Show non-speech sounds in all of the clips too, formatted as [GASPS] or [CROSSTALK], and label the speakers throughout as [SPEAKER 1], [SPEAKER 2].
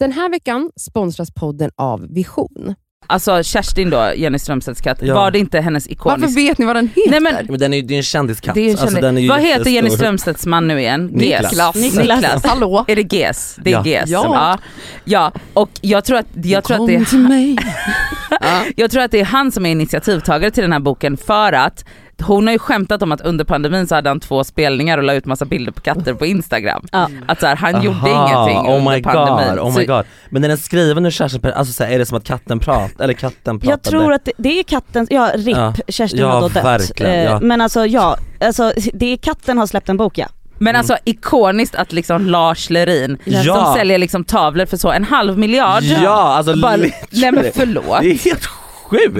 [SPEAKER 1] Den här veckan sponsras podden av Vision.
[SPEAKER 2] Alltså Kerstin då, Jenny Strömstedts katt,
[SPEAKER 3] Ja.
[SPEAKER 2] var det inte hennes
[SPEAKER 1] Varför
[SPEAKER 2] ikoniska...
[SPEAKER 1] vet ni vad den heter?
[SPEAKER 2] Nej, men-
[SPEAKER 3] Men den är ju det är en kändiskatt.
[SPEAKER 2] Det är ju en
[SPEAKER 3] alltså,
[SPEAKER 2] kändis.
[SPEAKER 3] den är ju
[SPEAKER 2] Vad heter Jenny
[SPEAKER 3] jättestor.
[SPEAKER 2] Strömstedts man nu igen? Niklas.
[SPEAKER 3] Niklas.
[SPEAKER 2] Niklas.
[SPEAKER 1] Hallå?
[SPEAKER 2] Är det GES? Det är
[SPEAKER 3] Ja.
[SPEAKER 2] GES.
[SPEAKER 1] Ja.
[SPEAKER 2] som- Ja. ja. Och jag tror, att, jag, tror att det är,
[SPEAKER 1] till
[SPEAKER 2] [LAUGHS]
[SPEAKER 1] mig.
[SPEAKER 2] jag tror att det är han som är initiativtagare till den här boken för att hon har ju skämtat om att under pandemin så hade han två spelningar och la ut massa bilder på katter på Instagram.
[SPEAKER 4] Ja.
[SPEAKER 2] Att så här, han gjorde
[SPEAKER 3] Aha,
[SPEAKER 2] ingenting
[SPEAKER 3] oh my
[SPEAKER 2] under pandemin.
[SPEAKER 3] god, oh
[SPEAKER 2] Så-
[SPEAKER 3] my god. Men den är skriven ur Kerstin Per- alltså så här, är det som att katten pratar, eller katten pratade?
[SPEAKER 4] Jag tror att det, det är katten, ja RIP,
[SPEAKER 3] Ja.
[SPEAKER 4] Kerstin
[SPEAKER 3] Ja,
[SPEAKER 4] har då dött.
[SPEAKER 3] verkligen,
[SPEAKER 4] Eh,
[SPEAKER 3] ja.
[SPEAKER 4] Men alltså ja, alltså, det är katten har släppt en bok ja.
[SPEAKER 2] Men alltså ikoniskt att liksom Lars Lerin
[SPEAKER 3] Mm. Ja.
[SPEAKER 2] som säljer liksom tavlor för så en halv miljard.
[SPEAKER 3] Ja, alltså
[SPEAKER 2] Bara,
[SPEAKER 3] literally.
[SPEAKER 2] nej men förlåt.
[SPEAKER 3] Det är helt sjukt!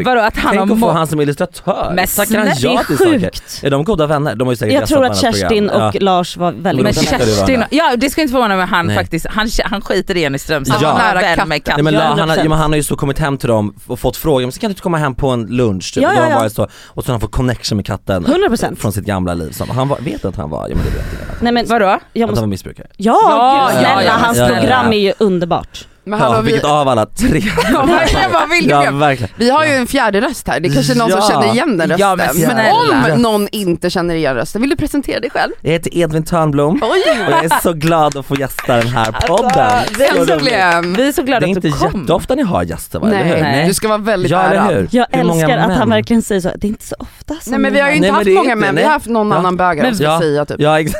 [SPEAKER 2] Vadå att han har
[SPEAKER 3] Tänk att få
[SPEAKER 2] må-
[SPEAKER 3] han som illustratör.
[SPEAKER 2] Men
[SPEAKER 3] Tackar
[SPEAKER 2] snälla,
[SPEAKER 3] han
[SPEAKER 4] Det är
[SPEAKER 3] ja till saker?
[SPEAKER 4] sjukt.
[SPEAKER 3] Är de goda vänner? De har ju säkert
[SPEAKER 4] Jag tror
[SPEAKER 3] gästat
[SPEAKER 4] att
[SPEAKER 3] på annat
[SPEAKER 4] Kerstin
[SPEAKER 3] program.
[SPEAKER 4] och Lars var väldigt
[SPEAKER 2] Men
[SPEAKER 3] de kan inte
[SPEAKER 2] Kerstin,
[SPEAKER 3] vara.
[SPEAKER 2] ja det ska inte förvåna mig om han
[SPEAKER 3] Nej.
[SPEAKER 2] faktiskt, han, han skiter i en i Strömstad,
[SPEAKER 3] Ja.
[SPEAKER 2] han
[SPEAKER 1] Nära
[SPEAKER 2] är vän
[SPEAKER 1] katten.
[SPEAKER 2] med
[SPEAKER 3] Nej,
[SPEAKER 2] katten.
[SPEAKER 3] men la, han, har, ja,
[SPEAKER 2] 100%.
[SPEAKER 3] men han har ju så kommit hem till dem och fått frågan, men så kan du inte komma hem på en lunch? Typ.
[SPEAKER 4] Ja,
[SPEAKER 3] och då
[SPEAKER 4] ja,
[SPEAKER 3] har han
[SPEAKER 4] ja.
[SPEAKER 3] varit så, och så har han fått connection med katten
[SPEAKER 4] 100%.
[SPEAKER 3] från sitt gamla liv. Som, han var, vet du att han var, ja men det vet jag,
[SPEAKER 4] Nej men
[SPEAKER 2] Vadå?
[SPEAKER 4] jag
[SPEAKER 3] att han
[SPEAKER 4] måste,
[SPEAKER 3] var missbrukare.
[SPEAKER 4] ja,
[SPEAKER 2] Ja,
[SPEAKER 4] gud,
[SPEAKER 2] ja,
[SPEAKER 4] snälla
[SPEAKER 2] ja,
[SPEAKER 4] hans
[SPEAKER 3] ja, ja.
[SPEAKER 4] program är ju underbart.
[SPEAKER 1] Men hallå,
[SPEAKER 3] Ja,
[SPEAKER 1] vi, [LAUGHS]
[SPEAKER 3] vilket av alla tre.
[SPEAKER 1] Ja, verkligen, vad vill
[SPEAKER 3] ja
[SPEAKER 1] du?
[SPEAKER 3] verkligen.
[SPEAKER 1] Vi har ju en fjärde röst här, det är kanske är någon
[SPEAKER 3] Ja.
[SPEAKER 1] som känner igen den rösten.
[SPEAKER 2] Ja, men
[SPEAKER 1] men,
[SPEAKER 2] snälla.
[SPEAKER 1] om någon inte känner igen rösten, vill du presentera dig själv?
[SPEAKER 3] Jag heter Edvin Törnblom
[SPEAKER 1] Oj! Alltså,
[SPEAKER 3] och jag är så glad att få gästa den här podden. Så roligt.
[SPEAKER 1] Äntligen!
[SPEAKER 2] Vi är så glada
[SPEAKER 3] Det är
[SPEAKER 2] att
[SPEAKER 3] inte
[SPEAKER 2] du kom.
[SPEAKER 3] jätteofta ni har gäster va? eller
[SPEAKER 1] Nej,
[SPEAKER 3] hur?
[SPEAKER 1] du ska vara väldigt
[SPEAKER 3] Ja eller
[SPEAKER 1] ärad.
[SPEAKER 3] hur?
[SPEAKER 4] Jag
[SPEAKER 3] Hur många
[SPEAKER 4] älskar att
[SPEAKER 3] män?
[SPEAKER 4] han verkligen säger så, det är inte så ofta som
[SPEAKER 1] Nej men vi har ju
[SPEAKER 3] Nej,
[SPEAKER 1] inte
[SPEAKER 3] men
[SPEAKER 1] haft
[SPEAKER 3] det är
[SPEAKER 1] många
[SPEAKER 3] inte-
[SPEAKER 1] män, vi
[SPEAKER 3] nej.
[SPEAKER 1] har haft någon
[SPEAKER 3] Ja.
[SPEAKER 1] annan bögare
[SPEAKER 2] Men-
[SPEAKER 1] ska jag säga typ.
[SPEAKER 3] Ja exakt.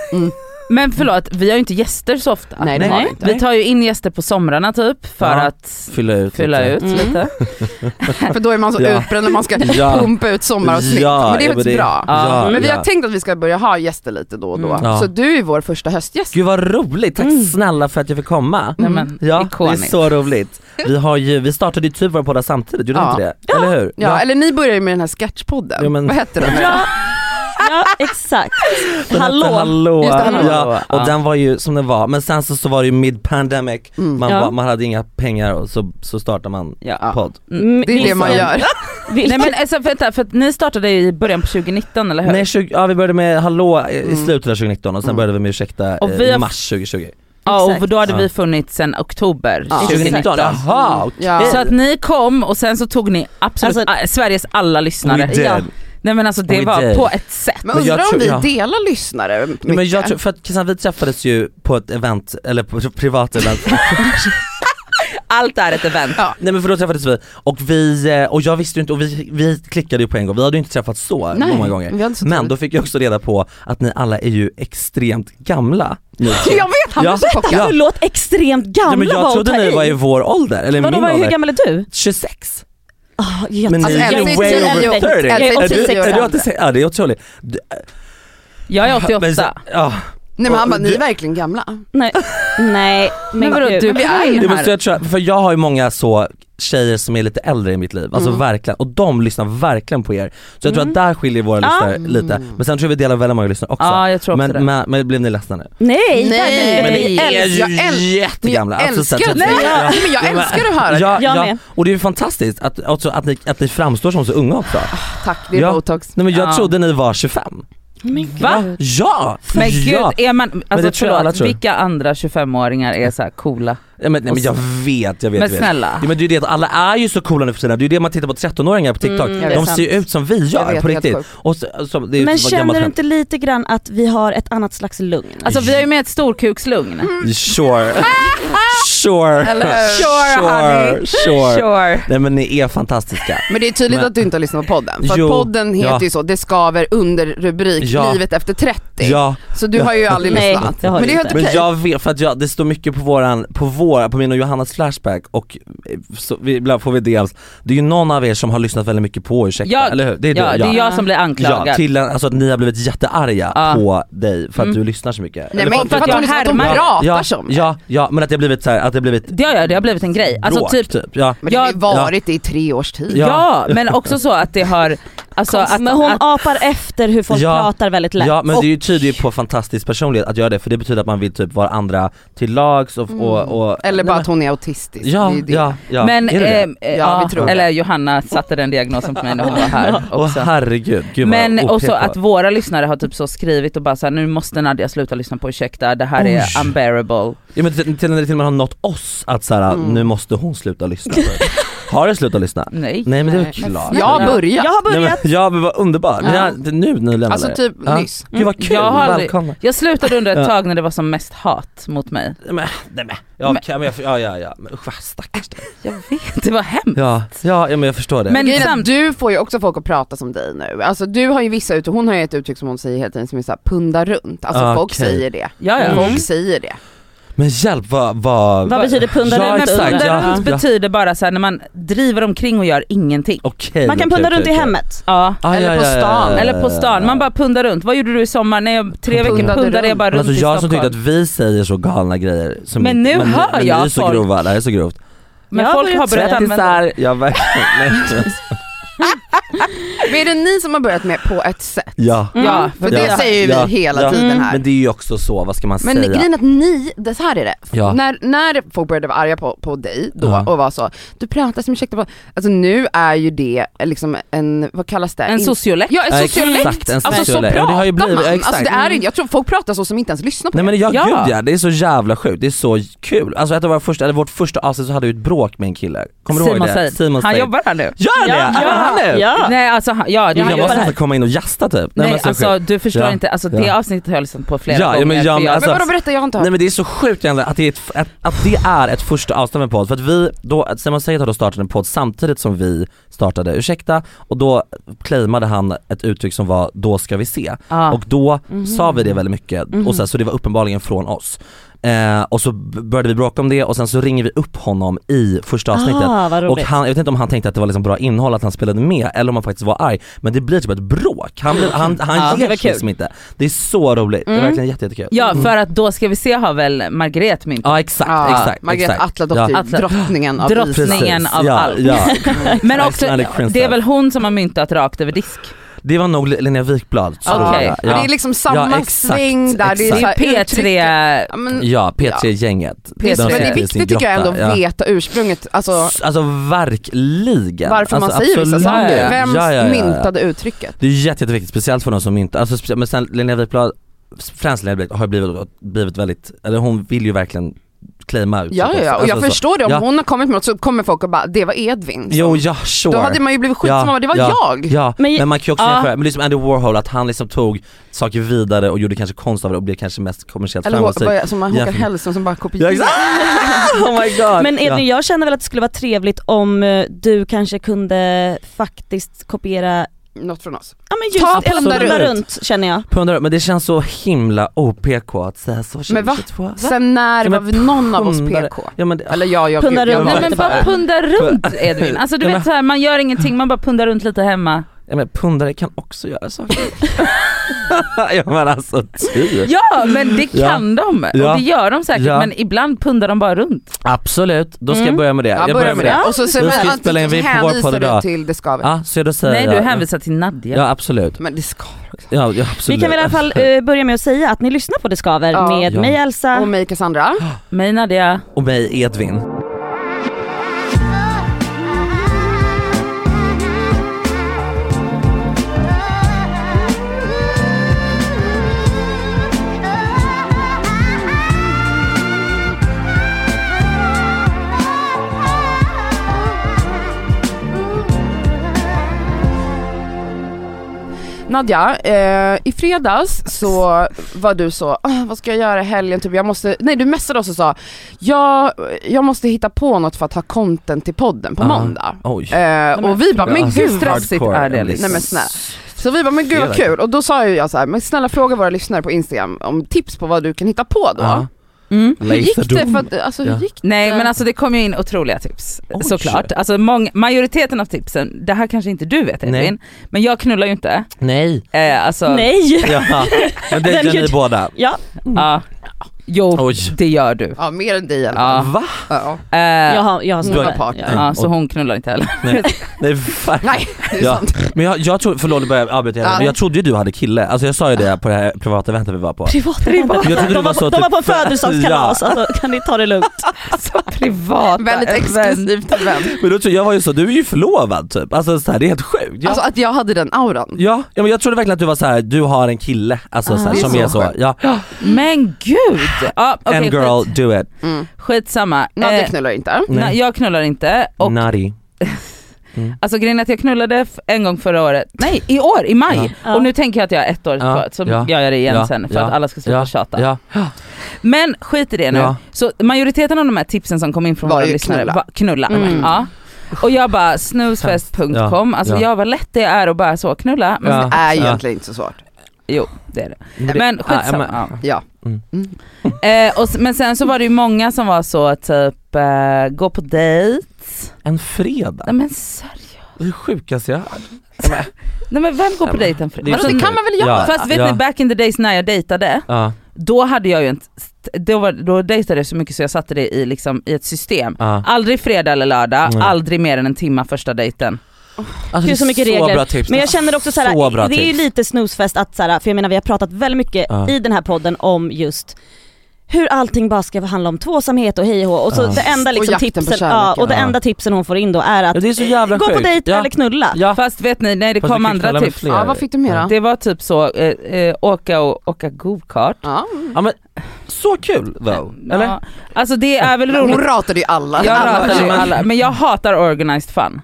[SPEAKER 2] Men förlåt, vi har ju inte gäster så ofta.
[SPEAKER 1] Nej det har
[SPEAKER 4] Nej.
[SPEAKER 1] vi inte.
[SPEAKER 2] Vi tar ju in gäster på somrarna typ för
[SPEAKER 3] Ja.
[SPEAKER 2] att
[SPEAKER 3] Fylla ut
[SPEAKER 2] fylla
[SPEAKER 3] lite.
[SPEAKER 2] ut
[SPEAKER 4] Mm.
[SPEAKER 2] lite.
[SPEAKER 1] För då är man så
[SPEAKER 3] Ja.
[SPEAKER 1] utbränd och man ska
[SPEAKER 3] Ja.
[SPEAKER 1] pumpa ut sommaravsnitt.
[SPEAKER 3] Ja,
[SPEAKER 1] men det är faktiskt bra.
[SPEAKER 2] Ja.
[SPEAKER 1] Men vi har
[SPEAKER 3] ja. Mm.
[SPEAKER 1] tänkt att vi ska börja ha gäster lite då och då.
[SPEAKER 3] Ja.
[SPEAKER 1] Så du är vår första höstgäst.
[SPEAKER 3] Gud vad roligt, tack
[SPEAKER 4] Mm.
[SPEAKER 3] snälla för att jag fick komma.
[SPEAKER 2] Nej, men,
[SPEAKER 3] Ja, det är
[SPEAKER 2] ikoniskt.
[SPEAKER 3] så roligt. Vi, har ju, vi startade ju typ våra poddar samtidigt, gjorde
[SPEAKER 1] Ja.
[SPEAKER 3] ni inte det? Eller hur?
[SPEAKER 1] Ja, eller ni börjar ju med den här sketchpodden.
[SPEAKER 3] Ja, men-
[SPEAKER 1] Vad hette den?
[SPEAKER 4] Ja, ja exakt.
[SPEAKER 3] Den hette
[SPEAKER 4] Hallå.
[SPEAKER 3] hallå.
[SPEAKER 1] Just det, hallå.
[SPEAKER 3] Ja, och
[SPEAKER 2] Ja.
[SPEAKER 3] den var ju som den var, men sen så, så var det ju mid pandemic,
[SPEAKER 1] Mm.
[SPEAKER 3] man,
[SPEAKER 4] Ja.
[SPEAKER 3] var, man hade inga pengar och så, så startade man
[SPEAKER 2] Ja.
[SPEAKER 3] podd.
[SPEAKER 4] Mm,
[SPEAKER 1] Det är det
[SPEAKER 4] vilken-
[SPEAKER 1] man gör.
[SPEAKER 2] Nej
[SPEAKER 4] vilken-
[SPEAKER 2] men alltså, vänta, för att ni startade ju i början på 2019 eller hur?
[SPEAKER 3] Nej, 20, ja, vi började med hallå i- i
[SPEAKER 1] Mm.
[SPEAKER 3] slutet av 2019 och sen
[SPEAKER 1] Mm.
[SPEAKER 3] började vi med ursäkta
[SPEAKER 2] Och
[SPEAKER 3] och
[SPEAKER 2] vi har-
[SPEAKER 3] mars 2020.
[SPEAKER 2] ja, och
[SPEAKER 4] Exakt.
[SPEAKER 2] då hade
[SPEAKER 3] Ja.
[SPEAKER 2] vi funnits sedan oktober
[SPEAKER 1] Ja.
[SPEAKER 2] 2019.
[SPEAKER 3] jaha okej.
[SPEAKER 1] Ja.
[SPEAKER 2] Så att ni kom och sen så tog ni absolut
[SPEAKER 4] Alltså-
[SPEAKER 2] a- Sveriges alla lyssnare.
[SPEAKER 3] We did.
[SPEAKER 2] Ja. Nej men alltså det
[SPEAKER 3] We
[SPEAKER 2] var
[SPEAKER 3] did.
[SPEAKER 2] på ett sätt.
[SPEAKER 1] Men
[SPEAKER 3] Men jag
[SPEAKER 1] undrar om
[SPEAKER 3] tror-
[SPEAKER 1] vi
[SPEAKER 3] ja.
[SPEAKER 1] delar lyssnare mycket.
[SPEAKER 3] Ja, men jag tror, för att Kristina, vi träffades ju på ett event, eller på ett
[SPEAKER 1] [LAUGHS]
[SPEAKER 3] privat event
[SPEAKER 2] Allt är ett event.
[SPEAKER 1] Ja.
[SPEAKER 3] Nej men för då träffades vi och vi, eh, och jag visste ju inte, och vi, vi klickade ju på en gång, vi hade ju inte träffats så
[SPEAKER 1] Nej,
[SPEAKER 3] många gånger.
[SPEAKER 1] vi hade så
[SPEAKER 3] Men
[SPEAKER 1] trevligt.
[SPEAKER 3] då fick jag också reda på att ni alla är ju extremt gamla. ni tre.
[SPEAKER 1] Jag vet, han
[SPEAKER 3] Ja.
[SPEAKER 1] är så chockad.
[SPEAKER 3] Ja.
[SPEAKER 4] Förlåt, extremt gamla
[SPEAKER 3] Nej, men
[SPEAKER 4] var
[SPEAKER 3] jag
[SPEAKER 4] att
[SPEAKER 3] trodde
[SPEAKER 4] ta
[SPEAKER 3] ni var i vår ålder, eller
[SPEAKER 4] Vadå,
[SPEAKER 3] min
[SPEAKER 4] vad-
[SPEAKER 3] ålder.
[SPEAKER 4] hur gammal är du?
[SPEAKER 3] 26.
[SPEAKER 4] Oh, jag,
[SPEAKER 3] Men
[SPEAKER 1] Alltså,
[SPEAKER 3] ni är
[SPEAKER 1] Elsa
[SPEAKER 3] ju
[SPEAKER 1] är
[SPEAKER 3] way
[SPEAKER 1] tio
[SPEAKER 3] over
[SPEAKER 1] år-
[SPEAKER 3] 30.
[SPEAKER 1] Elsa är
[SPEAKER 3] Är du-
[SPEAKER 1] tio år
[SPEAKER 3] är du
[SPEAKER 1] äldre.
[SPEAKER 3] 86? Ja det är otroligt. Du-
[SPEAKER 2] Jag är
[SPEAKER 3] men så-
[SPEAKER 2] 88.
[SPEAKER 3] Ja.
[SPEAKER 1] Nej men han bara, ni är
[SPEAKER 3] Det-
[SPEAKER 1] verkligen gamla.
[SPEAKER 4] nej, nej men,
[SPEAKER 2] Men vadå,
[SPEAKER 4] gud.
[SPEAKER 2] du
[SPEAKER 1] Men vi är ju
[SPEAKER 3] Det
[SPEAKER 1] här.
[SPEAKER 3] måste jag tror, för jag har ju många så tjejer som är lite äldre i mitt liv, alltså verkligen, och de lyssnar verkligen på er. Så jag tror att där skiljer våra lyssnare lite, men sen tror jag vi delar väldigt många lyssnare också.
[SPEAKER 2] Ja, jag tror också
[SPEAKER 3] men,
[SPEAKER 2] det.
[SPEAKER 3] men, men blev ni ledsna nu?
[SPEAKER 4] Nej,
[SPEAKER 1] Nej,
[SPEAKER 4] nej,
[SPEAKER 1] men
[SPEAKER 4] nej.
[SPEAKER 1] det-
[SPEAKER 3] är
[SPEAKER 1] älsk- jag äl-
[SPEAKER 3] ju jättegamla.
[SPEAKER 1] Men jag
[SPEAKER 3] Alltså, så att-
[SPEAKER 1] älskar att-
[SPEAKER 3] så att-
[SPEAKER 1] Nej,
[SPEAKER 3] ja.
[SPEAKER 1] men jag
[SPEAKER 3] Ja, men-
[SPEAKER 1] älskar att höra det.
[SPEAKER 3] Ja,
[SPEAKER 4] Jag
[SPEAKER 3] ja.
[SPEAKER 4] med.
[SPEAKER 3] Och det är ju fantastiskt att, också att, ni, att ni framstår som så unga också.
[SPEAKER 1] Tack, det är
[SPEAKER 3] Ja.
[SPEAKER 1] botox.
[SPEAKER 3] Nej men jag
[SPEAKER 2] Ja.
[SPEAKER 3] trodde ni var 25.
[SPEAKER 4] Men
[SPEAKER 2] Va?
[SPEAKER 4] gud.
[SPEAKER 3] Ja!
[SPEAKER 2] Men gud,
[SPEAKER 3] ja.
[SPEAKER 2] är man,
[SPEAKER 3] det
[SPEAKER 2] alltså
[SPEAKER 3] tror jag alla
[SPEAKER 2] förlåt,
[SPEAKER 3] tror.
[SPEAKER 2] vilka andra 25-åringar är så här coola?
[SPEAKER 3] Ja, men, nej, men jag vet, jag
[SPEAKER 2] Men
[SPEAKER 3] vet. jag vet. Mm.
[SPEAKER 2] snälla.
[SPEAKER 3] Ja, men det är ju det att alla är ju så coola nu för tiden, det är ju det man tittar på 13-åringar på TikTok,
[SPEAKER 4] Mm,
[SPEAKER 1] det är
[SPEAKER 3] de
[SPEAKER 1] sant.
[SPEAKER 3] ser ju ut som vi
[SPEAKER 1] Jag
[SPEAKER 3] gör
[SPEAKER 1] vet,
[SPEAKER 3] på
[SPEAKER 1] helt
[SPEAKER 3] riktigt.
[SPEAKER 1] sjukt.
[SPEAKER 3] Och så, så, det är
[SPEAKER 4] Men
[SPEAKER 3] ett typ gammalt
[SPEAKER 4] känner du
[SPEAKER 3] skämt.
[SPEAKER 4] inte lite grann att vi har ett annat slags lugn?
[SPEAKER 2] Alltså vi har ju med ett storkukslugn.
[SPEAKER 3] Mm. Sure.
[SPEAKER 1] [LAUGHS]
[SPEAKER 3] sure.
[SPEAKER 1] Eller hur?
[SPEAKER 2] Sure, honey.
[SPEAKER 3] sure. sure.
[SPEAKER 2] Sure.
[SPEAKER 3] Nej men ni är fantastiska.
[SPEAKER 1] Men det är tydligt
[SPEAKER 3] Men-
[SPEAKER 1] att du inte har lyssnat på podden. För
[SPEAKER 3] Jo,
[SPEAKER 1] att podden heter
[SPEAKER 3] ja.
[SPEAKER 1] ju så, det skaver under rubrik
[SPEAKER 3] Ja.
[SPEAKER 1] livet efter 30.
[SPEAKER 3] Ja,
[SPEAKER 1] Så du har ju aldrig
[SPEAKER 4] Nej,
[SPEAKER 1] lyssnat.
[SPEAKER 4] det har
[SPEAKER 1] men det är
[SPEAKER 4] jag
[SPEAKER 1] helt
[SPEAKER 3] men
[SPEAKER 1] okej.
[SPEAKER 3] jag vet för att jag, det står mycket på våran, på vår, på min och Johannas flashback och eh, så, vi, ibland får vi DMs, det är ju någon av er som har lyssnat väldigt mycket på ursäkta,
[SPEAKER 2] Jag-
[SPEAKER 3] eller hur? Det är
[SPEAKER 2] Ja,
[SPEAKER 3] du,
[SPEAKER 2] det är jag som blir anklagad.
[SPEAKER 3] Ja, till en, alltså att ni har blivit jättearga
[SPEAKER 2] Ja.
[SPEAKER 3] på dig för att
[SPEAKER 2] Mm.
[SPEAKER 3] du lyssnar så mycket.
[SPEAKER 1] Nej
[SPEAKER 3] Eller
[SPEAKER 1] men
[SPEAKER 3] för-
[SPEAKER 1] inte för
[SPEAKER 2] att
[SPEAKER 1] att hon
[SPEAKER 2] jag
[SPEAKER 1] lyssnar, att hon
[SPEAKER 2] härmar.
[SPEAKER 1] pratar
[SPEAKER 3] ja,
[SPEAKER 1] som det.
[SPEAKER 3] ja, ja, men att det har blivit så här, att det har blivit
[SPEAKER 2] Det har jag, det har blivit en grej. Alltså
[SPEAKER 3] bråk,
[SPEAKER 2] typ,
[SPEAKER 3] Ja.
[SPEAKER 1] Men det har ju
[SPEAKER 2] Jag-
[SPEAKER 1] varit det i tre års tid.
[SPEAKER 2] ja.
[SPEAKER 3] Ja.
[SPEAKER 2] men också så att det har, Alltså att,
[SPEAKER 4] men hon
[SPEAKER 2] att,
[SPEAKER 4] apar efter hur folk
[SPEAKER 3] Ja.
[SPEAKER 4] pratar väldigt lätt.
[SPEAKER 3] Ja men
[SPEAKER 4] och,
[SPEAKER 3] det är ju tyder ju på fantastisk personlighet att göra det för det betyder att man vill typ vara andra till lags och, och, och
[SPEAKER 1] Mm. Eller
[SPEAKER 3] Nej,
[SPEAKER 1] bara
[SPEAKER 3] men-
[SPEAKER 1] att hon är autistisk.
[SPEAKER 3] Ja,
[SPEAKER 1] det är det.
[SPEAKER 3] ja, ja.
[SPEAKER 2] men,
[SPEAKER 3] är det det?
[SPEAKER 2] ehm, eh,
[SPEAKER 1] Ja,
[SPEAKER 2] ja,
[SPEAKER 1] vi tror det.
[SPEAKER 2] eller Johanna satte den diagnosen på mig när hon
[SPEAKER 1] [LAUGHS]
[SPEAKER 2] var här
[SPEAKER 3] Åh
[SPEAKER 2] också.
[SPEAKER 3] herregud, gud vad
[SPEAKER 2] Men
[SPEAKER 3] OP
[SPEAKER 2] och så
[SPEAKER 3] på.
[SPEAKER 2] att våra lyssnare har typ så skrivit och bara såhär nu måste Nadja sluta lyssna på ursäkta det här
[SPEAKER 3] Oj.
[SPEAKER 2] är unbearable.
[SPEAKER 3] ja, men till, till, till och med har nått oss att så här, nu måste hon sluta lyssna på det. Har du slutat lyssna?
[SPEAKER 2] Nej.
[SPEAKER 3] Nej men det är
[SPEAKER 1] Nej,
[SPEAKER 3] klart.
[SPEAKER 1] Jag har börjat.
[SPEAKER 4] jag har börjat,
[SPEAKER 3] Nej, men, ja men vad underbart,
[SPEAKER 1] Ja.
[SPEAKER 3] ja. nu nyligen
[SPEAKER 1] Alltså
[SPEAKER 3] eller?
[SPEAKER 1] typ
[SPEAKER 3] ja.
[SPEAKER 1] nyss.
[SPEAKER 3] Gud vad kul,
[SPEAKER 2] Jag har aldrig-
[SPEAKER 3] välkomna.
[SPEAKER 2] Jag slutade under
[SPEAKER 3] Ja.
[SPEAKER 2] ett tag när det var som mest hat mot mig.
[SPEAKER 3] Nej men, nej, men. Ja, men. men jag, ja ja ja, men usch vad stackars dig.
[SPEAKER 2] Jag vet, det var hemskt.
[SPEAKER 3] Ja, ja, ja men jag förstår det.
[SPEAKER 2] Men-
[SPEAKER 1] Grejen är att
[SPEAKER 2] samt-
[SPEAKER 1] du får ju också folk att prata som dig nu. Alltså du har ju vissa uttryck, hon har ju ett uttryck som hon säger hela tiden som är såhär punda runt. Alltså
[SPEAKER 3] Ah,
[SPEAKER 1] folk
[SPEAKER 3] okej.
[SPEAKER 1] säger det.
[SPEAKER 2] Ja, ja.
[SPEAKER 1] Folk säger det.
[SPEAKER 3] Men hjälp vad, vad,
[SPEAKER 4] vad betyder punda
[SPEAKER 3] Ja,
[SPEAKER 4] runt?
[SPEAKER 2] Nej, men
[SPEAKER 3] exakt,
[SPEAKER 2] punda
[SPEAKER 3] ja.
[SPEAKER 2] runt betyder bara såhär när man driver omkring och gör ingenting.
[SPEAKER 3] okej.
[SPEAKER 4] Man kan
[SPEAKER 3] okej,
[SPEAKER 4] punda
[SPEAKER 3] okej,
[SPEAKER 4] runt i
[SPEAKER 3] okej.
[SPEAKER 4] hemmet.
[SPEAKER 2] Ja.
[SPEAKER 3] Ah,
[SPEAKER 1] Eller på stan.
[SPEAKER 2] Eller på stan, man bara pundar runt. Vad gjorde du i sommar? Nej, jag, tre veckor
[SPEAKER 1] Pundade
[SPEAKER 2] pundade jag
[SPEAKER 1] runt.
[SPEAKER 2] bara
[SPEAKER 3] Men
[SPEAKER 2] runt
[SPEAKER 3] alltså
[SPEAKER 2] i
[SPEAKER 3] jag som
[SPEAKER 2] Stockholm.
[SPEAKER 3] tyckte att vi säger så galna grejer som,
[SPEAKER 2] Men nu hör
[SPEAKER 3] men
[SPEAKER 2] jag
[SPEAKER 3] ni är så
[SPEAKER 2] folk.
[SPEAKER 3] grova, det här är så grovt.
[SPEAKER 2] Men
[SPEAKER 4] Jag
[SPEAKER 2] folk har
[SPEAKER 4] började
[SPEAKER 2] börjat använda...
[SPEAKER 3] jag verkligen, nej,
[SPEAKER 2] [LAUGHS]
[SPEAKER 1] Men är det ni som har börjat med På ett sätt?
[SPEAKER 3] ja.
[SPEAKER 2] Ja,
[SPEAKER 1] För
[SPEAKER 2] för
[SPEAKER 1] det
[SPEAKER 3] Ja.
[SPEAKER 1] säger vi
[SPEAKER 3] Ja.
[SPEAKER 1] hela
[SPEAKER 3] Ja. Mm.
[SPEAKER 1] tiden här.
[SPEAKER 3] Men det är ju också så, vad ska man
[SPEAKER 1] Men
[SPEAKER 3] säga?
[SPEAKER 1] grejen är att ni, det så här är det.
[SPEAKER 3] Ja.
[SPEAKER 1] När, när folk började vara arga på, på dig då
[SPEAKER 3] Ja.
[SPEAKER 1] och var så, du pratar som ursäkta på, alltså nu är ju det liksom en, vad kallas det?
[SPEAKER 2] en
[SPEAKER 1] In-
[SPEAKER 2] sociolekt.
[SPEAKER 1] Ja en
[SPEAKER 3] Ja,
[SPEAKER 1] sociolekt.
[SPEAKER 3] exakt, en
[SPEAKER 1] alltså så
[SPEAKER 3] sociolekt.
[SPEAKER 1] pratar
[SPEAKER 3] Ja, det har ju blivit-
[SPEAKER 1] man.
[SPEAKER 3] ja,
[SPEAKER 1] alltså,
[SPEAKER 3] exakt. Mm.
[SPEAKER 1] det är, jag tror folk pratar så som inte ens lyssnar på
[SPEAKER 3] Nej men jag,
[SPEAKER 2] Ja.
[SPEAKER 3] gud ja, det är så jävla sjukt, det är så kul. Alltså ett av våra första, eller vårt första avsnitt så hade vi ett bråk med en kille, kommer du ihåg
[SPEAKER 2] Simon
[SPEAKER 3] det?
[SPEAKER 2] Said. Han
[SPEAKER 3] Said.
[SPEAKER 2] jobbar här nu.
[SPEAKER 3] Gör det?
[SPEAKER 2] Ja.
[SPEAKER 3] Ja, han nu?
[SPEAKER 4] Ja.
[SPEAKER 2] Nej alltså, han- ja, det
[SPEAKER 3] Jag
[SPEAKER 2] han
[SPEAKER 3] måste
[SPEAKER 2] jobbar här.
[SPEAKER 3] nästan komma in och jasta typ.
[SPEAKER 2] Nej,
[SPEAKER 3] men så
[SPEAKER 2] alltså
[SPEAKER 3] sjukt.
[SPEAKER 2] du förstår
[SPEAKER 3] Ja.
[SPEAKER 2] inte, alltså det
[SPEAKER 3] Ja.
[SPEAKER 2] avsnittet hölls på flera
[SPEAKER 3] Ja, ja,
[SPEAKER 2] gånger.
[SPEAKER 3] men jag-
[SPEAKER 2] för jag-
[SPEAKER 3] alltså-
[SPEAKER 1] Men vadå berätta, jag har inte hört.
[SPEAKER 3] Nej men det är så sjukt egentligen att det är ett, att, att det är ett första avsnitt av en podd för att vi då, Simon Säget har då startat en podd samtidigt som vi startade Ursäkta och då claimade han ett uttryck som var då ska vi se
[SPEAKER 2] Ja.
[SPEAKER 3] och då
[SPEAKER 2] Mhm.
[SPEAKER 3] sa vi det väldigt mycket och så, här, så det var uppenbarligen från oss. Eh, och så b- började vi bråka om det och sen så ringer vi upp honom i första avsnittet
[SPEAKER 4] Ah, vad
[SPEAKER 3] och
[SPEAKER 4] roligt.
[SPEAKER 3] han, jag vet inte om han tänkte att det var liksom bra innehåll att han spelade med eller om han faktiskt var arg men det blir typ ett bråk, han, blir, han, han
[SPEAKER 2] Ja, det
[SPEAKER 3] ger
[SPEAKER 2] var
[SPEAKER 3] sig
[SPEAKER 2] kul. Mm.
[SPEAKER 3] liksom inte. Det är så roligt, det är verkligen jätte- jättekul.
[SPEAKER 2] Ja för att då ska vi se har väl Margret mynt
[SPEAKER 3] Ja exakt,
[SPEAKER 1] Ja,
[SPEAKER 3] exakt.
[SPEAKER 1] Margret
[SPEAKER 3] exakt.
[SPEAKER 1] Atladottir,
[SPEAKER 2] Atla-
[SPEAKER 1] drottningen av
[SPEAKER 2] Drottning.
[SPEAKER 1] Island.
[SPEAKER 2] drottningen av
[SPEAKER 3] ja,
[SPEAKER 2] allt.
[SPEAKER 3] Ja.
[SPEAKER 1] [LAUGHS]
[SPEAKER 2] Men också,
[SPEAKER 3] Icelandic princess.
[SPEAKER 2] det är väl hon som har myntat rakt över disk?
[SPEAKER 3] Det var nog Linnea Wikblad tror
[SPEAKER 2] Okej.
[SPEAKER 3] jag.
[SPEAKER 1] Ja. Det är liksom samma
[SPEAKER 3] Ja, exakt,
[SPEAKER 1] sväng där, det är,
[SPEAKER 3] exakt.
[SPEAKER 1] så här
[SPEAKER 2] P3,
[SPEAKER 1] uttrycket- ja, men,
[SPEAKER 3] Ja, P3-gänget.
[SPEAKER 1] det är,
[SPEAKER 2] de
[SPEAKER 1] men det
[SPEAKER 2] sitter
[SPEAKER 1] är
[SPEAKER 2] i
[SPEAKER 1] viktigt tycker jag ändå att veta ursprunget, alltså
[SPEAKER 3] Alltså verkligen.
[SPEAKER 1] varför
[SPEAKER 3] alltså,
[SPEAKER 1] man säger vissa
[SPEAKER 3] absolut.
[SPEAKER 1] saker.
[SPEAKER 2] Ja, ja.
[SPEAKER 1] Vem
[SPEAKER 3] Ja, ja, ja, ja.
[SPEAKER 1] myntade uttrycket?
[SPEAKER 3] Det är jätte, jätteviktigt, speciellt för de som inte, alltså, spe- men sen Linnea Wikblad, främst Linnea Wikblad har blivit, blivit väldigt, eller hon vill ju verkligen claima ut
[SPEAKER 1] Ja,
[SPEAKER 3] sig
[SPEAKER 1] ja, ja.
[SPEAKER 3] också.
[SPEAKER 1] och jag
[SPEAKER 3] Alltså, så.
[SPEAKER 1] förstår det, om
[SPEAKER 3] Ja.
[SPEAKER 1] hon har kommit med något så kommer folk och bara det var Edvin. Så
[SPEAKER 3] Alltså, Jo, ja sure.
[SPEAKER 1] liksom. Då hade man ju blivit skitsamma, det var jag.
[SPEAKER 3] Ja,
[SPEAKER 4] Men-
[SPEAKER 3] men, man kan ju också
[SPEAKER 4] ja.
[SPEAKER 3] jämföra, men liksom Andy Warhol att han liksom tog saker vidare och gjorde kanske konst av det och blev kanske mest kommersiellt
[SPEAKER 1] Eller hå-
[SPEAKER 3] framgångsrik.
[SPEAKER 1] vad är- som Håkan
[SPEAKER 3] Jämfört med-
[SPEAKER 1] Hellström som bara
[SPEAKER 3] Ja,
[SPEAKER 1] kopierade. [LAUGHS]
[SPEAKER 3] exakt. Oh my god.
[SPEAKER 4] Men Edvin,
[SPEAKER 3] ja.
[SPEAKER 4] jag känner väl att det skulle vara trevligt om eh, du kanske kunde faktiskt kopiera,
[SPEAKER 1] Något från oss.
[SPEAKER 4] ja men just,
[SPEAKER 1] Ta
[SPEAKER 4] eller
[SPEAKER 1] punda
[SPEAKER 4] punda
[SPEAKER 3] runt.
[SPEAKER 4] runt känner jag.
[SPEAKER 3] Pundar, men det känns så himla OPK att säga så
[SPEAKER 1] Men va?
[SPEAKER 3] 2022.
[SPEAKER 1] Sen när
[SPEAKER 3] Som
[SPEAKER 1] var
[SPEAKER 3] en
[SPEAKER 1] vi någon av oss
[SPEAKER 3] pundare.
[SPEAKER 1] PK?
[SPEAKER 3] Ja men det,
[SPEAKER 1] Eller jag, jag,
[SPEAKER 4] Pundar
[SPEAKER 1] jag, jag
[SPEAKER 4] runt.
[SPEAKER 2] Nej
[SPEAKER 1] var
[SPEAKER 2] men
[SPEAKER 1] inte
[SPEAKER 2] bara
[SPEAKER 1] bara.
[SPEAKER 2] punda runt Edvin. Alltså du
[SPEAKER 3] Ja, men-
[SPEAKER 2] vet såhär, man gör ingenting, man bara pundar runt lite hemma.
[SPEAKER 3] ja, men pundare kan också göra saker. [LAUGHS] ja men alltså ty.
[SPEAKER 2] Ja men det kan de
[SPEAKER 3] Ja.
[SPEAKER 2] och det gör de säkert
[SPEAKER 3] Ja.
[SPEAKER 2] men ibland pundar de bara runt.
[SPEAKER 3] Absolut, då ska jag börja med det.
[SPEAKER 1] Mm. Ja, börja med det. Och så, så,
[SPEAKER 3] Vi ska
[SPEAKER 1] men-
[SPEAKER 3] spela in, vi är på vår
[SPEAKER 1] hänvisar
[SPEAKER 3] podd
[SPEAKER 1] du
[SPEAKER 3] idag.
[SPEAKER 1] till det skaver.
[SPEAKER 3] Ja, så då säger
[SPEAKER 2] Nej du
[SPEAKER 3] jag-
[SPEAKER 2] hänvisar till Nadja.
[SPEAKER 3] Ja absolut.
[SPEAKER 1] Men det skaver också.
[SPEAKER 3] Ja, ja absolut.
[SPEAKER 4] Vi kan väl i alla fall eh, börja med att säga att ni lyssnar på Det Skaver
[SPEAKER 1] Ja.
[SPEAKER 4] med
[SPEAKER 3] Ja.
[SPEAKER 4] mig Elsa.
[SPEAKER 1] Och mig Cassandra.
[SPEAKER 2] Mig Nadja.
[SPEAKER 3] Och mig Edvin.
[SPEAKER 1] Nadja, eh, i fredags så var du så, "Ah, vad ska jag göra i helgen? Typ, jag måste, nej du messade oss och sa, jag, jag måste hitta på något för att ha content till podden på
[SPEAKER 3] Ja.
[SPEAKER 1] måndag.
[SPEAKER 3] Ah. Oj.
[SPEAKER 1] Eh, och vi bara,
[SPEAKER 3] Ja,
[SPEAKER 1] men
[SPEAKER 3] alltså,
[SPEAKER 1] gud vad
[SPEAKER 2] stressigt
[SPEAKER 3] hardcore
[SPEAKER 2] är det,
[SPEAKER 3] liksom.
[SPEAKER 1] Nej men snälla. Så vi bara, men gud vad
[SPEAKER 3] Verkligen.
[SPEAKER 1] kul. Och då sa ju jag så här, men snälla fråga våra lyssnare på Instagram om tips på vad du kan hitta på då.
[SPEAKER 3] Ja.
[SPEAKER 2] Mm.
[SPEAKER 1] Hur gick det?
[SPEAKER 3] Laserdom.
[SPEAKER 1] För att, alltså, hur
[SPEAKER 3] Ja.
[SPEAKER 1] gick det?
[SPEAKER 2] Nej men alltså det kom ju in otroliga tips
[SPEAKER 3] Oj.
[SPEAKER 2] såklart. Alltså mång- majoriteten av tipsen, det här kanske inte du vet Edvin, men jag knullar ju inte.
[SPEAKER 3] Nej.
[SPEAKER 2] Eh, alltså,
[SPEAKER 4] Nej!
[SPEAKER 3] Ja, [LAUGHS] men det
[SPEAKER 4] Den
[SPEAKER 3] gör ni
[SPEAKER 4] gjorde-
[SPEAKER 3] båda.
[SPEAKER 4] Ja,
[SPEAKER 2] Ja. Jo,
[SPEAKER 3] Oj.
[SPEAKER 2] det gör du.
[SPEAKER 1] Ja, mer än dig i alla fall.
[SPEAKER 2] Ja.
[SPEAKER 3] Va?
[SPEAKER 1] Ja.
[SPEAKER 2] Eh,
[SPEAKER 4] Jag har, jag har
[SPEAKER 1] Du
[SPEAKER 4] snubbe.
[SPEAKER 1] har partner.
[SPEAKER 4] Ja.
[SPEAKER 3] Mm.
[SPEAKER 2] ja, så hon knullar inte
[SPEAKER 3] [LAUGHS]
[SPEAKER 2] heller.
[SPEAKER 3] Nej, ver-
[SPEAKER 1] Nej, det är [LAUGHS]
[SPEAKER 3] Ja.
[SPEAKER 1] sant.
[SPEAKER 3] Men jag, jag trodde, förlåt nu börjar jag avbryta igen,
[SPEAKER 1] Ja.
[SPEAKER 3] men jag trodde ju du hade kille, alltså jag sa ju det på det här privata eventet vi var på
[SPEAKER 4] Privat
[SPEAKER 3] Jag trodde det
[SPEAKER 4] de,
[SPEAKER 3] var
[SPEAKER 4] var
[SPEAKER 3] så
[SPEAKER 4] på, de
[SPEAKER 3] typ-
[SPEAKER 4] var på födelsedagskalas, alltså, kan ni ta det lugnt?
[SPEAKER 3] Alltså,
[SPEAKER 2] Så privat.
[SPEAKER 1] Väldigt exklusivt event.
[SPEAKER 3] Men då trodde jag var ju så, du är ju förlovad typ, alltså så här, det är helt sjukt jag,
[SPEAKER 1] Alltså att jag hade den auran.
[SPEAKER 3] ja, ja men jag trodde verkligen att du var så här, du har en kille, alltså så här,
[SPEAKER 1] Det är
[SPEAKER 3] som
[SPEAKER 1] så
[SPEAKER 3] är så,
[SPEAKER 1] skönt.
[SPEAKER 3] ja,
[SPEAKER 2] Men gud! Ja, okej,
[SPEAKER 3] and girl
[SPEAKER 2] skit,
[SPEAKER 3] do it,
[SPEAKER 1] Mm.
[SPEAKER 2] skitsamma.
[SPEAKER 1] Nadja
[SPEAKER 2] Eh,
[SPEAKER 1] knullar inte.
[SPEAKER 3] Nej.
[SPEAKER 2] nej, jag knullar inte. Och,
[SPEAKER 3] naughty Mm.
[SPEAKER 2] alltså grejen är att jag knullade f- en gång förra året, nej i år, i maj.
[SPEAKER 4] Ja.
[SPEAKER 2] Och nu tänker jag att jag är ett år
[SPEAKER 3] Ja,
[SPEAKER 2] kvar, så
[SPEAKER 3] ja,
[SPEAKER 2] gör jag det igen
[SPEAKER 3] ja,
[SPEAKER 2] sen för
[SPEAKER 3] ja,
[SPEAKER 2] att alla ska sluta
[SPEAKER 3] ja,
[SPEAKER 2] tjata.
[SPEAKER 3] Ja,
[SPEAKER 2] Men skit i det nu.
[SPEAKER 3] Ja.
[SPEAKER 2] Så majoriteten av de här tipsen som kom in från
[SPEAKER 1] Var
[SPEAKER 2] våra
[SPEAKER 1] ju
[SPEAKER 2] lyssnare
[SPEAKER 1] knulla.
[SPEAKER 2] var knulla.
[SPEAKER 1] Mm.
[SPEAKER 2] Ja. Och jag bara snusfest.com,
[SPEAKER 3] Ja,
[SPEAKER 2] alltså
[SPEAKER 3] ja.
[SPEAKER 2] jag vad lätt det är att bara så knulla. Men
[SPEAKER 3] Ja.
[SPEAKER 1] Det är
[SPEAKER 3] Ja.
[SPEAKER 1] egentligen inte så svårt.
[SPEAKER 2] det är det.
[SPEAKER 3] Men det-
[SPEAKER 2] Men
[SPEAKER 3] ja, Mm.
[SPEAKER 2] skitsamma.
[SPEAKER 3] men-
[SPEAKER 2] Ja,
[SPEAKER 1] Ja.
[SPEAKER 2] Eh, och, s- men sen så var det ju många som var så typ, eh, gå på dejt.
[SPEAKER 3] En fredag?
[SPEAKER 2] Nej men seriöst.
[SPEAKER 3] Det är det sjukaste jag har hört.
[SPEAKER 2] Nej men vem går på dejten för
[SPEAKER 3] Det är
[SPEAKER 1] Vadå,
[SPEAKER 3] som-
[SPEAKER 1] det kan man väl göra?
[SPEAKER 2] Fast vet
[SPEAKER 3] Ja.
[SPEAKER 2] ni back in the days när jag dejtade,
[SPEAKER 3] Ja,
[SPEAKER 2] då hade jag ju en, då, var, då dejtade jag så mycket så jag satte det i, liksom, i ett system.
[SPEAKER 3] ja.
[SPEAKER 2] Aldrig fredag eller lördag,
[SPEAKER 3] Nej.
[SPEAKER 2] aldrig mer än en timma första dejten.
[SPEAKER 3] Alltså,
[SPEAKER 4] Gud, så mycket regler.
[SPEAKER 3] bra tips.
[SPEAKER 4] Men jag känner också så
[SPEAKER 3] Så bra
[SPEAKER 4] här, det är ju
[SPEAKER 3] tips.
[SPEAKER 4] lite snusfest att så här, för jag menar vi har pratat väldigt mycket
[SPEAKER 3] Ja.
[SPEAKER 4] i den här podden om just hur allting bara ska handla om tvåsamhet och hej och hå. och så
[SPEAKER 3] Ja.
[SPEAKER 4] det enda liksom
[SPEAKER 1] Och jakten på
[SPEAKER 4] tipsen, ja,
[SPEAKER 1] kärleken.
[SPEAKER 4] och det
[SPEAKER 3] Ja.
[SPEAKER 4] enda tipsen hon får in då är att
[SPEAKER 3] Ja, det är så jävla
[SPEAKER 4] gå på
[SPEAKER 3] sjukt.
[SPEAKER 4] dejt
[SPEAKER 3] Ja.
[SPEAKER 4] eller knulla.
[SPEAKER 3] Ja.
[SPEAKER 2] Fast vet ni, nej det
[SPEAKER 3] Fast du
[SPEAKER 2] kom
[SPEAKER 3] kan knulla
[SPEAKER 2] andra
[SPEAKER 3] med
[SPEAKER 2] tips.
[SPEAKER 3] fler.
[SPEAKER 1] Ja, vad fick du mer då?
[SPEAKER 2] Det var typ så, eh, eh, åka och åka go-kart.
[SPEAKER 1] Ja.
[SPEAKER 3] Ja men så kul though, eller?
[SPEAKER 2] Ja. Alltså det är väl
[SPEAKER 1] Hon
[SPEAKER 3] [LAUGHS]
[SPEAKER 2] roligt.
[SPEAKER 1] ratade ju alla.
[SPEAKER 2] Jag
[SPEAKER 1] alla.
[SPEAKER 2] hatar ju alla, men jag hatar organized fun.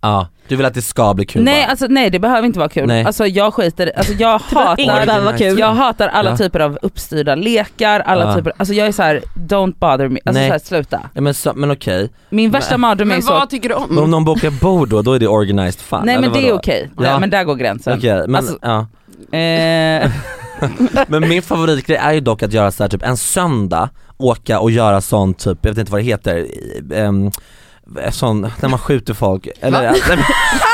[SPEAKER 3] Ja. Du vill att det ska bli kul
[SPEAKER 2] Nej
[SPEAKER 3] bara.
[SPEAKER 2] alltså nej det behöver inte vara kul.
[SPEAKER 3] Nej.
[SPEAKER 2] Alltså jag skiter alltså
[SPEAKER 3] [LAUGHS]
[SPEAKER 2] jag
[SPEAKER 4] Inget
[SPEAKER 2] hatar
[SPEAKER 4] behöver vara kul.
[SPEAKER 2] jag hatar alla
[SPEAKER 3] Ja.
[SPEAKER 2] typer av uppstyrda lekar, alla
[SPEAKER 3] Ja.
[SPEAKER 2] typer, alltså jag är så här: don't bother me, alltså
[SPEAKER 3] Nej.
[SPEAKER 2] så här, sluta.
[SPEAKER 3] Ja, men, så, men okej,
[SPEAKER 2] Min värsta mardröm är
[SPEAKER 1] Men
[SPEAKER 2] så,
[SPEAKER 1] vad tycker du
[SPEAKER 3] men
[SPEAKER 4] Mm.
[SPEAKER 3] om
[SPEAKER 1] om?
[SPEAKER 3] någon bokar bord då, då är det organized fun?
[SPEAKER 2] nej men
[SPEAKER 3] eller
[SPEAKER 2] det är
[SPEAKER 3] vadå?
[SPEAKER 2] okej,
[SPEAKER 3] Ja.
[SPEAKER 2] Där- men där går gränsen.
[SPEAKER 3] Okej, men,
[SPEAKER 2] Alltså-
[SPEAKER 3] ja.
[SPEAKER 2] Eh,
[SPEAKER 3] men min favoritgrej är ju dock att göra så här, typ en söndag, åka och göra sån typ, jag vet inte vad det heter, um, sån, när man skjuter folk, eller
[SPEAKER 1] Va?
[SPEAKER 3] alltså,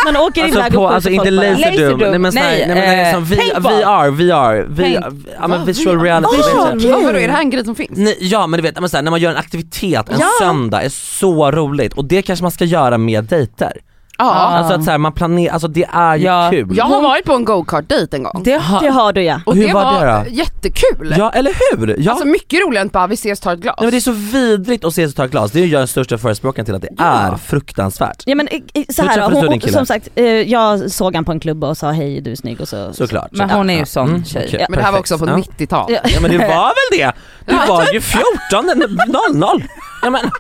[SPEAKER 4] Man åker iväg
[SPEAKER 3] alltså, på,
[SPEAKER 4] och
[SPEAKER 3] alltså
[SPEAKER 4] skjuter
[SPEAKER 3] inte
[SPEAKER 4] folk bara.
[SPEAKER 3] laserdum,
[SPEAKER 2] Laserdum,
[SPEAKER 3] nej men sån här-
[SPEAKER 2] nej,
[SPEAKER 3] nej, men nej,
[SPEAKER 2] eh,
[SPEAKER 3] som vi,
[SPEAKER 2] paintball.
[SPEAKER 3] VR, VR, VR, ja men
[SPEAKER 1] Va?
[SPEAKER 3] visual
[SPEAKER 1] Va?
[SPEAKER 3] reality
[SPEAKER 1] Åh,
[SPEAKER 3] vet
[SPEAKER 1] vad
[SPEAKER 3] jag.
[SPEAKER 1] kul. Vadå, är det här en grej som finns?
[SPEAKER 3] Nej, ja men du vet, men så här, när man gör en aktivitet en
[SPEAKER 1] Ja.
[SPEAKER 3] söndag är så roligt och det kanske man ska göra med dejter.
[SPEAKER 1] Ja.
[SPEAKER 3] Alltså att så här, man planerar, alltså det är ju
[SPEAKER 2] Ja.
[SPEAKER 3] kul.
[SPEAKER 1] Jag har varit på en go-kart-dejt en gång.
[SPEAKER 2] det
[SPEAKER 3] [LAUGHS]
[SPEAKER 2] har,
[SPEAKER 4] Det har du ja.
[SPEAKER 1] Och
[SPEAKER 3] Hur
[SPEAKER 1] det
[SPEAKER 3] var det
[SPEAKER 1] var
[SPEAKER 3] då?
[SPEAKER 1] jättekul.
[SPEAKER 3] Ja eller hur! Ja.
[SPEAKER 1] Alltså mycket roligare än att bara vi ses ta ett glas.
[SPEAKER 3] Nej, men det är så vidrigt att ses och ta ett glas, det är ju jag den största förespråkaren till att det är fruktansvärt.
[SPEAKER 4] Ja men i- i- så
[SPEAKER 3] Hur
[SPEAKER 4] här,
[SPEAKER 3] träffades
[SPEAKER 4] hon,
[SPEAKER 3] du din
[SPEAKER 4] hon,
[SPEAKER 3] kille?
[SPEAKER 4] som sagt, eh, jag såg han på en klubb och sa hej du är snygg och så.
[SPEAKER 3] Såklart.
[SPEAKER 2] men hon är ju sån
[SPEAKER 3] Mm,
[SPEAKER 2] tjej.
[SPEAKER 3] okej,
[SPEAKER 1] Men det här var
[SPEAKER 3] perfekt.
[SPEAKER 1] också på
[SPEAKER 3] ja.
[SPEAKER 1] 90-tal.
[SPEAKER 4] Ja.
[SPEAKER 3] Ja men det var väl det!
[SPEAKER 1] [LAUGHS]
[SPEAKER 3] Du var ju 14.00! Ja, men,
[SPEAKER 4] Nej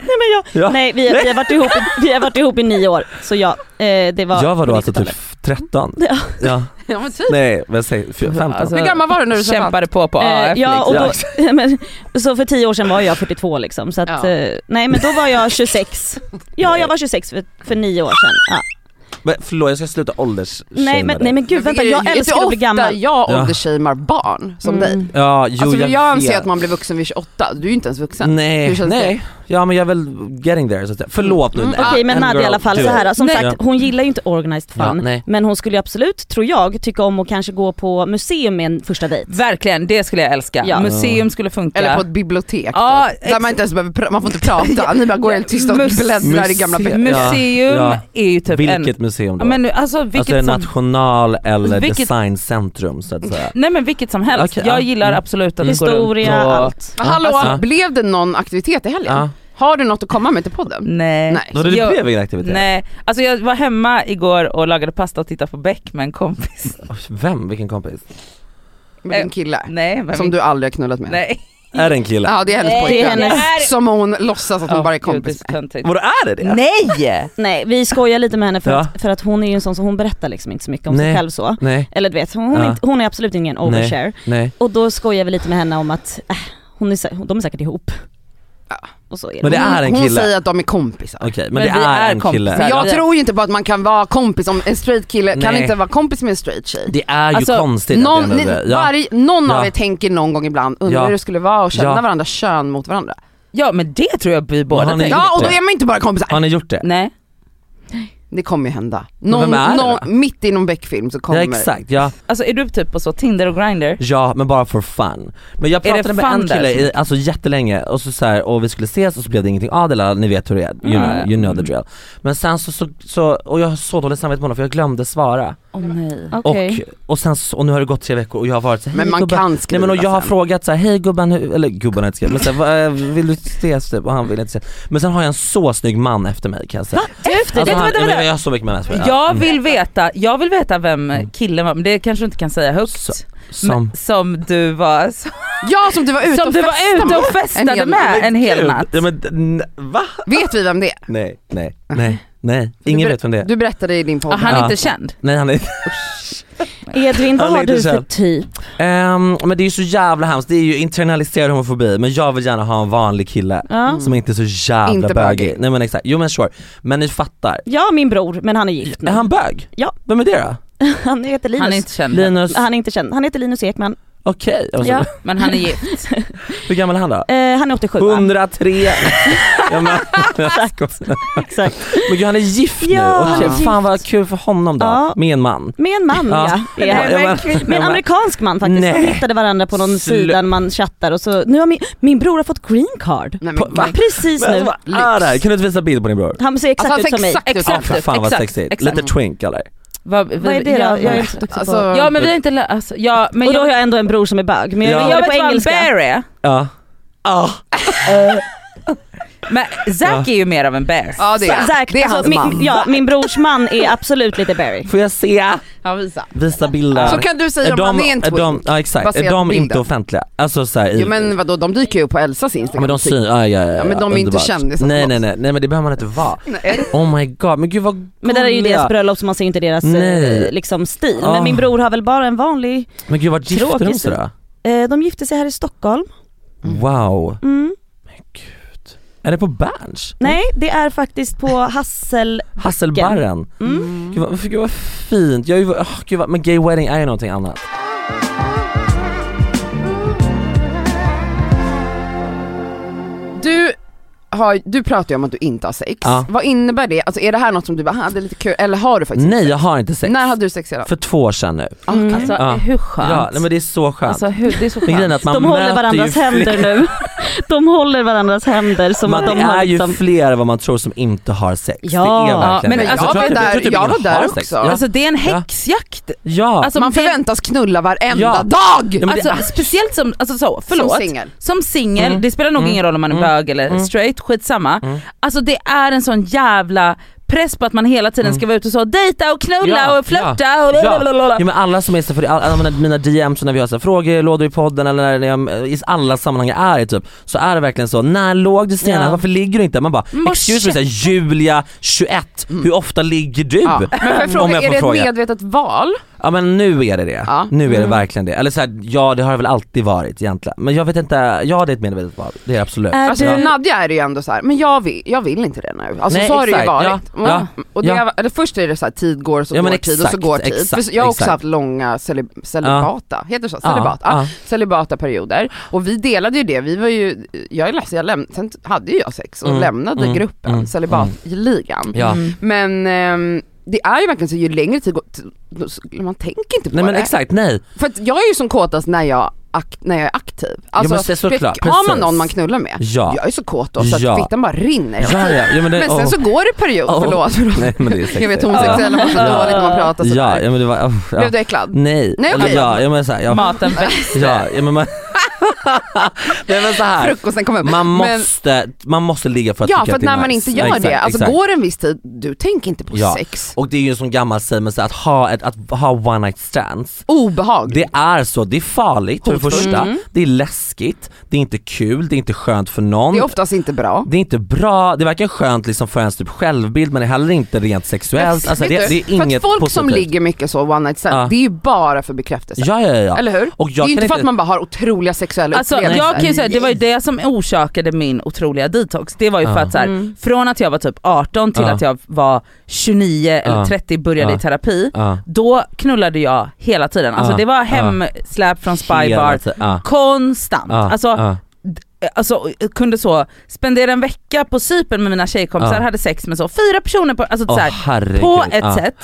[SPEAKER 4] men jag,
[SPEAKER 3] Ja.
[SPEAKER 4] nej vi, vi, har varit ihop, i- vi har varit ihop i nio år så ja, eh, det var
[SPEAKER 3] jag var då
[SPEAKER 4] på
[SPEAKER 3] alltså typ
[SPEAKER 4] 90-talet.
[SPEAKER 3] 13.
[SPEAKER 4] Ja.
[SPEAKER 3] [LAUGHS] Ja.
[SPEAKER 1] Ja, men typ.
[SPEAKER 3] Nej men säg 15.
[SPEAKER 2] Alltså,
[SPEAKER 1] Hur gammal var du när du träffade
[SPEAKER 2] kämpade på på
[SPEAKER 4] Eh,
[SPEAKER 2] AF
[SPEAKER 4] ja, och
[SPEAKER 2] liksom.
[SPEAKER 4] då, [LAUGHS] ja, men, så för tio år sedan var jag 42 liksom så att,
[SPEAKER 1] Ja.
[SPEAKER 4] eh, nej men då
[SPEAKER 3] [LAUGHS]
[SPEAKER 4] var jag 26. Ja jag var 26 för, för nio år sedan. Ja.
[SPEAKER 3] Men förlåt jag ska sluta ålders
[SPEAKER 4] Nej, men, nej men gud vänta
[SPEAKER 1] Det är-
[SPEAKER 4] jag
[SPEAKER 1] det är
[SPEAKER 4] älskar att bli
[SPEAKER 1] ofta
[SPEAKER 4] gammal.
[SPEAKER 1] jag
[SPEAKER 3] Ja.
[SPEAKER 1] åldershamear barn som
[SPEAKER 4] Mm.
[SPEAKER 1] dig.
[SPEAKER 3] Ja, jo,
[SPEAKER 1] Alltså jag,
[SPEAKER 3] jag
[SPEAKER 1] anser
[SPEAKER 3] vet.
[SPEAKER 1] att man blir vuxen vid 28, du är ju inte ens vuxen. Hur
[SPEAKER 3] Nej,
[SPEAKER 1] känns
[SPEAKER 3] nej. Ja men jag är väl getting there så att säga. Förlåt nu.
[SPEAKER 1] Mm,
[SPEAKER 3] nej.
[SPEAKER 4] Okej men
[SPEAKER 3] And
[SPEAKER 4] Nadja i
[SPEAKER 3] girl,
[SPEAKER 4] alla fall
[SPEAKER 3] do
[SPEAKER 4] så
[SPEAKER 3] it.
[SPEAKER 4] här, som
[SPEAKER 2] Nej.
[SPEAKER 4] sagt
[SPEAKER 3] Ja.
[SPEAKER 4] hon gillar ju inte organized
[SPEAKER 3] Ja,
[SPEAKER 4] fun.
[SPEAKER 3] nej.
[SPEAKER 4] Men hon skulle ju absolut, tror jag, tycka om att kanske gå på museum med en första dejt.
[SPEAKER 2] Verkligen, det skulle jag älska.
[SPEAKER 4] Ja.
[SPEAKER 2] Museum skulle funka.
[SPEAKER 1] Eller på ett bibliotek
[SPEAKER 2] Ja,
[SPEAKER 1] typ, där man inte ens behöver pra- man får inte prata, ni bara går helt tysta och
[SPEAKER 2] Mus-
[SPEAKER 1] bläddrar i gamla
[SPEAKER 3] museum.
[SPEAKER 1] böcker.
[SPEAKER 2] Museum
[SPEAKER 3] Ja.
[SPEAKER 2] är ju typ en...
[SPEAKER 3] Vilket museum
[SPEAKER 2] Ja,
[SPEAKER 3] då?
[SPEAKER 2] men nu, alltså vilket
[SPEAKER 3] alltså en
[SPEAKER 2] som,
[SPEAKER 3] national eller
[SPEAKER 2] Vilket- Mm.
[SPEAKER 3] designcentrum så att säga.
[SPEAKER 2] Nej men vilket som helst.
[SPEAKER 3] Okej,
[SPEAKER 2] jag
[SPEAKER 3] ja.
[SPEAKER 2] gillar
[SPEAKER 3] Mm.
[SPEAKER 2] absolut att gå
[SPEAKER 4] Historia,
[SPEAKER 2] runt och...
[SPEAKER 4] allt.
[SPEAKER 1] Men Hallå,
[SPEAKER 3] Alltså-
[SPEAKER 1] blev det någon aktivitet i helgen?
[SPEAKER 3] Ja.
[SPEAKER 1] Har du något att komma med till podden?
[SPEAKER 2] Nej.
[SPEAKER 1] Nej.
[SPEAKER 3] Då det
[SPEAKER 2] Alltså, Jag-
[SPEAKER 3] blev ingen aktivitet?
[SPEAKER 2] Nej, alltså jag var hemma igår och lagade pasta och tittade på Beck med en kompis. [LAUGHS]
[SPEAKER 3] Oj, Vem? Vilken kompis?
[SPEAKER 1] Med din kille?
[SPEAKER 2] Nej, men
[SPEAKER 1] Som du aldrig har knullat med?
[SPEAKER 2] Nej.
[SPEAKER 3] Är det en kille?
[SPEAKER 1] Ja det är hennes
[SPEAKER 2] Nej,
[SPEAKER 1] pojkvän.
[SPEAKER 4] det är
[SPEAKER 2] hennes-
[SPEAKER 1] Som hon låtsas att hon
[SPEAKER 2] Åh,
[SPEAKER 1] bara är
[SPEAKER 2] gud,
[SPEAKER 1] kompis
[SPEAKER 2] det är så töntigt.
[SPEAKER 3] Vadå är det det?
[SPEAKER 2] Nej!
[SPEAKER 4] Nej vi skojar lite med henne för,
[SPEAKER 3] Ja.
[SPEAKER 4] att, för att hon är ju en sån som hon berättar liksom inte så mycket om sig
[SPEAKER 3] Nej.
[SPEAKER 4] själv så.
[SPEAKER 3] Nej,
[SPEAKER 4] Eller du vet, hon, hon, är,
[SPEAKER 3] Ja.
[SPEAKER 4] inte- hon är absolut ingen overshare.
[SPEAKER 3] nej.
[SPEAKER 4] Och då skojar vi lite med henne om att äh, hon är, sä- de är säkert ihop.
[SPEAKER 1] Ja.
[SPEAKER 4] Och så är
[SPEAKER 3] Men
[SPEAKER 4] det.
[SPEAKER 3] det är en
[SPEAKER 1] Hon
[SPEAKER 3] kille.
[SPEAKER 1] säger att de är kompisar.
[SPEAKER 3] Okej, men,
[SPEAKER 2] Men
[SPEAKER 3] det
[SPEAKER 2] vi
[SPEAKER 3] är,
[SPEAKER 2] är
[SPEAKER 3] en
[SPEAKER 2] kompisar.
[SPEAKER 3] kille.
[SPEAKER 1] För jag
[SPEAKER 2] Ja.
[SPEAKER 1] tror ju inte på att man kan vara kompis om en straight kille kan
[SPEAKER 3] Nej.
[SPEAKER 1] inte vara kompis med en straight tjej.
[SPEAKER 3] Det är ju
[SPEAKER 2] Alltså,
[SPEAKER 3] konstigt
[SPEAKER 1] Någon,
[SPEAKER 3] att det
[SPEAKER 1] ni,
[SPEAKER 3] är det. Ja.
[SPEAKER 1] varje, någon av
[SPEAKER 3] Ja.
[SPEAKER 1] er tänker någon gång ibland, undrar
[SPEAKER 3] Ja.
[SPEAKER 1] hur det skulle vara att känna
[SPEAKER 3] Ja.
[SPEAKER 1] varandra kön mot varandra.
[SPEAKER 2] Ja men det tror jag vi båda
[SPEAKER 3] han är-
[SPEAKER 2] tänker.
[SPEAKER 1] Ja och då
[SPEAKER 3] det.
[SPEAKER 1] är man inte bara kompisar.
[SPEAKER 3] Har ni gjort det?
[SPEAKER 2] Nej.
[SPEAKER 1] Det kommer ju hända.
[SPEAKER 3] Men
[SPEAKER 1] Någon,
[SPEAKER 3] vem är det då?
[SPEAKER 1] någon, mitt i någon Beck-film så kommer
[SPEAKER 3] Ja exakt, ja,
[SPEAKER 2] Alltså är du typ på så Tinder och Grindr?
[SPEAKER 3] ja men bara for fun. Men jag
[SPEAKER 2] Är det
[SPEAKER 3] pratade med en
[SPEAKER 2] fun där
[SPEAKER 3] kille
[SPEAKER 2] som-
[SPEAKER 3] i, alltså jättelänge och så, så här, och vi skulle ses och så blev det ingenting av det, där, ni vet hur det är, you,
[SPEAKER 2] Mm.
[SPEAKER 3] know, you know the drill. Men sen så, så, så och jag har så dåligt samvete med honom för jag glömde svara.
[SPEAKER 2] Åh nej.
[SPEAKER 4] Okej.
[SPEAKER 3] Och, och sen så, och nu har det gått tre veckor och jag har varit så här,
[SPEAKER 1] Men
[SPEAKER 3] "Hej,
[SPEAKER 1] man
[SPEAKER 3] gubben."
[SPEAKER 1] kan
[SPEAKER 3] Nej
[SPEAKER 1] skriva
[SPEAKER 3] men och jag har
[SPEAKER 1] sen.
[SPEAKER 3] frågat så här, hej gubben, hur, eller gubben har jag inte skrivit, men så här, "Vad, eh, vill du ses typ? Och han vill inte ses. Men sen har jag en så snygg man efter mig kan jag säga.
[SPEAKER 2] Efter,
[SPEAKER 3] Alltså,
[SPEAKER 2] vänta,
[SPEAKER 3] han,
[SPEAKER 2] vänta,
[SPEAKER 3] men
[SPEAKER 2] vänta.
[SPEAKER 3] jag har så mycket män efter mig. Mm. Ja.
[SPEAKER 2] Jag vill veta, jag vill veta vem killen var, men det kanske du inte kan säga högt.
[SPEAKER 3] Så-
[SPEAKER 2] Som,
[SPEAKER 3] Som,
[SPEAKER 2] som du var, som,
[SPEAKER 1] Ja som du var ute och
[SPEAKER 2] du var
[SPEAKER 1] festade
[SPEAKER 2] ute
[SPEAKER 1] med.
[SPEAKER 2] och festade
[SPEAKER 1] En hel-
[SPEAKER 2] med en hel natt.
[SPEAKER 3] Ja, men, n- va?
[SPEAKER 1] Vet vi vem det är?
[SPEAKER 3] Nej, nej, nej, nej. Ingen
[SPEAKER 1] ber-
[SPEAKER 3] vet vem det är. Ah,
[SPEAKER 1] Du berättade i din
[SPEAKER 2] Och
[SPEAKER 1] podd.
[SPEAKER 2] han är
[SPEAKER 3] Ja.
[SPEAKER 2] inte känd.
[SPEAKER 3] Nej han är
[SPEAKER 4] Edvin, vad
[SPEAKER 3] Han
[SPEAKER 4] har
[SPEAKER 3] ligger
[SPEAKER 4] du för
[SPEAKER 3] själv.
[SPEAKER 4] typ?
[SPEAKER 3] Ehm, Men det är ju så jävla hemskt, det är ju internaliserad homofobi men jag vill gärna ha en vanlig kille
[SPEAKER 4] Ja.
[SPEAKER 3] som inte är så jävla
[SPEAKER 1] Inte bögig.
[SPEAKER 3] bögig. Nej men exakt, jo men sure. Men ni fattar.
[SPEAKER 4] ja, min bror, men han är gift nu.
[SPEAKER 3] Är han bög?
[SPEAKER 4] Ja.
[SPEAKER 3] Vem är det då?
[SPEAKER 4] [LAUGHS] Han heter Linus.
[SPEAKER 2] Han är inte känd.
[SPEAKER 3] Linus,
[SPEAKER 4] Han är inte känd. Han heter Linus Ekman.
[SPEAKER 3] okej. Och så-
[SPEAKER 4] Ja.
[SPEAKER 2] Men han är
[SPEAKER 3] [LAUGHS]
[SPEAKER 2] gift.
[SPEAKER 3] Hur gammal är han då?
[SPEAKER 4] Eh, han är 87 va? [LAUGHS]
[SPEAKER 3] 103! ja, men, jag skojar.
[SPEAKER 4] Exakt.
[SPEAKER 3] men gud han är gift
[SPEAKER 4] Ja,
[SPEAKER 3] nu,
[SPEAKER 1] han är
[SPEAKER 3] Okej, fan vad kul för honom då,
[SPEAKER 4] Ja.
[SPEAKER 3] med en man.
[SPEAKER 4] Med en man ja.
[SPEAKER 3] Ja.
[SPEAKER 4] är han.
[SPEAKER 3] Ja, men-
[SPEAKER 4] Med en amerikansk man faktiskt.
[SPEAKER 3] Nej.
[SPEAKER 4] De hittade varandra på någon
[SPEAKER 3] Slu-
[SPEAKER 4] sida, man chattar och så, nu har min, min bror har fått green card.
[SPEAKER 1] Nej, men,
[SPEAKER 3] På- va?
[SPEAKER 4] Precis
[SPEAKER 3] Men
[SPEAKER 4] nu.
[SPEAKER 3] vad är det här? Kan du inte visa bild på din bror?
[SPEAKER 4] Han ser exakt
[SPEAKER 1] Alltså, han
[SPEAKER 4] ut
[SPEAKER 1] ser
[SPEAKER 4] som mig.
[SPEAKER 1] exakt ut som
[SPEAKER 3] Ja,
[SPEAKER 1] mig.
[SPEAKER 3] för fan vad
[SPEAKER 2] exakt,
[SPEAKER 3] sexigt.
[SPEAKER 2] exakt.
[SPEAKER 3] Lite twink eller?
[SPEAKER 2] Vad, vi,
[SPEAKER 4] Vad är det då?
[SPEAKER 2] Ja,
[SPEAKER 4] Jag är inte så duktig
[SPEAKER 1] Alltså,
[SPEAKER 4] på
[SPEAKER 2] ja men vi har inte lä- alltså, ja, men
[SPEAKER 4] Och då har
[SPEAKER 2] jag,
[SPEAKER 4] jag ändå en bror som är bög. Men jag,
[SPEAKER 3] Ja.
[SPEAKER 4] jag,
[SPEAKER 2] jag
[SPEAKER 4] gör
[SPEAKER 2] vet
[SPEAKER 4] det på
[SPEAKER 2] vad en
[SPEAKER 4] engelska.
[SPEAKER 2] bear är.
[SPEAKER 3] Ja.
[SPEAKER 1] Ah.
[SPEAKER 3] Ja.
[SPEAKER 2] Men Zack är ju mer av en bear.
[SPEAKER 1] ja det är,
[SPEAKER 4] Zack,
[SPEAKER 1] det är
[SPEAKER 4] alltså,
[SPEAKER 1] hans
[SPEAKER 4] min,
[SPEAKER 1] man.
[SPEAKER 4] Ja, min brors man är absolut lite berry.
[SPEAKER 3] Får jag se?
[SPEAKER 1] Ja, visa.
[SPEAKER 3] Visa bilder.
[SPEAKER 1] Så kan du säga om han är en
[SPEAKER 3] är de,
[SPEAKER 1] twink.
[SPEAKER 3] ja, exakt.
[SPEAKER 1] baserat
[SPEAKER 3] Är de
[SPEAKER 1] på
[SPEAKER 3] inte
[SPEAKER 1] bilden.
[SPEAKER 3] offentliga? Alltså såhär,
[SPEAKER 1] Jo men vadå, de dyker ju upp på Elsas
[SPEAKER 3] ja,
[SPEAKER 1] instagram. typ.
[SPEAKER 3] men de syns, ja, ja, ja, ja,
[SPEAKER 1] men de är inte
[SPEAKER 3] underbart.
[SPEAKER 1] kändisar på
[SPEAKER 3] Nej
[SPEAKER 1] något
[SPEAKER 3] nej nej, nej men det behöver man inte vara.
[SPEAKER 1] Nej.
[SPEAKER 3] Oh my god, men gud vad gulliga.
[SPEAKER 4] Men det där är ju deras bröllop så man ser inte deras eh,
[SPEAKER 3] Nej.
[SPEAKER 4] liksom, stil.
[SPEAKER 3] Ah.
[SPEAKER 4] Men min bror har väl bara en vanlig,
[SPEAKER 3] Men gud vart gifte de
[SPEAKER 4] Tråkigt.
[SPEAKER 3] sig då?
[SPEAKER 4] eh, de gifte sig här i Stockholm.
[SPEAKER 3] Wow.
[SPEAKER 4] Mm.
[SPEAKER 3] Men gud. Är det på Berns?
[SPEAKER 4] Nej det är faktiskt på Hassel...
[SPEAKER 3] Hasselbarren?
[SPEAKER 4] Mm.
[SPEAKER 3] Gud, vad, gud vad fint, jag är ju, åh, gud vad, men gay wedding är ju någonting annat.
[SPEAKER 1] Du, har, du pratar ju om att du inte har sex.
[SPEAKER 3] Ja.
[SPEAKER 1] Vad innebär det? Alltså är det här något som du bara, "Ah, det är lite kul, eller har du faktiskt
[SPEAKER 3] Nej jag har inte Mm, sex.
[SPEAKER 1] När hade du sex senast?
[SPEAKER 3] För två år sedan nu.
[SPEAKER 1] Mm.
[SPEAKER 2] Alltså
[SPEAKER 3] Ja.
[SPEAKER 2] hur skönt?
[SPEAKER 3] Ja, nej, men det är så skönt.
[SPEAKER 2] alltså, hur, det är så
[SPEAKER 3] men grejen är
[SPEAKER 2] skönt.
[SPEAKER 3] att man
[SPEAKER 4] De håller
[SPEAKER 3] möter
[SPEAKER 4] varandras
[SPEAKER 3] ju fler-
[SPEAKER 4] händer nu.
[SPEAKER 3] [LAUGHS]
[SPEAKER 4] De håller varandras händer som
[SPEAKER 3] Man,
[SPEAKER 4] att de
[SPEAKER 3] det är
[SPEAKER 4] har
[SPEAKER 3] ju
[SPEAKER 4] liksom...
[SPEAKER 3] fler än vad man tror som inte har sex.
[SPEAKER 4] Ja.
[SPEAKER 3] det är verkligen
[SPEAKER 2] men
[SPEAKER 3] det.
[SPEAKER 2] alltså,
[SPEAKER 3] Jag tror
[SPEAKER 1] jag
[SPEAKER 3] typ-
[SPEAKER 1] var
[SPEAKER 3] tror typ
[SPEAKER 1] där- jag
[SPEAKER 3] ingen
[SPEAKER 1] var där
[SPEAKER 3] har sex.
[SPEAKER 1] också.
[SPEAKER 3] Ja.
[SPEAKER 2] Alltså det är en
[SPEAKER 3] Ja.
[SPEAKER 2] häxjakt.
[SPEAKER 3] ja.
[SPEAKER 2] Alltså,
[SPEAKER 1] Man
[SPEAKER 2] det-
[SPEAKER 1] förväntas knulla varenda
[SPEAKER 3] Ja.
[SPEAKER 1] dag!
[SPEAKER 3] Ja, men det-
[SPEAKER 2] Alltså, speciellt som, alltså så, förlåt.
[SPEAKER 1] Som singel.
[SPEAKER 2] Som singel,
[SPEAKER 3] Mm.
[SPEAKER 2] det spelar nog
[SPEAKER 3] Mm.
[SPEAKER 2] ingen roll om man är
[SPEAKER 3] Mm.
[SPEAKER 2] bög eller
[SPEAKER 3] Mm.
[SPEAKER 2] straight, skitsamma.
[SPEAKER 3] Mm.
[SPEAKER 2] Alltså det är en sån jävla press på att man hela tiden ska vara ute och så dejta och knulla
[SPEAKER 3] Mm. Ja,
[SPEAKER 2] och flörta och
[SPEAKER 3] Ja.
[SPEAKER 2] blablabla.
[SPEAKER 3] Ja men alla som är så för alla, alla mina DMs och när vi har så här frågelådor i podden eller när jag, i alla sammanhang jag är i typ så är det verkligen så, när låg du senast?
[SPEAKER 2] Ja.
[SPEAKER 3] Varför ligger du inte? Man bara,
[SPEAKER 2] Man bara,
[SPEAKER 3] excuse me, så här, Julia 21, hur ofta ligger du?
[SPEAKER 1] Ja. Men får jag
[SPEAKER 3] Om
[SPEAKER 1] fråga, är
[SPEAKER 3] jag får
[SPEAKER 1] det ett
[SPEAKER 3] fråga.
[SPEAKER 1] medvetet val?
[SPEAKER 3] Ja men nu är det det,
[SPEAKER 1] Ja.
[SPEAKER 3] nu är det verkligen det. Eller så här, ja det har det väl alltid varit egentligen. Men jag vet inte, ja det är ett medvetet val, det är det absolut.
[SPEAKER 4] Är
[SPEAKER 1] Alltså
[SPEAKER 4] du-
[SPEAKER 1] för Nadja är det ju ändå så här, men jag vill, jag vill inte det nu. Alltså
[SPEAKER 3] Nej,
[SPEAKER 1] så har det ju
[SPEAKER 3] exakt.
[SPEAKER 1] varit. Mm.
[SPEAKER 3] Ja, ja,
[SPEAKER 1] och det
[SPEAKER 3] ja.
[SPEAKER 1] är- eller först är det så här, tid går och så
[SPEAKER 3] Ja,
[SPEAKER 1] går
[SPEAKER 3] men
[SPEAKER 1] tid och så
[SPEAKER 3] exakt,
[SPEAKER 1] går tid.
[SPEAKER 3] exakt,
[SPEAKER 1] för jag har också
[SPEAKER 3] exakt.
[SPEAKER 1] haft långa celib- celibata, heter det så?
[SPEAKER 3] Ja,
[SPEAKER 1] Celibata, ja,
[SPEAKER 3] ja.
[SPEAKER 1] celibata perioder. Och vi delade ju det, vi var ju, jag är ledsen, jag läm- sen hade ju jag sex och
[SPEAKER 3] Mm,
[SPEAKER 1] lämnade
[SPEAKER 3] mm,
[SPEAKER 1] gruppen,
[SPEAKER 3] mm,
[SPEAKER 1] celibatligan.
[SPEAKER 3] Ja.
[SPEAKER 1] Men ehm, det är ju verkligen så ju längre tid går, t- då s- man tänker inte på
[SPEAKER 3] Nej men
[SPEAKER 1] det.
[SPEAKER 3] exakt, nej.
[SPEAKER 1] För att jag är ju som kåtast när jag, ak- när jag är aktiv.
[SPEAKER 3] men se,
[SPEAKER 1] du vet,
[SPEAKER 3] såklart,
[SPEAKER 1] har man
[SPEAKER 3] precis.
[SPEAKER 1] någon man knullar med,
[SPEAKER 3] Ja.
[SPEAKER 1] jag är så kåt då så att
[SPEAKER 3] Ja.
[SPEAKER 1] fittan bara rinner.
[SPEAKER 3] Ja, ja, ja, men, det,
[SPEAKER 1] [LAUGHS] Men sen
[SPEAKER 3] åh.
[SPEAKER 1] så går det period,
[SPEAKER 3] Åh.
[SPEAKER 1] förlåt.
[SPEAKER 3] Nej, men det är sexigt.
[SPEAKER 1] Jag vet homosexuella mår så
[SPEAKER 3] Ja.
[SPEAKER 1] dåligt när man pratar sådär.
[SPEAKER 3] Ja, ja men det var, oh, ja.
[SPEAKER 1] Blev du äcklad?
[SPEAKER 3] Nej,
[SPEAKER 1] Nej,
[SPEAKER 3] eller
[SPEAKER 1] okej.
[SPEAKER 3] ja, jag menar såhär,
[SPEAKER 1] [LAUGHS]
[SPEAKER 3] ja,
[SPEAKER 2] Maten växer.
[SPEAKER 3] ja, ja men man, [LAUGHS] nej men såhär,
[SPEAKER 1] Frukosten kom upp.
[SPEAKER 3] man
[SPEAKER 1] Men-
[SPEAKER 3] måste, man måste ligga för att
[SPEAKER 1] ja
[SPEAKER 3] tycka
[SPEAKER 1] för
[SPEAKER 3] att
[SPEAKER 1] att
[SPEAKER 3] det är
[SPEAKER 1] när man
[SPEAKER 3] nice.
[SPEAKER 1] inte gör
[SPEAKER 3] Ja, exakt,
[SPEAKER 1] det, alltså
[SPEAKER 3] exakt.
[SPEAKER 1] går det en viss tid, du tänker inte på
[SPEAKER 3] Ja.
[SPEAKER 1] sex.
[SPEAKER 3] Och det är ju en sån gammal sägelse att ha ett, att ha one night stands
[SPEAKER 1] Obehag.
[SPEAKER 3] det är så, det är farligt för det
[SPEAKER 1] Hotfullt.
[SPEAKER 3] första, det är läskigt, det är inte kul, det är inte skönt för någon.
[SPEAKER 1] Det är oftast inte bra.
[SPEAKER 3] Det är inte bra, det verkar skönt liksom för ens typ självbild men det är heller inte rent sexuellt, alltså
[SPEAKER 1] Vet du,
[SPEAKER 3] det, det är
[SPEAKER 1] för
[SPEAKER 3] inget
[SPEAKER 1] att folk
[SPEAKER 3] positivt.
[SPEAKER 1] som ligger mycket så one night stand,
[SPEAKER 3] Ja.
[SPEAKER 1] det är ju bara för bekräftelse.
[SPEAKER 3] Ja ja ja.
[SPEAKER 1] Eller hur?
[SPEAKER 3] Och
[SPEAKER 1] det är
[SPEAKER 3] jag
[SPEAKER 1] ju
[SPEAKER 3] kan
[SPEAKER 1] inte för att
[SPEAKER 3] inte-
[SPEAKER 1] man bara har otroliga sexuella
[SPEAKER 2] Alltså
[SPEAKER 1] upplevelser.
[SPEAKER 2] jag kan ju säga, det var ju det som orsakade min otroliga detox. Det var ju för
[SPEAKER 3] Ja.
[SPEAKER 2] att så här, från att jag var typ 18 till
[SPEAKER 3] Ja.
[SPEAKER 2] att jag var 29 eller
[SPEAKER 3] Ja.
[SPEAKER 2] 30 började i
[SPEAKER 3] Ja.
[SPEAKER 2] terapi.
[SPEAKER 3] Ja.
[SPEAKER 2] Då knullade jag hela tiden. Alltså
[SPEAKER 3] Ja.
[SPEAKER 2] det var
[SPEAKER 3] Ja.
[SPEAKER 2] hemsläp från
[SPEAKER 3] Hela
[SPEAKER 2] spybar
[SPEAKER 3] tiden, ja.
[SPEAKER 2] konstant.
[SPEAKER 3] Ja,
[SPEAKER 2] Alltså
[SPEAKER 3] ja.
[SPEAKER 2] eh, alltså kunde så spendera en vecka på Cypern med mina tjejkompisar,
[SPEAKER 3] Ja.
[SPEAKER 2] hade sex med så fyra personer på, alltså
[SPEAKER 3] Åh,
[SPEAKER 2] så här,
[SPEAKER 3] herregud.
[SPEAKER 2] på ett
[SPEAKER 3] Ja.
[SPEAKER 2] sätt.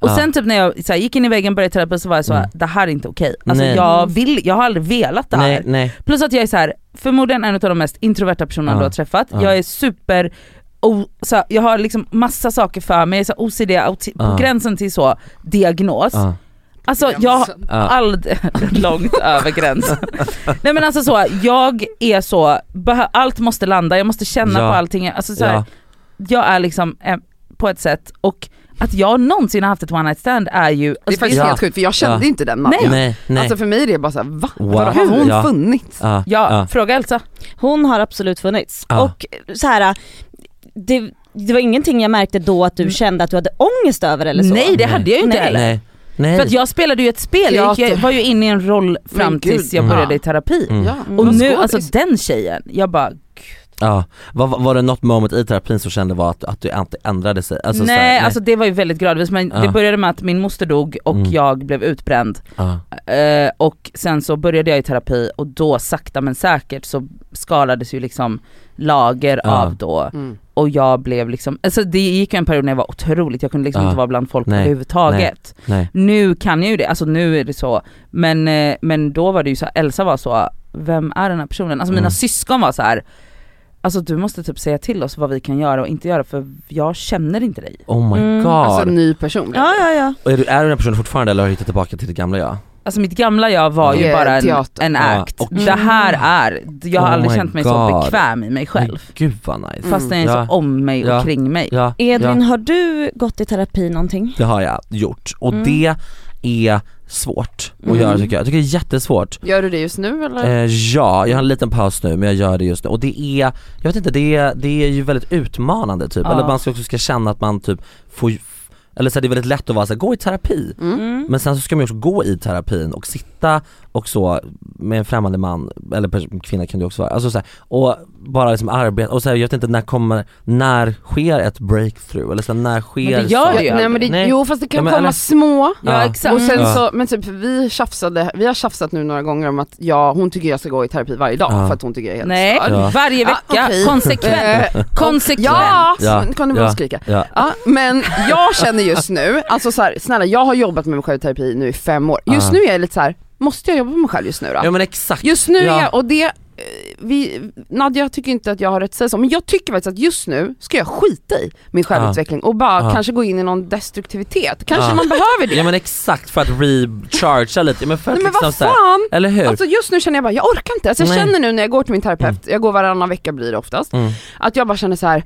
[SPEAKER 2] Och
[SPEAKER 3] Ja.
[SPEAKER 2] sen typ när jag så här, gick in i väggen och började terapi så var jag så här,
[SPEAKER 3] Mm.
[SPEAKER 2] det här är inte okej. Alltså
[SPEAKER 3] Nej.
[SPEAKER 2] jag, vill, jag har aldrig velat det här.
[SPEAKER 3] Nej, nej.
[SPEAKER 2] Plus att jag är så här, förmodligen en av de mest introverta personerna
[SPEAKER 3] Ja.
[SPEAKER 2] du har träffat.
[SPEAKER 3] Ja.
[SPEAKER 2] Jag är super, o, så här, jag har liksom massa saker för mig, jag är så här OCD, auti-
[SPEAKER 3] Ja.
[SPEAKER 2] på gränsen till så, diagnos.
[SPEAKER 3] Ja.
[SPEAKER 2] Alltså jag,
[SPEAKER 3] Ja.
[SPEAKER 2] all, [LAUGHS] långt över gränsen. Nej men alltså så, jag är så, behö- allt måste landa, jag måste känna
[SPEAKER 3] Ja.
[SPEAKER 2] på allting. Alltså så här,
[SPEAKER 3] Ja.
[SPEAKER 2] Jag är liksom eh, på ett sätt, och att jag någonsin har haft ett one night stand är ju,
[SPEAKER 1] Det är
[SPEAKER 2] alltså,
[SPEAKER 1] faktiskt
[SPEAKER 3] Ja.
[SPEAKER 1] helt sjukt för jag kände
[SPEAKER 3] Ja.
[SPEAKER 1] inte den
[SPEAKER 2] Nej.
[SPEAKER 1] mannen.
[SPEAKER 3] Nej, nej.
[SPEAKER 1] Alltså för mig är det bara såhär, va?
[SPEAKER 3] Wow.
[SPEAKER 1] Var har hon
[SPEAKER 3] Ja.
[SPEAKER 1] funnits?
[SPEAKER 3] ja.
[SPEAKER 2] ja, fråga Elsa.
[SPEAKER 4] Hon har absolut funnits.
[SPEAKER 3] Ja.
[SPEAKER 4] Och så här, det, det var ingenting jag märkte då att du
[SPEAKER 3] Mm.
[SPEAKER 4] kände att du hade ångest över eller så.
[SPEAKER 2] Nej det hade jag ju inte
[SPEAKER 4] Nej.
[SPEAKER 2] heller.
[SPEAKER 3] Nej. Nej.
[SPEAKER 2] För att jag spelade ju ett spel, jag, gick, jag var ju inne i en roll fram
[SPEAKER 1] Men gud.
[SPEAKER 2] tills jag
[SPEAKER 3] Mm.
[SPEAKER 2] började i terapi.
[SPEAKER 3] Mm.
[SPEAKER 1] Ja, hon
[SPEAKER 2] Och
[SPEAKER 1] var
[SPEAKER 2] nu,
[SPEAKER 1] skådis.
[SPEAKER 2] alltså den tjejen, jag bara
[SPEAKER 3] Ja. Var, var det något moment i terapin som kände var att, att du inte ändrade sig? Alltså,
[SPEAKER 2] nej,
[SPEAKER 3] så här,
[SPEAKER 2] alltså det var ju väldigt gradvis men
[SPEAKER 3] Ja.
[SPEAKER 2] det började med att min moster dog och
[SPEAKER 3] Mm.
[SPEAKER 2] jag blev utbränd.
[SPEAKER 3] Ja.
[SPEAKER 2] Eh, och sen så började jag i terapi och då sakta men säkert så skalades ju liksom lager
[SPEAKER 3] Ja.
[SPEAKER 2] av då
[SPEAKER 1] Mm.
[SPEAKER 2] och jag blev liksom, alltså det gick ju en period när jag var otroligt, jag kunde liksom
[SPEAKER 3] Ja.
[SPEAKER 2] inte vara bland folk
[SPEAKER 3] Nej.
[SPEAKER 2] överhuvudtaget.
[SPEAKER 3] Nej.
[SPEAKER 2] Nu kan jag ju det, alltså nu är det så. Men, eh, men då var det ju så, Elsa var så, vem är den här personen? Alltså mina
[SPEAKER 3] Mm.
[SPEAKER 2] syskon var så här. Alltså du måste typ säga till oss vad vi kan göra och inte göra för jag känner inte dig.
[SPEAKER 3] Oh my
[SPEAKER 4] Mm.
[SPEAKER 3] god.
[SPEAKER 1] Alltså en ny person. blev
[SPEAKER 4] Ja
[SPEAKER 1] det.
[SPEAKER 4] ja ja.
[SPEAKER 3] Och är, du, är du den här personen fortfarande eller har du hittat tillbaka till ditt gamla jag?
[SPEAKER 2] Alltså mitt gamla jag var ju
[SPEAKER 1] Det är
[SPEAKER 2] bara en,
[SPEAKER 1] teater.
[SPEAKER 2] en
[SPEAKER 3] Ja,
[SPEAKER 2] act.
[SPEAKER 3] och-
[SPEAKER 2] Det här är, jag har
[SPEAKER 3] Oh
[SPEAKER 2] aldrig
[SPEAKER 3] my
[SPEAKER 2] känt mig så
[SPEAKER 3] God.
[SPEAKER 2] bekväm i mig själv.
[SPEAKER 3] Men Gud vad nice.
[SPEAKER 1] Mm.
[SPEAKER 2] Fast den är så
[SPEAKER 3] Ja.
[SPEAKER 2] om mig och
[SPEAKER 3] Ja.
[SPEAKER 2] kring mig.
[SPEAKER 3] Ja,
[SPEAKER 4] Edvin
[SPEAKER 3] ja,
[SPEAKER 4] har du gått i terapi någonting?
[SPEAKER 3] det har jag gjort. Och
[SPEAKER 4] Mm.
[SPEAKER 3] det är svårt att
[SPEAKER 4] Mm.
[SPEAKER 3] göra tycker jag. Jag tycker det är jättesvårt.
[SPEAKER 1] Gör du det just nu eller?
[SPEAKER 3] Eh, ja, jag har en liten paus nu men jag gör det just nu och det är, jag vet inte, det är, det är ju väldigt utmanande typ,
[SPEAKER 2] Ja.
[SPEAKER 3] eller man ska också ska känna att man typ får, eller så här, det är väldigt lätt att vara så här, gå i terapi
[SPEAKER 1] Mm.
[SPEAKER 3] men sen så ska man ju också gå i terapin och sitta och så med en främmande man, eller pers- kvinna kan det också vara, alltså så här, och bara liksom arbeta och så här, jag vet inte när kommer, när sker ett breakthrough eller så här, när sker
[SPEAKER 2] det gör
[SPEAKER 3] saker?
[SPEAKER 2] det ju.
[SPEAKER 1] Ja, nej, men det,
[SPEAKER 3] Nej.
[SPEAKER 1] Jo fast det kan
[SPEAKER 3] Ja, men
[SPEAKER 1] komma
[SPEAKER 3] eller-
[SPEAKER 1] små
[SPEAKER 3] Ja. Mm.
[SPEAKER 2] exakt.
[SPEAKER 1] Och sen
[SPEAKER 3] Ja.
[SPEAKER 1] så, men typ vi tjafsade, vi har tjafsat nu några gånger om att jag, hon tycker jag ska gå i terapi varje dag
[SPEAKER 3] Ja.
[SPEAKER 1] för att hon tycker jag är helt
[SPEAKER 2] Nej,
[SPEAKER 1] störd.
[SPEAKER 3] Ja.
[SPEAKER 2] varje vecka,
[SPEAKER 1] Ja, Ah, okej.
[SPEAKER 2] konsekvent.
[SPEAKER 1] Eh,
[SPEAKER 2] konsekvent.
[SPEAKER 1] ja,
[SPEAKER 3] Ja.
[SPEAKER 1] nu kan du bara
[SPEAKER 3] Ja.
[SPEAKER 1] skrika.
[SPEAKER 3] Ja.
[SPEAKER 1] Ja, men jag känner just nu, alltså så här, snälla jag har jobbat med mig själv i terapi nu i fem år. Just nu
[SPEAKER 3] Ja.
[SPEAKER 1] är jag lite så här, måste jag jobba med mig själv just nu då?
[SPEAKER 3] ja men exakt,
[SPEAKER 1] Just nu
[SPEAKER 3] Ja.
[SPEAKER 1] är jag, och det, eh, vi, Nadja tycker inte att jag har rätt att säga så, men jag tycker faktiskt att just nu ska jag skita i min självutveckling och bara
[SPEAKER 3] Ja.
[SPEAKER 1] kanske gå in i någon destruktivitet. Kanske
[SPEAKER 3] Ja.
[SPEAKER 1] man behöver
[SPEAKER 3] [LAUGHS]
[SPEAKER 1] det.
[SPEAKER 3] ja men exakt för att rechargea lite, Ja, men för att
[SPEAKER 1] Nej, men
[SPEAKER 3] liksom
[SPEAKER 1] vad
[SPEAKER 3] så här,
[SPEAKER 1] fan!
[SPEAKER 3] eller hur?
[SPEAKER 1] Alltså just nu känner jag bara, jag orkar inte. Alltså jag
[SPEAKER 3] Nej.
[SPEAKER 1] känner nu när jag går till min terapeut, jag går varannan vecka blir det oftast,
[SPEAKER 3] Mm. Ah.
[SPEAKER 1] att jag bara känner så här.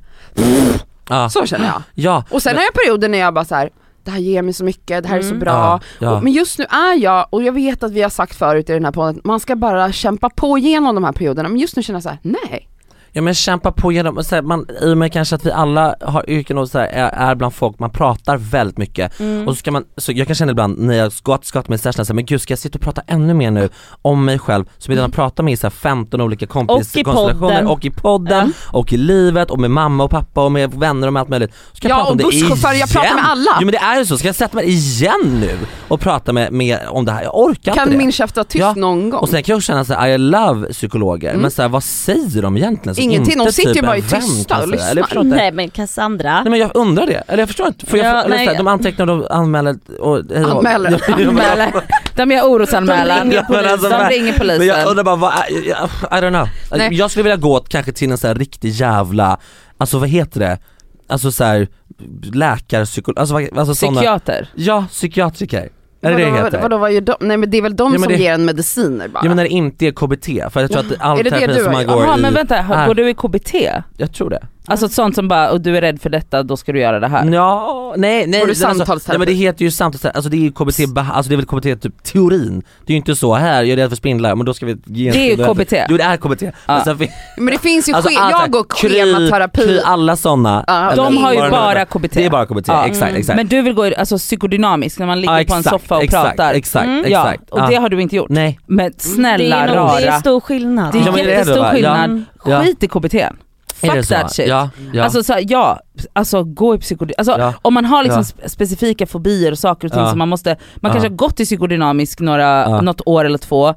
[SPEAKER 3] Ja.
[SPEAKER 1] så känner jag.
[SPEAKER 3] Ja,
[SPEAKER 1] Och sen har jag perioder när jag bara så här. det här ger mig så mycket, det här är så
[SPEAKER 4] Mm.
[SPEAKER 1] bra.
[SPEAKER 3] Ja, ja.
[SPEAKER 1] Och, men just nu är jag, och jag vet att vi har sagt förut i den här podden, man ska bara kämpa på igenom de här perioderna, men just nu känner jag så här: nej.
[SPEAKER 3] ja men kämpa på genom, så här, man, i och med kanske att vi alla har yrken och så här, är, är bland folk, man pratar väldigt mycket
[SPEAKER 1] Mm.
[SPEAKER 3] och så ska man, så jag kan känna ibland när jag skott, skott med sessionen så här, men gud ska jag sitta och prata ännu mer nu om mig själv som
[SPEAKER 1] Mm.
[SPEAKER 3] jag redan pratar med i så här, 15 olika
[SPEAKER 4] podden.
[SPEAKER 3] kompiskonstellationer och i podden och i livet och med mamma och pappa och med vänner och med allt möjligt. Så Ska
[SPEAKER 1] Ja,
[SPEAKER 3] jag prata om
[SPEAKER 1] och
[SPEAKER 3] det
[SPEAKER 1] busschaufför, jag pratar med
[SPEAKER 3] igen?
[SPEAKER 1] alla.
[SPEAKER 3] Jo men det är ju så, ska jag sätta mig igen nu och prata med, med om det här? Jag orkar inte
[SPEAKER 1] Kan
[SPEAKER 3] det.
[SPEAKER 1] min käft vara tyst
[SPEAKER 3] Ja,
[SPEAKER 1] någon gång?
[SPEAKER 3] Och sen kan jag också känna såhär, I love psykologer, men såhär vad säger de egentligen? Så
[SPEAKER 1] Mm. Ingenting,
[SPEAKER 3] inte
[SPEAKER 1] de sitter ju
[SPEAKER 3] typ
[SPEAKER 1] bara
[SPEAKER 3] en
[SPEAKER 1] i tysta
[SPEAKER 3] vän kan
[SPEAKER 1] och
[SPEAKER 3] säga.
[SPEAKER 1] lyssnar.
[SPEAKER 3] Eller jag förstår inte. Nej.
[SPEAKER 4] Nej men Cassandra.
[SPEAKER 3] men jag undrar det, eller jag förstår inte. Får jag,
[SPEAKER 4] Ja,
[SPEAKER 3] eller
[SPEAKER 4] nej.
[SPEAKER 3] såhär, de antecknar och de anmäler och hej då.
[SPEAKER 1] Anmäler.
[SPEAKER 3] [LAUGHS] Ja, men jag-
[SPEAKER 2] Anmäler. De gör orosanmälan,
[SPEAKER 3] De ringer
[SPEAKER 2] de ringer,
[SPEAKER 3] polisen.
[SPEAKER 2] de ringer polisen.
[SPEAKER 3] Men jag undrar bara, vad, är- jag- I don't know.
[SPEAKER 1] Nej.
[SPEAKER 3] Jag skulle vilja gå åt kanske till en sån här riktig jävla, alltså vad heter det? Alltså såhär läkarpsykolog, alltså, vad- alltså sådana,
[SPEAKER 2] Psykiater.
[SPEAKER 3] ja psykiatriker. Är det det
[SPEAKER 1] vadå,
[SPEAKER 3] det heter?
[SPEAKER 1] vadå, vad gör de? Nej men det är väl de
[SPEAKER 3] Ja, men
[SPEAKER 1] som
[SPEAKER 3] det-
[SPEAKER 1] ger en mediciner bara?
[SPEAKER 3] Ja men när det inte är KBT, för jag tror att all
[SPEAKER 1] Är det det
[SPEAKER 3] terapi
[SPEAKER 1] du
[SPEAKER 3] som
[SPEAKER 1] har
[SPEAKER 3] man
[SPEAKER 1] gjort?
[SPEAKER 3] går
[SPEAKER 2] Jaha
[SPEAKER 3] i, Ah.
[SPEAKER 2] men vänta, har-
[SPEAKER 3] är-
[SPEAKER 2] går du i KBT?
[SPEAKER 3] jag tror det.
[SPEAKER 2] Alltså ett sånt som bara, och du är rädd för detta, då ska du göra det här.
[SPEAKER 3] Ja, nej nej.
[SPEAKER 1] Får du
[SPEAKER 3] men alltså,
[SPEAKER 1] samtalsterapi?
[SPEAKER 3] Nej men det heter ju samtalsterapi, alltså det är ju KBT, beha- alltså det är väl KBT typ teorin. Det är ju inte så här, jag är rädd för spindlar men då ska vi ge en
[SPEAKER 2] Det är ju
[SPEAKER 3] spindel-
[SPEAKER 2] KBT.
[SPEAKER 3] Jo det är KBT.
[SPEAKER 2] Ja.
[SPEAKER 3] Men sen, fin-
[SPEAKER 1] Men det finns ju,
[SPEAKER 3] alltså,
[SPEAKER 1] ske-
[SPEAKER 3] allt
[SPEAKER 1] jag
[SPEAKER 3] här,
[SPEAKER 1] går schematerapi.
[SPEAKER 3] Kry, kry alla sådana.
[SPEAKER 1] Ja, Mm.
[SPEAKER 3] eller
[SPEAKER 2] De har ju
[SPEAKER 3] vad det nu är.
[SPEAKER 2] bara KBT.
[SPEAKER 3] Det är bara KBT,
[SPEAKER 2] Ja.
[SPEAKER 3] exakt exakt.
[SPEAKER 2] Men du vill gå i, alltså psykodynamisk, när man ligger
[SPEAKER 3] Ja,
[SPEAKER 2] på en soffa och
[SPEAKER 3] exakt,
[SPEAKER 2] pratar.
[SPEAKER 3] Exakt,
[SPEAKER 4] Mm.
[SPEAKER 2] Ja,
[SPEAKER 3] exakt. Ah.
[SPEAKER 2] och det har du inte gjort.
[SPEAKER 3] Nej.
[SPEAKER 2] Men snälla
[SPEAKER 4] det, är nog-
[SPEAKER 2] rara,
[SPEAKER 4] det är stor skillnad.
[SPEAKER 2] det är
[SPEAKER 3] Ja, men det är det,
[SPEAKER 2] jättestor
[SPEAKER 3] va? Ja.
[SPEAKER 2] skillnad.
[SPEAKER 3] Ja.
[SPEAKER 2] Skit i KBT. n.
[SPEAKER 3] Är det
[SPEAKER 2] Fuck
[SPEAKER 3] så?
[SPEAKER 2] that shit.
[SPEAKER 3] Ja, ja.
[SPEAKER 2] Alltså, så här, ja, alltså gå i psykodynamisk, alltså,
[SPEAKER 3] Ja.
[SPEAKER 2] om man har liksom
[SPEAKER 3] Ja.
[SPEAKER 2] spe- specifika fobier och saker och ting
[SPEAKER 3] Ja.
[SPEAKER 2] som man måste, man
[SPEAKER 3] Ja.
[SPEAKER 2] kanske har gått i psykodynamisk några,
[SPEAKER 3] Ja.
[SPEAKER 2] något år eller två,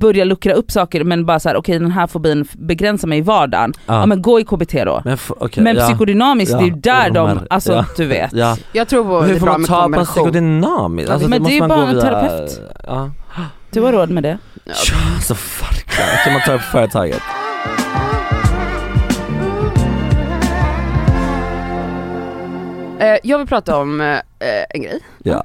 [SPEAKER 2] börja luckra upp saker men bara så här: okej den här fobin f- begränsar mig i vardagen. Ja, men gå i KBT då.
[SPEAKER 3] men, f- okej,
[SPEAKER 2] men
[SPEAKER 3] ja.
[SPEAKER 2] psykodynamiskt, det är ju
[SPEAKER 3] Ja,
[SPEAKER 2] där
[SPEAKER 3] och de
[SPEAKER 2] de,
[SPEAKER 3] här-
[SPEAKER 2] alltså
[SPEAKER 3] ja.
[SPEAKER 2] du vet.
[SPEAKER 3] Ja.
[SPEAKER 1] Jag tror på det
[SPEAKER 3] Hur
[SPEAKER 1] är
[SPEAKER 3] får
[SPEAKER 1] bra
[SPEAKER 3] man
[SPEAKER 1] med
[SPEAKER 3] ta på en
[SPEAKER 1] kombination.
[SPEAKER 3] psykodynamiskt?
[SPEAKER 2] men det är
[SPEAKER 3] måste
[SPEAKER 2] ju
[SPEAKER 3] man
[SPEAKER 2] bara
[SPEAKER 3] gå
[SPEAKER 2] en
[SPEAKER 3] via-
[SPEAKER 2] terapeut.
[SPEAKER 3] Ja.
[SPEAKER 2] Du har råd med det.
[SPEAKER 3] Ja, Alltså farklar, kan man ta upp företaget?
[SPEAKER 1] Eh, jag vill prata om eh, en grej.
[SPEAKER 3] Ja.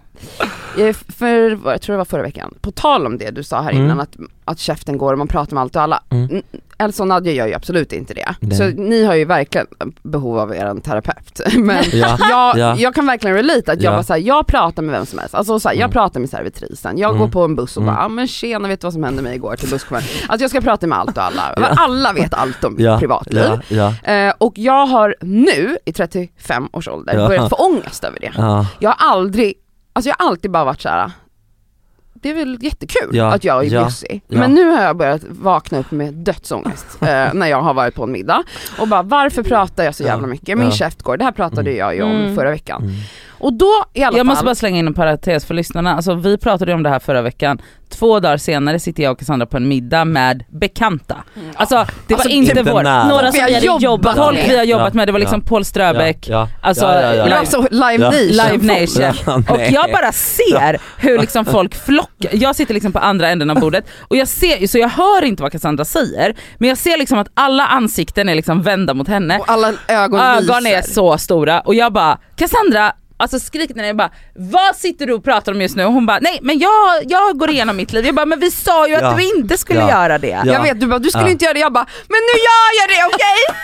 [SPEAKER 1] Eh, För, jag tror det var förra veckan, på tal om det du sa här
[SPEAKER 3] Mm.
[SPEAKER 1] innan att, att käften går och man pratar med allt och alla.
[SPEAKER 3] Mm.
[SPEAKER 1] Mm. Elsa och Nadja gör ju absolut inte det.
[SPEAKER 3] Nej.
[SPEAKER 1] Så ni har ju verkligen behov av er terapeut. [LAUGHS] Men
[SPEAKER 3] [LAUGHS] Ja.
[SPEAKER 1] jag,
[SPEAKER 3] Ja.
[SPEAKER 1] jag kan verkligen relate att jag
[SPEAKER 3] Ja.
[SPEAKER 1] bara såhär, jag pratar med vem som helst, alltså såhär, jag
[SPEAKER 3] Mm. pratar
[SPEAKER 1] pratar med servitrisen, jag
[SPEAKER 3] Mm.
[SPEAKER 1] går på en buss och
[SPEAKER 3] Mm.
[SPEAKER 1] bara, ah, men tjena vet du vad som hände mig igår till busschauffören? Alltså jag ska prata med allt och alla, [LAUGHS] alla vet allt om mitt
[SPEAKER 3] Ja.
[SPEAKER 1] privatliv.
[SPEAKER 3] Ja. Ja.
[SPEAKER 1] Eh, och jag har nu, i 35 års ålder,
[SPEAKER 3] Ja.
[SPEAKER 1] börjat få ångest över det.
[SPEAKER 3] Ja.
[SPEAKER 1] Jag har aldrig, alltså jag har alltid bara varit såhär, det är väl jättekul
[SPEAKER 3] Ja,
[SPEAKER 1] att jag är
[SPEAKER 3] ja,
[SPEAKER 1] bjussig.
[SPEAKER 3] ja.
[SPEAKER 1] Men nu har jag börjat vakna upp med
[SPEAKER 3] [LAUGHS]
[SPEAKER 1] dödsångest eh, när jag har varit på en middag. Och bara varför pratar jag så
[SPEAKER 3] Ja,
[SPEAKER 1] jävla mycket? Min
[SPEAKER 3] ja.
[SPEAKER 1] käft går, det här pratade
[SPEAKER 3] Mm.
[SPEAKER 1] jag ju om
[SPEAKER 4] Mm.
[SPEAKER 1] förra veckan.
[SPEAKER 3] Mm.
[SPEAKER 1] Och då i alla
[SPEAKER 2] Jag måste
[SPEAKER 1] fall,
[SPEAKER 2] bara slänga in en parentes för lyssnarna, alltså, vi pratade ju om det här förra veckan, två dagar senare sitter jag och Cassandra på en middag med bekanta. Alltså det var
[SPEAKER 1] Alltså,
[SPEAKER 2] inte
[SPEAKER 3] Mm. inte
[SPEAKER 2] vår,
[SPEAKER 3] nära.
[SPEAKER 2] några
[SPEAKER 4] som
[SPEAKER 1] Vi har
[SPEAKER 4] vi hade
[SPEAKER 1] jobbat
[SPEAKER 4] jobbat
[SPEAKER 1] med.
[SPEAKER 2] folk vi har jobbat
[SPEAKER 3] Ja,
[SPEAKER 2] med, det var liksom
[SPEAKER 3] ja.
[SPEAKER 2] Paul Ströbeck,
[SPEAKER 3] Ja.
[SPEAKER 2] alltså,
[SPEAKER 3] Ja, ja, ja, ja.
[SPEAKER 2] live-
[SPEAKER 1] alltså, live
[SPEAKER 3] Ja.
[SPEAKER 1] nation.
[SPEAKER 2] Live Nation.
[SPEAKER 3] Ja,
[SPEAKER 2] Och
[SPEAKER 3] nej.
[SPEAKER 2] jag bara ser hur liksom folk flockar, jag sitter liksom på andra änden av bordet och jag ser ju, så jag hör inte vad Cassandra säger, men jag ser liksom att alla ansikten är liksom vända mot henne.
[SPEAKER 1] Och alla ögon,
[SPEAKER 2] Ögonen
[SPEAKER 1] lyser.
[SPEAKER 2] är så stora och jag bara Cassandra, alltså skrik när jag bara vad sitter du och pratar om just nu? Och hon bara nej men jag, jag går igenom mitt liv. Jag bara men vi sa ju
[SPEAKER 3] Ja.
[SPEAKER 2] att du inte skulle
[SPEAKER 3] Ja.
[SPEAKER 2] göra det.
[SPEAKER 3] Ja.
[SPEAKER 1] Jag vet, du bara du skulle
[SPEAKER 3] Ja.
[SPEAKER 1] inte göra det, jag bara men nu gör jag det okej?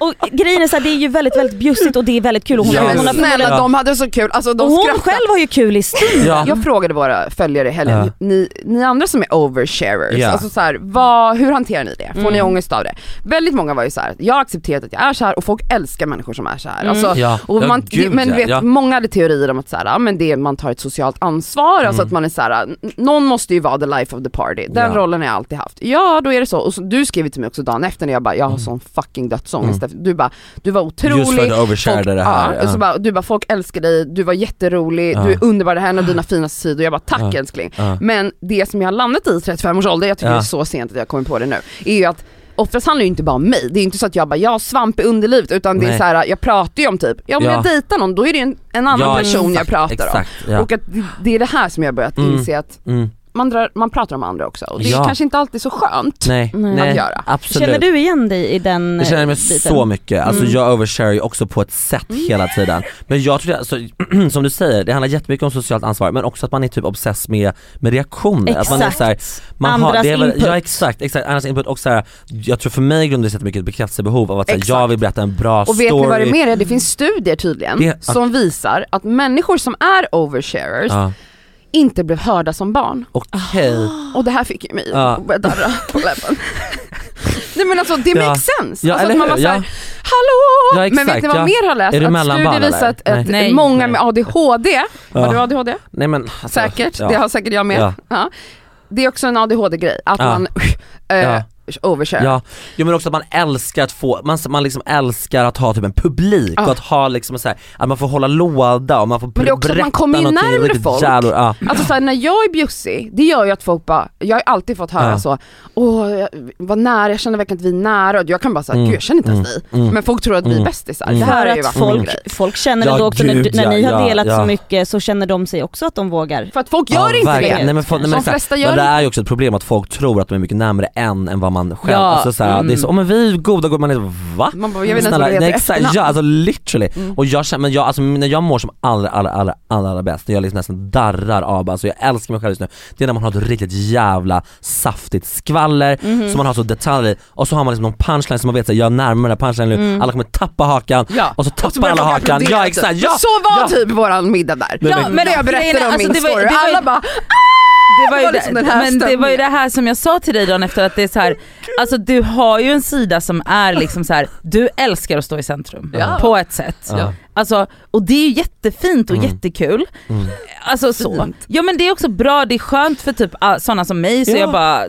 [SPEAKER 4] Och grejen är så här, det är ju väldigt väldigt bjussigt och det är väldigt kul och hon,
[SPEAKER 3] Ja,
[SPEAKER 1] Men
[SPEAKER 4] hon, har,
[SPEAKER 1] snälla
[SPEAKER 3] Ja.
[SPEAKER 1] de hade så kul, alltså de
[SPEAKER 4] och hon
[SPEAKER 1] skrattade.
[SPEAKER 4] själv har ju kul i stunden.
[SPEAKER 3] Ja.
[SPEAKER 1] Jag frågade våra följare i helgen,
[SPEAKER 3] Ja.
[SPEAKER 1] ni, ni andra som är oversharers,
[SPEAKER 3] Ja.
[SPEAKER 1] alltså så här, vad, hur hanterar ni det? Får ni ångest av det? Väldigt många var ju så här, jag har accepterat att jag är så här och folk älskar människor som är så här. Alltså,
[SPEAKER 3] Ja.
[SPEAKER 1] och
[SPEAKER 3] Ja,
[SPEAKER 1] man,
[SPEAKER 3] gud,
[SPEAKER 1] men du
[SPEAKER 3] ja.
[SPEAKER 1] vet,
[SPEAKER 3] Ja.
[SPEAKER 1] många hade teorier om att så här, ja, men det, man tar ett socialt ansvar, alltså att man är så här, n- någon måste ju vara the life of the party, den
[SPEAKER 3] Mm. Ja.
[SPEAKER 1] rollen har jag alltid haft. Ja då är det så, och så, du skrev till mig också dagen efter när jag bara, jag har sån fucking dödsångest. efter Du bara, du var otrolig,
[SPEAKER 3] Mm. Just för att du oversharade
[SPEAKER 1] folk,
[SPEAKER 3] det här.
[SPEAKER 1] Ja, och Så bara, du bara, folk älskar dig, du var jätterolig,
[SPEAKER 3] Ja.
[SPEAKER 1] du är underbar, det här är en av dina finaste sidor. Jag bara, tack
[SPEAKER 3] Ja.
[SPEAKER 1] älskling.
[SPEAKER 3] Ja.
[SPEAKER 1] Men det som jag har landat i 35 års ålder, jag tycker
[SPEAKER 3] Ja.
[SPEAKER 1] det är så sent att jag kommer på det nu, är ju att Oftast handlar det ju inte bara om mig, det är inte så att jag bara jag har svamp i underlivet utan det
[SPEAKER 3] Nej.
[SPEAKER 1] är så här, jag pratar ju om typ, ja, om
[SPEAKER 3] Ja.
[SPEAKER 1] jag dejtar någon då är det ju en, en annan
[SPEAKER 3] Ja,
[SPEAKER 1] person jag
[SPEAKER 3] exakt,
[SPEAKER 1] pratar om.
[SPEAKER 3] exakt, ja.
[SPEAKER 1] Och att det, det är det här som jag har börjat
[SPEAKER 3] Mm.
[SPEAKER 1] inse att
[SPEAKER 3] Mm.
[SPEAKER 1] man, drar, man pratar om andra också och det är
[SPEAKER 3] Ja.
[SPEAKER 1] kanske inte alltid så skönt.
[SPEAKER 3] Nej,
[SPEAKER 4] Mm.
[SPEAKER 3] nej.
[SPEAKER 1] Att göra.
[SPEAKER 3] absolut.
[SPEAKER 4] Känner du igen dig i den
[SPEAKER 3] Jag känner mig
[SPEAKER 4] eh, biten?
[SPEAKER 3] så mycket, alltså
[SPEAKER 4] Mm.
[SPEAKER 3] jag overshare ju också på ett sätt
[SPEAKER 1] Mm.
[SPEAKER 3] hela tiden. Men jag tror det, alltså, [CLEARS THROAT] som du säger, det handlar jättemycket om socialt ansvar men också att man är typ obsess med, med reaktioner. Att man är
[SPEAKER 4] Exakt.
[SPEAKER 3] så här, man
[SPEAKER 4] Andras
[SPEAKER 3] det är väl-
[SPEAKER 4] input.
[SPEAKER 3] Ja exakt, exakt, andras input och så här, jag tror för mig grundar det sig mycket ett bekräftelsebehov av att så här,
[SPEAKER 1] Exakt.
[SPEAKER 3] jag vill berätta en bra
[SPEAKER 1] Och
[SPEAKER 3] story.
[SPEAKER 1] vet ni vad det mer är? Det finns studier tydligen
[SPEAKER 3] Det-
[SPEAKER 1] som visar att människor som är oversharers
[SPEAKER 3] Ja.
[SPEAKER 1] inte blev hörda som barn.
[SPEAKER 3] Okej,
[SPEAKER 1] Och det här fick ju mig
[SPEAKER 3] Ja.
[SPEAKER 1] att börja darra
[SPEAKER 3] [LAUGHS]
[SPEAKER 1] på läppen. Nej men alltså det
[SPEAKER 3] Ja.
[SPEAKER 1] makes sense.
[SPEAKER 3] Ja,
[SPEAKER 1] alltså
[SPEAKER 3] eller
[SPEAKER 1] att man
[SPEAKER 3] hur?
[SPEAKER 1] var såhär,
[SPEAKER 3] Ja.
[SPEAKER 1] hallå!
[SPEAKER 3] Ja,
[SPEAKER 1] men vet
[SPEAKER 3] exakt,
[SPEAKER 1] ni vad
[SPEAKER 3] ja.
[SPEAKER 1] mer har läst?
[SPEAKER 3] Är du mellanbarn,
[SPEAKER 1] att studier visar att,
[SPEAKER 3] eller?
[SPEAKER 1] att
[SPEAKER 2] Nej.
[SPEAKER 1] många
[SPEAKER 2] Nej.
[SPEAKER 1] med ADHD,
[SPEAKER 3] Ja.
[SPEAKER 1] har du ADHD?
[SPEAKER 3] nej men alltså,
[SPEAKER 1] Säkert,
[SPEAKER 3] ja.
[SPEAKER 1] det har säkert jag med.
[SPEAKER 3] Ja.
[SPEAKER 1] Ja. Det är också en ADHD-grej, att
[SPEAKER 3] Ja.
[SPEAKER 1] man eh,
[SPEAKER 3] Ja.
[SPEAKER 1] overkör.
[SPEAKER 3] Ja, jo, men också att man älskar att få, man, man liksom älskar att ha typ en publik
[SPEAKER 1] Ja.
[SPEAKER 3] och att ha liksom så här, att man får hålla låda och man får
[SPEAKER 1] Men det är också att man
[SPEAKER 3] berätta
[SPEAKER 1] kommer ju
[SPEAKER 3] någonting
[SPEAKER 1] närmare
[SPEAKER 3] riktigt
[SPEAKER 1] folk.
[SPEAKER 3] jävla- ja.
[SPEAKER 1] Alltså såhär, när jag är bjussig, det gör ju att folk bara, jag har alltid fått höra
[SPEAKER 3] Ja.
[SPEAKER 1] så, åh jag- vad nära, jag känner verkligen att vi är nära, och jag kan bara säga,
[SPEAKER 3] Mm.
[SPEAKER 1] gud jag känner inte ens
[SPEAKER 3] Mm.
[SPEAKER 1] dig.
[SPEAKER 3] Mm.
[SPEAKER 1] Men folk tror att vi är
[SPEAKER 3] Mm.
[SPEAKER 1] bästisar,
[SPEAKER 3] Mm.
[SPEAKER 1] det här
[SPEAKER 4] För
[SPEAKER 1] är ju
[SPEAKER 4] att
[SPEAKER 1] bara folk...
[SPEAKER 4] folk, folk känner
[SPEAKER 3] Ja,
[SPEAKER 4] väl då också när, du,
[SPEAKER 3] gud,
[SPEAKER 4] när
[SPEAKER 3] ja,
[SPEAKER 4] ni har
[SPEAKER 3] ja,
[SPEAKER 4] delat
[SPEAKER 3] ja.
[SPEAKER 4] så mycket så känner de sig också att de vågar.
[SPEAKER 1] För att folk gör
[SPEAKER 3] Ja,
[SPEAKER 1] inte
[SPEAKER 3] verkligen.
[SPEAKER 1] det.
[SPEAKER 3] Nej, men, folk- nej, men,
[SPEAKER 1] De
[SPEAKER 3] exakt.
[SPEAKER 1] flesta
[SPEAKER 3] Men
[SPEAKER 1] gör
[SPEAKER 3] det
[SPEAKER 1] inte
[SPEAKER 3] är ju också ett problem att folk tror att de är mycket närmare än än vad man själv,
[SPEAKER 2] Ja,
[SPEAKER 3] alltså såhär,
[SPEAKER 2] mm.
[SPEAKER 3] det är så, oh, men vi är goda gubbar, man är så, va?
[SPEAKER 1] Man bara, jag vet inte Mm. ens
[SPEAKER 3] Snälla,
[SPEAKER 1] vad det heter
[SPEAKER 3] nej,
[SPEAKER 1] i
[SPEAKER 3] exakt,
[SPEAKER 1] efternamn.
[SPEAKER 3] ja, alltså literally. Och jag känner, men jag, alltså, när jag mår som allra, allra, allra, allra, allra bäst, när jag liksom nästan darrar av, alltså jag älskar mig själv just nu, det är när man har ett riktigt jävla saftigt skvaller
[SPEAKER 1] Mhm.
[SPEAKER 3] som man har så detaljer i och så har man liksom någon punchline som man vet såhär, jag närmar den här punchlinen nu, alla kommer tappa hakan
[SPEAKER 1] Mm. Ja.
[SPEAKER 3] och så tappar
[SPEAKER 1] börjar
[SPEAKER 3] alla
[SPEAKER 1] folk
[SPEAKER 3] hakan,
[SPEAKER 1] applådera
[SPEAKER 3] ja
[SPEAKER 1] typ.
[SPEAKER 3] exakt,
[SPEAKER 1] Men
[SPEAKER 3] ja!
[SPEAKER 1] Så var
[SPEAKER 3] ja.
[SPEAKER 1] typ våran middag där.
[SPEAKER 3] Nej, men-
[SPEAKER 1] när jag
[SPEAKER 2] grejen är,
[SPEAKER 1] berättade om
[SPEAKER 2] alltså,
[SPEAKER 1] min
[SPEAKER 2] det var-
[SPEAKER 1] story,
[SPEAKER 2] det var ju-
[SPEAKER 1] alla bara
[SPEAKER 2] Det var ju
[SPEAKER 1] Det var liksom
[SPEAKER 2] det,
[SPEAKER 1] den här
[SPEAKER 2] men det var ju
[SPEAKER 1] stämningen.
[SPEAKER 2] det här som jag sa till dig dagen efter att det är så här, alltså du har ju en sida som är liksom så här, du älskar att stå i centrum
[SPEAKER 1] Ja.
[SPEAKER 2] på ett sätt.
[SPEAKER 3] Ja.
[SPEAKER 2] Alltså, och det är ju jättefint och
[SPEAKER 3] Mm.
[SPEAKER 2] jättekul.
[SPEAKER 3] Mm.
[SPEAKER 2] Alltså så.
[SPEAKER 1] Fint.
[SPEAKER 2] Ja men det är också bra, det är skönt för typ ah, sådana som mig så
[SPEAKER 3] Ja.
[SPEAKER 2] jag bara eh,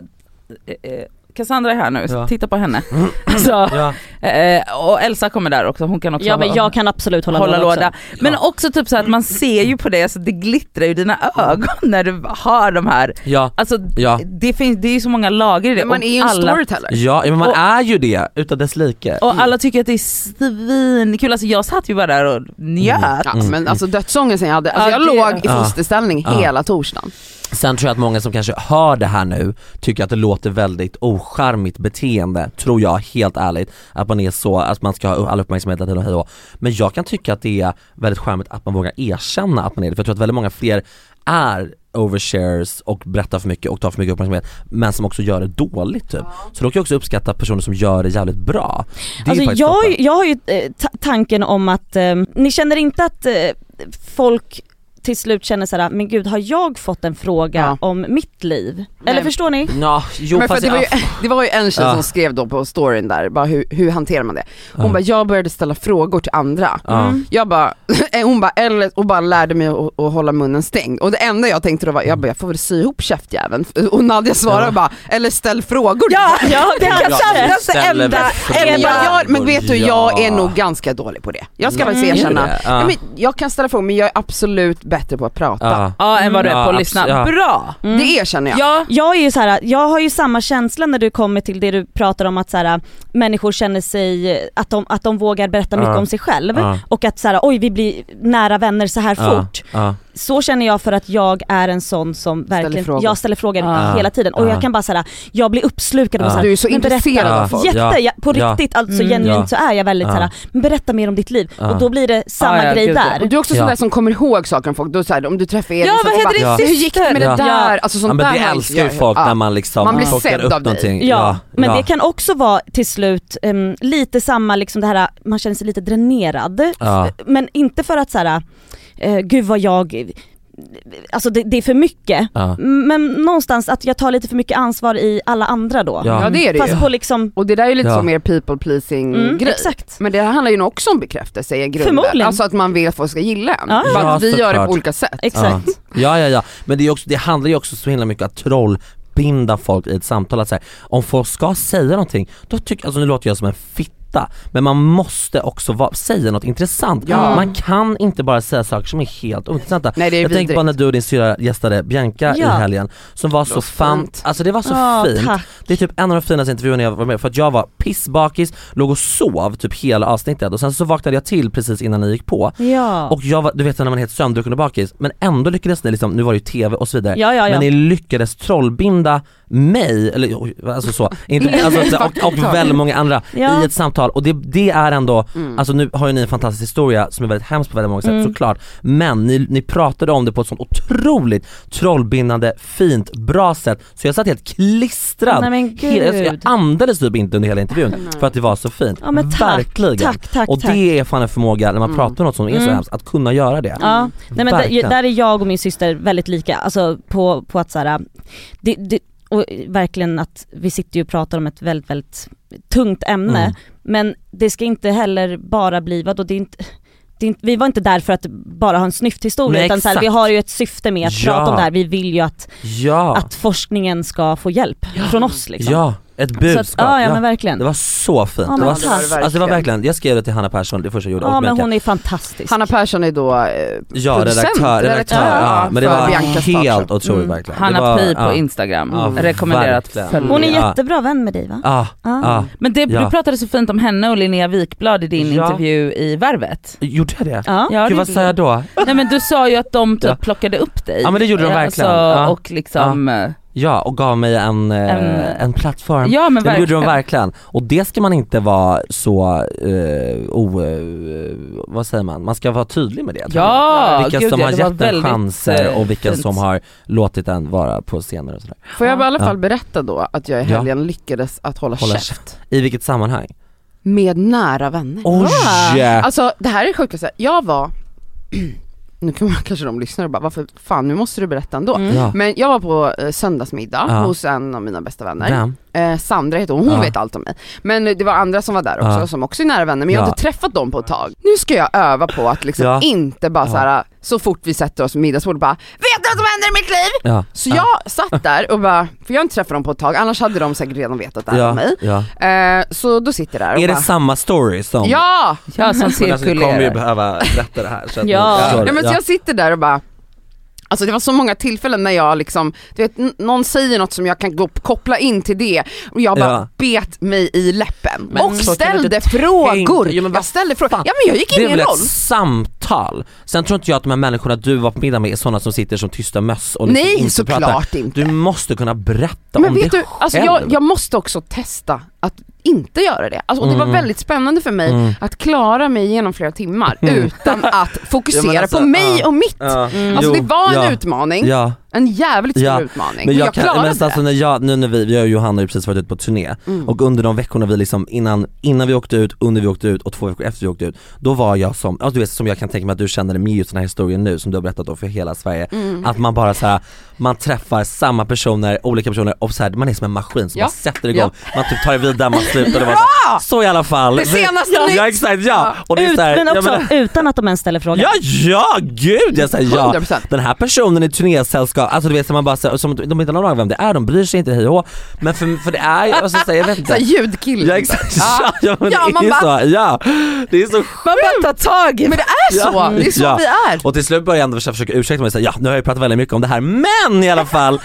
[SPEAKER 2] eh, Cassandra är här nu, så
[SPEAKER 3] Ja. Mm.
[SPEAKER 2] titta på henne. [LAUGHS] Alltså,
[SPEAKER 3] Ja.
[SPEAKER 2] eh, och Elsa kommer där också, hon kan också
[SPEAKER 4] Ja men
[SPEAKER 2] vara-
[SPEAKER 4] jag kan absolut hålla,
[SPEAKER 2] hålla låda.
[SPEAKER 4] också.
[SPEAKER 2] Men
[SPEAKER 3] Ja.
[SPEAKER 2] också typ så här att man ser ju på dig, alltså det glittrar ju i dina ögon när du har de här,
[SPEAKER 3] Ja,
[SPEAKER 2] alltså
[SPEAKER 3] ja,
[SPEAKER 2] det, finns, det är ju så många lager i det.
[SPEAKER 1] Men man
[SPEAKER 2] och
[SPEAKER 1] är ju en
[SPEAKER 2] alla-
[SPEAKER 1] storyteller.
[SPEAKER 3] ja men man
[SPEAKER 2] Och-
[SPEAKER 3] är ju det utan dess like.
[SPEAKER 2] Och alla tycker att det är svinkul, alltså jag satt ju bara där och njöt.
[SPEAKER 3] Mm.
[SPEAKER 1] Ja, men alltså dödssången som jag hade, alltså
[SPEAKER 2] Ja,
[SPEAKER 1] jag
[SPEAKER 2] det-
[SPEAKER 1] låg i
[SPEAKER 3] Ja.
[SPEAKER 1] fosterställning
[SPEAKER 3] Ja.
[SPEAKER 1] hela torsdagen.
[SPEAKER 3] Sen tror jag att många som kanske hör det här nu tycker att det låter väldigt ocharmigt beteende, tror jag helt ärligt. Att man är så, att man ska ha all uppmärksamhet hela tiden och hej och hå. Men jag kan tycka att det är väldigt charmigt att man vågar erkänna att man är det, för jag tror att väldigt många fler är overshares och berättar för mycket och tar för mycket uppmärksamhet men som också gör det dåligt typ. Så då kan jag också uppskatta personer som gör det jävligt bra. Det är
[SPEAKER 4] Alltså
[SPEAKER 3] faktiskt
[SPEAKER 4] jag, har ju-
[SPEAKER 3] toppen.
[SPEAKER 4] jag har ju eh, ta- tanken om att, eh, ni känner inte att eh, folk till slut känner såhär, men gud har jag fått en fråga
[SPEAKER 1] Ja.
[SPEAKER 4] om mitt liv? Eller
[SPEAKER 1] Nej.
[SPEAKER 4] förstår ni?
[SPEAKER 3] Ja, jo
[SPEAKER 1] men för
[SPEAKER 3] fast
[SPEAKER 1] att det, var ju, [LAUGHS] det var ju en tjej
[SPEAKER 3] Ja.
[SPEAKER 1] som skrev då på storyn där, bara hur, hur hanterar man det? Hon
[SPEAKER 3] Ja.
[SPEAKER 1] bara, jag började ställa frågor till andra.
[SPEAKER 3] Ja.
[SPEAKER 4] Mm.
[SPEAKER 1] Jag bara, [LAUGHS] eh, hon bara, eller, och bara lärde mig att, att hålla munnen stängd. Och det enda jag tänkte då var, jag bara, jag får väl sy ihop käftjäveln. [LAUGHS] Och Nadja svarade
[SPEAKER 3] Ja.
[SPEAKER 1] bara, eller ställ frågor.
[SPEAKER 2] Ja,
[SPEAKER 4] Ja, det
[SPEAKER 2] Ja,
[SPEAKER 4] kanske
[SPEAKER 2] det
[SPEAKER 4] är det.
[SPEAKER 2] kanske
[SPEAKER 3] ställer
[SPEAKER 2] enda-
[SPEAKER 3] väl
[SPEAKER 1] Eller
[SPEAKER 3] frågor.
[SPEAKER 1] bara, jag, men vet du, jag
[SPEAKER 3] Ja.
[SPEAKER 1] är nog ganska dålig på det. Jag ska
[SPEAKER 4] Mm.
[SPEAKER 1] faktiskt erkänna.
[SPEAKER 3] Är du det?
[SPEAKER 1] Ja.
[SPEAKER 3] Ja.
[SPEAKER 1] men jag kan ställa frågor men jag är absolut bättre på att prata.
[SPEAKER 3] Ja.
[SPEAKER 2] Ja än vad du är på
[SPEAKER 3] Mm. Ja,
[SPEAKER 2] att lyssna.
[SPEAKER 3] absolut, ja.
[SPEAKER 2] Bra!
[SPEAKER 4] Mm.
[SPEAKER 1] Det erkänner jag.
[SPEAKER 2] Ja.
[SPEAKER 4] Jag är ju så här, jag har ju samma känsla när du kommer till det du pratar om att så här, människor känner sig, att de, att de vågar berätta mycket
[SPEAKER 3] Ja.
[SPEAKER 4] om sig själv
[SPEAKER 3] Ja.
[SPEAKER 4] och att så här, oj vi blir nära vänner så här
[SPEAKER 3] Ja,
[SPEAKER 4] fort.
[SPEAKER 3] ja.
[SPEAKER 4] Så känner jag för att jag är en sån som verkligen,
[SPEAKER 1] frågor.
[SPEAKER 4] jag ställer frågor
[SPEAKER 2] Ja.
[SPEAKER 4] hela tiden och
[SPEAKER 3] Ja.
[SPEAKER 4] jag kan bara säga, jag blir uppslukad och
[SPEAKER 3] Ja.
[SPEAKER 4] så här,
[SPEAKER 1] Du är så
[SPEAKER 4] men berätta.
[SPEAKER 1] intresserad av folk.
[SPEAKER 4] Jätte,
[SPEAKER 3] Ja.
[SPEAKER 4] jag, på
[SPEAKER 3] Ja.
[SPEAKER 4] riktigt, alltså
[SPEAKER 2] Mm.
[SPEAKER 4] genuint
[SPEAKER 3] Ja.
[SPEAKER 4] så är jag väldigt
[SPEAKER 3] Ja.
[SPEAKER 4] så här, men berätta mer om ditt liv.
[SPEAKER 3] Ja.
[SPEAKER 4] Och då blir det samma
[SPEAKER 2] Ja, ja,
[SPEAKER 4] grej
[SPEAKER 2] gud, ja.
[SPEAKER 1] Och
[SPEAKER 4] där.
[SPEAKER 1] du är också sån
[SPEAKER 3] Ja.
[SPEAKER 1] där som kommer ihåg saker om folk, då så här, om du träffar Elin
[SPEAKER 2] Ja,
[SPEAKER 1] så
[SPEAKER 2] vad
[SPEAKER 1] så
[SPEAKER 2] heter din
[SPEAKER 1] bara,
[SPEAKER 2] syster?
[SPEAKER 1] Hur gick det med
[SPEAKER 3] Ja.
[SPEAKER 1] det där? Alltså sånt
[SPEAKER 3] Ja, men
[SPEAKER 1] där
[SPEAKER 3] det
[SPEAKER 1] har jag
[SPEAKER 3] älskar ju
[SPEAKER 1] inte-
[SPEAKER 3] folk
[SPEAKER 1] ja.
[SPEAKER 3] när man liksom
[SPEAKER 1] Man blir
[SPEAKER 3] plockar
[SPEAKER 1] sedd
[SPEAKER 3] upp
[SPEAKER 1] av dig.
[SPEAKER 3] någonting.
[SPEAKER 4] Ja, men det kan också vara till slut ehm, lite samma, liksom det här, man känner sig lite dränerad.
[SPEAKER 3] Ja.
[SPEAKER 4] Men inte för att så här, eh, gud vad jag, alltså det, det är för mycket.
[SPEAKER 3] Ja.
[SPEAKER 4] Men någonstans att jag tar lite för mycket ansvar i alla andra då.
[SPEAKER 3] Ja.
[SPEAKER 1] Ja det är det ju.
[SPEAKER 4] Fast på liksom,
[SPEAKER 1] Och det där är ju lite
[SPEAKER 3] Ja.
[SPEAKER 1] så mer people pleasing
[SPEAKER 4] mm,
[SPEAKER 1] grej.
[SPEAKER 4] exakt.
[SPEAKER 1] Men det här handlar ju nog också om bekräftelse i grunden.
[SPEAKER 4] Förmodligen.
[SPEAKER 1] Alltså att man vill att folk ska gilla en.
[SPEAKER 4] Ja.
[SPEAKER 1] Bara att vi
[SPEAKER 3] Ja,
[SPEAKER 1] gör det
[SPEAKER 3] såklart.
[SPEAKER 1] på olika sätt.
[SPEAKER 4] Exakt.
[SPEAKER 3] ja, ja, ja. Men det, är också, det handlar ju också så himla mycket om att trollbinda folk i ett samtal. Att så här, om folk ska säga någonting, då tycker, alltså nu låter jag som en fitta, men man måste också va, säga något intressant.
[SPEAKER 1] Ja.
[SPEAKER 3] Man kan inte bara säga saker som är helt ointressanta.
[SPEAKER 1] Nej det är
[SPEAKER 3] Jag tänker
[SPEAKER 1] vidrigt.
[SPEAKER 3] på när du och din syrra gästade Bianca i
[SPEAKER 4] Ja.
[SPEAKER 3] helgen, som var så
[SPEAKER 1] var
[SPEAKER 3] fan,
[SPEAKER 1] fint.
[SPEAKER 3] alltså det var så
[SPEAKER 4] Ja,
[SPEAKER 3] fint.
[SPEAKER 4] tack.
[SPEAKER 3] Det är typ en av de finaste intervjuerna jag var med för att jag var pissbakis, låg och sov typ hela avsnittet och sen så vaknade jag till precis innan ni gick på
[SPEAKER 4] Ja.
[SPEAKER 3] och jag var, du vet när man är helt sömndrucken och bakis, men ändå lyckades ni liksom, nu var det ju tv och så vidare,
[SPEAKER 4] Ja, ja, ja.
[SPEAKER 3] men ni lyckades trollbinda mig, eller oj, alltså så,
[SPEAKER 4] [LAUGHS]
[SPEAKER 3] inte, alltså, och, och väldigt många andra
[SPEAKER 4] Ja.
[SPEAKER 3] i ett samtal och det, det är ändå,
[SPEAKER 1] Mm.
[SPEAKER 3] alltså nu har ju ni en fantastisk historia som är väldigt hemsk på väldigt många sätt
[SPEAKER 4] Mm.
[SPEAKER 3] såklart, men ni, ni pratade om det på ett sånt otroligt trollbindande, fint, bra sätt så jag satt helt klistrad
[SPEAKER 4] Nej men
[SPEAKER 3] Hela, alltså, jag
[SPEAKER 4] gud.
[SPEAKER 3] andades typ inte under hela intervjun
[SPEAKER 1] Nej.
[SPEAKER 3] för att det var så fint.
[SPEAKER 4] Ja, men tack,
[SPEAKER 3] Verkligen.
[SPEAKER 4] Tack, tack,
[SPEAKER 3] och
[SPEAKER 4] tack.
[SPEAKER 3] det är fan en förmåga när man
[SPEAKER 1] Mm.
[SPEAKER 3] pratar om något som är så
[SPEAKER 4] Mm.
[SPEAKER 3] hemskt, att kunna göra det.
[SPEAKER 4] Ja, nej men där,
[SPEAKER 3] Verkligen.
[SPEAKER 4] där är jag och min syster väldigt lika, alltså på, på att såhär, det, det, och verkligen att vi sitter ju och pratar om ett väldigt, väldigt tungt ämne,
[SPEAKER 3] Mm.
[SPEAKER 4] men det ska inte heller bara bli, vadå det är inte det är inte, vi var inte där för att bara ha en snyfthistoria
[SPEAKER 3] Nej,
[SPEAKER 4] utan så här, vi
[SPEAKER 3] exakt.
[SPEAKER 4] har ju ett syfte med att
[SPEAKER 3] Ja.
[SPEAKER 4] prata om det här, vi vill ju att,
[SPEAKER 3] Ja,
[SPEAKER 4] att forskningen ska få hjälp från oss liksom.
[SPEAKER 3] ja, ett
[SPEAKER 4] så att,
[SPEAKER 3] budskap.
[SPEAKER 4] ja, ja
[SPEAKER 3] Ja.
[SPEAKER 4] men verkligen.
[SPEAKER 3] Det var så fint.
[SPEAKER 4] Ja,
[SPEAKER 3] det
[SPEAKER 4] men
[SPEAKER 3] var
[SPEAKER 4] tack.
[SPEAKER 3] så, alltså det var verkligen, jag skrev det till Hanna Persson det första jag gjorde
[SPEAKER 4] ja
[SPEAKER 3] och
[SPEAKER 4] men
[SPEAKER 3] Bianca.
[SPEAKER 4] hon är fantastisk.
[SPEAKER 1] Hanna Persson är då eh,
[SPEAKER 3] Ja,
[SPEAKER 1] producent,
[SPEAKER 3] redaktör, redaktör,
[SPEAKER 1] redaktör,
[SPEAKER 3] ja,
[SPEAKER 1] ja,
[SPEAKER 3] men det
[SPEAKER 1] för
[SPEAKER 3] var
[SPEAKER 1] Biancas
[SPEAKER 3] helt
[SPEAKER 1] talkshow.
[SPEAKER 3] otroligt
[SPEAKER 4] Mm.
[SPEAKER 3] verkligen.
[SPEAKER 2] Hanna
[SPEAKER 3] det var,
[SPEAKER 2] Pi på
[SPEAKER 3] ja.
[SPEAKER 2] Instagram,
[SPEAKER 3] Ja,
[SPEAKER 2] rekommenderat
[SPEAKER 3] verkligen.
[SPEAKER 2] följa.
[SPEAKER 4] hon är
[SPEAKER 3] Ja.
[SPEAKER 4] jättebra vän med dig va?
[SPEAKER 3] Ja,
[SPEAKER 4] Ja.
[SPEAKER 3] ja.
[SPEAKER 2] Men det, du
[SPEAKER 3] Ja.
[SPEAKER 2] pratade så fint om henne och Linnea Wikblad i din
[SPEAKER 3] Ja.
[SPEAKER 2] intervju i Värvet.
[SPEAKER 3] Gjorde jag det?
[SPEAKER 4] Ja.
[SPEAKER 2] Ja,
[SPEAKER 3] Gud
[SPEAKER 2] det
[SPEAKER 3] vad
[SPEAKER 2] gjorde
[SPEAKER 3] sa jag då?
[SPEAKER 2] du. Nej men du sa ju att de typ
[SPEAKER 3] Ja.
[SPEAKER 2] plockade upp dig. Eh,
[SPEAKER 3] Ja, men det gjorde de verkligen. Ja.
[SPEAKER 2] Och liksom, eh,
[SPEAKER 3] Ja, och gav mig en, eh,
[SPEAKER 2] En-
[SPEAKER 3] en plattform.
[SPEAKER 2] ja men
[SPEAKER 3] Det
[SPEAKER 2] verkligen.
[SPEAKER 3] gjorde de verkligen. Och det ska man inte vara så, eh, o, eh, vad säger man, man ska vara tydlig med det. tror jag.
[SPEAKER 2] Ja,
[SPEAKER 3] vilka
[SPEAKER 2] gud,
[SPEAKER 3] som
[SPEAKER 2] ja,
[SPEAKER 3] har
[SPEAKER 2] det var
[SPEAKER 3] gett en
[SPEAKER 2] väldigt,
[SPEAKER 3] chanser
[SPEAKER 2] eh,
[SPEAKER 3] och vilka
[SPEAKER 2] fint.
[SPEAKER 3] som har låtit en vara på scener och sådär.
[SPEAKER 1] Får jag
[SPEAKER 2] Ja.
[SPEAKER 1] i alla fall
[SPEAKER 3] Ja.
[SPEAKER 1] berätta då att jag i
[SPEAKER 3] Ja.
[SPEAKER 1] helgen lyckades att hålla,
[SPEAKER 3] Hålla
[SPEAKER 1] käft,
[SPEAKER 3] I vilket sammanhang?
[SPEAKER 1] med nära vänner.
[SPEAKER 3] Oj!
[SPEAKER 1] Alltså det här är det sjukaste, jag var, [CLEARS THROAT] nu kan man kanske de lyssnar och bara varför fan nu måste du berätta ändå.
[SPEAKER 4] Mm.
[SPEAKER 3] Ja.
[SPEAKER 1] Men jag var på eh, söndagsmiddag
[SPEAKER 3] Ja.
[SPEAKER 1] hos en av mina bästa vänner.
[SPEAKER 3] Vem?
[SPEAKER 1] eh, Sandra heter hon, hon
[SPEAKER 3] Ja.
[SPEAKER 1] vet allt om mig. Men det var andra som var där också
[SPEAKER 3] Ja.
[SPEAKER 1] som också är nära vänner men jag har
[SPEAKER 3] Ja.
[SPEAKER 1] inte träffat dem på ett tag. Nu ska jag öva på att liksom
[SPEAKER 3] Ja.
[SPEAKER 1] inte bara
[SPEAKER 3] Ja.
[SPEAKER 1] så här så fort vi sätter oss vid middagsbordet bara Vet du vad som händer i mitt liv?
[SPEAKER 3] Ja.
[SPEAKER 1] Så jag satt där och bara, för jag har inte träffat dem på ett tag annars hade de säkert redan vetat det här om
[SPEAKER 3] ja.
[SPEAKER 1] mig.
[SPEAKER 3] ja.
[SPEAKER 1] Eh, så då sitter jag där och
[SPEAKER 3] Är det
[SPEAKER 1] bara,
[SPEAKER 3] samma story som...
[SPEAKER 1] Ja!
[SPEAKER 2] Ja som
[SPEAKER 3] Men [LAUGHS] alltså, ni kommer ju
[SPEAKER 2] cirkulerar.
[SPEAKER 3] behöva berätta det här så att
[SPEAKER 4] Ja.
[SPEAKER 3] ni förstår.
[SPEAKER 1] Ja, men så jag sitter där och bara Alltså det var så många tillfällen när jag liksom, du vet n- någon säger något som jag kan gå, koppla in till det och jag bara
[SPEAKER 3] Ja.
[SPEAKER 1] bet mig i läppen
[SPEAKER 3] Men
[SPEAKER 1] och
[SPEAKER 3] så kan du
[SPEAKER 1] ställde
[SPEAKER 3] inte
[SPEAKER 1] frågor.
[SPEAKER 3] tänka. Jo, men
[SPEAKER 1] jag
[SPEAKER 3] vad
[SPEAKER 1] ställde frågor.
[SPEAKER 3] fan.
[SPEAKER 1] Ja men jag gick in
[SPEAKER 3] Det
[SPEAKER 1] i
[SPEAKER 3] är
[SPEAKER 1] en
[SPEAKER 3] väl
[SPEAKER 1] roll.
[SPEAKER 3] ett samtal? Sen tror inte jag att de här människorna du var på middag med är sådana som sitter som tysta möss och liksom
[SPEAKER 1] Nej
[SPEAKER 3] inte pratar.
[SPEAKER 1] såklart inte.
[SPEAKER 3] Du måste kunna berätta
[SPEAKER 1] Men
[SPEAKER 3] om
[SPEAKER 1] vet
[SPEAKER 3] det
[SPEAKER 1] du, alltså
[SPEAKER 3] själv.
[SPEAKER 1] jag, jag måste också testa att inte göra det. Alltså, och det var
[SPEAKER 3] Mm.
[SPEAKER 1] väldigt spännande för mig
[SPEAKER 3] Mm.
[SPEAKER 1] att klara mig igenom flera timmar
[SPEAKER 3] Mm. [LAUGHS]
[SPEAKER 1] utan att fokusera
[SPEAKER 3] alltså,
[SPEAKER 1] på mig
[SPEAKER 3] ja.
[SPEAKER 1] och mitt.
[SPEAKER 3] Ja.
[SPEAKER 1] Alltså
[SPEAKER 3] Jo,
[SPEAKER 1] det var en
[SPEAKER 3] ja.
[SPEAKER 1] utmaning,
[SPEAKER 3] Ja.
[SPEAKER 1] en jävligt stor
[SPEAKER 3] Ja,
[SPEAKER 1] utmaning.
[SPEAKER 3] Men jag,
[SPEAKER 1] jag
[SPEAKER 3] kan,
[SPEAKER 1] klarade
[SPEAKER 3] men
[SPEAKER 1] det.
[SPEAKER 3] alltså när jag, nu när vi, jag och Johanna har ju precis varit ute på turné
[SPEAKER 1] Mm.
[SPEAKER 3] och under de veckorna vi liksom innan, innan vi åkte ut, under vi åkte ut och två veckor efter vi åkte ut, då var jag som, alltså du vet som jag kan tänka mig att du känner med just den här historien nu som du har berättat om för hela Sverige,
[SPEAKER 1] Mm.
[SPEAKER 3] att man bara så här, man träffar samma personer, olika personer och så här, man är som en maskin som
[SPEAKER 1] Ja.
[SPEAKER 3] bara sätter igång, man typ tar det vidare, man slutar och bara så,
[SPEAKER 1] [LAUGHS]
[SPEAKER 3] här, så i alla fall.
[SPEAKER 1] Det senaste
[SPEAKER 3] ja,
[SPEAKER 1] nytt.
[SPEAKER 3] ja exakt ja! Och det är
[SPEAKER 4] Ut,
[SPEAKER 3] så här,
[SPEAKER 4] men
[SPEAKER 3] jag
[SPEAKER 4] också
[SPEAKER 3] menar-
[SPEAKER 4] utan att de ens ställer frågan.
[SPEAKER 3] Ja, ja, gud! Jag säger ja.
[SPEAKER 1] 100%.
[SPEAKER 3] Den här personen i turnésällskap, alltså du vet så man bara så, som, de inte har någon aning om vem det är, de bryr sig inte, hej och hå. Men för, för det är ju, alltså, så, här, jag vet
[SPEAKER 1] Såhär
[SPEAKER 3] inte.
[SPEAKER 1] ljudkille.
[SPEAKER 3] Ja exakt, ja, ja, men
[SPEAKER 1] Ja,
[SPEAKER 3] det är
[SPEAKER 1] man
[SPEAKER 3] ju
[SPEAKER 1] bara-
[SPEAKER 3] så, ja. Det är så sjukt.
[SPEAKER 2] Man bara tar tag i
[SPEAKER 1] Men det är så,
[SPEAKER 3] Ja.
[SPEAKER 1] det är så
[SPEAKER 3] Ja.
[SPEAKER 1] vi är.
[SPEAKER 3] Och till slut börjar jag ändå försöka försöka ursäkta mig och säga ja nu har jag ju pratat väldigt mycket om det här men i alla
[SPEAKER 1] [LAUGHS]
[SPEAKER 3] fall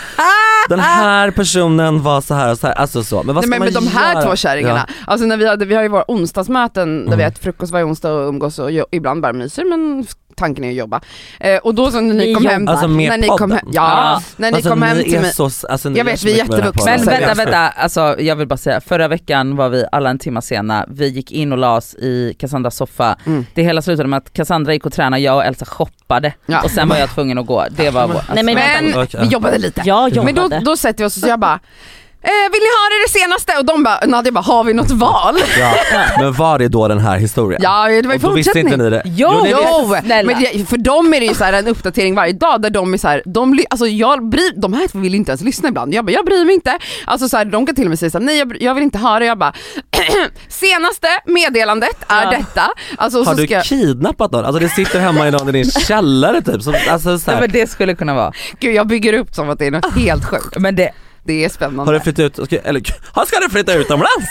[SPEAKER 3] Den här personen var så här och så här, alltså så. Men vad
[SPEAKER 1] Nej,
[SPEAKER 3] ska
[SPEAKER 1] men med
[SPEAKER 3] man
[SPEAKER 1] de här
[SPEAKER 3] göra?
[SPEAKER 1] två kärringarna, alltså när vi, hade, vi har ju våra onsdagsmöten där
[SPEAKER 3] Mm.
[SPEAKER 1] vi äter frukost varje onsdag och umgås och jo, ibland bara myser men tanken är att jobba. Eh, och då så när ni
[SPEAKER 4] Vi
[SPEAKER 1] kom hem,
[SPEAKER 3] jobbar. Alltså, med
[SPEAKER 1] när ni
[SPEAKER 3] podden?
[SPEAKER 1] kom hem, ja,
[SPEAKER 2] Ja.
[SPEAKER 1] när ni
[SPEAKER 3] alltså,
[SPEAKER 1] kom hem till
[SPEAKER 3] är
[SPEAKER 1] mig.
[SPEAKER 3] Så, alltså,
[SPEAKER 1] Jag
[SPEAKER 3] ni gör
[SPEAKER 1] vet,
[SPEAKER 3] så
[SPEAKER 1] vi är
[SPEAKER 3] mycket med den här
[SPEAKER 1] jättevuxna.
[SPEAKER 2] Men
[SPEAKER 3] podden.
[SPEAKER 2] vänta, vänta, alltså, jag vill bara säga, förra veckan var vi alla en timme sena, vi gick in och la oss i Cassandras soffa.
[SPEAKER 1] Mm.
[SPEAKER 2] Det hela slutade med att Cassandra gick och tränade, jag och Elsa shoppade
[SPEAKER 1] Ja.
[SPEAKER 2] och sen var jag tvungen att gå. Det var vår, alltså,
[SPEAKER 4] Nej, men-
[SPEAKER 1] Men
[SPEAKER 3] Okej.
[SPEAKER 1] vi jobbade lite.
[SPEAKER 4] Jag jobbade.
[SPEAKER 1] Men då, då sätter vi oss och så jag bara, eh, vill ni höra det senaste? Och de bara, Nadja bara, har vi något
[SPEAKER 3] [LAUGHS]
[SPEAKER 1] val?
[SPEAKER 3] Ja. Men var det då den här historien?
[SPEAKER 1] Ja det var ju
[SPEAKER 3] Och då visste
[SPEAKER 1] fortsättning.
[SPEAKER 3] inte ni det?
[SPEAKER 2] Jo,
[SPEAKER 1] Jo,
[SPEAKER 2] det är det. Snälla.
[SPEAKER 1] men det, för dem är det ju så här en uppdatering varje dag där de är så här, de, ly- alltså jag bryr, de här vill inte ens lyssna ibland. Jag bara, jag bryr mig inte. Alltså så här, de kan till och med säga så här, nej jag, bry- jag vill inte höra. Jag bara, [CLEARS THROAT] senaste meddelandet är
[SPEAKER 2] Ja.
[SPEAKER 1] detta. Alltså, och
[SPEAKER 3] Har
[SPEAKER 1] så
[SPEAKER 3] du
[SPEAKER 1] ska jag,
[SPEAKER 3] kidnappat någon? Alltså det sitter hemma i någon
[SPEAKER 1] [LAUGHS]
[SPEAKER 3] i din källare typ. Som, alltså, så
[SPEAKER 2] Nej,
[SPEAKER 3] här,
[SPEAKER 2] men det skulle kunna vara.
[SPEAKER 1] gud jag bygger upp som att det är något helt sjukt.
[SPEAKER 2] Men det,
[SPEAKER 1] Det är spännande.
[SPEAKER 3] har du flyttat ut, ska, eller [LAUGHS] "Ha, ska du flytta utomlands?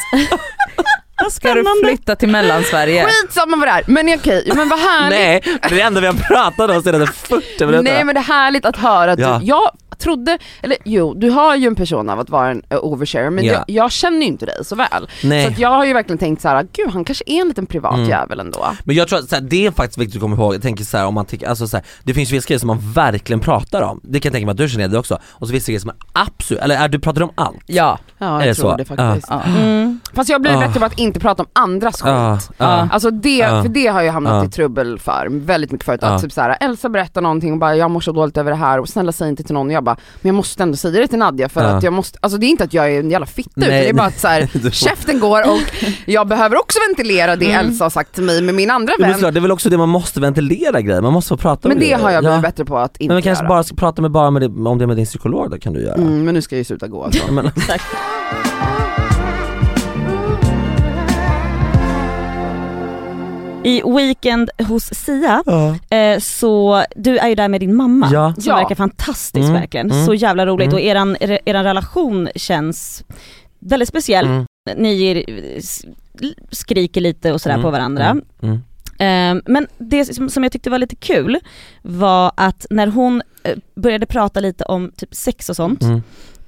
[SPEAKER 2] ska du flytta till mellansverige?
[SPEAKER 1] Skitsamma vad det är, men okej, men vad härligt.
[SPEAKER 3] Nej, det är det enda vi har pratat
[SPEAKER 1] [LAUGHS]
[SPEAKER 3] om sedan 40 minuter.
[SPEAKER 1] Nej men det är härligt att höra att
[SPEAKER 3] Ja.
[SPEAKER 1] du, jag trodde, eller jo du har ju en person av att vara en eh, overshare men
[SPEAKER 3] Ja.
[SPEAKER 1] jag, jag känner ju inte dig så väl.
[SPEAKER 3] Nej. Mm.
[SPEAKER 1] Så att jag har ju verkligen tänkt så här: gud han kanske är en liten privat jävel ändå.
[SPEAKER 3] Men jag tror att så här, det är faktiskt viktigt att komma ihåg, jag tänker så här, om man tycker, alltså så här, det finns vissa grejer som man verkligen pratar om, det kan jag tänka mig att du känner det också, och så vissa grejer som man absolut, eller är du pratar om allt?
[SPEAKER 2] Ja.
[SPEAKER 1] Ja
[SPEAKER 3] Är
[SPEAKER 1] jag
[SPEAKER 3] det
[SPEAKER 1] tror
[SPEAKER 3] så?
[SPEAKER 1] det faktiskt.
[SPEAKER 2] ja.
[SPEAKER 4] Mm.
[SPEAKER 1] Fast jag blir
[SPEAKER 3] Ah.
[SPEAKER 1] bättre på att inte prata om andras skit.
[SPEAKER 3] Ja, ja.
[SPEAKER 1] Alltså det,
[SPEAKER 3] Ah.
[SPEAKER 1] för det har jag hamnat
[SPEAKER 3] Ah.
[SPEAKER 1] i trubbel för väldigt mycket förut.
[SPEAKER 3] Ah.
[SPEAKER 1] Att typ såhär, Elsa berättar någonting och bara jag mår så dåligt över det här och snälla säg inte till någon. Och jag bara, men jag måste ändå säga det till Nadja för
[SPEAKER 3] Ah.
[SPEAKER 1] att jag måste, alltså det är inte att jag är en jävla fitta utan
[SPEAKER 3] Nej,
[SPEAKER 1] det är bara att
[SPEAKER 3] [LAUGHS]
[SPEAKER 1] såhär,
[SPEAKER 3] Du-
[SPEAKER 1] käften går och jag behöver också ventilera det
[SPEAKER 3] Mm.
[SPEAKER 1] Elsa har sagt till mig med min andra
[SPEAKER 3] Men
[SPEAKER 1] vän.
[SPEAKER 3] såklart, det är väl också det man måste ventilera grejer, man måste få prata
[SPEAKER 1] Men
[SPEAKER 3] om
[SPEAKER 1] det har jag blivit
[SPEAKER 3] Ja.
[SPEAKER 1] bättre på att inte
[SPEAKER 3] Men vi kanske
[SPEAKER 1] göra.
[SPEAKER 3] bara ska prata med, bara med det, om det med din psykolog då kan du göra.
[SPEAKER 1] Mm, men nu ska jag ju sluta gå
[SPEAKER 3] [LAUGHS]
[SPEAKER 1] alltså. [LAUGHS]
[SPEAKER 3] Jag menar-
[SPEAKER 4] I Weekend hos Sia, eh, så du är ju där med din mamma
[SPEAKER 3] Ja.
[SPEAKER 4] som
[SPEAKER 1] Ja.
[SPEAKER 4] verkar fantastisk
[SPEAKER 3] Mm,
[SPEAKER 4] verkligen.
[SPEAKER 3] mm,
[SPEAKER 4] så jävla roligt
[SPEAKER 3] mm.
[SPEAKER 4] och eran, er, eran relation känns väldigt speciell.
[SPEAKER 3] Mm.
[SPEAKER 4] Ni är, s- skriker lite och sådär
[SPEAKER 3] Mm,
[SPEAKER 4] på varandra.
[SPEAKER 3] mm, mm.
[SPEAKER 4] Eh, Men det som som jag tyckte var lite kul var att när hon eh, började prata lite om typ sex och sånt,
[SPEAKER 3] Mm.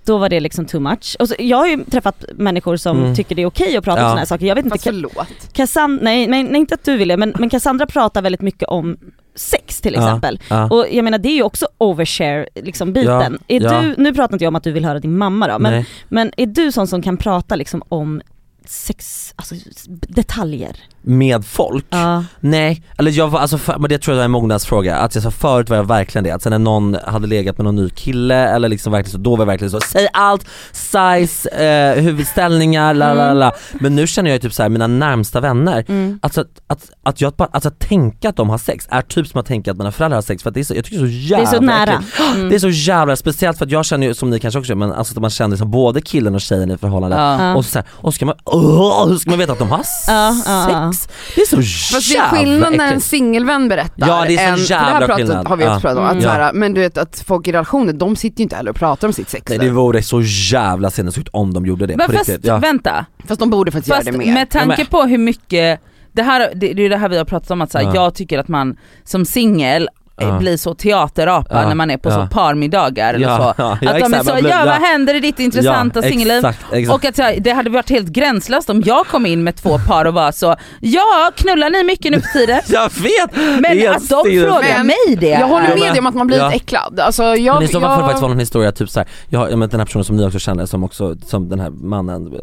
[SPEAKER 4] då var det liksom too much. Och så, jag har ju träffat människor som
[SPEAKER 3] Mm.
[SPEAKER 4] tycker det är okej att prata om
[SPEAKER 3] Ja.
[SPEAKER 4] sådana här saker. Jag vet inte,
[SPEAKER 1] Fast förlåt.
[SPEAKER 4] Cassandra, nej, nej, nej inte att du ville, men, men Cassandra pratar väldigt mycket om sex till
[SPEAKER 3] Ja,
[SPEAKER 4] exempel.
[SPEAKER 3] ja.
[SPEAKER 4] Och jag menar det är ju också overshare liksom biten.
[SPEAKER 3] Ja,
[SPEAKER 4] är
[SPEAKER 3] ja.
[SPEAKER 4] Du, nu pratar inte jag om att du vill höra din mamma då, men,
[SPEAKER 3] Nej.
[SPEAKER 4] men är du sån som kan prata liksom om sex, alltså s- detaljer?
[SPEAKER 3] med folk.
[SPEAKER 4] Ja.
[SPEAKER 3] Nej, eller jag var, alltså, för, men det tror jag var en mognadsfråga, att jag sa förut var jag verkligen det, att sen när någon hade legat med någon ny kille eller liksom verkligen så, då var jag verkligen så, säg allt, size, eh, huvudställningar, la la la.
[SPEAKER 4] Mm.
[SPEAKER 3] Men nu känner jag ju typ så här, mina närmsta vänner, alltså, att, att, att jag bara, alltså att tänka att de har sex är typ som att tänka att mina föräldrar har sex för att det är så, jag tycker det är så jävla
[SPEAKER 4] så nära.
[SPEAKER 3] äckligt. Det är så jävla, speciellt för att jag känner ju, som ni kanske också gör, men alltså att man känner liksom både killen och tjejen i förhållandet
[SPEAKER 2] Ja.
[SPEAKER 3] och så, så här, och ska man, åh, hur ska man veta att de har
[SPEAKER 4] Ja,
[SPEAKER 3] sex?
[SPEAKER 4] ja, ja.
[SPEAKER 3] Det är så
[SPEAKER 1] Fast det är
[SPEAKER 3] jävla
[SPEAKER 1] skillnad när en
[SPEAKER 3] äckligt.
[SPEAKER 1] singelvän berättar.
[SPEAKER 3] Ja, det är sån
[SPEAKER 1] än- för
[SPEAKER 3] jävla
[SPEAKER 1] det här pratet
[SPEAKER 3] skillnad.
[SPEAKER 1] har vi också
[SPEAKER 3] Ja.
[SPEAKER 1] pratat om. Att
[SPEAKER 3] Mm.
[SPEAKER 1] så här, men du vet att folk i relationer, de sitter ju inte heller och pratar om sitt sex.
[SPEAKER 3] Nej det vore så jävla sinnessjukt om de gjorde det
[SPEAKER 2] Men
[SPEAKER 3] på
[SPEAKER 2] fast
[SPEAKER 3] riktigt. Ja.
[SPEAKER 2] vänta,
[SPEAKER 1] Fast de borde faktiskt
[SPEAKER 2] fast
[SPEAKER 1] göra det mer.
[SPEAKER 2] med tanke på hur mycket, det, här, det, det är ju det här vi har pratat om att så här,
[SPEAKER 3] Ja.
[SPEAKER 2] jag tycker att man som singel eh,
[SPEAKER 3] Ja.
[SPEAKER 2] blir så teaterapa
[SPEAKER 3] Ja.
[SPEAKER 2] när man är på
[SPEAKER 3] Ja.
[SPEAKER 2] så parmiddagar eller
[SPEAKER 3] Ja,
[SPEAKER 2] så.
[SPEAKER 3] [LAUGHS] ja,
[SPEAKER 2] att
[SPEAKER 3] ja,
[SPEAKER 2] de är
[SPEAKER 3] exakt,
[SPEAKER 2] så,
[SPEAKER 3] man blir-
[SPEAKER 2] ja vad
[SPEAKER 3] ja.
[SPEAKER 2] händer i ditt intressanta singelliv?
[SPEAKER 3] Exakt, exakt.
[SPEAKER 2] Och att så här, det hade varit helt gränslöst om jag kom in med två par och var så, ja knullar ni mycket nu för
[SPEAKER 3] [LAUGHS]
[SPEAKER 2] tiden?
[SPEAKER 3] jag vet! det
[SPEAKER 2] Men
[SPEAKER 3] är
[SPEAKER 2] att de
[SPEAKER 3] sinnessjukt.
[SPEAKER 2] frågar
[SPEAKER 1] Men-
[SPEAKER 2] mig det.
[SPEAKER 1] Jag håller
[SPEAKER 2] är-
[SPEAKER 1] med dig om att man blir
[SPEAKER 3] Ja.
[SPEAKER 1] lite äcklad. Alltså, jag,
[SPEAKER 3] men i så fall
[SPEAKER 1] jag...
[SPEAKER 3] får det faktiskt vara någon historia, typ såhär, jag, jag menar, den här personen som ni också känner som också, som den här mannen, eh,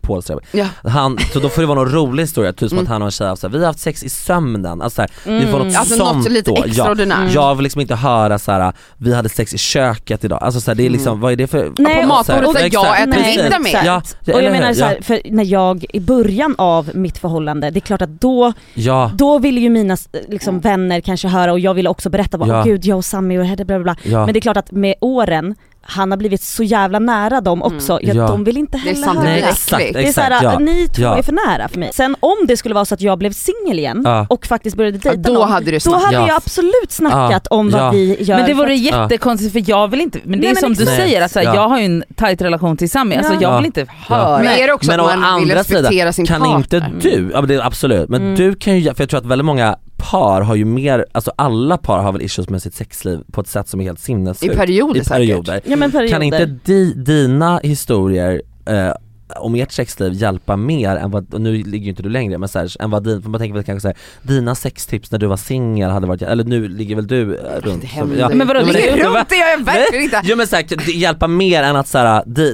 [SPEAKER 3] Paul Strebe,
[SPEAKER 1] Ja.
[SPEAKER 3] han, så då får det vara någon rolig historia, typ som att han och en tjej har haft såhär, vi har haft sex i sömnen, alltså, såhär, det får vara något
[SPEAKER 1] Alltså
[SPEAKER 3] sånt
[SPEAKER 1] något lite
[SPEAKER 3] då. Ja.
[SPEAKER 1] extraordinärt.
[SPEAKER 3] Jag vill liksom inte höra såhär, vi hade sex i köket idag, alltså såhär, det är liksom, vad är det för...
[SPEAKER 4] Nej,
[SPEAKER 1] På
[SPEAKER 4] och-
[SPEAKER 1] matbordet där jag
[SPEAKER 3] exakt,
[SPEAKER 1] äter
[SPEAKER 4] Nej,
[SPEAKER 1] middag
[SPEAKER 4] exakt.
[SPEAKER 1] med.
[SPEAKER 3] Ja, ja,
[SPEAKER 4] Och
[SPEAKER 3] eller
[SPEAKER 4] jag
[SPEAKER 3] hur?
[SPEAKER 4] menar så
[SPEAKER 3] Ja.
[SPEAKER 4] här, för när jag i början av mitt förhållande, det är klart att då,
[SPEAKER 3] Ja,
[SPEAKER 4] då ville ju mina eh, liksom, vänner kanske höra och jag ville också berätta bara,
[SPEAKER 3] Ja.
[SPEAKER 4] åh gud jag och Sami och hade bla bla bla.
[SPEAKER 3] ja.
[SPEAKER 4] Men det är klart att med åren, han har blivit så jävla nära dem också, ja,
[SPEAKER 3] Ja.
[SPEAKER 4] de vill inte
[SPEAKER 1] Mm. Det är
[SPEAKER 4] heller
[SPEAKER 1] sant,
[SPEAKER 4] höra.
[SPEAKER 1] det
[SPEAKER 3] Nej
[SPEAKER 1] är
[SPEAKER 3] exakt,
[SPEAKER 1] äckligt.
[SPEAKER 3] exakt
[SPEAKER 4] Det är såhär,
[SPEAKER 3] ja.
[SPEAKER 4] ni två
[SPEAKER 3] Ja.
[SPEAKER 4] är för nära för mig. Sen om det skulle vara så att jag blev singel igen
[SPEAKER 3] Ja.
[SPEAKER 4] och faktiskt började
[SPEAKER 1] Ja,
[SPEAKER 4] dejta
[SPEAKER 1] Då
[SPEAKER 4] någon,
[SPEAKER 1] hade du
[SPEAKER 4] då
[SPEAKER 1] snabbt.
[SPEAKER 4] hade
[SPEAKER 3] Ja.
[SPEAKER 4] jag absolut snackat om vad
[SPEAKER 3] Ja.
[SPEAKER 4] vi gör.
[SPEAKER 2] Men det vore
[SPEAKER 4] för
[SPEAKER 3] Ja.
[SPEAKER 2] jättekonstigt för jag vill inte, men det
[SPEAKER 4] Nej,
[SPEAKER 2] är
[SPEAKER 4] men
[SPEAKER 2] som du
[SPEAKER 3] exakt.
[SPEAKER 2] säger, alltså,
[SPEAKER 3] Ja.
[SPEAKER 2] jag har ju en tajt relation till Sami, alltså,
[SPEAKER 4] Ja.
[SPEAKER 2] jag vill
[SPEAKER 3] Ja.
[SPEAKER 2] inte höra.
[SPEAKER 1] Men är det också
[SPEAKER 3] men å
[SPEAKER 1] att man vill
[SPEAKER 3] andra
[SPEAKER 1] respektera
[SPEAKER 3] sidan,
[SPEAKER 1] sin
[SPEAKER 3] kan
[SPEAKER 1] partner? Mm.
[SPEAKER 3] inte du, ja, men det, absolut, men du kan ju, för jag tror att väldigt många par har ju mer, alltså alla par har väl issues med sitt sexliv på ett sätt som är helt sinnessjukt.
[SPEAKER 1] I perioder Alltså,
[SPEAKER 3] I perioder.
[SPEAKER 4] Ja, men perioder.
[SPEAKER 3] Kan inte di, dina historier eh, om ert sexliv hjälpa mer än vad, och nu ligger ju inte du längre men så här, än vad din, för man tänker väl kanske såhär, dina sextips när du var singel hade varit, eller nu ligger väl du eh, runt?
[SPEAKER 1] Det
[SPEAKER 3] som-
[SPEAKER 1] händer
[SPEAKER 3] ja.
[SPEAKER 1] ju.
[SPEAKER 2] Men vadå,
[SPEAKER 1] Ja,
[SPEAKER 2] det-
[SPEAKER 1] det är runt det gör jag verkligen inte.
[SPEAKER 3] Jo men såhär, det- hjälpa mer än att såhär, det,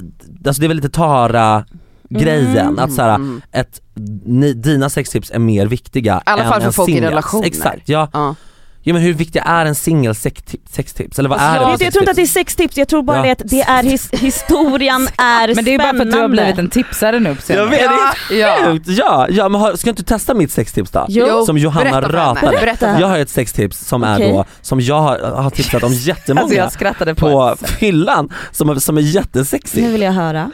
[SPEAKER 3] alltså det är väl lite tara grejen, att såhär,
[SPEAKER 1] Mm.
[SPEAKER 3] ett, ni, dina sextips är mer viktiga
[SPEAKER 1] alla
[SPEAKER 3] än
[SPEAKER 1] fall för
[SPEAKER 3] en
[SPEAKER 1] folk i
[SPEAKER 3] singels.
[SPEAKER 1] relationer.
[SPEAKER 3] Exakt, ja.
[SPEAKER 1] Ja.
[SPEAKER 3] ja men hur viktiga är en singel sexti- sextips? Eller vad
[SPEAKER 4] Alltså,
[SPEAKER 3] är
[SPEAKER 4] jag,
[SPEAKER 3] det?
[SPEAKER 4] vet, jag tror inte att det är sex tips, jag tror bara
[SPEAKER 3] Ja.
[SPEAKER 4] det att det är his,
[SPEAKER 3] [LAUGHS]
[SPEAKER 4] historien är
[SPEAKER 2] Men det är bara för att du har
[SPEAKER 4] spännande.
[SPEAKER 2] blivit en tipsare nu på senare.
[SPEAKER 3] Jag vet, det är
[SPEAKER 1] Ja.
[SPEAKER 3] sjukt! Ja, ja men har, ska inte testa mitt sextips då?
[SPEAKER 4] Jo.
[SPEAKER 3] Som Johanna
[SPEAKER 1] berätta för henne.
[SPEAKER 3] ratade.
[SPEAKER 1] Berätta för henne.
[SPEAKER 3] Jag har ett sextips som
[SPEAKER 4] Okej.
[SPEAKER 3] är då, som jag har, har tipsat om jättemånga
[SPEAKER 2] Alltså jag skrattade på,
[SPEAKER 3] på
[SPEAKER 2] ett sätt.
[SPEAKER 3] fyllan som, som är jättesexigt.
[SPEAKER 4] Nu vill jag höra.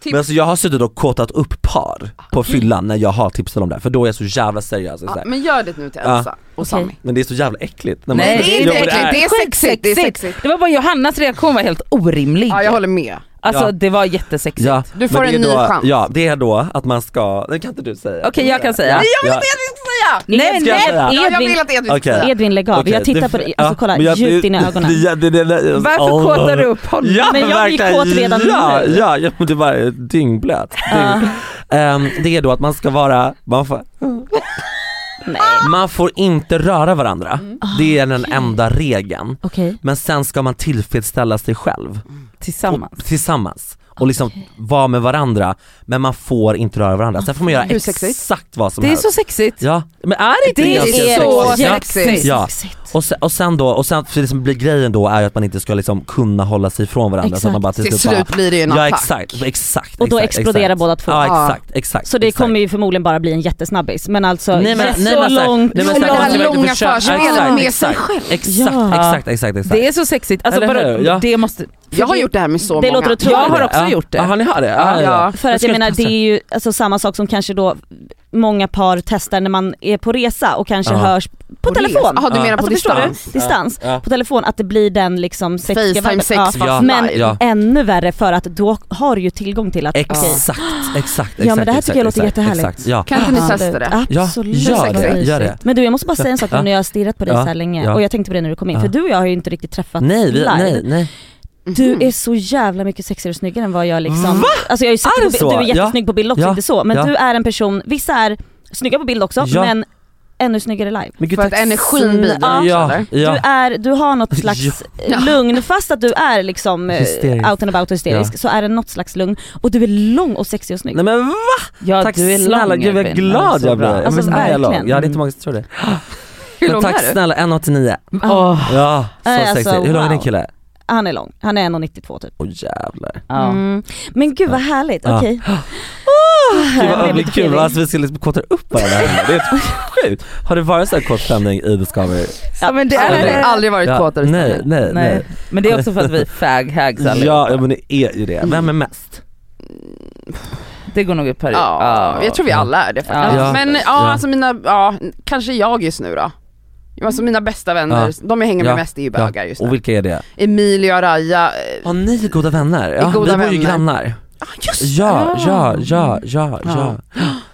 [SPEAKER 1] Tips.
[SPEAKER 3] Men alltså jag har suttit och kåtat upp par på fyllan när jag har tipsat om det här, för då är jag så jävla seriös. och så
[SPEAKER 1] Ja,
[SPEAKER 3] här.
[SPEAKER 1] men gör det nu till
[SPEAKER 3] Ja.
[SPEAKER 1] Elsa och Sami.
[SPEAKER 3] Men det är så jävla äckligt. när man-
[SPEAKER 2] Nej,
[SPEAKER 1] Det är
[SPEAKER 3] Jo,
[SPEAKER 1] inte
[SPEAKER 3] men
[SPEAKER 1] äckligt, det är sexigt. Det är sexigt.
[SPEAKER 2] Det var bara Johannas reaktion var helt orimlig.
[SPEAKER 1] Ja, jag håller med.
[SPEAKER 2] Alltså
[SPEAKER 3] Ja.
[SPEAKER 2] det var jättesexigt.
[SPEAKER 3] Ja,
[SPEAKER 1] Du får
[SPEAKER 3] men det
[SPEAKER 1] en
[SPEAKER 3] är
[SPEAKER 1] ny
[SPEAKER 3] då,
[SPEAKER 1] chans.
[SPEAKER 3] Ja, det är då att man ska, det kan inte du säga.
[SPEAKER 2] Okej, jag kan säga.
[SPEAKER 3] Ja,
[SPEAKER 2] Nej,
[SPEAKER 3] ja.
[SPEAKER 1] Jag vill
[SPEAKER 2] Nej,
[SPEAKER 4] Edvin,
[SPEAKER 3] ska jag säga?
[SPEAKER 1] inte säga! Jag vill
[SPEAKER 4] Edvin,
[SPEAKER 1] att Edvin ska
[SPEAKER 3] Okej.
[SPEAKER 1] säga.
[SPEAKER 4] Edvin lägg av,
[SPEAKER 3] Okej,
[SPEAKER 4] jag tittar
[SPEAKER 3] det-
[SPEAKER 4] på dig,
[SPEAKER 3] ja,
[SPEAKER 4] alltså kolla
[SPEAKER 3] men jag-
[SPEAKER 4] djupt in i ögonen.
[SPEAKER 3] det- det- det- det-
[SPEAKER 2] Varför
[SPEAKER 3] Åh.
[SPEAKER 2] kåtar du upp honom?
[SPEAKER 3] Ja,
[SPEAKER 4] Men jag blir
[SPEAKER 3] verkligen.
[SPEAKER 4] kåt redan
[SPEAKER 3] ja,
[SPEAKER 4] nu.
[SPEAKER 3] Ja, ja, men det var eh, dyngblöt. Dyng. Ehm, det är då att man ska vara, man får,
[SPEAKER 4] Nej.
[SPEAKER 3] man får inte röra varandra. Det är den enda regeln.
[SPEAKER 4] Okej,
[SPEAKER 3] Men sen ska man tillfredsställa sig själv
[SPEAKER 2] Tillsammans.
[SPEAKER 3] Och, tillsammans. Och liksom vara med varandra, men man får inte röra varandra. Sen får man göra
[SPEAKER 1] Hur sexigt?
[SPEAKER 3] exakt vad som
[SPEAKER 2] Det är
[SPEAKER 3] helst.
[SPEAKER 2] så sexigt.
[SPEAKER 3] Ja, men är det inte
[SPEAKER 2] Det
[SPEAKER 3] ganska
[SPEAKER 2] är så
[SPEAKER 3] sexigt? Ja.
[SPEAKER 2] sexigt.
[SPEAKER 3] Ja.
[SPEAKER 4] sexigt.
[SPEAKER 3] Och sen, och sen då, och sen för det som blir grejen då är ju att man inte ska liksom kunna hålla sig ifrån varandra så att man
[SPEAKER 4] Exakt.
[SPEAKER 3] bara till,
[SPEAKER 1] Till slut
[SPEAKER 3] bara,
[SPEAKER 1] blir det ju en
[SPEAKER 3] Ja
[SPEAKER 1] attack.
[SPEAKER 3] exakt, exakt.
[SPEAKER 4] Och då
[SPEAKER 3] exakt,
[SPEAKER 4] exploderar
[SPEAKER 3] exakt.
[SPEAKER 4] båda två.
[SPEAKER 3] Ja
[SPEAKER 1] Ja.
[SPEAKER 3] exakt, exakt.
[SPEAKER 4] Så det
[SPEAKER 3] exakt.
[SPEAKER 4] kommer ju förmodligen bara bli en jättesnabbis men alltså
[SPEAKER 3] Nej men,
[SPEAKER 4] så
[SPEAKER 3] nej, men, så här-
[SPEAKER 4] långt,
[SPEAKER 3] nej, men, alltså,
[SPEAKER 4] så
[SPEAKER 3] så här-
[SPEAKER 1] långt.
[SPEAKER 3] man ska
[SPEAKER 1] Långa
[SPEAKER 3] verkligen försöka-
[SPEAKER 4] lång-
[SPEAKER 1] förspelet
[SPEAKER 3] exakt,
[SPEAKER 1] med sig
[SPEAKER 3] exakt,
[SPEAKER 1] själv.
[SPEAKER 3] Exakt,
[SPEAKER 4] Ja.
[SPEAKER 3] exakt, exakt, exakt.
[SPEAKER 2] Det är så sexigt. Alltså,
[SPEAKER 3] Eller
[SPEAKER 2] bara,
[SPEAKER 3] hur? Ja.
[SPEAKER 2] det måste,
[SPEAKER 1] Jag har gjort det här med så
[SPEAKER 4] Det
[SPEAKER 1] många.
[SPEAKER 4] låter otroligt.
[SPEAKER 2] jag har också
[SPEAKER 3] Ja.
[SPEAKER 2] gjort det.
[SPEAKER 3] Ja, har ni har det?
[SPEAKER 1] Ja, ja.
[SPEAKER 4] För att jag menar det är ju alltså, samma sak som kanske då många par testar när man är på resa och kanske
[SPEAKER 3] Ja.
[SPEAKER 4] hörs på telefon.
[SPEAKER 1] Jaha du menar på
[SPEAKER 4] Alltså förstår
[SPEAKER 1] distans?
[SPEAKER 4] du? Distans.
[SPEAKER 3] Ja.
[SPEAKER 4] På telefon, att det blir den liksom sexiga
[SPEAKER 1] Facetime
[SPEAKER 4] viben.
[SPEAKER 1] sex
[SPEAKER 4] Ja.
[SPEAKER 1] fast
[SPEAKER 3] Ja.
[SPEAKER 4] Men
[SPEAKER 1] live.
[SPEAKER 3] Ja.
[SPEAKER 4] ännu värre för att då har du ju tillgång till att
[SPEAKER 3] Exakt,
[SPEAKER 4] okej,
[SPEAKER 3] exakt, exakt.
[SPEAKER 4] Ja, men det här
[SPEAKER 3] exakt,
[SPEAKER 4] tycker jag låter
[SPEAKER 3] exakt,
[SPEAKER 4] jättehärligt.
[SPEAKER 3] Exakt, ja.
[SPEAKER 1] Kan inte ni testa det?
[SPEAKER 3] Ja,
[SPEAKER 4] Absolut.
[SPEAKER 3] gör det, gör det.
[SPEAKER 4] Men du jag måste bara säga en sak
[SPEAKER 3] Ja.
[SPEAKER 4] nu när jag har stirrat på dig
[SPEAKER 3] Ja.
[SPEAKER 4] så här länge
[SPEAKER 3] Ja.
[SPEAKER 4] och jag tänkte på det när du kom in
[SPEAKER 3] Ja.
[SPEAKER 4] för du och jag har ju inte riktigt träffats
[SPEAKER 3] Nej, vi,
[SPEAKER 4] live.
[SPEAKER 3] nej, nej.
[SPEAKER 4] Du är så jävla mycket sexigare och snyggare än vad jag liksom...
[SPEAKER 3] Mhm. Va?
[SPEAKER 4] Alltså jag har ju sett
[SPEAKER 3] Är
[SPEAKER 4] dig
[SPEAKER 3] det
[SPEAKER 4] på,
[SPEAKER 3] så?
[SPEAKER 4] bi- du är jättesnygg på bild också,
[SPEAKER 3] Ja.
[SPEAKER 4] inte så. Men
[SPEAKER 3] Ja.
[SPEAKER 4] du är en person, vissa är snygga på bild också
[SPEAKER 3] Ja.
[SPEAKER 4] men ännu snyggare live.
[SPEAKER 3] Men gud,
[SPEAKER 1] För att
[SPEAKER 3] tack
[SPEAKER 1] energin
[SPEAKER 3] snälla.
[SPEAKER 1] bidrar också,
[SPEAKER 3] Ja,
[SPEAKER 1] eller?
[SPEAKER 3] ja.
[SPEAKER 4] Du, är, du
[SPEAKER 3] [LAUGHS]
[SPEAKER 4] har något slags
[SPEAKER 1] Ja.
[SPEAKER 4] lugn, fast att du är liksom eh,
[SPEAKER 3] Hysterisk.
[SPEAKER 4] out and about och hysterisk
[SPEAKER 3] Ja.
[SPEAKER 4] så är det något slags lugn och du är lång och sexig och snygg.
[SPEAKER 3] Nej men va?
[SPEAKER 2] Ja,
[SPEAKER 3] Tack
[SPEAKER 2] du är
[SPEAKER 3] snälla
[SPEAKER 2] lång,
[SPEAKER 3] gud vad
[SPEAKER 2] Edvin.
[SPEAKER 3] glad
[SPEAKER 2] Alltså,
[SPEAKER 3] jag blev.
[SPEAKER 2] bra.
[SPEAKER 3] Ja, men
[SPEAKER 4] Alltså,
[SPEAKER 3] snälla, jag är lång.
[SPEAKER 4] verkligen.
[SPEAKER 3] Jag hade inte många som trodde det.
[SPEAKER 1] Hur
[SPEAKER 3] Men
[SPEAKER 1] lång
[SPEAKER 3] tack
[SPEAKER 1] är du?
[SPEAKER 3] snälla, 1,89.
[SPEAKER 1] Mm.
[SPEAKER 2] Åh,
[SPEAKER 3] Ja, så
[SPEAKER 4] Äh, alltså,
[SPEAKER 3] sexigt. Hur lång är din
[SPEAKER 4] wow.
[SPEAKER 3] kille?
[SPEAKER 4] Han är lång, han är 1,92 typ.
[SPEAKER 3] Åh jävlar.
[SPEAKER 2] ja.
[SPEAKER 4] Mm. Men gud vad härligt,
[SPEAKER 3] Ja.
[SPEAKER 4] okej.
[SPEAKER 3] Gud
[SPEAKER 4] Jag
[SPEAKER 3] vad
[SPEAKER 4] blev
[SPEAKER 3] blir
[SPEAKER 4] lite
[SPEAKER 3] kul,
[SPEAKER 4] pirrig.
[SPEAKER 3] alltså, vi ska liksom kåta upp varandra här. Det är helt sjukt. Har det varit så här kort stämning i Discovery?
[SPEAKER 2] ja men det
[SPEAKER 1] Aldrig,
[SPEAKER 2] är...
[SPEAKER 1] aldrig varit
[SPEAKER 3] Ja,
[SPEAKER 1] kåtare.
[SPEAKER 3] nej, nej,
[SPEAKER 2] Nej.
[SPEAKER 3] nej.
[SPEAKER 2] Men det är också för
[SPEAKER 3] [LAUGHS]
[SPEAKER 2] att vi är fag hags
[SPEAKER 3] Ja,
[SPEAKER 2] allihopa.
[SPEAKER 3] ja men det är ju det. Vem är mest?
[SPEAKER 2] Det går nog upp här i-
[SPEAKER 1] Ja, jag tror vi alla är det faktiskt.
[SPEAKER 3] Ja.
[SPEAKER 1] Men ja,
[SPEAKER 3] Ja.
[SPEAKER 1] alltså mina, ja, kanske jag just nu då. Alltså mina bästa vänner, de jag hänger med
[SPEAKER 3] Ja.
[SPEAKER 1] mest är ju bögar just
[SPEAKER 3] Och
[SPEAKER 1] nu.
[SPEAKER 3] vilka är det?
[SPEAKER 1] Emilio och Raja, eh,
[SPEAKER 3] Har ni är goda vänner? Ja,
[SPEAKER 1] goda
[SPEAKER 3] vi bor ju
[SPEAKER 1] vänner.
[SPEAKER 3] grannar.
[SPEAKER 1] ah, just
[SPEAKER 3] Ja, ja, ja, ja,
[SPEAKER 1] Ja.
[SPEAKER 3] ja.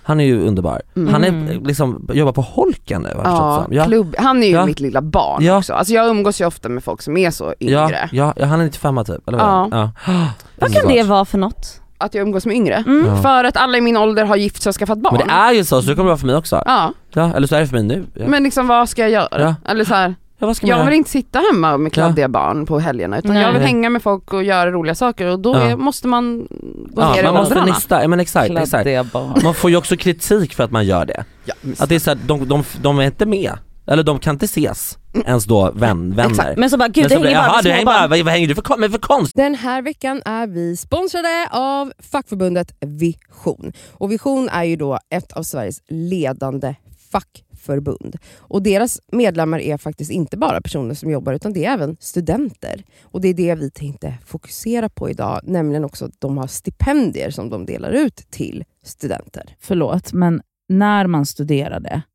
[SPEAKER 3] Han är ju underbar.
[SPEAKER 1] Mm.
[SPEAKER 3] Han är liksom, jobbar på Holken nu har jag förstått
[SPEAKER 1] Ja,
[SPEAKER 3] som. ja.
[SPEAKER 1] Klubb. Han är ju
[SPEAKER 3] Ja.
[SPEAKER 1] mitt lilla barn
[SPEAKER 3] Ja.
[SPEAKER 1] också. Alltså jag umgås ju ofta med folk som är så
[SPEAKER 3] Ja,
[SPEAKER 1] yngre.
[SPEAKER 3] ja, ja, han är 95 typ, eller vad
[SPEAKER 1] Ja.
[SPEAKER 3] är han? ja.
[SPEAKER 4] Vad kan det vara för något?
[SPEAKER 1] Att jag umgås med yngre.
[SPEAKER 4] Mm.
[SPEAKER 3] Ja.
[SPEAKER 1] För att alla i min ålder har gift sig och skaffat barn.
[SPEAKER 3] Men det är ju så, så det kommer det vara för mig också.
[SPEAKER 1] Ja,
[SPEAKER 3] Ja, eller så är det för mig nu. Ja,
[SPEAKER 1] men liksom vad ska jag göra?
[SPEAKER 3] Ja.
[SPEAKER 1] Eller så här,
[SPEAKER 3] ja vad ska man
[SPEAKER 1] jag
[SPEAKER 3] göra?
[SPEAKER 1] vill inte sitta hemma med
[SPEAKER 3] Ja.
[SPEAKER 1] kladdiga barn på helgerna utan
[SPEAKER 4] Nej.
[SPEAKER 1] jag vill hänga med folk och göra roliga saker och då
[SPEAKER 3] Ja.
[SPEAKER 1] är, måste man gå
[SPEAKER 3] ja,
[SPEAKER 1] ner i
[SPEAKER 3] man måste
[SPEAKER 1] åldrarna.
[SPEAKER 3] nysta, ja men exakt, exakt.
[SPEAKER 2] Kladdiga barn.
[SPEAKER 3] Man får ju också kritik för att man gör det.
[SPEAKER 1] Ja, men
[SPEAKER 3] Att det är så här, de, de, de är inte med, eller de kan inte ses ens då vän, vänner.
[SPEAKER 4] Men så bara, gud det
[SPEAKER 3] så blir
[SPEAKER 4] hänger
[SPEAKER 3] jaha,
[SPEAKER 4] bara
[SPEAKER 3] du
[SPEAKER 4] med
[SPEAKER 3] hänger
[SPEAKER 4] små
[SPEAKER 3] bara,
[SPEAKER 4] barn.
[SPEAKER 3] vad, vad hänger du för, kon- men för konst?
[SPEAKER 5] Den här veckan är vi sponsrade av fackförbundet Vision. Och Vision är ju då ett av Sveriges ledande fackförbund. Och deras medlemmar är faktiskt inte bara personer som jobbar utan det är även studenter. Och det är det vi tänkte fokusera på idag, nämligen också att de har stipendier som de delar ut till studenter.
[SPEAKER 2] förlåt, men när man studerade,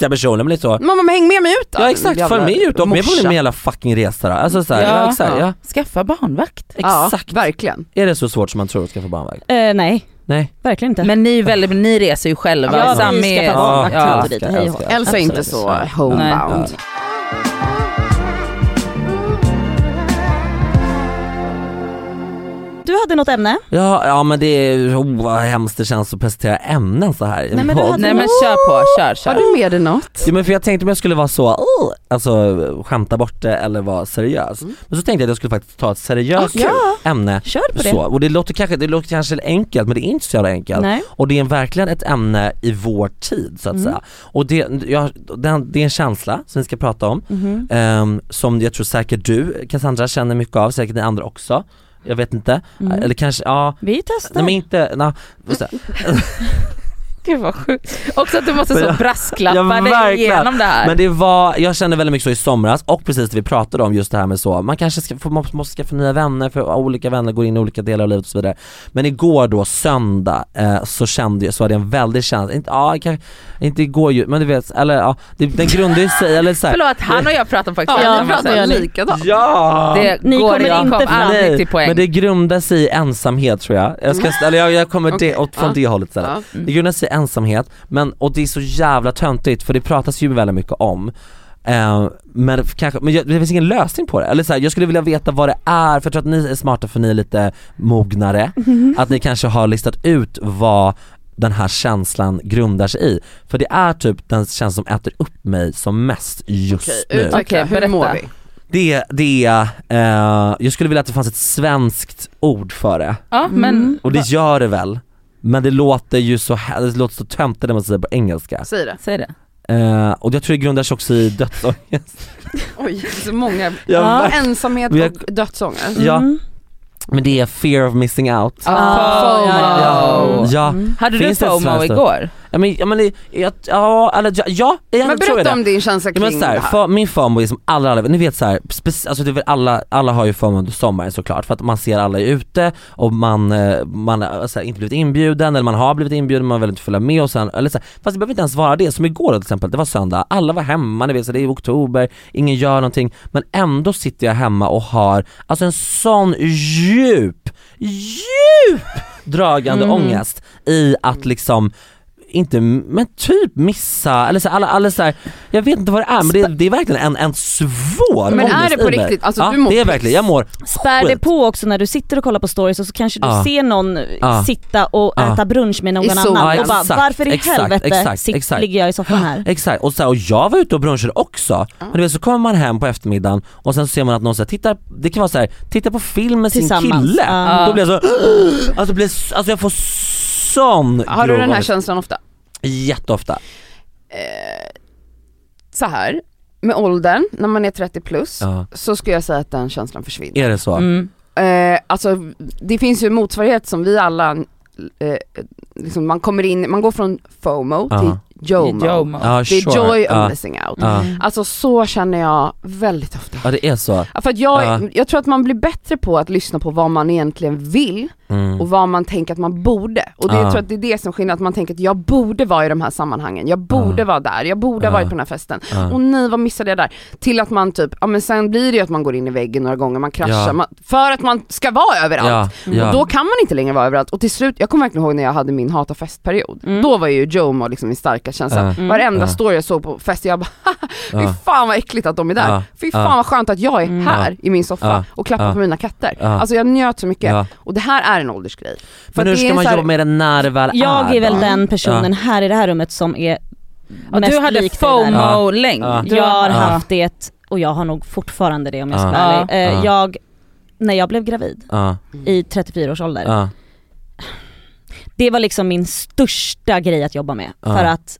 [SPEAKER 3] Ja, personer men det är
[SPEAKER 4] Mm.
[SPEAKER 3] så.
[SPEAKER 1] Mamma men häng med mig ut då!
[SPEAKER 3] Ja exakt,
[SPEAKER 1] jävla
[SPEAKER 3] följ med ut och med på
[SPEAKER 1] morsa.
[SPEAKER 3] min hela fucking resa då. Alltså så här,
[SPEAKER 2] Ja.
[SPEAKER 3] ja. exakt, ja.
[SPEAKER 2] Skaffa barnvakt.
[SPEAKER 1] Ja,
[SPEAKER 3] Exakt.
[SPEAKER 1] verkligen.
[SPEAKER 3] Är det så svårt som man tror att skaffa barnvakt?
[SPEAKER 4] Eh, nej,
[SPEAKER 3] Nej.
[SPEAKER 4] verkligen inte.
[SPEAKER 2] Men ni, är väldigt, ni reser ju själva. liksom.
[SPEAKER 4] Ja, vi
[SPEAKER 2] Sam är-
[SPEAKER 4] skaffar barnvakt
[SPEAKER 2] Ja.
[SPEAKER 4] hit och dit.
[SPEAKER 3] älskar,
[SPEAKER 4] Hej och
[SPEAKER 3] älskar.
[SPEAKER 4] hå.
[SPEAKER 1] Elsa är inte så
[SPEAKER 3] Absolut.
[SPEAKER 1] homebound.
[SPEAKER 3] Nej.
[SPEAKER 4] Du hade något ämne?
[SPEAKER 3] Ja, ja men det är, oh, vad hemskt det känns att presentera ämnen så här i en
[SPEAKER 4] men du
[SPEAKER 3] podd.
[SPEAKER 4] hade-
[SPEAKER 2] Nej men kör på, kör kör.
[SPEAKER 1] Har du med dig något?
[SPEAKER 3] Ja, men för jag tänkte om jag skulle vara så, oh, alltså skämta bort det eller vara seriös. Men så tänkte jag att jag skulle faktiskt ta ett seriöst ämne.
[SPEAKER 4] Mm. Kör på det.
[SPEAKER 3] Så. Och det låter, kanske, det låter kanske enkelt men det är inte så jävla enkelt.
[SPEAKER 4] Nej.
[SPEAKER 3] Och det är verkligen ett ämne i vår tid så att säga. Och det, jag, den, det är en känsla som vi ska prata om, ehm, som jag tror säkert du Cassandra känner mycket av, säkert ni andra också. Jag vet inte, eller kanske, ja,
[SPEAKER 4] Vi testar.
[SPEAKER 3] nej men inte, na, så här.
[SPEAKER 2] Gud vad sjukt. Också att du måste
[SPEAKER 3] Men
[SPEAKER 2] så
[SPEAKER 3] jag-
[SPEAKER 2] brasklappa
[SPEAKER 3] Ja,
[SPEAKER 2] dig
[SPEAKER 3] verkligen.
[SPEAKER 2] igenom det här.
[SPEAKER 3] Men det var, jag kände väldigt mycket så i somras och precis det vi pratade om just det här med så, man kanske ska, får- man måste skaffa nya vänner för olika vänner går in i olika delar av livet och så vidare. Men igår då söndag eh, så kände jag, så hade jag en väldig känsla, inte, ja, kanske, inte igår ju, men du vet, eller ja, det, den grundar ju sig, eller så här,
[SPEAKER 2] Förlåt, han och jag pratar faktiskt
[SPEAKER 1] Ja,
[SPEAKER 4] Ja,
[SPEAKER 1] vi
[SPEAKER 2] om
[SPEAKER 1] pratar
[SPEAKER 2] samma sak.
[SPEAKER 1] likadant.
[SPEAKER 3] Ja!
[SPEAKER 2] Det
[SPEAKER 4] Ni
[SPEAKER 2] går
[SPEAKER 4] kommer
[SPEAKER 2] jag
[SPEAKER 4] inte
[SPEAKER 2] kom
[SPEAKER 4] fram.
[SPEAKER 2] aldrig till poäng.
[SPEAKER 3] men det grundar sig i ensamhet tror jag. jag ska, eller jag, jag kommer det,
[SPEAKER 1] Okej,
[SPEAKER 3] åt, från
[SPEAKER 1] ja.
[SPEAKER 3] det hållet istället.
[SPEAKER 1] Ja.
[SPEAKER 3] Det grundar sig i ensamhet, men, och det är så jävla töntigt för det pratas ju väldigt mycket om Eh, men kanske, men jag, det finns ingen lösning på det. Eller så här, jag skulle vilja veta vad det är, för jag tror att ni är smarta för ni är lite mognare. Att ni kanske har listat ut vad den här känslan grundar sig i. För det är typ den känslan som äter upp mig som mest just nu.
[SPEAKER 1] Utveckla,
[SPEAKER 2] Okej,
[SPEAKER 1] hur mår
[SPEAKER 2] berätta.
[SPEAKER 1] vi?
[SPEAKER 3] Det, det är, eh, jag skulle vilja att det fanns ett svenskt ord för det.
[SPEAKER 2] Ja, men,
[SPEAKER 3] Och det gör det väl. Men det låter ju så, hä- det låter så töntigt när man säger det på engelska.
[SPEAKER 1] Säg det.
[SPEAKER 2] Säg det.
[SPEAKER 3] Eh, och jag tror det grundar sig också i dödsångest.
[SPEAKER 1] Oj, så många.
[SPEAKER 3] Ja,
[SPEAKER 1] Ja,
[SPEAKER 3] verkligen.
[SPEAKER 1] ensamhet
[SPEAKER 3] Vi har-
[SPEAKER 1] och dödsånger.
[SPEAKER 3] Ja,
[SPEAKER 4] Mm.
[SPEAKER 3] men det är fear of missing out.
[SPEAKER 2] Ah,
[SPEAKER 1] FOMO.
[SPEAKER 2] ja,
[SPEAKER 3] Ja, ja.
[SPEAKER 4] Mm.
[SPEAKER 2] Hade
[SPEAKER 3] Finns det
[SPEAKER 2] du
[SPEAKER 3] ett
[SPEAKER 2] FOMO
[SPEAKER 3] svenskt ord?
[SPEAKER 2] igår?
[SPEAKER 3] Ja, men, ja, men det- jag, ja, eller, ja, ja jag
[SPEAKER 1] Men
[SPEAKER 3] tror jag
[SPEAKER 1] berätta
[SPEAKER 3] det.
[SPEAKER 1] om din känsla
[SPEAKER 3] Ja,
[SPEAKER 1] kring
[SPEAKER 3] men så
[SPEAKER 1] det
[SPEAKER 3] här,
[SPEAKER 1] här.
[SPEAKER 3] för, min FOMO är som alla, alla ni vet så här, spec, alltså det är väl alla, alla har ju FOMO under sommaren såklart för att man ser alla ute och man, eh, man har så här, inte blivit inbjuden eller man har blivit inbjuden men man vill inte följa med och sen, eller så här, fast det behöver inte ens vara det. Som igår till exempel, det var söndag, alla var hemma, ni vet så det är oktober, ingen gör någonting men ändå sitter jag hemma och har alltså en sån djup, djup dragande
[SPEAKER 1] Mm.
[SPEAKER 3] ångest i att liksom inte, men typ missa, eller så, alla, alla så här, jag vet inte vad det är men det, det är verkligen en, en svår
[SPEAKER 1] Men är
[SPEAKER 3] ångest
[SPEAKER 1] det på
[SPEAKER 3] i mig.
[SPEAKER 1] riktigt? Alltså,
[SPEAKER 3] ja,
[SPEAKER 1] du mår
[SPEAKER 3] det är
[SPEAKER 1] piss.
[SPEAKER 3] verkligen, jag mår
[SPEAKER 4] Spär
[SPEAKER 3] skit.
[SPEAKER 4] det på också när du sitter och kollar på stories och så kanske du
[SPEAKER 3] Ja.
[SPEAKER 4] ser någon
[SPEAKER 3] Ja.
[SPEAKER 4] sitta och
[SPEAKER 3] Ja.
[SPEAKER 4] äta brunch med
[SPEAKER 1] I
[SPEAKER 4] någon
[SPEAKER 1] solen.
[SPEAKER 4] annan
[SPEAKER 1] Ja,
[SPEAKER 4] och bara
[SPEAKER 3] exakt,
[SPEAKER 4] varför i
[SPEAKER 3] exakt,
[SPEAKER 4] helvete
[SPEAKER 3] exakt,
[SPEAKER 4] sitter,
[SPEAKER 3] exakt.
[SPEAKER 4] ligger jag i soffan här?
[SPEAKER 3] Exakt, och, så här, och jag var ute och brunchade också. Men du vet, så kommer man hem på eftermiddagen och sen ser man att någon så här, tittar, det kan vara så här, tittar på film med sin
[SPEAKER 4] Tillsammans,
[SPEAKER 3] kille.
[SPEAKER 4] ja.
[SPEAKER 3] Då blir jag så, [GASPS] alltså, blir, alltså jag får sån
[SPEAKER 1] Har du
[SPEAKER 3] grov
[SPEAKER 1] den här
[SPEAKER 3] ångest.
[SPEAKER 1] känslan ofta?
[SPEAKER 3] Jätteofta.
[SPEAKER 1] Så här, med åldern, när man är 30 plus,
[SPEAKER 3] Ja.
[SPEAKER 1] så skulle jag säga att den känslan försvinner.
[SPEAKER 3] Är det så?
[SPEAKER 2] Mm.
[SPEAKER 1] Eh, alltså det finns ju en motsvarighet som vi alla, eh, liksom man kommer in, man går från FOMO
[SPEAKER 3] Ja.
[SPEAKER 1] till JOMO.
[SPEAKER 2] Jomo.
[SPEAKER 3] Ja,
[SPEAKER 1] Det är
[SPEAKER 3] sure.
[SPEAKER 1] joy of
[SPEAKER 3] ja.
[SPEAKER 1] missing out.
[SPEAKER 3] Ja.
[SPEAKER 1] Alltså så känner jag väldigt ofta.
[SPEAKER 3] ja, det är så.
[SPEAKER 1] För att jag,
[SPEAKER 3] Ja.
[SPEAKER 1] jag tror att man blir bättre på att lyssna på vad man egentligen vill
[SPEAKER 3] Mm. Ah.
[SPEAKER 1] och vad man tänker att man borde. Och det,
[SPEAKER 3] Ja.
[SPEAKER 1] jag tror att det är det som skiljer, att man tänker att jag borde vara i de här sammanhangen, jag borde
[SPEAKER 3] Ja.
[SPEAKER 1] vara där, jag borde ha
[SPEAKER 3] Ja.
[SPEAKER 1] varit på den här festen.
[SPEAKER 3] Ja.
[SPEAKER 1] Åh nej vad missade jag där? Till att man typ, ja men sen blir det ju att man går in i väggen några gånger, man kraschar,
[SPEAKER 3] Ja.
[SPEAKER 1] man, för att man ska vara överallt.
[SPEAKER 3] Ja, ja.
[SPEAKER 1] Och då kan man inte längre vara överallt. Och till slut, jag kommer verkligen ihåg när jag hade min hata festperiod.
[SPEAKER 4] Mm.
[SPEAKER 1] Då var ju Jomo liksom min starka känsla.
[SPEAKER 3] Ja.
[SPEAKER 4] Mm.
[SPEAKER 1] Varenda
[SPEAKER 3] Ja.
[SPEAKER 1] story jag såg på fester, jag bara [LAUGHS] fy
[SPEAKER 3] ja.
[SPEAKER 1] fan vad äckligt att de är där.
[SPEAKER 3] Ja.
[SPEAKER 1] Fy
[SPEAKER 3] Ja.
[SPEAKER 1] fan vad skönt att jag är
[SPEAKER 4] Mm.
[SPEAKER 1] här i min soffa
[SPEAKER 3] Ja.
[SPEAKER 1] och klappar
[SPEAKER 3] Ja.
[SPEAKER 1] på mina katter.
[SPEAKER 3] Ja.
[SPEAKER 1] Alltså jag njöt så mycket.
[SPEAKER 3] Ja.
[SPEAKER 1] Och det här är en åldersgrej. För
[SPEAKER 3] Men hur
[SPEAKER 1] det är
[SPEAKER 3] ska man
[SPEAKER 1] så här-
[SPEAKER 3] jobba med det när det väl
[SPEAKER 4] Jag är väl
[SPEAKER 3] då?
[SPEAKER 4] den personen här i det här rummet som är
[SPEAKER 2] Ja,
[SPEAKER 4] mest
[SPEAKER 2] Du hade
[SPEAKER 4] lik dig där.
[SPEAKER 2] FOMO länge.
[SPEAKER 3] Ja.
[SPEAKER 4] Jag har
[SPEAKER 3] Ja.
[SPEAKER 4] haft det och jag har nog fortfarande det om jag ska vara
[SPEAKER 2] Ja.
[SPEAKER 4] ärlig.
[SPEAKER 3] Ja.
[SPEAKER 4] Eh, Jag, när jag blev gravid
[SPEAKER 3] Ja,
[SPEAKER 4] i 34 års ålder,
[SPEAKER 3] ja,
[SPEAKER 4] det var liksom min största grej att jobba med.
[SPEAKER 3] Ja.
[SPEAKER 4] För att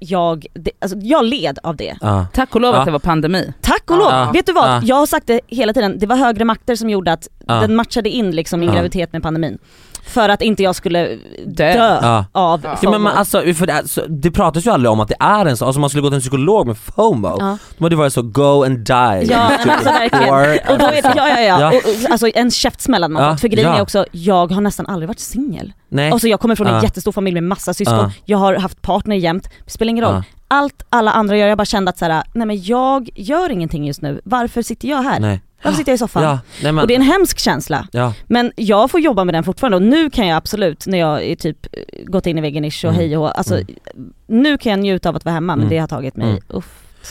[SPEAKER 4] jag, det, alltså jag led av det.
[SPEAKER 3] ja.
[SPEAKER 2] Tack och lov
[SPEAKER 3] Ja.
[SPEAKER 2] att det var pandemi.
[SPEAKER 4] Tack och
[SPEAKER 1] Ja.
[SPEAKER 4] lov!
[SPEAKER 3] Ja.
[SPEAKER 4] Vet du vad?
[SPEAKER 3] Ja.
[SPEAKER 4] Jag har sagt det hela tiden, det var högre makter som gjorde att
[SPEAKER 3] Ja.
[SPEAKER 4] den matchade in liksom min
[SPEAKER 3] Ja.
[SPEAKER 4] graviditet med pandemin. För att inte jag skulle
[SPEAKER 2] Dö.
[SPEAKER 4] dö,
[SPEAKER 3] Ja.
[SPEAKER 4] av
[SPEAKER 1] Ja.
[SPEAKER 3] Ja,
[SPEAKER 4] FOMO.
[SPEAKER 3] men man, alltså, för det, är- så- det pratas ju aldrig om att det är en sån, alltså om man skulle gå till en psykolog med FOMO,
[SPEAKER 4] Ja.
[SPEAKER 3] de hade varit så go and die. Typ
[SPEAKER 4] Ja, men alltså verkligen.
[SPEAKER 3] Or-
[SPEAKER 4] Och då är det, ja ja ja,
[SPEAKER 3] Ja.
[SPEAKER 4] Och, och, alltså en käftsmäll hade man
[SPEAKER 3] Ja,
[SPEAKER 4] fått. För grejen
[SPEAKER 3] ja.
[SPEAKER 4] är också, jag har nästan aldrig varit singel.
[SPEAKER 3] Nej.
[SPEAKER 4] Alltså jag kommer från
[SPEAKER 3] Ja.
[SPEAKER 4] en jättestor familj med massa syskon,
[SPEAKER 3] Ja.
[SPEAKER 4] jag har haft partner jämt, det spelar ingen roll.
[SPEAKER 3] Ja.
[SPEAKER 4] Allt alla andra gör, jag bara kände att så här, nej men jag gör ingenting just nu, varför sitter jag här?
[SPEAKER 3] Nej.
[SPEAKER 4] Varför sitter jag i soffan?
[SPEAKER 3] Ja, nej men,
[SPEAKER 4] Äh, Och det är en hemsk känsla.
[SPEAKER 3] ja,
[SPEAKER 4] Men jag får jobba med den fortfarande och nu kan jag absolut, när jag är typ eh, gått in i väggen ish och
[SPEAKER 3] Mm.
[SPEAKER 4] hej och hå, alltså
[SPEAKER 3] Mm.
[SPEAKER 4] nu kan jag njuta av att vara hemma men
[SPEAKER 3] Mm.
[SPEAKER 4] det har tagit mig,
[SPEAKER 3] Mm.
[SPEAKER 4] uff.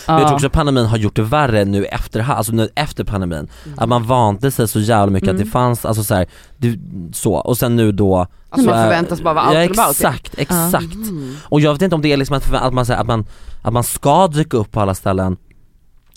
[SPEAKER 3] Men jag
[SPEAKER 2] Ja.
[SPEAKER 3] tror också att pandemin har gjort det värre nu efter, alltså nu efter pandemin,
[SPEAKER 4] Mm.
[SPEAKER 3] att man vante sig så jävla mycket att det fanns, alltså så, här, det, så och sen nu då
[SPEAKER 1] Alltså
[SPEAKER 3] så
[SPEAKER 1] man
[SPEAKER 3] är-
[SPEAKER 1] förväntas bara vara
[SPEAKER 3] ja,
[SPEAKER 1] out and about.
[SPEAKER 3] exakt, exakt.
[SPEAKER 4] Mm.
[SPEAKER 3] Och jag vet inte om det är liksom att, förvä- att, man, så här, att, man, att man ska dyka upp på alla ställen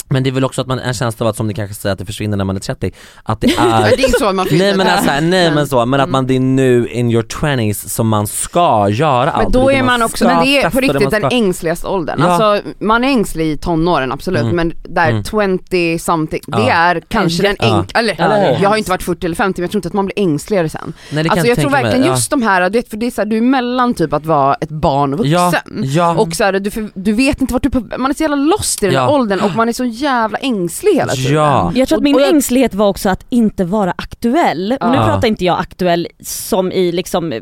[SPEAKER 3] men det är väl också att man, en känsla av att som ni kanske säger att det försvinner när man är 30, att
[SPEAKER 4] [LAUGHS]
[SPEAKER 3] det
[SPEAKER 1] Ja,
[SPEAKER 3] är
[SPEAKER 1] Det är inte så man fyller
[SPEAKER 3] Nej men
[SPEAKER 1] Typ det. Mm.
[SPEAKER 3] alltså, här, nej men så, men att man det är nu in your 20s som man ska göra allt.
[SPEAKER 1] Men då
[SPEAKER 3] Det
[SPEAKER 1] är man också,
[SPEAKER 3] ska
[SPEAKER 1] men det är
[SPEAKER 3] testa,
[SPEAKER 1] på
[SPEAKER 3] det
[SPEAKER 1] riktigt
[SPEAKER 3] man
[SPEAKER 1] den
[SPEAKER 3] ska-
[SPEAKER 1] ängsligaste åldern.
[SPEAKER 3] Ja.
[SPEAKER 1] Alltså man är ängslig i tonåren absolut
[SPEAKER 3] Mm.
[SPEAKER 1] men där
[SPEAKER 3] Mm.
[SPEAKER 1] 20 something, det
[SPEAKER 3] Ja.
[SPEAKER 1] är kanske den
[SPEAKER 3] Ja.
[SPEAKER 1] enkla, eller
[SPEAKER 3] Ja, det är
[SPEAKER 1] jag har inte varit 40 eller 50 men jag tror inte att man blir ängsligare sen.
[SPEAKER 3] Nej, det kan
[SPEAKER 1] Alltså jag tror
[SPEAKER 3] tänka mig,
[SPEAKER 1] verkligen
[SPEAKER 3] ja.
[SPEAKER 1] just de här, du vet, för det är så här, du är mellan typ att vara ett barn och vuxen.
[SPEAKER 3] ja, ja,
[SPEAKER 1] Och så här, du, för, du vet inte vart du på, man är så jävla lost i den här
[SPEAKER 3] Ja.
[SPEAKER 1] åldern och man är så jävla ängslig hela tiden.
[SPEAKER 3] ja.
[SPEAKER 4] Jag tror att min
[SPEAKER 1] och jag-
[SPEAKER 4] ängslighet var också att inte vara aktuell. Och nu
[SPEAKER 3] Ja.
[SPEAKER 4] pratar inte jag aktuell som i liksom eh,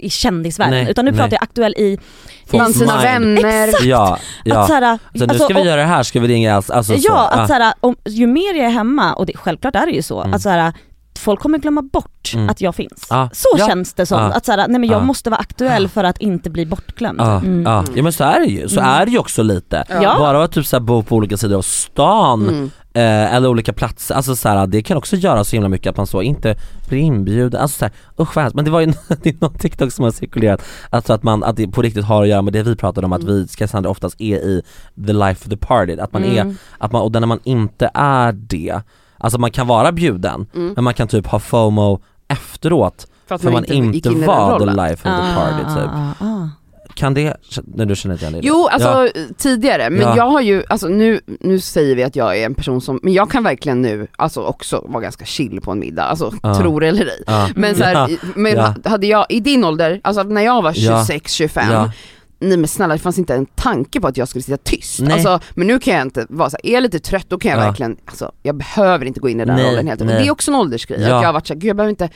[SPEAKER 4] i kändisvärlden
[SPEAKER 3] Nej,
[SPEAKER 4] utan nu
[SPEAKER 3] nej.
[SPEAKER 4] pratar jag aktuell i
[SPEAKER 1] Bland sina vänner. Alltså,
[SPEAKER 4] Exakt.
[SPEAKER 3] Ja, ja.
[SPEAKER 4] att så här,
[SPEAKER 3] så nu ska vi
[SPEAKER 4] och-
[SPEAKER 3] göra det här, ska vi ringa alltså, alltså
[SPEAKER 4] Ja, att
[SPEAKER 3] så.
[SPEAKER 4] så här, om, ju mer jag är hemma, och det, självklart är det ju så, att så här, att folk kommer glömma bort
[SPEAKER 3] Mm.
[SPEAKER 4] att jag finns.
[SPEAKER 3] Ah.
[SPEAKER 4] Så
[SPEAKER 3] Ja.
[SPEAKER 4] känns det som.
[SPEAKER 3] Ah.
[SPEAKER 4] Att så här, nej men jag
[SPEAKER 3] Ah.
[SPEAKER 4] måste vara aktuell för att inte bli bortglömd.
[SPEAKER 3] Ja,
[SPEAKER 4] Mm.
[SPEAKER 3] ja. ja men så är det ju,
[SPEAKER 1] Mm.
[SPEAKER 3] så är det ju också lite.
[SPEAKER 4] Ja.
[SPEAKER 3] Bara att typ så här bo på olika sidor av stan
[SPEAKER 1] Mm.
[SPEAKER 3] eh, eller olika platser, alltså så här, det kan också göra så himla mycket att man så inte blir inbjuden, alltså så här, usch vad hemskt. Men det var ju [LAUGHS] det är någon TikTok som har cirkulerat, alltså att man, att det på riktigt har att göra med det vi pratade om, att
[SPEAKER 1] Mm.
[SPEAKER 3] vi Cassandra oftast är i the life of the party, att man
[SPEAKER 1] Mm.
[SPEAKER 3] är, att man, och när man inte är det, alltså man kan vara bjuden, men man kan typ ha FOMO efteråt
[SPEAKER 1] Mm. För
[SPEAKER 3] för man
[SPEAKER 1] gick
[SPEAKER 3] inte
[SPEAKER 1] in i den
[SPEAKER 3] var the
[SPEAKER 1] rollen.
[SPEAKER 3] life of the party typ.
[SPEAKER 4] Ah, ah, ah.
[SPEAKER 3] Kan det, när du känner igen det?
[SPEAKER 1] Jo, alltså
[SPEAKER 3] Ja.
[SPEAKER 1] tidigare, men
[SPEAKER 3] Ja.
[SPEAKER 1] jag har ju, alltså nu, nu säger vi att jag är en person som, men jag kan verkligen nu, alltså också vara ganska chill på en middag, alltså
[SPEAKER 3] Ja.
[SPEAKER 1] tror eller ej.
[SPEAKER 3] Ja.
[SPEAKER 1] Men, så
[SPEAKER 3] Ja.
[SPEAKER 1] här, i- men
[SPEAKER 3] Ja.
[SPEAKER 1] hade jag, i din ålder, alltså när jag var
[SPEAKER 3] Ja.
[SPEAKER 1] 26-25,
[SPEAKER 3] Ja.
[SPEAKER 1] nej men snälla det fanns inte en tanke på att jag skulle sitta tyst.
[SPEAKER 3] Nej.
[SPEAKER 1] Alltså, men nu kan jag inte vara så här, är jag lite trött då kan jag
[SPEAKER 3] Ja.
[SPEAKER 1] verkligen, alltså jag behöver inte gå in i den
[SPEAKER 3] Nej,
[SPEAKER 1] rollen helt enkelt.
[SPEAKER 3] nej.
[SPEAKER 1] Och Det är också en åldersgrej,
[SPEAKER 3] Ja.
[SPEAKER 1] att jag har varit såhär, gud jag behöver inte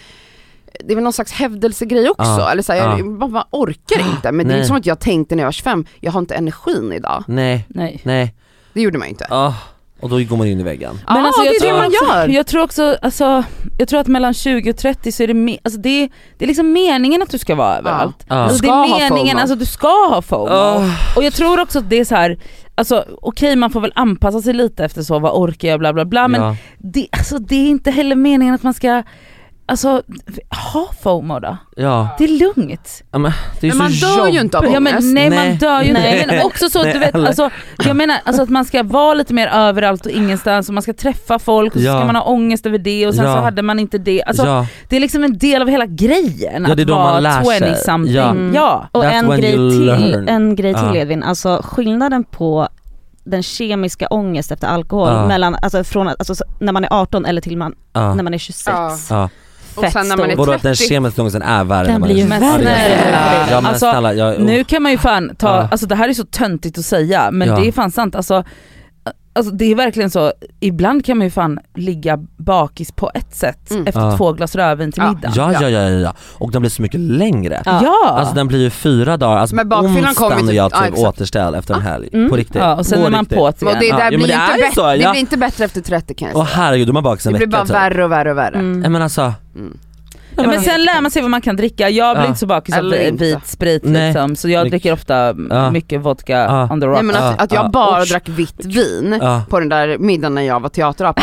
[SPEAKER 1] det är väl någon slags hävdelsegrej också,
[SPEAKER 3] Ja.
[SPEAKER 1] eller så här, jag
[SPEAKER 3] Ja.
[SPEAKER 1] bara, bara orkar inte. Men det är
[SPEAKER 3] Nej.
[SPEAKER 1] inte som att jag tänkte när jag var 25, jag har inte energin idag.
[SPEAKER 3] Nej,
[SPEAKER 4] Nej.
[SPEAKER 3] nej,
[SPEAKER 1] Det gjorde man ju inte.
[SPEAKER 3] Ah. och då går man in i väggen.
[SPEAKER 1] Ja,
[SPEAKER 2] Men alltså,
[SPEAKER 1] det
[SPEAKER 2] jag
[SPEAKER 1] är det
[SPEAKER 2] tror
[SPEAKER 1] man
[SPEAKER 2] också-
[SPEAKER 1] gör.
[SPEAKER 2] Jag tror också, alltså, jag tror att mellan 20 och 30 så är det, me- alltså, det, är- det är liksom meningen att du ska vara överallt.
[SPEAKER 3] Ja.
[SPEAKER 2] Alltså, det
[SPEAKER 1] Ska
[SPEAKER 2] är
[SPEAKER 1] ha
[SPEAKER 2] meningen,
[SPEAKER 1] FOMO.
[SPEAKER 2] alltså du ska ha FOMO.
[SPEAKER 3] Ah.
[SPEAKER 2] Och jag tror också att det är så här, alltså okej man får väl anpassa sig lite efter så, vad orkar jag bla bla bla men
[SPEAKER 3] ja.
[SPEAKER 2] det, alltså, det är inte heller meningen att man ska, alltså ha FOMO då.
[SPEAKER 3] ja,
[SPEAKER 2] Det är lugnt.
[SPEAKER 3] ja men det är
[SPEAKER 1] Men man
[SPEAKER 3] så
[SPEAKER 1] dör ju inte av
[SPEAKER 2] Ja, men,
[SPEAKER 1] ångest.
[SPEAKER 2] nej,
[SPEAKER 3] Nej.
[SPEAKER 2] man dör ju
[SPEAKER 4] Nej.
[SPEAKER 2] inte. Men också så att du
[SPEAKER 3] Nej,
[SPEAKER 2] vet,
[SPEAKER 3] eller-
[SPEAKER 2] alltså, jag menar alltså att man ska vara lite mer överallt och ingenstans och man ska träffa folk och så
[SPEAKER 3] Ja.
[SPEAKER 2] ska man ha ångest över det och sen
[SPEAKER 3] Ja.
[SPEAKER 2] så hade man inte det. Alltså,
[SPEAKER 3] ja.
[SPEAKER 2] Det är liksom en del av hela grejen
[SPEAKER 3] Ja, det är
[SPEAKER 2] att
[SPEAKER 3] då man
[SPEAKER 2] vara
[SPEAKER 3] lär sig.
[SPEAKER 2] 20 something.
[SPEAKER 3] Ja.
[SPEAKER 2] Ja.
[SPEAKER 4] Mm.
[SPEAKER 2] Ja.
[SPEAKER 4] Och
[SPEAKER 3] That's
[SPEAKER 4] en
[SPEAKER 3] when
[SPEAKER 4] grej,
[SPEAKER 3] you
[SPEAKER 4] till,
[SPEAKER 3] learn. Ah.
[SPEAKER 4] en grej till
[SPEAKER 3] Ja.
[SPEAKER 4] Edvin, alltså skillnaden på den kemiska ångest efter alkohol
[SPEAKER 3] Ja.
[SPEAKER 4] mellan, alltså från att- alltså, när man är 18 eller till man,
[SPEAKER 3] ja.
[SPEAKER 4] när man är 26.
[SPEAKER 1] Ja.
[SPEAKER 3] ja.
[SPEAKER 1] Ah. Och sen när man alltså, är
[SPEAKER 4] stor.
[SPEAKER 3] Vadå att den
[SPEAKER 1] 30.
[SPEAKER 3] kemiska ångesten är värre
[SPEAKER 4] Den
[SPEAKER 3] när man
[SPEAKER 4] blir ju
[SPEAKER 3] är
[SPEAKER 4] Men
[SPEAKER 3] Ja, det är-
[SPEAKER 2] snälla.
[SPEAKER 3] Ja men
[SPEAKER 2] Alltså,
[SPEAKER 3] snälla, jag, oh.
[SPEAKER 2] Nu kan man ju fan ta,
[SPEAKER 3] Ja.
[SPEAKER 2] alltså det här är så töntigt att säga men
[SPEAKER 3] Ja.
[SPEAKER 2] det är fan sant. Alltså, alltså det är verkligen så, ibland kan man ju fan ligga bakis på ett sätt
[SPEAKER 1] Mm.
[SPEAKER 2] efter
[SPEAKER 3] Ja.
[SPEAKER 2] två glas rödvin till
[SPEAKER 1] Ja.
[SPEAKER 2] middag.
[SPEAKER 3] ja, ja, ja, ja, ja, och den blir så mycket längre.
[SPEAKER 4] Ja.
[SPEAKER 2] Ja.
[SPEAKER 3] Alltså den blir ju fyra dagar, alltså
[SPEAKER 1] Men
[SPEAKER 3] på
[SPEAKER 1] bakfyllan kommer ju
[SPEAKER 3] onsdagen är
[SPEAKER 1] typ-
[SPEAKER 3] jag
[SPEAKER 1] ja,
[SPEAKER 3] typ
[SPEAKER 1] exakt. Ah,
[SPEAKER 3] återställd efter en helg,
[SPEAKER 4] Mm.
[SPEAKER 3] på riktigt.
[SPEAKER 2] ja, och sen
[SPEAKER 3] på
[SPEAKER 2] är man
[SPEAKER 3] riktigt.
[SPEAKER 2] på det
[SPEAKER 1] Och
[SPEAKER 2] igen.
[SPEAKER 1] det
[SPEAKER 3] Ja,
[SPEAKER 1] där
[SPEAKER 3] ja,
[SPEAKER 1] blir
[SPEAKER 3] men det
[SPEAKER 1] ju inte
[SPEAKER 3] är ju så,
[SPEAKER 1] bättre, det
[SPEAKER 3] ja.
[SPEAKER 1] blir inte bättre efter 30 kan jag
[SPEAKER 3] Åh
[SPEAKER 1] säga.
[SPEAKER 3] herregud, då är man bakis en
[SPEAKER 1] Det blir
[SPEAKER 3] vecka
[SPEAKER 1] bara
[SPEAKER 3] typ.
[SPEAKER 1] värre och värre och värre.
[SPEAKER 4] Mm.
[SPEAKER 3] Nej men alltså,
[SPEAKER 1] Mm.
[SPEAKER 2] Ja, men sen lär man sig vad man kan dricka. Jag blir
[SPEAKER 3] Ja.
[SPEAKER 2] inte så bakis av
[SPEAKER 1] Eller
[SPEAKER 2] vi-
[SPEAKER 1] inte.
[SPEAKER 2] vit sprit
[SPEAKER 3] Nej.
[SPEAKER 2] liksom, så jag
[SPEAKER 3] Mycket-
[SPEAKER 2] dricker ofta
[SPEAKER 3] Ja.
[SPEAKER 2] mycket vodka
[SPEAKER 3] Ja.
[SPEAKER 2] on the rock.
[SPEAKER 1] Nej, men att,
[SPEAKER 3] Ah,
[SPEAKER 1] att jag
[SPEAKER 3] ah,
[SPEAKER 1] bara
[SPEAKER 3] usch. Ah.
[SPEAKER 1] drack vitt vin
[SPEAKER 3] ja.
[SPEAKER 1] på den där middagen när jag var teaterapa.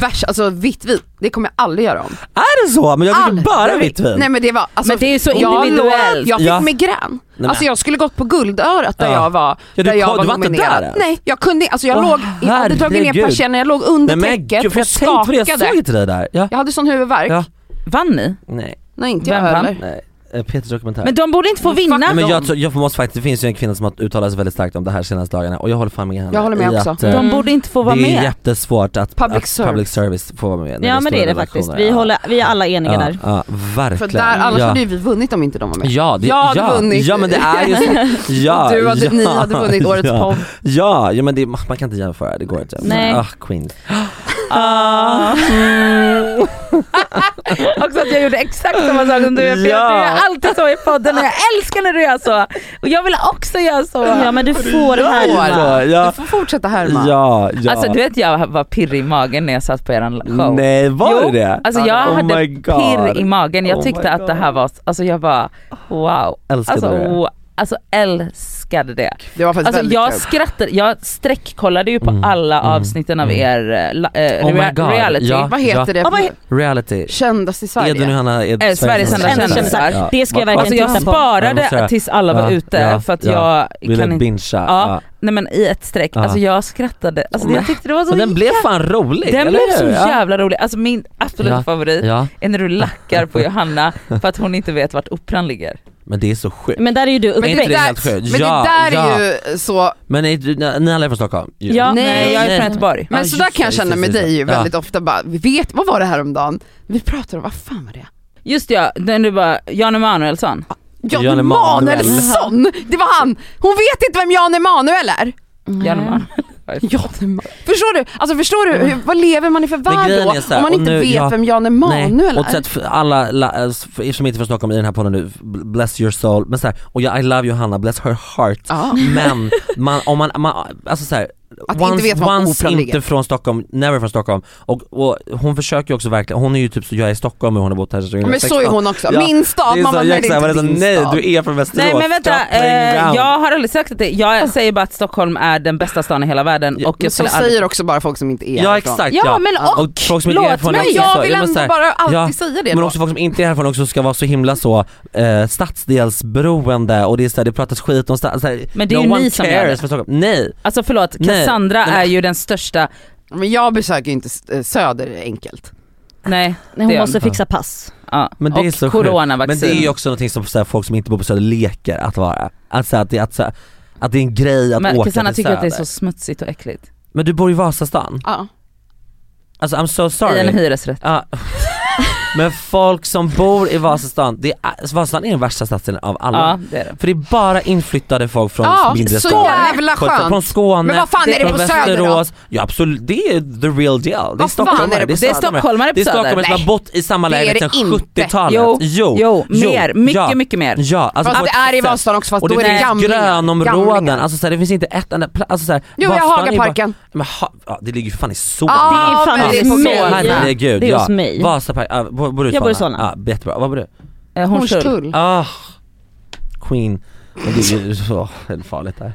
[SPEAKER 1] Värst, alltså vitt vin, det kommer jag aldrig göra om.
[SPEAKER 3] Är det så? Men jag dricker
[SPEAKER 1] Aldrig.
[SPEAKER 3] bara vitt vin.
[SPEAKER 1] Nej men det var, alltså,
[SPEAKER 2] Men det är ju så
[SPEAKER 1] jag,
[SPEAKER 2] individuellt.
[SPEAKER 1] jag fick
[SPEAKER 3] Ja.
[SPEAKER 1] migrän.
[SPEAKER 3] men-
[SPEAKER 1] Alltså jag skulle gått på Guldörat där
[SPEAKER 3] Ja.
[SPEAKER 1] jag var
[SPEAKER 3] Ja, du
[SPEAKER 1] där jag
[SPEAKER 3] kom- du var inte där ens?
[SPEAKER 1] Nej jag kunde alltså jag
[SPEAKER 3] Åh,
[SPEAKER 1] låg, jag hade dragit ner
[SPEAKER 3] herregud.
[SPEAKER 1] persiennen, jag låg under
[SPEAKER 3] Nej men
[SPEAKER 1] täcket
[SPEAKER 3] gud, för jag
[SPEAKER 1] och
[SPEAKER 3] tänkte på det, jag
[SPEAKER 1] skakade.
[SPEAKER 3] såg inte dig där. Ja.
[SPEAKER 1] Jag hade sån huvudvärk.
[SPEAKER 3] Ja.
[SPEAKER 2] Vann ni?
[SPEAKER 3] Nej,
[SPEAKER 1] Nej inte jag
[SPEAKER 2] Vem vann?
[SPEAKER 1] heller.
[SPEAKER 3] nej. Eh, Peters dokumentär.
[SPEAKER 2] Men de borde inte få
[SPEAKER 1] Fuck.
[SPEAKER 2] vinna.
[SPEAKER 3] Nej,
[SPEAKER 1] Nej,
[SPEAKER 3] men
[SPEAKER 1] de-
[SPEAKER 3] jag, tror- jag måste faktiskt, det finns ju en kvinna som har uttalat sig väldigt starkt om det här senaste dagarna och jag håller fan med henne.
[SPEAKER 1] Jag håller med
[SPEAKER 3] i
[SPEAKER 1] också.
[SPEAKER 3] Att, eh,
[SPEAKER 2] De borde inte få vara
[SPEAKER 3] det är
[SPEAKER 2] med.
[SPEAKER 3] jättesvårt att
[SPEAKER 1] Public
[SPEAKER 3] att
[SPEAKER 1] service.
[SPEAKER 3] public service får vara med. när
[SPEAKER 4] Ja men det
[SPEAKER 3] stora Ah.
[SPEAKER 4] är det faktiskt,
[SPEAKER 3] relationer.
[SPEAKER 4] vi, håller, vi är alla eniga
[SPEAKER 3] ja,
[SPEAKER 4] där.
[SPEAKER 3] Ja,
[SPEAKER 1] För
[SPEAKER 3] verkligen.
[SPEAKER 1] där, annars
[SPEAKER 3] ja.
[SPEAKER 1] hade ju vi vunnit om inte de var med.
[SPEAKER 3] Ja, det,
[SPEAKER 1] Jag hade
[SPEAKER 3] ja,
[SPEAKER 1] vunnit.
[SPEAKER 3] ja men det är ju
[SPEAKER 1] [LAUGHS]
[SPEAKER 3] så. Ja,
[SPEAKER 1] Och du hade,
[SPEAKER 3] ja,
[SPEAKER 1] ni hade vunnit årets
[SPEAKER 3] ja,
[SPEAKER 1] podd.
[SPEAKER 3] Ja, ja men det, man kan inte jämföra, det går inte.
[SPEAKER 4] Nej.
[SPEAKER 3] Ah, Queen.
[SPEAKER 2] Ah. [LAUGHS] Också att jag gjorde exakt samma sak som du. Ja. Jag
[SPEAKER 3] Ja.
[SPEAKER 2] gör alltid så i podden och jag älskar när du gör så. Och jag vill också göra så.
[SPEAKER 4] Ja men du får härma.
[SPEAKER 3] Ja,
[SPEAKER 1] Du
[SPEAKER 3] ja,
[SPEAKER 1] får fortsätta härma.
[SPEAKER 3] ja, ja.
[SPEAKER 2] Alltså du vet jag var pirrig i magen när jag satt på eran show.
[SPEAKER 3] Nej, var
[SPEAKER 2] Jo,
[SPEAKER 3] det det?
[SPEAKER 2] Alltså jag
[SPEAKER 3] Oh
[SPEAKER 2] hade
[SPEAKER 3] my God.
[SPEAKER 2] pirr i magen. Jag
[SPEAKER 3] Oh
[SPEAKER 2] tyckte
[SPEAKER 3] my
[SPEAKER 2] att det här var, alltså jag bara wow.
[SPEAKER 3] Älskade
[SPEAKER 2] alltså,
[SPEAKER 3] du det?
[SPEAKER 2] wow. alltså älskade det.
[SPEAKER 1] Det var faktiskt
[SPEAKER 2] Alltså
[SPEAKER 1] väldigt
[SPEAKER 2] jag
[SPEAKER 1] kul.
[SPEAKER 2] skrattade, jag sträckkollade ju på
[SPEAKER 3] Mm,
[SPEAKER 2] alla
[SPEAKER 3] mm,
[SPEAKER 2] avsnitten av
[SPEAKER 3] mm.
[SPEAKER 2] er eh, la- eh,
[SPEAKER 3] Oh my
[SPEAKER 2] rea-
[SPEAKER 3] God,
[SPEAKER 2] reality.
[SPEAKER 3] ja.
[SPEAKER 1] Vad heter
[SPEAKER 4] Ja, vad
[SPEAKER 1] det?
[SPEAKER 4] he-
[SPEAKER 3] Reality.
[SPEAKER 1] Kändast i Sverige.
[SPEAKER 3] Edvin och Hanna är
[SPEAKER 2] Eh, Sveriges enda
[SPEAKER 4] Enda kändisar.
[SPEAKER 3] Ja.
[SPEAKER 4] Det ska jag verkligen
[SPEAKER 2] Alltså jag
[SPEAKER 4] titta på.
[SPEAKER 2] sparade
[SPEAKER 3] Ja, jag måste-
[SPEAKER 2] tills alla var
[SPEAKER 3] Ja,
[SPEAKER 2] ute
[SPEAKER 3] ja,
[SPEAKER 2] för att
[SPEAKER 3] ja.
[SPEAKER 2] jag
[SPEAKER 3] Ville
[SPEAKER 2] kan inte,
[SPEAKER 3] bingea.
[SPEAKER 2] ja, Alltså, nej men i ett streck,
[SPEAKER 3] Ja.
[SPEAKER 2] alltså jag skrattade, alltså
[SPEAKER 3] Men-
[SPEAKER 2] jag tyckte det var så
[SPEAKER 3] Och den blev
[SPEAKER 2] jä-
[SPEAKER 3] fan rolig,
[SPEAKER 2] den
[SPEAKER 3] eller
[SPEAKER 2] blev så
[SPEAKER 3] hur?
[SPEAKER 2] jävla rolig, alltså min absoluta
[SPEAKER 3] Ja.
[SPEAKER 2] favorit
[SPEAKER 3] Ja,
[SPEAKER 2] är när du lackar
[SPEAKER 3] [LAUGHS]
[SPEAKER 2] på Johanna för att hon inte vet vart operan ligger.
[SPEAKER 3] men det är så
[SPEAKER 2] Mm.
[SPEAKER 3] sjukt.
[SPEAKER 4] Men där är ju du
[SPEAKER 3] Men
[SPEAKER 1] Men
[SPEAKER 3] inte
[SPEAKER 1] det,
[SPEAKER 3] det
[SPEAKER 1] där,
[SPEAKER 4] uppväxt.
[SPEAKER 3] är helt sjukt?
[SPEAKER 1] men
[SPEAKER 3] Ja,
[SPEAKER 1] det där
[SPEAKER 3] ja.
[SPEAKER 1] är ju så,
[SPEAKER 3] Men är du, ni ni alla är från Stockholm? ju.
[SPEAKER 4] Ja.
[SPEAKER 2] nej,
[SPEAKER 1] Nej,
[SPEAKER 2] jag är
[SPEAKER 3] nej.
[SPEAKER 2] från Göteborg.
[SPEAKER 1] men
[SPEAKER 3] Ja,
[SPEAKER 1] sådär
[SPEAKER 3] just
[SPEAKER 1] kan jag
[SPEAKER 3] det,
[SPEAKER 1] känna
[SPEAKER 3] just
[SPEAKER 1] med
[SPEAKER 3] det,
[SPEAKER 1] dig ju
[SPEAKER 3] just det.
[SPEAKER 1] väldigt ofta bara, vi vet, vad var det häromdagen? Vi pratade om, vad fan var det?
[SPEAKER 2] Just ja, när du bara, Jan Emanuelsson.
[SPEAKER 1] Jan,
[SPEAKER 3] Jan Emanuel.
[SPEAKER 1] Emanuelsson! Det var han! Hon vet inte vem Jan Emanuel är!
[SPEAKER 2] Jan
[SPEAKER 4] Mm.
[SPEAKER 2] Emanuel.
[SPEAKER 1] Jan Emanuel. Förstår du? Alltså förstår du, hur, vad lever man i för värld
[SPEAKER 3] grejen
[SPEAKER 1] då?
[SPEAKER 3] är så här,
[SPEAKER 1] Om man
[SPEAKER 3] och
[SPEAKER 1] inte
[SPEAKER 3] nu-
[SPEAKER 1] vet
[SPEAKER 3] ja,
[SPEAKER 1] vem Jan Emanuel
[SPEAKER 3] Och
[SPEAKER 1] är?
[SPEAKER 3] sett för alla la, eh, för er som inte är från Stockholm i den här podden nu, bless your soul, men så här, och jag I love Johanna, bless her heart.
[SPEAKER 1] Ja.
[SPEAKER 3] Men man, om man, man alltså så här,
[SPEAKER 1] Att inte veta vad
[SPEAKER 3] once
[SPEAKER 1] Operan ligger.
[SPEAKER 3] inte från Stockholm, never från Stockholm. Och, och hon försöker ju också verkligen, hon är ju typ så, jag är i Stockholm och hon har bott här sedan
[SPEAKER 1] Ja, Men så är
[SPEAKER 3] 2016.
[SPEAKER 1] hon också,
[SPEAKER 3] Ja,
[SPEAKER 1] min stad,
[SPEAKER 3] Det är så,
[SPEAKER 1] mamma nej det
[SPEAKER 3] Jackson,
[SPEAKER 1] är inte din
[SPEAKER 3] men alltså,
[SPEAKER 1] stad.
[SPEAKER 3] Nej du är från Västerås,
[SPEAKER 2] Nej men vänta,
[SPEAKER 3] Stop playing
[SPEAKER 2] eh,
[SPEAKER 3] around.
[SPEAKER 2] jag har aldrig sagt att det, jag säger bara att Stockholm är den bästa stan i hela världen.
[SPEAKER 3] Ja,
[SPEAKER 2] och jag
[SPEAKER 1] Men så
[SPEAKER 2] skulle aldrig-
[SPEAKER 1] säger också bara folk som inte är
[SPEAKER 3] Ja
[SPEAKER 1] härifrån.
[SPEAKER 3] exakt
[SPEAKER 4] Ja, men och,
[SPEAKER 3] folk som inte är
[SPEAKER 4] låt
[SPEAKER 3] härifrån
[SPEAKER 4] mig-
[SPEAKER 3] också,
[SPEAKER 1] Men jag
[SPEAKER 3] så-
[SPEAKER 1] vill
[SPEAKER 3] men
[SPEAKER 1] ändå
[SPEAKER 3] så här,
[SPEAKER 1] bara alltid
[SPEAKER 3] ja,
[SPEAKER 1] säga det
[SPEAKER 3] Men
[SPEAKER 1] då.
[SPEAKER 3] också folk som inte är härifrån också ska vara så himla så eh, stadsdelsberoende och det är så här, det pratas skit om stads... så här,
[SPEAKER 2] Men det är
[SPEAKER 3] no
[SPEAKER 2] ju
[SPEAKER 3] one
[SPEAKER 2] ni som gör
[SPEAKER 3] cares
[SPEAKER 2] det.
[SPEAKER 3] för Stockholm. Nej!
[SPEAKER 2] Alltså förlåt,
[SPEAKER 3] Nej,
[SPEAKER 2] Cassandra
[SPEAKER 3] nej, men-
[SPEAKER 2] är ju den största,
[SPEAKER 1] Men jag besöker ju inte eh, Söder enkelt.
[SPEAKER 2] nej,
[SPEAKER 4] Nej,
[SPEAKER 2] Det
[SPEAKER 4] hon
[SPEAKER 2] gör
[SPEAKER 4] måste
[SPEAKER 2] hon.
[SPEAKER 4] fixa pass.
[SPEAKER 2] ja.
[SPEAKER 3] Men det
[SPEAKER 2] och
[SPEAKER 3] är så sjukt. Men
[SPEAKER 2] coronavaccin.
[SPEAKER 3] det är ju också någonting som så här, folk som inte bor på Söder leker att vara. Att, så här, att, det, att, så här, att det är en grej att
[SPEAKER 2] men
[SPEAKER 3] åka
[SPEAKER 2] Cassandra
[SPEAKER 3] till
[SPEAKER 2] tycker
[SPEAKER 3] Söder.
[SPEAKER 2] att det är så smutsigt och äckligt.
[SPEAKER 3] Men du bor i Vasastan.
[SPEAKER 1] Ja.
[SPEAKER 3] Alltså I'm so sorry.
[SPEAKER 2] I en hyresrätt.
[SPEAKER 3] Ja. [LAUGHS] Men folk som bor i Vasastan, det är, alltså, Vasastan är den värsta stadsdelen av alla.
[SPEAKER 2] Ja det är det.
[SPEAKER 3] För det är bara inflyttade folk från
[SPEAKER 1] Ja,
[SPEAKER 3] mindre
[SPEAKER 1] så
[SPEAKER 3] städer.
[SPEAKER 1] jävla
[SPEAKER 3] Från-
[SPEAKER 1] skönt.
[SPEAKER 3] Från Skåne,
[SPEAKER 1] Men vad fan är det
[SPEAKER 3] från
[SPEAKER 1] på Söder då?
[SPEAKER 3] Västerås. Ja absolut, det är the real deal. Det är
[SPEAKER 1] Vad fan är det på
[SPEAKER 3] stockholmare.
[SPEAKER 2] Det är stockholmare
[SPEAKER 3] Det
[SPEAKER 2] på
[SPEAKER 3] är stockholmare
[SPEAKER 2] Söder.
[SPEAKER 3] som har bott i samma
[SPEAKER 1] Det är
[SPEAKER 3] lägenhet
[SPEAKER 1] det
[SPEAKER 3] sedan
[SPEAKER 1] inte.
[SPEAKER 3] 70-talet.
[SPEAKER 2] Jo,
[SPEAKER 3] jo,
[SPEAKER 2] jo, mer, mycket
[SPEAKER 3] ja,
[SPEAKER 2] mycket mer.
[SPEAKER 3] Ja, alltså
[SPEAKER 1] Fast
[SPEAKER 3] på
[SPEAKER 1] det
[SPEAKER 3] ett
[SPEAKER 1] är i
[SPEAKER 3] sätt.
[SPEAKER 1] Vasastan också för att
[SPEAKER 3] Och det
[SPEAKER 1] då är det
[SPEAKER 3] finns
[SPEAKER 1] gamlingar.
[SPEAKER 3] grönområden,
[SPEAKER 1] Gamlingar.
[SPEAKER 3] alltså så här, det finns inte ett enda pla- alltså, så här,
[SPEAKER 1] Jo, jag har
[SPEAKER 3] Vasastan är bara-
[SPEAKER 1] Hagaparken.
[SPEAKER 3] Men ha, ja, det ligger ju för fan i Solna.
[SPEAKER 1] Ah,
[SPEAKER 4] det är fan
[SPEAKER 1] men
[SPEAKER 3] Ja,
[SPEAKER 4] det är
[SPEAKER 1] på
[SPEAKER 4] mig.
[SPEAKER 1] Solna.
[SPEAKER 3] Herregud,
[SPEAKER 4] Det är
[SPEAKER 3] ja.
[SPEAKER 4] hos mig.
[SPEAKER 3] Vasaparken, ja, bor bor du i
[SPEAKER 4] Jag bor i
[SPEAKER 3] Solna?
[SPEAKER 4] Solna.
[SPEAKER 3] Ja, jättebra. Var bor du?
[SPEAKER 2] Eh, Hornstull.
[SPEAKER 1] Hornstull.
[SPEAKER 3] Ah, Queen. Men det är ju så väldigt farligt där.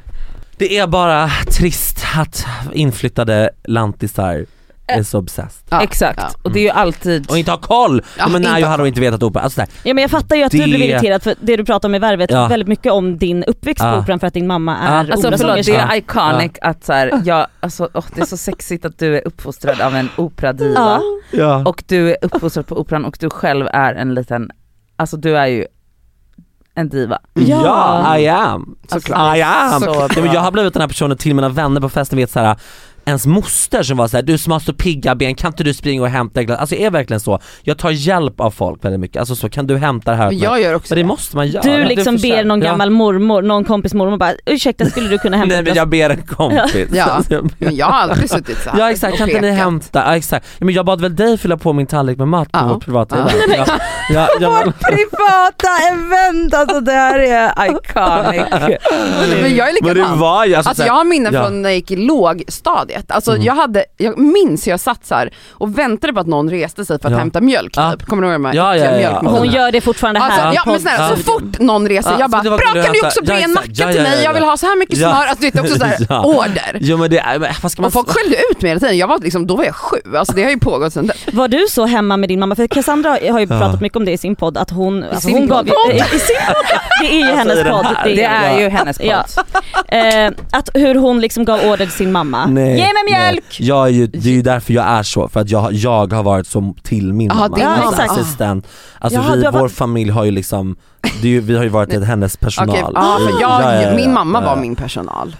[SPEAKER 3] Det är bara trist att inflyttade lantisar är så obsessed.
[SPEAKER 1] Ja.
[SPEAKER 2] Exakt,
[SPEAKER 1] Ja.
[SPEAKER 2] och det är ju alltid...
[SPEAKER 3] Och inte har koll!
[SPEAKER 1] Ja,
[SPEAKER 3] men
[SPEAKER 1] inte
[SPEAKER 3] när jag
[SPEAKER 1] har
[SPEAKER 3] hade de inte vetat opera. Alltså där.
[SPEAKER 4] Ja men jag fattar ju att
[SPEAKER 3] Det-
[SPEAKER 4] du blev irriterad för det du pratar om i Värvet
[SPEAKER 3] Ja.
[SPEAKER 4] väldigt mycket om din uppväxt
[SPEAKER 3] Ja.
[SPEAKER 4] på Operan för att din mamma
[SPEAKER 3] Ja.
[SPEAKER 4] är
[SPEAKER 2] Alltså förlåt, det
[SPEAKER 4] operasångerska.
[SPEAKER 2] är iconic att så här, jag, alltså, åh, det är så sexigt att du är uppfostrad av en operadiva
[SPEAKER 3] Ja.
[SPEAKER 2] och du är uppfostrad på operan och du själv är en liten, alltså du är ju en diva.
[SPEAKER 3] Ja, I am. Alltså,
[SPEAKER 1] Såklart.
[SPEAKER 3] I am.
[SPEAKER 2] Så
[SPEAKER 3] Ja, men
[SPEAKER 2] bra.
[SPEAKER 3] jag har blivit den här personen till mina vänner på festen vet så här ens moster som var så här, du som har så pigga ben kan inte du springa och hämta ett glas? Alltså jag är verkligen så, jag tar hjälp av folk väldigt mycket, alltså så kan du hämta det här åt
[SPEAKER 1] Men
[SPEAKER 3] mig?
[SPEAKER 1] jag gör också
[SPEAKER 3] Men det
[SPEAKER 1] det.
[SPEAKER 3] måste man göra.
[SPEAKER 4] Du liksom
[SPEAKER 3] försöker.
[SPEAKER 4] ber någon
[SPEAKER 3] Ja.
[SPEAKER 4] gammal mormor, någon kompis mormor bara ursäkta skulle du kunna hämta
[SPEAKER 3] Nej
[SPEAKER 4] ett
[SPEAKER 3] men
[SPEAKER 4] glas
[SPEAKER 3] jag ber en kompis.
[SPEAKER 1] Ja.
[SPEAKER 3] Alltså, [LAUGHS] jag ber-
[SPEAKER 1] Men jag har aldrig suttit så här
[SPEAKER 3] [LAUGHS] ja exakt,
[SPEAKER 1] och
[SPEAKER 3] kan inte ni
[SPEAKER 1] pekat.
[SPEAKER 3] hämta? Ja, exakt. Ja, men jag bad väl dig fylla på min tallrik med mat på
[SPEAKER 1] Ja.
[SPEAKER 3] vårt privata
[SPEAKER 1] Ja.
[SPEAKER 3] event. Ja. Ja, ja, men-
[SPEAKER 2] Privata event, alltså det här är
[SPEAKER 3] [LAUGHS]
[SPEAKER 2] iconic.
[SPEAKER 1] Men jag är
[SPEAKER 3] Men det
[SPEAKER 1] likadan.
[SPEAKER 3] var ju alltså,
[SPEAKER 1] Alltså
[SPEAKER 3] så
[SPEAKER 1] jag
[SPEAKER 3] här-
[SPEAKER 1] har minnen
[SPEAKER 3] Ja. Mm.
[SPEAKER 1] från när jag gick i lågstadiet. Alltså jag, hade, jag minns hur jag satt så här och väntade på att någon reste sig för att
[SPEAKER 3] Ja.
[SPEAKER 1] hämta mjölk
[SPEAKER 3] Ja.
[SPEAKER 1] typ. Kommer du ihåg de här
[SPEAKER 3] Ja, ja, ja, ja.
[SPEAKER 1] mjölkmaskinerna?
[SPEAKER 4] Hon gör det fortfarande här.
[SPEAKER 1] Alltså, ja
[SPEAKER 4] på-
[SPEAKER 1] men snälla, så
[SPEAKER 3] Ja.
[SPEAKER 1] fort någon reser,
[SPEAKER 3] Ja,
[SPEAKER 1] jag bara
[SPEAKER 3] så det var-
[SPEAKER 1] bra kan du
[SPEAKER 3] ja,
[SPEAKER 1] också
[SPEAKER 3] ja,
[SPEAKER 1] bre en
[SPEAKER 3] exakt.
[SPEAKER 1] macka
[SPEAKER 3] Ja,
[SPEAKER 1] till
[SPEAKER 3] ja, ja,
[SPEAKER 1] mig, jag vill
[SPEAKER 3] ja.
[SPEAKER 1] ha så här mycket
[SPEAKER 3] Ja.
[SPEAKER 1] smör. Alltså, du vet, också så här,
[SPEAKER 3] [LAUGHS] Ja.
[SPEAKER 1] order.
[SPEAKER 3] Jo men det är, men vad ska man
[SPEAKER 1] Och folk skällde ut mig hela tiden, jag var liksom, då var jag sju, alltså, det har ju pågått sedan dess.
[SPEAKER 4] Var du så hemma med din mamma? För Cassandra har ju pratat mycket om det i sin podd att hon... I
[SPEAKER 1] sin
[SPEAKER 4] hon
[SPEAKER 1] podd?
[SPEAKER 4] ju- [LAUGHS] I sin podd! Det är ju hennes
[SPEAKER 3] i den
[SPEAKER 4] podd.
[SPEAKER 3] här.
[SPEAKER 2] Det är ju hennes podd.
[SPEAKER 4] Ja. Eh, att hur hon liksom gav order till sin mamma.
[SPEAKER 3] Nej,
[SPEAKER 4] Ge mig mjölk!
[SPEAKER 3] Nej. Jag är ju, det är ju därför jag är så, för att jag, jag har varit så till min
[SPEAKER 1] Aha,
[SPEAKER 3] mamma.
[SPEAKER 1] din
[SPEAKER 4] mamma.
[SPEAKER 3] Alltså,
[SPEAKER 4] Ja, exakt.
[SPEAKER 3] assistent. Alltså
[SPEAKER 4] Ja,
[SPEAKER 3] vi,
[SPEAKER 4] du har
[SPEAKER 3] vår
[SPEAKER 4] varit-
[SPEAKER 3] familj har ju liksom, det är ju, vi har ju varit ett hennes personal. Mm.
[SPEAKER 1] Okej, ja, för jag,
[SPEAKER 3] Ja, ja, ja,
[SPEAKER 1] min
[SPEAKER 3] ja,
[SPEAKER 1] mamma
[SPEAKER 3] ja.
[SPEAKER 1] var min personal.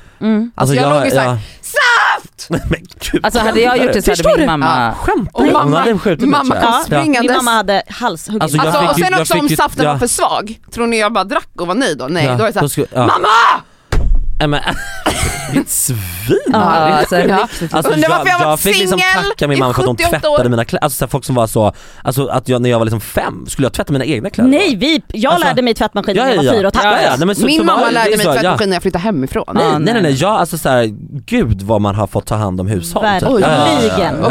[SPEAKER 3] Alltså,
[SPEAKER 1] jag låg ju såhär,
[SPEAKER 3] SAFT! [LAUGHS] Nej, men gud,
[SPEAKER 2] Alltså hade jag gjort det så hade min mamma...
[SPEAKER 3] Skämtar
[SPEAKER 1] Och
[SPEAKER 3] du? Hon
[SPEAKER 1] mamma-
[SPEAKER 3] hade skjutit mig,
[SPEAKER 1] mamma
[SPEAKER 3] tror jag.
[SPEAKER 1] kom
[SPEAKER 3] Ja.
[SPEAKER 1] springandes.
[SPEAKER 4] Min mamma hade halshuggit
[SPEAKER 3] Alltså, jag
[SPEAKER 1] Alltså,
[SPEAKER 3] fick
[SPEAKER 1] och
[SPEAKER 3] ju-
[SPEAKER 1] sen
[SPEAKER 3] jag
[SPEAKER 1] också
[SPEAKER 3] fick
[SPEAKER 1] om
[SPEAKER 3] ju-
[SPEAKER 1] saften
[SPEAKER 3] ja.
[SPEAKER 1] var för svag, tror ni jag bara drack och var nöjd då? Nej,
[SPEAKER 3] Ja,
[SPEAKER 1] då är det såhär,
[SPEAKER 3] då skulle- ja.
[SPEAKER 1] mamma!
[SPEAKER 3] Nej, men, [LAUGHS] ditt svin!
[SPEAKER 2] Ja, alltså,
[SPEAKER 1] Ja.
[SPEAKER 2] riktigt.
[SPEAKER 3] Alltså,
[SPEAKER 1] Undrar varför jag har varit
[SPEAKER 3] fick liksom
[SPEAKER 1] singel
[SPEAKER 3] tacka min
[SPEAKER 1] i
[SPEAKER 3] mamma för att de
[SPEAKER 1] 78
[SPEAKER 3] tvättade
[SPEAKER 1] år.
[SPEAKER 3] mina kläder, alltså så här, folk som var så, alltså att jag, när jag var liksom fem, skulle jag tvätta mina egna kläder?
[SPEAKER 4] Nej vi, jag
[SPEAKER 3] Alltså,
[SPEAKER 4] lärde mig tvättmaskinen när jag var fyra och ett halvt.
[SPEAKER 3] Ja, ja, nej, men så- så
[SPEAKER 1] Min
[SPEAKER 3] var
[SPEAKER 1] mamma
[SPEAKER 3] det- det
[SPEAKER 1] lärde
[SPEAKER 3] är
[SPEAKER 1] mig
[SPEAKER 3] så, ja.
[SPEAKER 1] tvättmaskin när jag flyttade hemifrån.
[SPEAKER 3] Nej,
[SPEAKER 2] Ja,
[SPEAKER 3] nej nej
[SPEAKER 2] nej.
[SPEAKER 3] nej, jag, alltså så här, gud vad man har fått ta hand om hushåll.
[SPEAKER 4] Verkligen.
[SPEAKER 3] ja,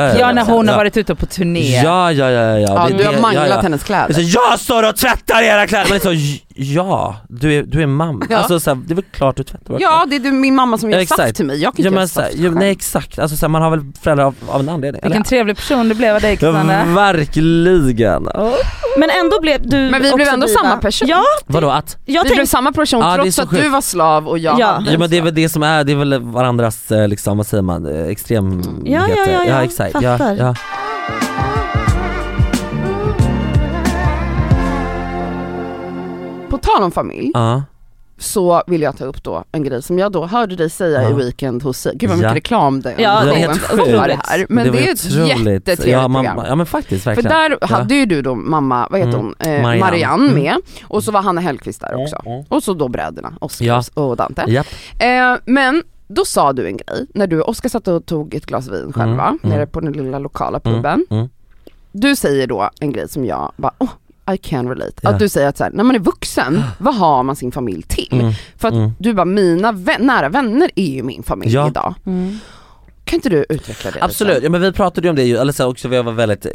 [SPEAKER 3] ja,
[SPEAKER 2] Ja när hon har
[SPEAKER 3] ja.
[SPEAKER 2] varit ute på turné.
[SPEAKER 3] Ja ja ja ja.
[SPEAKER 1] Ja, du har manglat
[SPEAKER 3] ja, ja.
[SPEAKER 1] hennes
[SPEAKER 3] Det är
[SPEAKER 1] kläder.
[SPEAKER 3] Så, jag står och tvättar era kläder! Man är så, ja, du är, du är mamma.
[SPEAKER 1] Ja.
[SPEAKER 3] Alltså, så här, det är väl klart du tvättar våra
[SPEAKER 1] Ja, det är du, min mamma som gör
[SPEAKER 3] Ja, exakt.
[SPEAKER 1] saft till mig, jag kan inte
[SPEAKER 3] kläder. Ja,
[SPEAKER 1] göra
[SPEAKER 3] men, så här,
[SPEAKER 1] saft
[SPEAKER 3] ja,
[SPEAKER 1] själv.
[SPEAKER 3] nej exakt, alltså, så här, man har väl föräldrar av, av en anledning.
[SPEAKER 2] Vilken trevlig person du blev av dig
[SPEAKER 3] Ja,
[SPEAKER 2] Cassandra.
[SPEAKER 3] verkligen.
[SPEAKER 4] Men ändå blev du
[SPEAKER 1] Men vi
[SPEAKER 4] också
[SPEAKER 1] blev ändå
[SPEAKER 4] diva.
[SPEAKER 1] samma person.
[SPEAKER 4] Ja,
[SPEAKER 3] Vadå att?
[SPEAKER 4] jag
[SPEAKER 1] vi
[SPEAKER 4] tänkte
[SPEAKER 1] blev samma person
[SPEAKER 3] Ja, det är
[SPEAKER 1] trots
[SPEAKER 3] så
[SPEAKER 1] att
[SPEAKER 3] sjukt.
[SPEAKER 1] du var slav och jag
[SPEAKER 4] Ja.
[SPEAKER 1] hade
[SPEAKER 3] Ja men det är väl det som är, det är väl varandras eh, liksom, vad säger man, eh, extremheter.
[SPEAKER 4] Ja, ja, ja,
[SPEAKER 3] ja
[SPEAKER 4] ja.
[SPEAKER 3] exakt. Ja,
[SPEAKER 4] Fattar.
[SPEAKER 3] ja.
[SPEAKER 1] På tal om familj
[SPEAKER 3] Ja.
[SPEAKER 1] så vill jag ta upp då en grej som jag då hörde dig säga
[SPEAKER 3] Ja.
[SPEAKER 1] i Weekend hos Gud vad mycket
[SPEAKER 3] Ja.
[SPEAKER 1] reklam den
[SPEAKER 4] Ja,
[SPEAKER 3] det är
[SPEAKER 1] gången
[SPEAKER 3] helt
[SPEAKER 1] var
[SPEAKER 3] sjukt.
[SPEAKER 1] det här. Men det,
[SPEAKER 3] var
[SPEAKER 1] är ju ett
[SPEAKER 3] otroligt.
[SPEAKER 1] jättetrevligt
[SPEAKER 3] ja, man,
[SPEAKER 1] program.
[SPEAKER 3] Ja men faktiskt,
[SPEAKER 1] För
[SPEAKER 3] verkligen.
[SPEAKER 1] där
[SPEAKER 3] Ja.
[SPEAKER 1] hade ju du då mamma, vad heter
[SPEAKER 3] Mm.
[SPEAKER 1] hon, eh,
[SPEAKER 3] Marianne.
[SPEAKER 1] Marianne, med och så var Hanna Hellquist där också. Och så då bröderna Oscar
[SPEAKER 3] Ja.
[SPEAKER 1] och Dante.
[SPEAKER 3] Mm. Japp.
[SPEAKER 1] Eh, men då sa du en grej när du och Oskar satt och tog ett glas vin själva
[SPEAKER 3] mm.
[SPEAKER 1] nere på den lilla lokala
[SPEAKER 3] Mm,
[SPEAKER 1] puben.
[SPEAKER 3] mm.
[SPEAKER 1] Du säger då en grej som jag bara, åh, I can relate.
[SPEAKER 3] Ja.
[SPEAKER 1] Att du säger att så här, när man är
[SPEAKER 3] [GASPS]
[SPEAKER 1] vuxen, vad har man sin familj till?
[SPEAKER 3] Mm.
[SPEAKER 1] För att
[SPEAKER 3] Mm.
[SPEAKER 1] du bara, mina vä- nära vänner är ju min familj
[SPEAKER 3] Ja.
[SPEAKER 1] idag.
[SPEAKER 4] Mm.
[SPEAKER 1] Kan inte du utveckla det
[SPEAKER 3] Absolut,
[SPEAKER 1] lite?
[SPEAKER 3] ja men vi pratade ju om det ju, eller så också jag var väldigt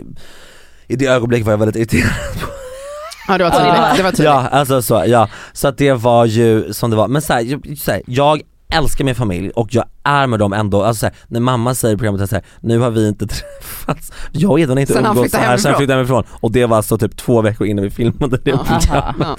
[SPEAKER 3] i det ögonblicket var jag väldigt irriterad.
[SPEAKER 1] Ja det var tydligt. Det var tydligt.
[SPEAKER 3] Ja, alltså så, ja. Så att det var ju som det var. Men så här, ju- så här, jag älskar min familj och jag är med dem ändå. Alltså så här, när mamma säger i programmet att så här, nu har vi inte [LAUGHS] träffats, jag och Edvin har inte
[SPEAKER 1] Sen han
[SPEAKER 3] umgåtts så
[SPEAKER 1] flyttade
[SPEAKER 3] här sen
[SPEAKER 1] hemifrån.
[SPEAKER 3] jag flyttade hemifrån. Och det var alltså typ två veckor innan vi filmade det
[SPEAKER 1] Ja. [LAUGHS]
[SPEAKER 3] programmet.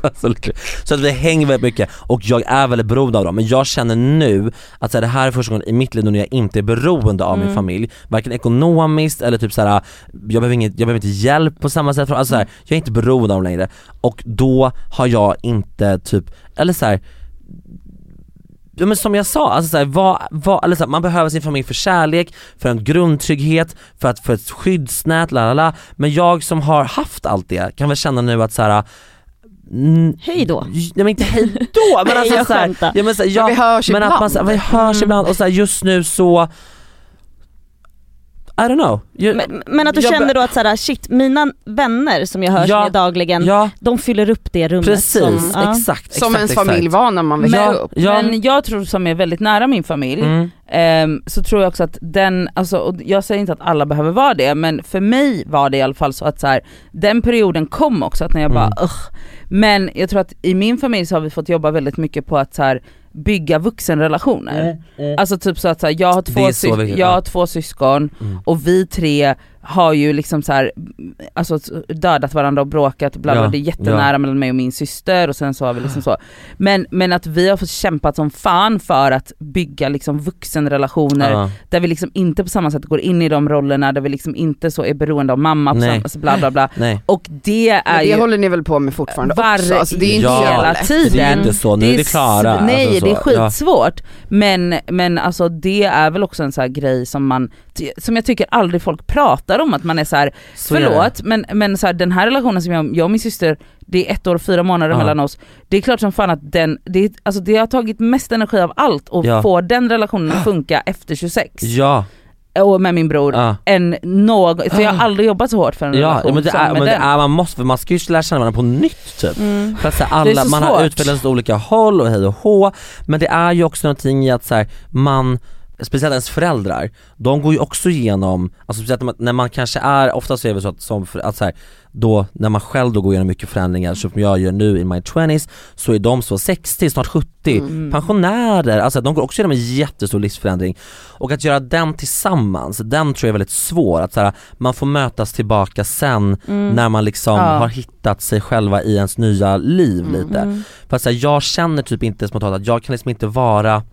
[SPEAKER 1] Ja.
[SPEAKER 3] [LAUGHS] Alltså, lyckligt. så att vi hänger väldigt mycket och jag är väldigt beroende av dem. Men jag känner nu att så här, det här är första gången i mitt liv nu när jag inte är beroende av min familj. Varken ekonomiskt eller typ så här, jag behöver, inget, jag behöver inte hjälp på samma sätt. Alltså, så här, jag är inte beroende av dem längre. Och då har jag inte typ, eller så här. Ja, men som jag sa, alltså så här, vad, vad, eller så här, man behöver sin familj för kärlek, för en grundtrygghet, för, att, för ett skyddsnät, la la la. Men jag som har haft allt det kan väl känna nu att så här. mm,
[SPEAKER 4] Hej då.
[SPEAKER 3] Nej men inte hejdå men
[SPEAKER 4] [LAUGHS] Nej,
[SPEAKER 3] alltså
[SPEAKER 4] jag
[SPEAKER 3] så här,
[SPEAKER 4] skämtar.
[SPEAKER 3] ja, men, så här, jag,
[SPEAKER 1] vi hörs
[SPEAKER 3] men att man,
[SPEAKER 1] ibland.
[SPEAKER 3] så här, vi hörs ibland och så här, just nu så I don't know. Jag,
[SPEAKER 4] Men, men att du
[SPEAKER 3] Jag be-
[SPEAKER 4] känner då att så här, shit, mina vänner som jag hörs
[SPEAKER 3] Ja.
[SPEAKER 4] med dagligen,
[SPEAKER 3] ja
[SPEAKER 4] de fyller upp det rummet.
[SPEAKER 3] precis,
[SPEAKER 4] Som,
[SPEAKER 3] exakt, Mm,
[SPEAKER 4] ja.
[SPEAKER 3] exakt.
[SPEAKER 1] Som ens
[SPEAKER 3] exakt.
[SPEAKER 1] familj var när man växte
[SPEAKER 2] Men-
[SPEAKER 1] upp.
[SPEAKER 3] Ja,
[SPEAKER 2] Men jag tror som är väldigt nära min familj,
[SPEAKER 3] mm,
[SPEAKER 2] ehm, så tror jag också att den, alltså, och jag säger inte att alla behöver vara det, men för mig var det i alla fall så att så här, den perioden kom också, att när jag bara
[SPEAKER 3] Mm.
[SPEAKER 2] ugh. Men jag tror att i min familj så har vi fått jobba väldigt mycket på att så här, bygga vuxenrelationer. Alltså typ så att så här, jag, har
[SPEAKER 3] Eh, Det
[SPEAKER 2] två
[SPEAKER 3] är så
[SPEAKER 2] sys-
[SPEAKER 3] viktigt,
[SPEAKER 2] jag
[SPEAKER 3] ja.
[SPEAKER 2] har två syskon
[SPEAKER 3] Mm.
[SPEAKER 2] och vi tre har ju liksom så här, alltså dödat varandra och bråkat och bla bla,
[SPEAKER 3] Ja,
[SPEAKER 2] det är jättenära mellan mig och min syster och sen så har vi
[SPEAKER 3] [SIGHS]
[SPEAKER 2] liksom så. Men, men att vi har fått kämpat som fan för att bygga liksom vuxenrelationer
[SPEAKER 3] ja.
[SPEAKER 2] där vi liksom inte på samma sätt går in i de rollerna, där vi liksom inte så är beroende av mamma, på
[SPEAKER 3] Nej.
[SPEAKER 2] samma, alltså bla bla bla.
[SPEAKER 3] nej.
[SPEAKER 2] Och det
[SPEAKER 1] Men
[SPEAKER 2] är
[SPEAKER 1] det
[SPEAKER 2] ju
[SPEAKER 1] håller ni väl på med fortfarande också?
[SPEAKER 2] varje-
[SPEAKER 1] Alltså, det är ju inte
[SPEAKER 3] Ja.
[SPEAKER 1] så
[SPEAKER 2] hela
[SPEAKER 1] lätt.
[SPEAKER 3] Det är
[SPEAKER 2] tiden.
[SPEAKER 3] inte så, nu är vi klara.
[SPEAKER 2] sv- Nej
[SPEAKER 3] alltså så.
[SPEAKER 2] det är
[SPEAKER 3] Ja.
[SPEAKER 2] skitsvårt. Men, men alltså det är väl också en sån här grej som man, ty- som jag tycker aldrig folk pratar om att man är så här,
[SPEAKER 3] Så är det.
[SPEAKER 2] förlåt men, men så här, den här relationen som jag, jag och min syster, det är ett år och fyra månader
[SPEAKER 3] Ja.
[SPEAKER 2] mellan oss. Det är klart som fan att den, det, alltså det har tagit mest energi av allt att
[SPEAKER 3] Ja.
[SPEAKER 2] få den relationen att funka efter 26
[SPEAKER 3] Ja,
[SPEAKER 2] och med min bror.
[SPEAKER 3] ja.
[SPEAKER 2] Än någon, för jag har aldrig jobbat så hårt för en
[SPEAKER 3] Ja,
[SPEAKER 2] relation
[SPEAKER 3] men det
[SPEAKER 2] som
[SPEAKER 3] är,
[SPEAKER 2] med
[SPEAKER 3] men det
[SPEAKER 2] den.
[SPEAKER 3] är, man måste, för man ska ju lära känna varandra på nytt typ.
[SPEAKER 4] Mm.
[SPEAKER 3] För att så här,
[SPEAKER 2] Det är
[SPEAKER 3] alla,
[SPEAKER 2] så
[SPEAKER 3] man har
[SPEAKER 2] svårt.
[SPEAKER 3] utvecklats åt olika håll och hej och hå, men det är ju också någonting i att så här, man Speciellt ens föräldrar, de går ju också igenom, alltså speciellt när man, när man kanske är, ofta så är det så att, som för, att så här, då, när man själv då går igenom mycket förändringar, så som jag gör nu i my 20s, så är de så 60, snart 70, pensionärer, alltså de går också igenom en jättestor livsförändring. Och att göra den tillsammans, den tror jag är väldigt svår, att så här, man får mötas tillbaka sen när man liksom
[SPEAKER 2] Ja.
[SPEAKER 3] har hittat sig själva i ens nya liv lite. För att så här, jag känner typ inte spontant att jag kan liksom inte vara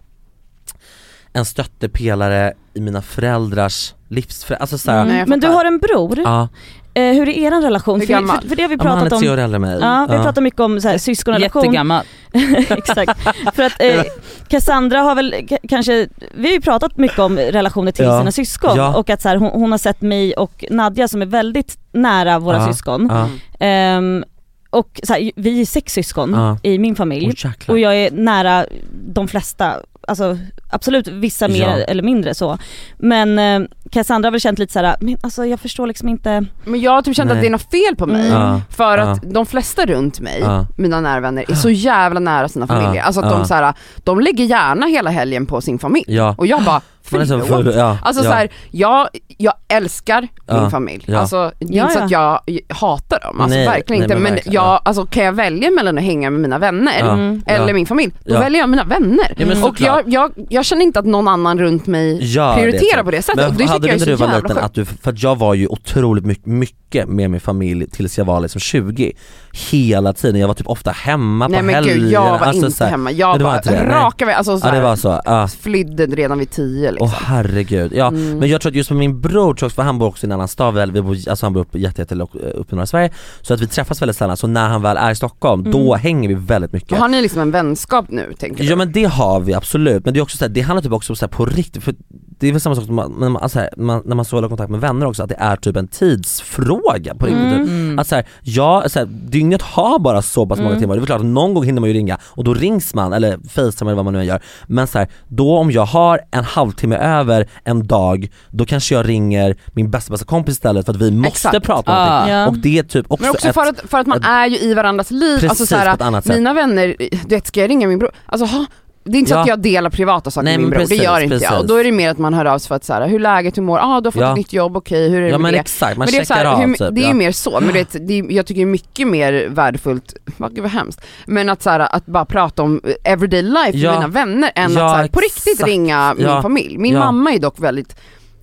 [SPEAKER 3] en stöttepelare i mina föräldrars livsförändring, alltså såhär,
[SPEAKER 1] Nej, Mm, jag
[SPEAKER 4] Men du
[SPEAKER 1] fattar.
[SPEAKER 4] har en bror,
[SPEAKER 3] ja,
[SPEAKER 4] eh, hur är er relation?
[SPEAKER 1] Hur
[SPEAKER 4] För,
[SPEAKER 1] gammal?
[SPEAKER 4] för, för det har vi
[SPEAKER 3] ja, men han
[SPEAKER 4] pratat
[SPEAKER 3] är tre
[SPEAKER 4] om.
[SPEAKER 3] år äldre än mig.
[SPEAKER 4] Ja, vi pratar mycket om så här, syskonrelation.
[SPEAKER 2] Jättegammal.
[SPEAKER 4] [LAUGHS] Exakt. För att eh, Cassandra har väl k- kanske, vi har ju pratat mycket om relationer till
[SPEAKER 3] Ja.
[SPEAKER 4] sina syskon
[SPEAKER 3] Ja.
[SPEAKER 4] och att så här, hon, hon har sett mig och Nadja som är väldigt nära våra
[SPEAKER 3] Ja.
[SPEAKER 4] syskon.
[SPEAKER 3] Ja.
[SPEAKER 4] Ehm, och så här, vi är sex syskon
[SPEAKER 3] Ja.
[SPEAKER 4] i min familj
[SPEAKER 3] Åh, jäklar.
[SPEAKER 4] och jag är nära de flesta, alltså absolut vissa
[SPEAKER 3] Ja.
[SPEAKER 4] mer eller mindre så. Men eh, Cassandra har väl känt lite så här, men alltså jag förstår liksom inte,
[SPEAKER 1] Men jag har typ känt att
[SPEAKER 3] Nej.
[SPEAKER 1] det är något fel på mig.
[SPEAKER 4] Mm.
[SPEAKER 3] Ja.
[SPEAKER 1] För att de flesta runt mig,
[SPEAKER 3] Ja.
[SPEAKER 1] mina nära vänner, är så jävla nära sina
[SPEAKER 3] Ja.
[SPEAKER 1] familjer. Alltså att
[SPEAKER 3] Ja.
[SPEAKER 1] de, så här, de lägger gärna hela helgen på sin familj.
[SPEAKER 3] Ja.
[SPEAKER 1] Och jag bara,
[SPEAKER 3] [LAUGHS] Man är så
[SPEAKER 1] förlåt.
[SPEAKER 3] full- ja,
[SPEAKER 1] Alltså
[SPEAKER 3] ja.
[SPEAKER 1] så här, jag, jag älskar
[SPEAKER 3] Ja,
[SPEAKER 1] min familj.
[SPEAKER 3] ja.
[SPEAKER 1] Alltså, det är
[SPEAKER 4] Ja,
[SPEAKER 1] inte så att jag hatar dem, alltså,
[SPEAKER 3] Nej,
[SPEAKER 1] verkligen
[SPEAKER 3] nej,
[SPEAKER 1] inte.
[SPEAKER 3] men
[SPEAKER 1] Men,
[SPEAKER 3] verkligen,
[SPEAKER 1] jag,
[SPEAKER 3] ja.
[SPEAKER 1] alltså, kan jag välja mellan att hänga med mina vänner
[SPEAKER 3] Ja,
[SPEAKER 4] Mm.
[SPEAKER 1] eller
[SPEAKER 3] ja.
[SPEAKER 1] min familj, då
[SPEAKER 3] Ja.
[SPEAKER 1] väljer jag mina vänner.
[SPEAKER 3] Ja, men
[SPEAKER 1] och
[SPEAKER 3] såklart.
[SPEAKER 1] jag, jag, jag känner inte att någon annan runt mig
[SPEAKER 3] Ja, det
[SPEAKER 1] prioriterar
[SPEAKER 3] tror jag.
[SPEAKER 1] på det sättet.
[SPEAKER 3] Men
[SPEAKER 1] Och det
[SPEAKER 3] hade
[SPEAKER 1] tycker jag är
[SPEAKER 3] inte
[SPEAKER 1] så
[SPEAKER 3] du var
[SPEAKER 1] jävla
[SPEAKER 3] liten
[SPEAKER 1] sjukt.
[SPEAKER 3] att du, för att jag var ju otroligt mycket, mycket med min familj tills jag var liksom 20 Hela tiden, jag var typ ofta hemma
[SPEAKER 1] Nej
[SPEAKER 3] på
[SPEAKER 1] men
[SPEAKER 3] helgerna
[SPEAKER 1] gud jag var
[SPEAKER 3] alltså så
[SPEAKER 1] inte
[SPEAKER 3] här-
[SPEAKER 1] hemma,
[SPEAKER 3] Nej,
[SPEAKER 1] jag
[SPEAKER 3] det var
[SPEAKER 1] bara
[SPEAKER 3] inte det, nej.
[SPEAKER 1] raka vägen, alltså
[SPEAKER 3] Ja
[SPEAKER 1] såhär,
[SPEAKER 3] det var så, ja.
[SPEAKER 1] flydde redan vid tio liksom.
[SPEAKER 3] Åh herregud, ja.
[SPEAKER 1] Mm.
[SPEAKER 3] Men jag tror att just med min bror, tror jag också, för han bor också i en annan stad, väl, vi bor, alltså han bor uppe jätte, jätte, lo- uppe i norra Sverige Så att vi träffas väldigt sällan, så när han väl är i Stockholm, då hänger vi väldigt mycket
[SPEAKER 1] Mm. Har ni liksom en vänskap nu tänker du?
[SPEAKER 3] Ja men det har vi absolut, men det är också så här, det handlar typ också om så här, på riktigt, för det är väl samma sak som man, när, man, alltså här, man, när man så håller kontakt med vänner också, att det är typ en tidsfråga fråga på rimligt
[SPEAKER 4] Mm.
[SPEAKER 3] sätt. Att så här, ja, så här, dygnet har bara så pass många
[SPEAKER 4] Mm.
[SPEAKER 3] timmar, det är klart att någon gång hinner man ju ringa och då rings man eller facetimar eller vad man nu än gör. Men så här, då om jag har en halvtimme över en dag, då kanske jag ringer min bästa bästa kompis istället för att vi måste
[SPEAKER 1] Exakt.
[SPEAKER 3] prata om
[SPEAKER 1] Ah.
[SPEAKER 3] någonting.
[SPEAKER 4] Ja.
[SPEAKER 3] Och det är typ också,
[SPEAKER 1] Men också
[SPEAKER 3] ett,
[SPEAKER 1] för att, för att man
[SPEAKER 3] ett-
[SPEAKER 1] är ju i varandans liv.
[SPEAKER 3] precis
[SPEAKER 1] alltså, så här,
[SPEAKER 3] på ett annat sätt.
[SPEAKER 1] mina vänner, du vet ska jag ringa min bror? Alltså, ha, det är inte så att
[SPEAKER 3] Ja.
[SPEAKER 1] jag delar privata saker
[SPEAKER 3] Nej,
[SPEAKER 1] med min
[SPEAKER 3] men
[SPEAKER 1] bror, det
[SPEAKER 3] precis,
[SPEAKER 1] gör inte jag.
[SPEAKER 3] precis.
[SPEAKER 1] Och då är det mer att man hör av sig för att så här, hur är läget, hur mår, ah, du har fått
[SPEAKER 3] Ja.
[SPEAKER 1] ett nytt jobb, okej hur är det
[SPEAKER 3] Ja
[SPEAKER 1] med
[SPEAKER 3] men
[SPEAKER 1] det?
[SPEAKER 3] exakt, man
[SPEAKER 1] men det är,
[SPEAKER 3] checkar
[SPEAKER 1] så här,
[SPEAKER 3] av
[SPEAKER 1] hur,
[SPEAKER 3] typ.
[SPEAKER 1] det är
[SPEAKER 3] ja.
[SPEAKER 1] ju mer så, men du vet, det är, jag tycker det är mycket mer värdefullt, vad, gud, vad hemskt, men att, så här, att bara prata om eh, everyday life
[SPEAKER 3] Ja.
[SPEAKER 1] med mina vänner än
[SPEAKER 3] Ja,
[SPEAKER 1] att så här, på riktigt
[SPEAKER 3] exakt.
[SPEAKER 1] ringa min
[SPEAKER 3] Ja.
[SPEAKER 1] familj. Min
[SPEAKER 3] Ja.
[SPEAKER 1] mamma är dock väldigt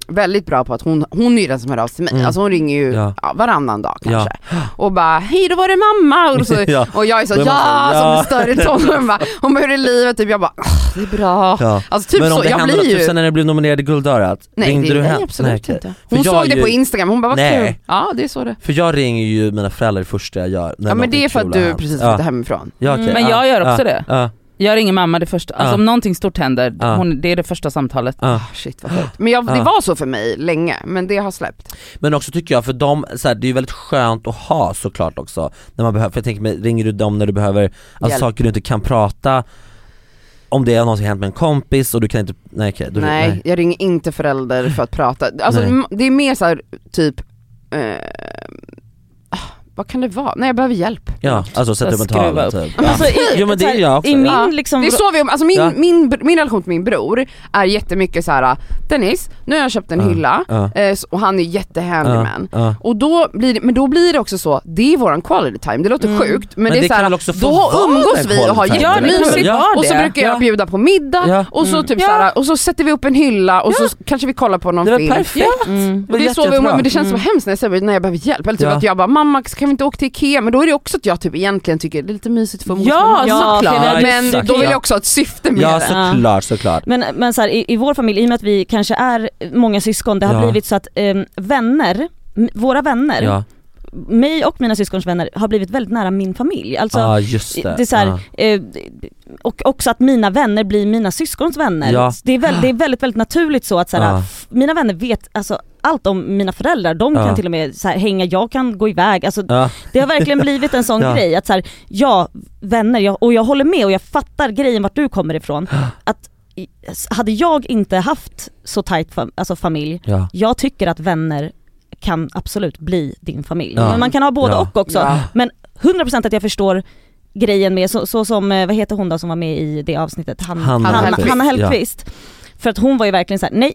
[SPEAKER 1] väldigt bra på att hon, hon är ju den som hör av sig till mig,
[SPEAKER 3] Mm.
[SPEAKER 1] alltså hon ringer ju
[SPEAKER 3] Ja.
[SPEAKER 1] ja, varannan dag
[SPEAKER 3] Ja.
[SPEAKER 1] kanske och bara hej då var det mamma och, så,
[SPEAKER 3] [LAUGHS] Ja.
[SPEAKER 1] och jag är så
[SPEAKER 3] Då
[SPEAKER 1] ja,
[SPEAKER 3] är man så,
[SPEAKER 1] som
[SPEAKER 3] ja.
[SPEAKER 1] en större
[SPEAKER 3] [LAUGHS]
[SPEAKER 1] tonåring bara, hon bara hur är livet? Typ, jag bara "Ah, det är bra.
[SPEAKER 3] Ja.
[SPEAKER 1] Alltså typ
[SPEAKER 3] men om
[SPEAKER 1] så,
[SPEAKER 3] det
[SPEAKER 1] jag
[SPEAKER 3] hände något,
[SPEAKER 1] blir
[SPEAKER 3] typ
[SPEAKER 1] ju
[SPEAKER 3] sen när du blev nominerad till Guldörat,
[SPEAKER 1] Nej,
[SPEAKER 3] ringde
[SPEAKER 1] det,
[SPEAKER 3] du hem?
[SPEAKER 1] nej absolut
[SPEAKER 3] Nej,
[SPEAKER 1] inte.
[SPEAKER 3] För
[SPEAKER 1] Hon
[SPEAKER 3] jag
[SPEAKER 1] såg
[SPEAKER 3] är
[SPEAKER 1] det
[SPEAKER 3] ju-
[SPEAKER 1] på instagram, hon bara vad
[SPEAKER 3] Nej.
[SPEAKER 1] kul. Ja det är så det
[SPEAKER 3] För jag ringer ju mina föräldrar det första jag gör. när
[SPEAKER 1] Ja men
[SPEAKER 3] någonting
[SPEAKER 1] det är för
[SPEAKER 3] kul
[SPEAKER 1] att
[SPEAKER 3] har
[SPEAKER 1] du
[SPEAKER 3] hänt.
[SPEAKER 1] precis
[SPEAKER 3] ja.
[SPEAKER 1] flyttade hemifrån.
[SPEAKER 3] Ja,
[SPEAKER 2] Mm,
[SPEAKER 3] okej,
[SPEAKER 2] men
[SPEAKER 3] ja,
[SPEAKER 2] jag gör
[SPEAKER 3] ja,
[SPEAKER 2] också det.
[SPEAKER 3] Ja,
[SPEAKER 2] Jag ringer mamma det första, alltså
[SPEAKER 3] Ja.
[SPEAKER 2] om någonting stort händer,
[SPEAKER 3] Ja.
[SPEAKER 2] hon, det är det första samtalet.
[SPEAKER 3] ja.
[SPEAKER 1] Ah, shit vad sjukt. Men jag, det
[SPEAKER 3] Ja.
[SPEAKER 1] var så för mig länge, men det har släppt.
[SPEAKER 3] Men också tycker jag, för de, så här, det är ju väldigt skönt att ha såklart också, när man behöver, för jag tänker mig, ringer du dem när du behöver, alltså
[SPEAKER 1] Hjälp.
[SPEAKER 3] saker du inte kan prata om det har någonsin hänt med en kompis och du kan inte, nej okej, då-
[SPEAKER 1] nej, jag ringer inte förälder för att prata. Alltså,
[SPEAKER 3] Nej.
[SPEAKER 1] m- det är mer så här, typ, eh, ah, vad kan det vara? Nej jag behöver hjälp.
[SPEAKER 3] Ja, alltså sätta upp en
[SPEAKER 2] skruva
[SPEAKER 3] tavla
[SPEAKER 2] upp.
[SPEAKER 3] typ.
[SPEAKER 4] Men alltså, i,
[SPEAKER 3] Jo, men det
[SPEAKER 4] så här,
[SPEAKER 3] är jag också.
[SPEAKER 4] I min
[SPEAKER 1] Ja.
[SPEAKER 4] liksom,
[SPEAKER 1] Det är så vi, alltså min,
[SPEAKER 3] Ja.
[SPEAKER 1] min, br- min relation till min bror är jättemycket så här: Dennis, nu har jag köpt en
[SPEAKER 3] Ja,
[SPEAKER 1] hylla
[SPEAKER 3] ja.
[SPEAKER 1] eh, s- och han är jättehandyman.
[SPEAKER 3] Ja, ja.
[SPEAKER 1] Och då blir det, men då blir det också så, det är våran quality time, det
[SPEAKER 4] Mm.
[SPEAKER 1] låter sjukt men,
[SPEAKER 3] Men
[SPEAKER 1] det är
[SPEAKER 3] det
[SPEAKER 1] så här,
[SPEAKER 3] kan väl också få
[SPEAKER 1] då
[SPEAKER 3] vara
[SPEAKER 1] umgås
[SPEAKER 3] den
[SPEAKER 1] vi och har
[SPEAKER 3] quality time,
[SPEAKER 2] eller?
[SPEAKER 1] jättemysigt
[SPEAKER 2] Ja,
[SPEAKER 1] och så
[SPEAKER 2] det.
[SPEAKER 1] brukar jag
[SPEAKER 3] Ja.
[SPEAKER 1] bjuda på middag
[SPEAKER 3] Ja.
[SPEAKER 1] och, så typ
[SPEAKER 2] Ja.
[SPEAKER 1] så här, och så sätter vi upp en hylla och så kanske vi kollar på någon
[SPEAKER 3] Det var
[SPEAKER 1] film.
[SPEAKER 3] perfekt!
[SPEAKER 4] mm,
[SPEAKER 1] Och det är så vi,
[SPEAKER 3] jättejättebra.
[SPEAKER 1] men det känns så hemskt när jag säger när jag behöver hjälp, eller typ
[SPEAKER 3] Ja.
[SPEAKER 1] att jag bara mamma kan vi inte åka till Ikea? Men då är det också att jag typ egentligen tycker det är lite mysigt för att umgås
[SPEAKER 2] Ja,
[SPEAKER 1] med någon.
[SPEAKER 4] såklart.
[SPEAKER 3] Ja,
[SPEAKER 1] Men
[SPEAKER 3] exakt.
[SPEAKER 1] då vill
[SPEAKER 3] Ja.
[SPEAKER 1] jag också ha ett syfte med
[SPEAKER 3] Ja
[SPEAKER 1] det.
[SPEAKER 3] såklart, såklart.
[SPEAKER 4] Men, men så här, i, i vår familj, i och med att vi kanske är många syskon, det har
[SPEAKER 3] Ja.
[SPEAKER 4] blivit så att em, vänner, m- våra vänner,
[SPEAKER 3] Ja,
[SPEAKER 4] mig och mina syskons vänner har blivit väldigt nära min familj. Alltså,
[SPEAKER 3] ah, just det.
[SPEAKER 4] det är så här,
[SPEAKER 3] Ja.
[SPEAKER 4] eh, och också att mina vänner blir mina syskons vänner.
[SPEAKER 3] Ja.
[SPEAKER 4] Det, är väl, det är väldigt, väldigt naturligt så att så här,
[SPEAKER 3] Ja.
[SPEAKER 4] f- mina vänner vet alltså, allt om mina föräldrar. De
[SPEAKER 3] Ja.
[SPEAKER 4] kan till och med så här, hänga, jag kan gå iväg. Alltså,
[SPEAKER 3] Ja.
[SPEAKER 4] det har verkligen blivit en
[SPEAKER 3] [LAUGHS]
[SPEAKER 4] sån
[SPEAKER 3] Ja.
[SPEAKER 4] grej att så här, ja vänner, jag, och jag håller med och jag fattar grejen vart du kommer
[SPEAKER 3] [GASPS]
[SPEAKER 4] ifrån. Att i- s- hade jag inte haft så tajt fam- alltså familj,
[SPEAKER 3] Ja.
[SPEAKER 4] jag tycker att vänner kan absolut bli din familj.
[SPEAKER 3] Ja.
[SPEAKER 4] Men man kan ha både
[SPEAKER 3] Ja.
[SPEAKER 4] och också.
[SPEAKER 1] Ja.
[SPEAKER 4] Men 100% att jag förstår grejen med, så, så som, eh, vad heter hon då som var med i det avsnittet? Han,
[SPEAKER 3] Hanna
[SPEAKER 4] Hanna-
[SPEAKER 1] Hellquist.
[SPEAKER 4] Hanna
[SPEAKER 3] Ja.
[SPEAKER 4] Hellquist. För att hon var ju verkligen såhär, nej,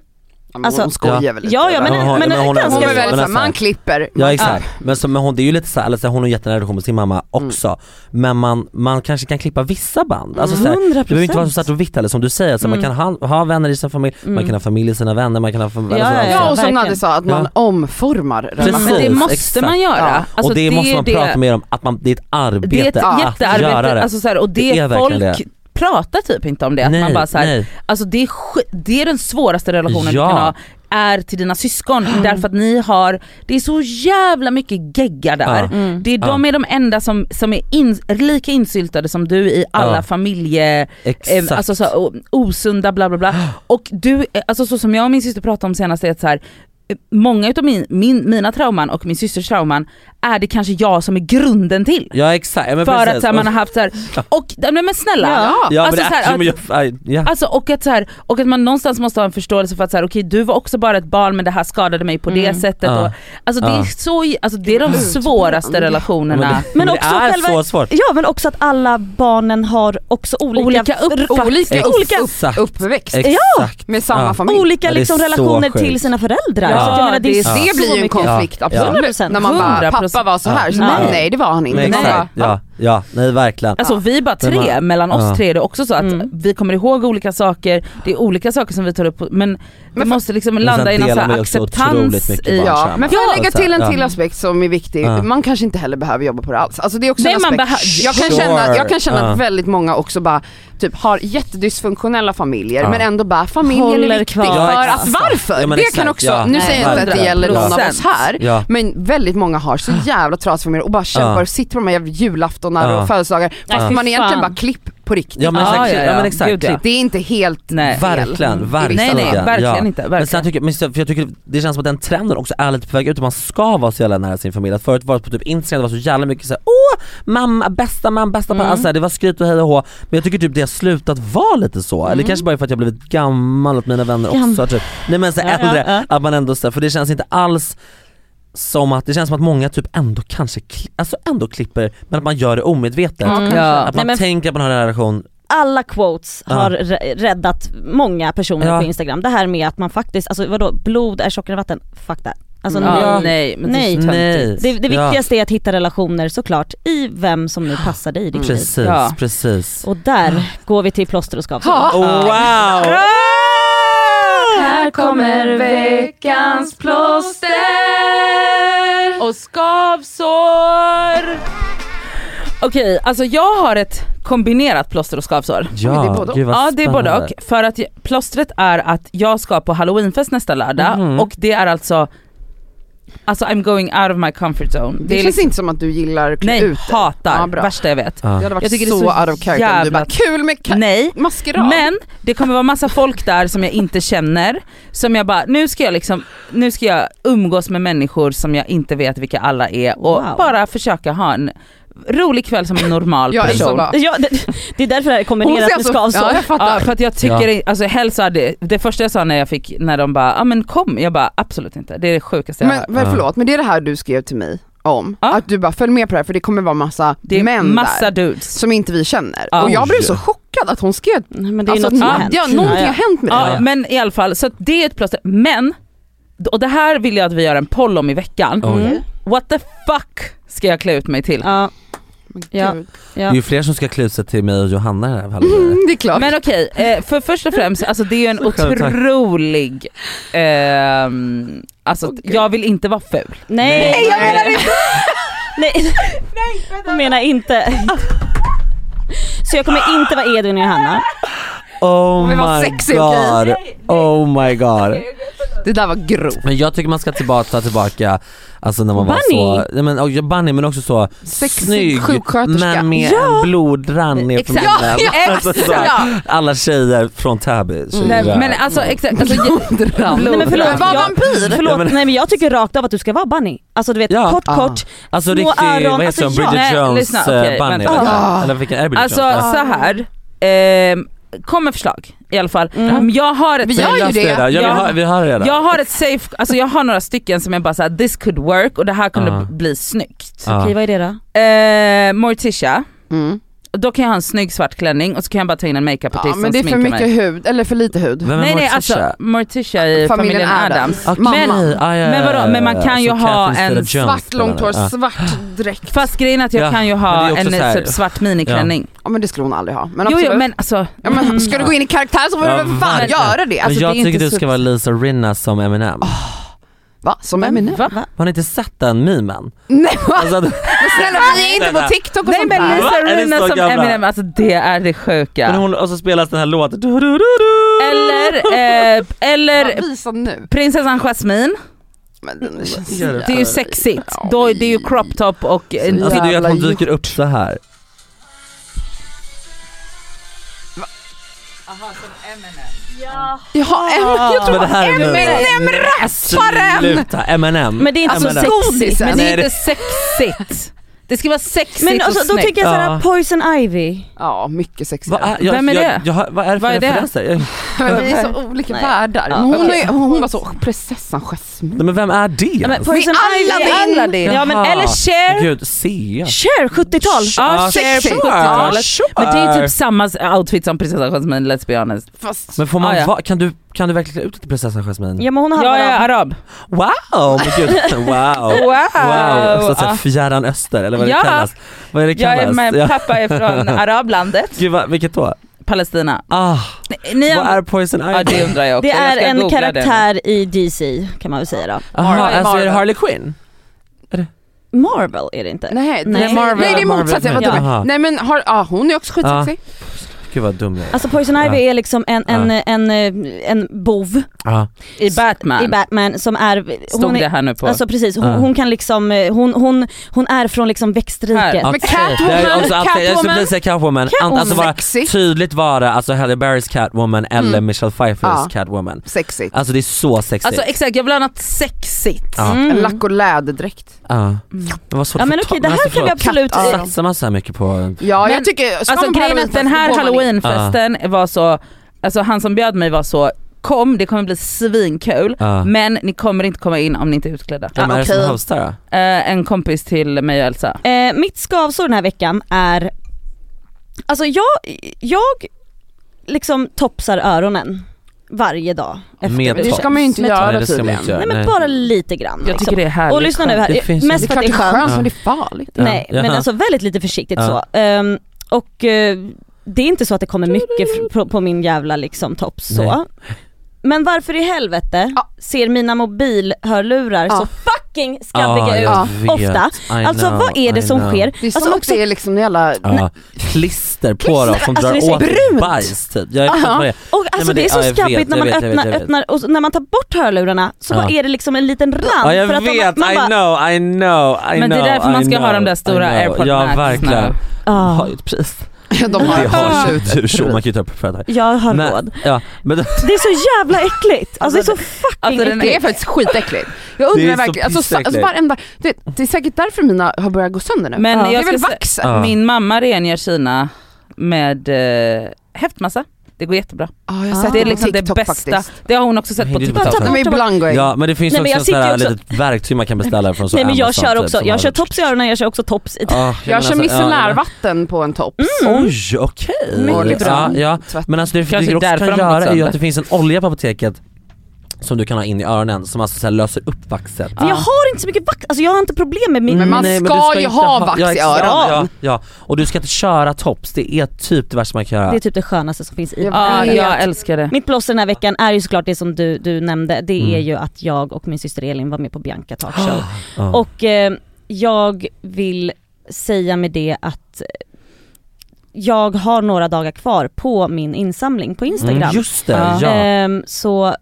[SPEAKER 1] Ja, men
[SPEAKER 4] Alltså-
[SPEAKER 1] hon skojar väl lite.
[SPEAKER 4] ja ja men,
[SPEAKER 1] eller?
[SPEAKER 3] Hon har-
[SPEAKER 4] men,
[SPEAKER 3] men hon har-
[SPEAKER 4] ganska
[SPEAKER 1] hon är
[SPEAKER 3] men
[SPEAKER 1] väl såhär,
[SPEAKER 3] alltså-
[SPEAKER 1] man klipper.
[SPEAKER 3] Ja exakt, men, så, men hon, det är ju lite så här, eller så här, hon har en jättenära relation med sin mamma också Men man, man kanske kan klippa vissa band, alltså, så här,
[SPEAKER 2] Mm.
[SPEAKER 3] det
[SPEAKER 4] 100%.
[SPEAKER 3] behöver inte vara så svart och vitt heller som du säger, så man kan ha, ha vänner i sin familj,
[SPEAKER 2] Mm.
[SPEAKER 3] man kan ha familj i sina vänner, man kan ha familj
[SPEAKER 4] Ja, ja,
[SPEAKER 1] Ja, och som
[SPEAKER 4] verkligen.
[SPEAKER 1] Nadde sa, att man omformar
[SPEAKER 3] Precis.
[SPEAKER 2] Men
[SPEAKER 1] relationen.
[SPEAKER 2] det måste man göra.
[SPEAKER 1] Ja.
[SPEAKER 2] Alltså,
[SPEAKER 3] Och det, måste man
[SPEAKER 2] det-
[SPEAKER 3] prata mer om, att man, det är ett arbete
[SPEAKER 2] Det är ett
[SPEAKER 3] att göra
[SPEAKER 2] jättearbete,
[SPEAKER 3] det
[SPEAKER 2] alltså, så här, och det,
[SPEAKER 3] Det är
[SPEAKER 2] folk
[SPEAKER 3] verkligen
[SPEAKER 2] pratar typ inte om det. Att man bara så här,
[SPEAKER 3] nej.
[SPEAKER 2] Alltså det är, sk- det är den svåraste relationen
[SPEAKER 3] Ja.
[SPEAKER 2] du kan ha är till dina
[SPEAKER 3] [GASPS]
[SPEAKER 2] syskon därför att ni har, det är så jävla mycket gegga där.
[SPEAKER 3] Ja.
[SPEAKER 2] Det är, de är de enda som, som är in, lika insyltade som du i alla
[SPEAKER 3] Ja.
[SPEAKER 2] familje, eh,
[SPEAKER 3] Exakt.
[SPEAKER 2] alltså så, här, o- osunda bla bla
[SPEAKER 3] [GASPS]
[SPEAKER 2] bla. Och du, eh, alltså så som jag och min syster pratade om senast är att så här, eh, många utav min, min, mina trauman och min systers trauman är det kanske jag som är grunden till.
[SPEAKER 3] ja exakt, ja, men
[SPEAKER 2] För
[SPEAKER 3] precis.
[SPEAKER 2] att så här, man har haft så här, och nej, men snälla,
[SPEAKER 1] Ja.
[SPEAKER 3] Ja,
[SPEAKER 2] alltså, så
[SPEAKER 3] men det,
[SPEAKER 2] här,
[SPEAKER 3] [LAUGHS] är-
[SPEAKER 2] att-
[SPEAKER 3] men jag, aj, ja.
[SPEAKER 2] Alltså och att, så här, och att man någonstans måste ha en förståelse för att så här, okej, du var också bara ett barn men det här skadade mig på det sättet.
[SPEAKER 3] Mm. Ja.
[SPEAKER 2] Och, alltså, det,
[SPEAKER 3] Ja.
[SPEAKER 2] är så, alltså, det är de svåraste relationerna.
[SPEAKER 3] men,
[SPEAKER 4] Men
[SPEAKER 3] det
[SPEAKER 4] också
[SPEAKER 3] är
[SPEAKER 4] själva-
[SPEAKER 3] så svårt
[SPEAKER 4] Ja men också att alla barnen har också olika,
[SPEAKER 2] Olika upp-
[SPEAKER 4] olika,
[SPEAKER 3] Exakt.
[SPEAKER 4] olika,
[SPEAKER 3] Exakt.
[SPEAKER 1] Uppväxt
[SPEAKER 3] Exakt.
[SPEAKER 1] med samma
[SPEAKER 3] Ja.
[SPEAKER 1] familj.
[SPEAKER 4] olika
[SPEAKER 3] Ja, det är
[SPEAKER 4] liksom,
[SPEAKER 3] så
[SPEAKER 4] relationer
[SPEAKER 3] sjukt.
[SPEAKER 4] till sina föräldrar.
[SPEAKER 2] Ja,
[SPEAKER 4] Så att jag menar, det, är
[SPEAKER 2] det-
[SPEAKER 4] så
[SPEAKER 1] Det blir ju en
[SPEAKER 4] mycket.
[SPEAKER 1] konflikt,
[SPEAKER 3] Ja.
[SPEAKER 1] absolut.
[SPEAKER 4] 100%.
[SPEAKER 1] När man bara,
[SPEAKER 2] 100%.
[SPEAKER 1] pappa var så här, så
[SPEAKER 3] Ja.
[SPEAKER 1] nej, nej det var han inte.
[SPEAKER 3] Nej,
[SPEAKER 1] Man bara,
[SPEAKER 3] exakt, ja, ja, nej verkligen
[SPEAKER 2] Alltså vi bara tre,
[SPEAKER 3] Men man-
[SPEAKER 2] mellan oss
[SPEAKER 3] ja.
[SPEAKER 2] tre är det också så att vi kommer ihåg olika saker, det är olika saker som vi tar upp men, vi måste liksom
[SPEAKER 3] Men sen
[SPEAKER 2] landa i någon så
[SPEAKER 3] delar man
[SPEAKER 2] här
[SPEAKER 3] ju också otroligt
[SPEAKER 2] acceptans
[SPEAKER 3] mycket
[SPEAKER 2] i...
[SPEAKER 3] barn.
[SPEAKER 1] Ja,
[SPEAKER 3] Samma.
[SPEAKER 1] men får
[SPEAKER 3] Ja,
[SPEAKER 1] jag lägga
[SPEAKER 3] exakt.
[SPEAKER 1] till en
[SPEAKER 3] Ja.
[SPEAKER 1] till aspekt som är viktig,
[SPEAKER 3] Ja.
[SPEAKER 1] man kanske inte heller behöver jobba på det alls. Alltså det är också
[SPEAKER 2] Nej,
[SPEAKER 1] en
[SPEAKER 2] man
[SPEAKER 1] aspekt.
[SPEAKER 2] behö-
[SPEAKER 1] jag, kan
[SPEAKER 3] Sure.
[SPEAKER 1] känna, jag kan känna
[SPEAKER 3] Ja.
[SPEAKER 1] att väldigt många också bara typ, har jättedysfunktionella familjer
[SPEAKER 3] Ja.
[SPEAKER 1] men ändå bara familjen är
[SPEAKER 4] Håller
[SPEAKER 1] viktig
[SPEAKER 4] kvar.
[SPEAKER 1] för
[SPEAKER 3] Ja,
[SPEAKER 1] att
[SPEAKER 3] exakt.
[SPEAKER 1] varför?
[SPEAKER 3] Ja, men
[SPEAKER 1] det
[SPEAKER 3] exakt,
[SPEAKER 1] kan också,
[SPEAKER 3] ja.
[SPEAKER 1] nu
[SPEAKER 3] Nej,
[SPEAKER 1] säger jag inte att det
[SPEAKER 2] 100%.
[SPEAKER 1] gäller någon av oss här
[SPEAKER 3] Ja.
[SPEAKER 1] men väldigt många har så jävla trasig familj och bara kämpar
[SPEAKER 3] Ja.
[SPEAKER 1] och sitter på de här jävla julaftonar
[SPEAKER 3] Ja.
[SPEAKER 1] och födelsedagar fast
[SPEAKER 4] fy
[SPEAKER 1] man egentligen
[SPEAKER 4] fan.
[SPEAKER 1] bara klipp på riktigt.
[SPEAKER 3] Ja men
[SPEAKER 2] Ah,
[SPEAKER 3] exakt,
[SPEAKER 2] ja,
[SPEAKER 3] ja,
[SPEAKER 2] ja.
[SPEAKER 3] men exakt.
[SPEAKER 2] Gud, ja.
[SPEAKER 3] klipp.
[SPEAKER 1] Det är inte helt
[SPEAKER 2] Nej.
[SPEAKER 4] Eh,
[SPEAKER 1] fel. liksom
[SPEAKER 3] Verkligen, verkligen.
[SPEAKER 2] Nej nej,
[SPEAKER 3] Ja.
[SPEAKER 2] verkligen inte.
[SPEAKER 3] Men sen
[SPEAKER 2] Verkligen.
[SPEAKER 3] tycker, men sen- för jag tycker det känns som att den trenden också är lite på väg ut och man ska vara så jävla nära sin familj. Att förut var det på typ Instagram det var så jävla mycket såhär åh mamma, bästa mamma, bästa
[SPEAKER 4] Mm.
[SPEAKER 3] pappa, alltså, så här, det var skryt och hej och hå. Men jag tycker typ det har slutat vara lite så. Eller kanske bara för att jag har blivit gammal och att mina vänner
[SPEAKER 4] Mm. Gammal.
[SPEAKER 3] också har typ, nej men så här,
[SPEAKER 4] Ja,
[SPEAKER 3] äldre,
[SPEAKER 4] ja,
[SPEAKER 3] att man ändå så här, för det känns inte alls som att, det känns som att många typ ändå kanske, kli- alltså ändå klipper men att man gör det omedvetet.
[SPEAKER 4] Mm.
[SPEAKER 2] Ja.
[SPEAKER 3] Att man
[SPEAKER 4] Nej, men- Mm.
[SPEAKER 3] tänker att man har en relation,
[SPEAKER 4] alla quotes
[SPEAKER 3] Ja.
[SPEAKER 4] har rä- räddat många personer
[SPEAKER 3] Ja.
[SPEAKER 4] på Instagram. Det här med att man faktiskt, alltså vadå, blod är tjockare än vatten, fuck that. Alltså,
[SPEAKER 3] Mm.
[SPEAKER 4] nej.
[SPEAKER 2] Ja, nej, men det är
[SPEAKER 4] Nej.
[SPEAKER 2] så töntigt.
[SPEAKER 3] nej.
[SPEAKER 4] Det, det
[SPEAKER 3] Ja.
[SPEAKER 4] viktigaste är att hitta relationer såklart i vem som nu passar dig i ditt liv.
[SPEAKER 3] Precis,
[SPEAKER 2] Ja.
[SPEAKER 3] precis.
[SPEAKER 4] Och där går vi till plåster och skavsår.
[SPEAKER 1] Ha!
[SPEAKER 3] wow!
[SPEAKER 1] Här kommer veckans plåster och skavsår.
[SPEAKER 2] Okej, alltså jag har ett kombinerat plåster och skavsår.
[SPEAKER 3] Ja,
[SPEAKER 1] men det är både och.
[SPEAKER 3] gud vad
[SPEAKER 2] Ja det är både
[SPEAKER 3] spännande.
[SPEAKER 2] och. För att jag, plåstret är att jag ska på halloweenfest nästa lördag
[SPEAKER 3] Mhm.
[SPEAKER 2] och det är alltså, alltså I'm going out of my comfort zone.
[SPEAKER 1] Det,
[SPEAKER 2] är
[SPEAKER 1] känns
[SPEAKER 2] liksom-
[SPEAKER 1] inte som att du gillar att klä
[SPEAKER 2] Nej,
[SPEAKER 1] ut dig.
[SPEAKER 2] hatar.
[SPEAKER 1] Ja, bra.
[SPEAKER 2] värsta jag vet.
[SPEAKER 1] Det
[SPEAKER 3] Ja.
[SPEAKER 1] hade varit
[SPEAKER 2] Jag tycker det är
[SPEAKER 1] så,
[SPEAKER 2] så
[SPEAKER 1] out of character om du
[SPEAKER 2] jävla-
[SPEAKER 1] bara kul med ka-
[SPEAKER 2] Nej.
[SPEAKER 1] maskerad.
[SPEAKER 2] Men det kommer vara massa folk där som jag inte känner, som jag bara, nu ska jag liksom, nu ska jag umgås med människor som jag inte vet vilka alla är och
[SPEAKER 4] Wow.
[SPEAKER 2] bara försöka ha en rolig kväll som en normal
[SPEAKER 1] jag är så
[SPEAKER 2] person.
[SPEAKER 1] bra.
[SPEAKER 4] Ja, det, det är därför det här är kombinerat med skavsår.
[SPEAKER 1] alltså- ja, jag fattar.
[SPEAKER 2] Ja för att jag tycker, alltså hälsa det, det första jag sa när jag fick, när de bara ja ah, men kom, jag bara absolut inte, det är det sjukaste jag
[SPEAKER 1] men,
[SPEAKER 2] har hört.
[SPEAKER 1] men
[SPEAKER 3] Ja.
[SPEAKER 1] förlåt, men det är det här du skrev till mig om.
[SPEAKER 2] Ja.
[SPEAKER 1] Att du bara följ med på det här för det kommer vara massa
[SPEAKER 2] Ah. Det är
[SPEAKER 1] män
[SPEAKER 2] massa Ah.
[SPEAKER 1] där
[SPEAKER 2] dudes.
[SPEAKER 1] som inte vi känner.
[SPEAKER 2] Ja.
[SPEAKER 1] Och jag blev
[SPEAKER 3] Oj.
[SPEAKER 1] så chockad att hon skrev
[SPEAKER 4] Nej, men det är
[SPEAKER 1] alltså,
[SPEAKER 4] något som har
[SPEAKER 1] att-
[SPEAKER 4] hänt.
[SPEAKER 1] ja, någonting har hänt med
[SPEAKER 2] Ja, Ah.
[SPEAKER 1] det.
[SPEAKER 2] men i alla fall, så att det är ett plåster. Men, och det här vill jag att vi gör en poll om i veckan.
[SPEAKER 3] Oj.
[SPEAKER 4] Mm.
[SPEAKER 2] What the fuck ska jag klä ut mig till?
[SPEAKER 4] Ja, ja,
[SPEAKER 1] Gud.
[SPEAKER 3] Det
[SPEAKER 4] ja.
[SPEAKER 3] är ju fler som ska klä ut sig till mig och Johanna här väl?
[SPEAKER 1] Mm, det är klart.
[SPEAKER 2] Men okej, eh, för först och främst, alltså det är ju en
[SPEAKER 3] Så skönt, tack.
[SPEAKER 2] otrolig... ehm, alltså
[SPEAKER 1] Åh, gud.
[SPEAKER 2] jag vill inte vara ful.
[SPEAKER 4] Nej,
[SPEAKER 1] Nej, jag menar inte.
[SPEAKER 4] [LAUGHS] Nej, jag menar inte. Så jag kommer inte vara Edvin och Johanna.
[SPEAKER 3] Oh
[SPEAKER 1] Men vad
[SPEAKER 3] my
[SPEAKER 1] sexy,
[SPEAKER 3] god!
[SPEAKER 1] okej?
[SPEAKER 3] Oh my god!
[SPEAKER 1] Det där var grovt.
[SPEAKER 3] Men jag tycker man ska tillbaka, ta tillbaka, alltså när man var
[SPEAKER 4] Bunny.
[SPEAKER 3] så, nej men, och, ja, bunny men också så
[SPEAKER 1] Sexig
[SPEAKER 3] snygg
[SPEAKER 1] sjuksköterska.
[SPEAKER 3] men med en blodrann ner från
[SPEAKER 2] Exakt.
[SPEAKER 3] munnen.
[SPEAKER 1] Ja,
[SPEAKER 3] Alltså, så, alla tjejer från Täby. tjejer.
[SPEAKER 2] Nej, men alltså exakt, alltså,
[SPEAKER 1] Blodrann.
[SPEAKER 4] Nej, men förlåt.
[SPEAKER 1] Men var
[SPEAKER 4] Jag-
[SPEAKER 1] vampyr?
[SPEAKER 4] Förlåt,
[SPEAKER 3] Ja, men-
[SPEAKER 4] nej men jag tycker rakt av att du ska vara Bunny. Alltså du vet
[SPEAKER 3] Ja.
[SPEAKER 4] kort
[SPEAKER 1] Ah.
[SPEAKER 4] kort,
[SPEAKER 3] alltså
[SPEAKER 4] små
[SPEAKER 3] riktig,
[SPEAKER 4] öron,
[SPEAKER 3] vad heter
[SPEAKER 4] alltså,
[SPEAKER 3] hon, Bridget
[SPEAKER 2] jag- Nej,
[SPEAKER 3] Jones
[SPEAKER 2] lyssna,
[SPEAKER 3] eh,
[SPEAKER 2] okej,
[SPEAKER 3] bunny?
[SPEAKER 2] vänta.
[SPEAKER 1] Ah.
[SPEAKER 3] Eller vilken är det Bridget
[SPEAKER 2] alltså
[SPEAKER 3] Jones?
[SPEAKER 2] så här. ehm, kom med förslag i alla fall.
[SPEAKER 1] Mm.
[SPEAKER 2] Men Jag har ett
[SPEAKER 1] Vi gör ju
[SPEAKER 3] Ja.
[SPEAKER 1] det.
[SPEAKER 3] Ja, vi
[SPEAKER 2] Ja.
[SPEAKER 3] har, vi har redan.
[SPEAKER 2] Jag har ett safe, alltså jag har några stycken som jag bara såhär this could work och det här kunde
[SPEAKER 3] Ja.
[SPEAKER 2] bli snyggt.
[SPEAKER 3] Ja.
[SPEAKER 4] okej vad är det då?
[SPEAKER 2] Eh, Morticia,
[SPEAKER 1] Mm.
[SPEAKER 2] då kan jag ha en snygg svart klänning och så kan jag bara ta in en makeupartist
[SPEAKER 1] Ja,
[SPEAKER 2] som
[SPEAKER 1] men det är för
[SPEAKER 2] sminkar
[SPEAKER 1] mycket
[SPEAKER 2] mig.
[SPEAKER 1] hud, eller för lite hud.
[SPEAKER 3] Vem är
[SPEAKER 2] Nej nej
[SPEAKER 3] Morticia?
[SPEAKER 2] alltså Morticia i familjen,
[SPEAKER 1] Familjen Addams.
[SPEAKER 2] Adams.
[SPEAKER 3] Okej.
[SPEAKER 1] Mamma.
[SPEAKER 3] Ah, ja, ja,
[SPEAKER 2] Men vadå,
[SPEAKER 3] ja, ja,
[SPEAKER 2] men man
[SPEAKER 3] ja.
[SPEAKER 2] kan ju
[SPEAKER 3] Så
[SPEAKER 2] ha
[SPEAKER 3] Catherine
[SPEAKER 2] en
[SPEAKER 3] Zeta-Jones
[SPEAKER 1] Svart
[SPEAKER 3] spelar
[SPEAKER 1] långt hår,
[SPEAKER 3] den. Ja.
[SPEAKER 1] svart dräkt.
[SPEAKER 2] Fast grejen är att jag
[SPEAKER 3] Ja,
[SPEAKER 2] kan ju
[SPEAKER 3] men det är
[SPEAKER 2] ha
[SPEAKER 3] också
[SPEAKER 2] en
[SPEAKER 3] så här-
[SPEAKER 2] typ svart miniklänning.
[SPEAKER 1] Ja men det skulle hon aldrig ha. Men
[SPEAKER 2] Jo,
[SPEAKER 1] absolut.
[SPEAKER 2] jo men alltså,
[SPEAKER 1] Ja, men, ska du gå in i karaktär så får du
[SPEAKER 3] Ja,
[SPEAKER 1] väl för fan
[SPEAKER 3] verkligen.
[SPEAKER 1] göra det. Alltså,
[SPEAKER 3] men jag
[SPEAKER 1] det är
[SPEAKER 3] tycker
[SPEAKER 1] inte
[SPEAKER 3] du ska
[SPEAKER 1] så-
[SPEAKER 3] vara Lisa Rinna som Eminem.
[SPEAKER 2] Ah.
[SPEAKER 1] Va? Som Eminem?
[SPEAKER 2] va?
[SPEAKER 3] Har ni inte sett den memen?
[SPEAKER 1] Nej va?
[SPEAKER 2] Ah.
[SPEAKER 3] Alltså,
[SPEAKER 1] Men snälla vi är inte på TikTok och
[SPEAKER 2] Nej
[SPEAKER 1] sånt
[SPEAKER 2] men
[SPEAKER 1] där.
[SPEAKER 3] Va? Är
[SPEAKER 2] Lisa
[SPEAKER 3] det
[SPEAKER 2] Rinna
[SPEAKER 3] så
[SPEAKER 2] som
[SPEAKER 3] gamla?
[SPEAKER 2] Eminem, alltså det är det
[SPEAKER 3] men
[SPEAKER 2] sjuka.
[SPEAKER 3] hon, och så spelas den här låten. Alltså, Du, du, du, du.
[SPEAKER 2] Eller, eh, eller
[SPEAKER 1] Vad Visa nu.
[SPEAKER 2] prinsessan Jasmine.
[SPEAKER 1] Men den känns
[SPEAKER 3] Gör det.
[SPEAKER 2] Det är ju sexigt. Då är det ju crop top och... eh,
[SPEAKER 1] Så
[SPEAKER 3] Alltså det är ju att hon
[SPEAKER 1] Jävla
[SPEAKER 3] dyker upp så här.
[SPEAKER 1] Jaha, Eminem. Jag tror
[SPEAKER 3] Men det här är nu-
[SPEAKER 1] Eminem-rapparen!
[SPEAKER 3] Sluta, Eminem.
[SPEAKER 4] Men det är inte
[SPEAKER 1] Alltså,
[SPEAKER 4] så
[SPEAKER 3] Eminem.
[SPEAKER 1] godisen.
[SPEAKER 4] sexigt.
[SPEAKER 2] Men det
[SPEAKER 3] Nej,
[SPEAKER 2] är
[SPEAKER 3] det-
[SPEAKER 2] inte sexigt. Det ska vara sexigt
[SPEAKER 4] Men
[SPEAKER 2] och
[SPEAKER 4] alltså, då
[SPEAKER 2] snyggt.
[SPEAKER 4] tycker jag såhär
[SPEAKER 3] Ja.
[SPEAKER 4] Poison Ivy.
[SPEAKER 1] Ja, mycket
[SPEAKER 3] Vad
[SPEAKER 1] sexigare.
[SPEAKER 3] är, jag,
[SPEAKER 2] Vem är
[SPEAKER 3] jag,
[SPEAKER 2] det?
[SPEAKER 3] Jag, har- vad är det för
[SPEAKER 2] Vad är det?
[SPEAKER 3] referenser? Jag,
[SPEAKER 1] Men vi är så olika
[SPEAKER 4] Nej.
[SPEAKER 1] världar.
[SPEAKER 4] Ja,
[SPEAKER 1] Men hon,
[SPEAKER 4] okej.
[SPEAKER 1] är, hon var så, prinsessan Jasmine.
[SPEAKER 3] nej, men vem är det?
[SPEAKER 4] Ja, men
[SPEAKER 3] ens?
[SPEAKER 4] Poison
[SPEAKER 1] Aladdin.
[SPEAKER 4] Ivy.
[SPEAKER 2] Aladdin.
[SPEAKER 4] Ja men
[SPEAKER 3] Jaha.
[SPEAKER 4] eller Cher.
[SPEAKER 3] Gud, Sia.
[SPEAKER 4] Cher 70-tal.
[SPEAKER 2] Ja, Cher
[SPEAKER 1] sexigt.
[SPEAKER 2] på 70-talet.
[SPEAKER 3] Sure.
[SPEAKER 2] Men det är ju typ samma outfit som prinsessan Jasmine, let's be honest.
[SPEAKER 1] Fast
[SPEAKER 3] Men får man
[SPEAKER 2] Ah, ja.
[SPEAKER 3] va, kan, du, kan du verkligen klä ut dig till prinsessan Jasmine?
[SPEAKER 4] Ja men hon har
[SPEAKER 2] Jag är
[SPEAKER 4] ja,
[SPEAKER 2] arab.
[SPEAKER 3] Wow! Men gud, wow!
[SPEAKER 2] Wow!
[SPEAKER 3] wow. Så att säga,
[SPEAKER 2] Ah.
[SPEAKER 3] Fjärran Öster eller vad det
[SPEAKER 2] Ja.
[SPEAKER 3] kallas. Vad är det
[SPEAKER 2] Jag
[SPEAKER 3] kallas?
[SPEAKER 2] är med, pappa är
[SPEAKER 3] [LAUGHS]
[SPEAKER 2] från arablandet,
[SPEAKER 3] Gud, vad, vilket då?
[SPEAKER 2] Palestina.
[SPEAKER 3] Ah,
[SPEAKER 2] Ni- Ni
[SPEAKER 3] vad
[SPEAKER 2] har,
[SPEAKER 3] är Poison Ivy?
[SPEAKER 2] ja, det undrar jag också.
[SPEAKER 4] Det är
[SPEAKER 2] jag ska
[SPEAKER 4] en
[SPEAKER 2] googla
[SPEAKER 4] karaktär i DC kan man väl säga då.
[SPEAKER 3] Aha,
[SPEAKER 1] Marvel.
[SPEAKER 3] alltså är det Harley Quinn?
[SPEAKER 4] Marvel är det inte.
[SPEAKER 1] Nej,
[SPEAKER 4] Nej.
[SPEAKER 1] nej, nej det är motsatsen, jag var
[SPEAKER 3] Marvel.
[SPEAKER 1] dum.
[SPEAKER 3] Jaha.
[SPEAKER 1] Nej men har, ah, hon är också skitsexig.
[SPEAKER 3] Gud vad dum jag är.
[SPEAKER 4] Alltså Poison Ivy är liksom en, en, en, en, en bov
[SPEAKER 3] Ja.
[SPEAKER 2] I Batman
[SPEAKER 4] i Batman som är...
[SPEAKER 2] stod
[SPEAKER 4] hon
[SPEAKER 2] det
[SPEAKER 4] är
[SPEAKER 2] här nu på.
[SPEAKER 4] Alltså precis, hon,
[SPEAKER 3] Ja.
[SPEAKER 4] hon kan liksom, eh, hon, hon, hon är från liksom växtriket.
[SPEAKER 3] Okej.
[SPEAKER 1] Catwoman,
[SPEAKER 3] Det är också alltid- Jag skulle
[SPEAKER 1] Catwoman.
[SPEAKER 3] precis säga Catwoman.
[SPEAKER 4] Catwoman.
[SPEAKER 3] Alltså bara
[SPEAKER 1] Sexy.
[SPEAKER 3] tydligt vara alltså Halle Berrys Catwoman eller
[SPEAKER 1] Mm.
[SPEAKER 3] Michelle Pfeiffers
[SPEAKER 1] Ja.
[SPEAKER 3] Catwoman.
[SPEAKER 1] Sexigt.
[SPEAKER 3] Alltså det är så sexigt.
[SPEAKER 2] Alltså exakt, jag vill ha något sexigt.
[SPEAKER 3] Ja.
[SPEAKER 1] En
[SPEAKER 4] Mm.
[SPEAKER 1] lack och läderdräkt.
[SPEAKER 3] ja.
[SPEAKER 2] Mm.
[SPEAKER 3] Det var svårt
[SPEAKER 4] Ja
[SPEAKER 3] att
[SPEAKER 4] men
[SPEAKER 3] få
[SPEAKER 4] okej,
[SPEAKER 3] tag-
[SPEAKER 4] det här
[SPEAKER 3] alltså,
[SPEAKER 4] kan vi
[SPEAKER 3] förlåt.
[SPEAKER 4] absolut...
[SPEAKER 1] Katt-
[SPEAKER 4] eh,
[SPEAKER 3] Satsar man så här mycket på...
[SPEAKER 1] Ja
[SPEAKER 2] Men-
[SPEAKER 1] jag tycker, ska
[SPEAKER 2] Alltså
[SPEAKER 1] man på
[SPEAKER 2] grejen är att den här
[SPEAKER 1] får man in.
[SPEAKER 2] halloweenfesten var så, alltså han som bjöd mig var så kom det kommer bli svinkul
[SPEAKER 3] Ja.
[SPEAKER 2] men ni kommer inte komma in om ni inte är utklädda.
[SPEAKER 4] Ah,
[SPEAKER 3] Vem är det
[SPEAKER 1] okej.
[SPEAKER 3] som hostar då?
[SPEAKER 2] Eh, en kompis till mig och Elsa.
[SPEAKER 4] Eh, mitt skavsår den här veckan är, alltså jag, jag liksom topsar öronen varje dag. Efter
[SPEAKER 3] Med
[SPEAKER 1] Det
[SPEAKER 4] bröllopet.
[SPEAKER 1] ska man ju inte
[SPEAKER 4] Med
[SPEAKER 1] göra
[SPEAKER 3] Nej, det ska man
[SPEAKER 1] tydligen.
[SPEAKER 3] inte göra.
[SPEAKER 4] Nej men
[SPEAKER 3] Nej.
[SPEAKER 4] bara lite grann. liksom.
[SPEAKER 2] Jag tycker det är härligt.
[SPEAKER 4] och lyssna nu här,
[SPEAKER 3] Det finns
[SPEAKER 1] Det
[SPEAKER 4] mest
[SPEAKER 1] är
[SPEAKER 4] för att
[SPEAKER 1] klart
[SPEAKER 4] det är skönt.
[SPEAKER 1] skönt
[SPEAKER 3] Ja.
[SPEAKER 1] men det är farligt.
[SPEAKER 3] Ja.
[SPEAKER 4] Nej men
[SPEAKER 3] Jaha.
[SPEAKER 4] alltså väldigt lite försiktigt
[SPEAKER 3] Ja.
[SPEAKER 4] så. Ehm, och eh, det är inte så att det kommer mycket fr- på, på min jävla liksom tops
[SPEAKER 3] Nej.
[SPEAKER 4] så. Men varför i helvete
[SPEAKER 1] Ja.
[SPEAKER 4] ser mina mobilhörlurar
[SPEAKER 1] Ja.
[SPEAKER 4] så fucking
[SPEAKER 3] Ja,
[SPEAKER 4] skabbiga ut?
[SPEAKER 3] jag
[SPEAKER 4] ut ofta.
[SPEAKER 3] vet. I
[SPEAKER 4] Alltså
[SPEAKER 3] know,
[SPEAKER 4] vad är det
[SPEAKER 3] I
[SPEAKER 4] som
[SPEAKER 3] know.
[SPEAKER 4] sker?
[SPEAKER 1] Det är så
[SPEAKER 4] Alltså
[SPEAKER 1] att
[SPEAKER 4] också
[SPEAKER 1] det är liksom en jävla...
[SPEAKER 3] Ja. Klister på dem som
[SPEAKER 4] Alltså, det
[SPEAKER 3] drar
[SPEAKER 4] är så
[SPEAKER 3] åt ditt
[SPEAKER 1] brunt.
[SPEAKER 3] bajs typ. Jag är
[SPEAKER 1] Ja.
[SPEAKER 3] uh det.
[SPEAKER 4] Och
[SPEAKER 3] men
[SPEAKER 4] alltså det,
[SPEAKER 3] det-
[SPEAKER 4] är så
[SPEAKER 3] ja, jag
[SPEAKER 4] skabbigt
[SPEAKER 3] vet,
[SPEAKER 4] när
[SPEAKER 3] jag
[SPEAKER 4] man
[SPEAKER 3] vet, jag vet,
[SPEAKER 4] öppnar,
[SPEAKER 3] jag vet.
[SPEAKER 4] öppnar och så, när man tar bort hörlurarna så
[SPEAKER 3] Ja.
[SPEAKER 4] bara är det liksom en liten rand
[SPEAKER 3] Ja jag
[SPEAKER 4] för att
[SPEAKER 3] vet,
[SPEAKER 4] man, man
[SPEAKER 3] I
[SPEAKER 4] bara,
[SPEAKER 3] know, I know, I
[SPEAKER 2] Men det är
[SPEAKER 3] know,
[SPEAKER 2] därför man
[SPEAKER 3] I
[SPEAKER 2] ska ha
[SPEAKER 3] know,
[SPEAKER 2] de där stora
[SPEAKER 3] I know.
[SPEAKER 2] AirPod
[SPEAKER 3] Ja
[SPEAKER 2] Max
[SPEAKER 3] verkligen.
[SPEAKER 2] nu.
[SPEAKER 4] Ah,
[SPEAKER 3] Har ju ett pris.
[SPEAKER 1] De
[SPEAKER 3] Det
[SPEAKER 1] har
[SPEAKER 3] har
[SPEAKER 1] ett
[SPEAKER 3] ju tur, man kan ju ta upp för det
[SPEAKER 4] jag har
[SPEAKER 3] Men-
[SPEAKER 4] råd.
[SPEAKER 3] Ja, men
[SPEAKER 4] Det är så jävla
[SPEAKER 1] [LAUGHS]
[SPEAKER 4] äckligt, alltså,
[SPEAKER 2] Alltså,
[SPEAKER 4] det är så fucking
[SPEAKER 2] alltså, den
[SPEAKER 4] äckligt.
[SPEAKER 1] Det är faktiskt skitäckligt. Jag undrar
[SPEAKER 3] Det är så
[SPEAKER 1] verkligen, alltså, sa- alltså
[SPEAKER 3] pissäckligt.
[SPEAKER 1] varenda, du vet, det är säkert därför mina har börjat gå sönder nu.
[SPEAKER 2] Men
[SPEAKER 1] det
[SPEAKER 2] jag
[SPEAKER 1] är väl
[SPEAKER 2] ska sä-
[SPEAKER 1] vaxet?
[SPEAKER 3] Ja.
[SPEAKER 2] Min mamma rengör sina med eh, häftmassa. Det går jättebra.
[SPEAKER 1] Ja, jag har
[SPEAKER 4] Ah.
[SPEAKER 1] sett
[SPEAKER 2] Det är
[SPEAKER 1] på
[SPEAKER 2] liksom det
[SPEAKER 1] TikTok
[SPEAKER 2] bästa.
[SPEAKER 1] faktiskt.
[SPEAKER 2] Det har hon också sett
[SPEAKER 3] Nej,
[SPEAKER 2] på
[SPEAKER 3] det är
[SPEAKER 2] TikTok.
[SPEAKER 3] inte
[SPEAKER 1] De
[SPEAKER 4] Ta
[SPEAKER 1] är
[SPEAKER 4] bort-
[SPEAKER 1] ibland going.
[SPEAKER 3] Ja men det finns
[SPEAKER 4] Nej, men jag
[SPEAKER 3] också
[SPEAKER 4] sitter ju
[SPEAKER 3] sådär
[SPEAKER 4] också-
[SPEAKER 3] litet verktyg man kan beställa från så
[SPEAKER 4] Nej men jag
[SPEAKER 3] Amazon
[SPEAKER 4] kör
[SPEAKER 3] typ,
[SPEAKER 4] också,
[SPEAKER 3] som
[SPEAKER 4] jag
[SPEAKER 3] har-
[SPEAKER 4] kör tops i öronen, jag kör också tops i
[SPEAKER 3] Ah,
[SPEAKER 1] Jag
[SPEAKER 3] men
[SPEAKER 1] kör
[SPEAKER 3] alltså, ja,
[SPEAKER 1] micellärvatten på en liksom topp.
[SPEAKER 4] Mm.
[SPEAKER 3] ja. Oj okej.
[SPEAKER 1] Mycket bra.
[SPEAKER 3] Ja, ja.
[SPEAKER 1] Tvätt.
[SPEAKER 3] Men alltså det du
[SPEAKER 2] Kanske
[SPEAKER 3] också kan
[SPEAKER 2] därför de har
[SPEAKER 3] göra
[SPEAKER 2] gått
[SPEAKER 3] är ju
[SPEAKER 2] sönder.
[SPEAKER 3] att det finns en olja på apoteket som du kan ha in i öronen som alltså så här löser upp vaxet.
[SPEAKER 4] Men jag har inte så mycket vax, alltså jag har inte problem med min...
[SPEAKER 1] Men man
[SPEAKER 3] Mm, Nej,
[SPEAKER 1] ska
[SPEAKER 3] du
[SPEAKER 1] ju
[SPEAKER 3] inte
[SPEAKER 1] ha vax
[SPEAKER 3] ja,
[SPEAKER 1] i
[SPEAKER 3] exakt. Ja,
[SPEAKER 1] öronen.
[SPEAKER 3] ja. Och du ska inte köra tops, det är typ det värsta man kan göra.
[SPEAKER 4] Det är typ det skönaste som finns i
[SPEAKER 1] Ja.
[SPEAKER 2] Ja,
[SPEAKER 1] Ah, vet.
[SPEAKER 2] jag älskar det.
[SPEAKER 4] Mitt plåster den här veckan är ju såklart det som du, du nämnde, det är
[SPEAKER 3] Mm.
[SPEAKER 4] ju att jag och min syster Elin var med på Bianca Talkshow.
[SPEAKER 3] [GASPS] Ja.
[SPEAKER 4] Och eh, jag vill säga med det att eh, jag har några dagar kvar på min insamling på Instagram.
[SPEAKER 3] Mm, just det,
[SPEAKER 2] Ja.
[SPEAKER 3] ja.
[SPEAKER 4] Ehm, så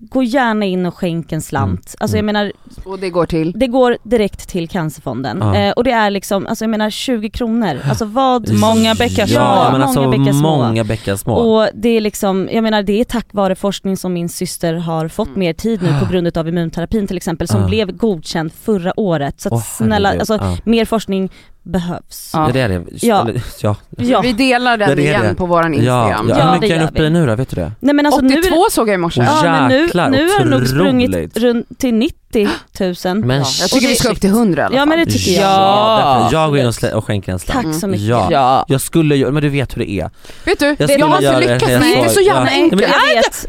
[SPEAKER 4] gå gärna in och skänk en slant.
[SPEAKER 3] Mm.
[SPEAKER 4] Alltså jag menar,
[SPEAKER 1] Och det går till?
[SPEAKER 4] det går direkt till Cancerfonden.
[SPEAKER 3] Ja.
[SPEAKER 4] Eh, och det är liksom, alltså jag menar 20 kronor. Alltså vad...
[SPEAKER 2] Många bäckar små.
[SPEAKER 3] Ja, men alltså
[SPEAKER 4] Många bäckar små.
[SPEAKER 3] många bäckar små.
[SPEAKER 4] Och det är liksom, jag menar det är tack vare forskning som min syster har fått mer tid nu på grund av immunterapin till exempel som
[SPEAKER 3] Ja.
[SPEAKER 4] blev godkänd förra året. Så att
[SPEAKER 3] Åh,
[SPEAKER 4] snälla,
[SPEAKER 3] herregud.
[SPEAKER 4] alltså
[SPEAKER 3] Ja.
[SPEAKER 4] mer forskning behövs.
[SPEAKER 2] Ja.
[SPEAKER 3] Ja det är det.
[SPEAKER 4] Ja.
[SPEAKER 3] Eller, ja.
[SPEAKER 4] Ja.
[SPEAKER 1] Vi delar
[SPEAKER 3] Ja,
[SPEAKER 1] den
[SPEAKER 3] det är
[SPEAKER 1] igen
[SPEAKER 3] det.
[SPEAKER 1] på våran
[SPEAKER 3] Ja,
[SPEAKER 1] Instagram.
[SPEAKER 3] ja.
[SPEAKER 4] Ja,
[SPEAKER 3] Hur
[SPEAKER 4] det
[SPEAKER 3] mycket är
[SPEAKER 4] gör
[SPEAKER 3] den uppe
[SPEAKER 4] vi.
[SPEAKER 3] i nu då? Vet du det?
[SPEAKER 4] Nej men alltså nu
[SPEAKER 1] 82
[SPEAKER 4] är det,
[SPEAKER 1] såg jag i morse.
[SPEAKER 3] Oj.
[SPEAKER 4] ja, men nu,
[SPEAKER 3] Jäklar,
[SPEAKER 4] nu har det nog
[SPEAKER 3] otroligt.
[SPEAKER 4] sprungit runt till 90 000.
[SPEAKER 3] Men
[SPEAKER 1] Ja, jag tycker vi ska upp till 100 i alla
[SPEAKER 4] Ja,
[SPEAKER 1] fall.
[SPEAKER 4] men det tycker jag.
[SPEAKER 2] Ja.
[SPEAKER 3] därför jag går in och, slä- och skänker en slant.
[SPEAKER 4] Tack så mycket.
[SPEAKER 3] Ja.
[SPEAKER 2] Ja.
[SPEAKER 3] Jag skulle ju, men du vet hur det är.
[SPEAKER 1] Vet du, jag,
[SPEAKER 3] skulle
[SPEAKER 1] har inte
[SPEAKER 3] göra det,
[SPEAKER 1] lyckats.
[SPEAKER 3] jag
[SPEAKER 1] Det är inte
[SPEAKER 3] sa-
[SPEAKER 1] så jävla
[SPEAKER 3] ja.
[SPEAKER 1] enkelt.
[SPEAKER 3] Nej,
[SPEAKER 4] jag vet.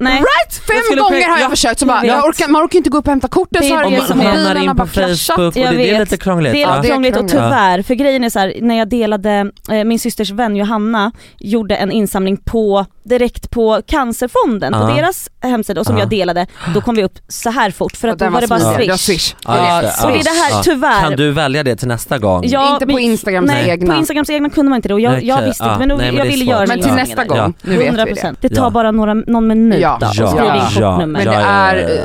[SPEAKER 4] Nej.
[SPEAKER 1] Right?
[SPEAKER 3] Jag
[SPEAKER 1] Fem
[SPEAKER 3] skulle
[SPEAKER 1] gånger
[SPEAKER 3] skänka-
[SPEAKER 1] har jag
[SPEAKER 3] ja,
[SPEAKER 1] försökt så
[SPEAKER 4] jag
[SPEAKER 1] bara, jag
[SPEAKER 4] vet.
[SPEAKER 1] orkar, man orkar inte gå upp och hämta korten
[SPEAKER 4] Det
[SPEAKER 1] så
[SPEAKER 4] är
[SPEAKER 1] har
[SPEAKER 4] det
[SPEAKER 1] jag
[SPEAKER 4] som
[SPEAKER 1] liksom
[SPEAKER 4] händer.
[SPEAKER 1] bilarna bara kraschat.
[SPEAKER 3] Facebook och det,
[SPEAKER 4] Jag
[SPEAKER 3] det är
[SPEAKER 4] vet.
[SPEAKER 3] lite krångligt.
[SPEAKER 4] Det
[SPEAKER 3] Ja.
[SPEAKER 4] är lite
[SPEAKER 1] det är
[SPEAKER 4] krångligt och
[SPEAKER 1] krångligt.
[SPEAKER 4] tyvärr, för grejen är så här, när jag delade, eh, min systers vän Johanna gjorde en insamling på, direkt på Cancerfonden, på
[SPEAKER 3] Ja.
[SPEAKER 4] deras hemsida och som
[SPEAKER 3] Ja.
[SPEAKER 4] jag delade, då kom vi upp så här fort för
[SPEAKER 1] Och
[SPEAKER 4] att då
[SPEAKER 1] den
[SPEAKER 4] var det bara
[SPEAKER 1] smidig.
[SPEAKER 4] swish.
[SPEAKER 1] Ja, swish.
[SPEAKER 3] Ja, just
[SPEAKER 2] Ja,
[SPEAKER 4] Och det är det här
[SPEAKER 3] Ja.
[SPEAKER 4] tyvärr.
[SPEAKER 3] Kan du välja det till nästa gång?
[SPEAKER 4] Ja,
[SPEAKER 1] Inte
[SPEAKER 4] men-
[SPEAKER 1] på Instagrams
[SPEAKER 4] nej,
[SPEAKER 1] egna.
[SPEAKER 4] på Instagrams egna kunde man inte det och jag,
[SPEAKER 3] Nej,
[SPEAKER 4] jag
[SPEAKER 3] okej.
[SPEAKER 4] visste inte
[SPEAKER 3] Ja,
[SPEAKER 4] men, då-
[SPEAKER 3] nej, men
[SPEAKER 4] jag
[SPEAKER 3] det är
[SPEAKER 4] ville
[SPEAKER 3] svårt.
[SPEAKER 4] göra
[SPEAKER 1] Men
[SPEAKER 4] en
[SPEAKER 1] till
[SPEAKER 3] Ja.
[SPEAKER 1] nästa
[SPEAKER 4] insamling.
[SPEAKER 1] gång,
[SPEAKER 3] Ja.
[SPEAKER 1] nu vet vi
[SPEAKER 4] 100%.
[SPEAKER 1] det.
[SPEAKER 4] Det tar
[SPEAKER 3] Ja.
[SPEAKER 4] bara några, någon minut
[SPEAKER 1] Ja.
[SPEAKER 4] då, och
[SPEAKER 3] Ja.
[SPEAKER 4] skriv in
[SPEAKER 1] Ja.
[SPEAKER 4] kortnummer.
[SPEAKER 1] Men det
[SPEAKER 3] Ja, ja, ja,
[SPEAKER 1] är,
[SPEAKER 3] ja, ja.
[SPEAKER 1] eh,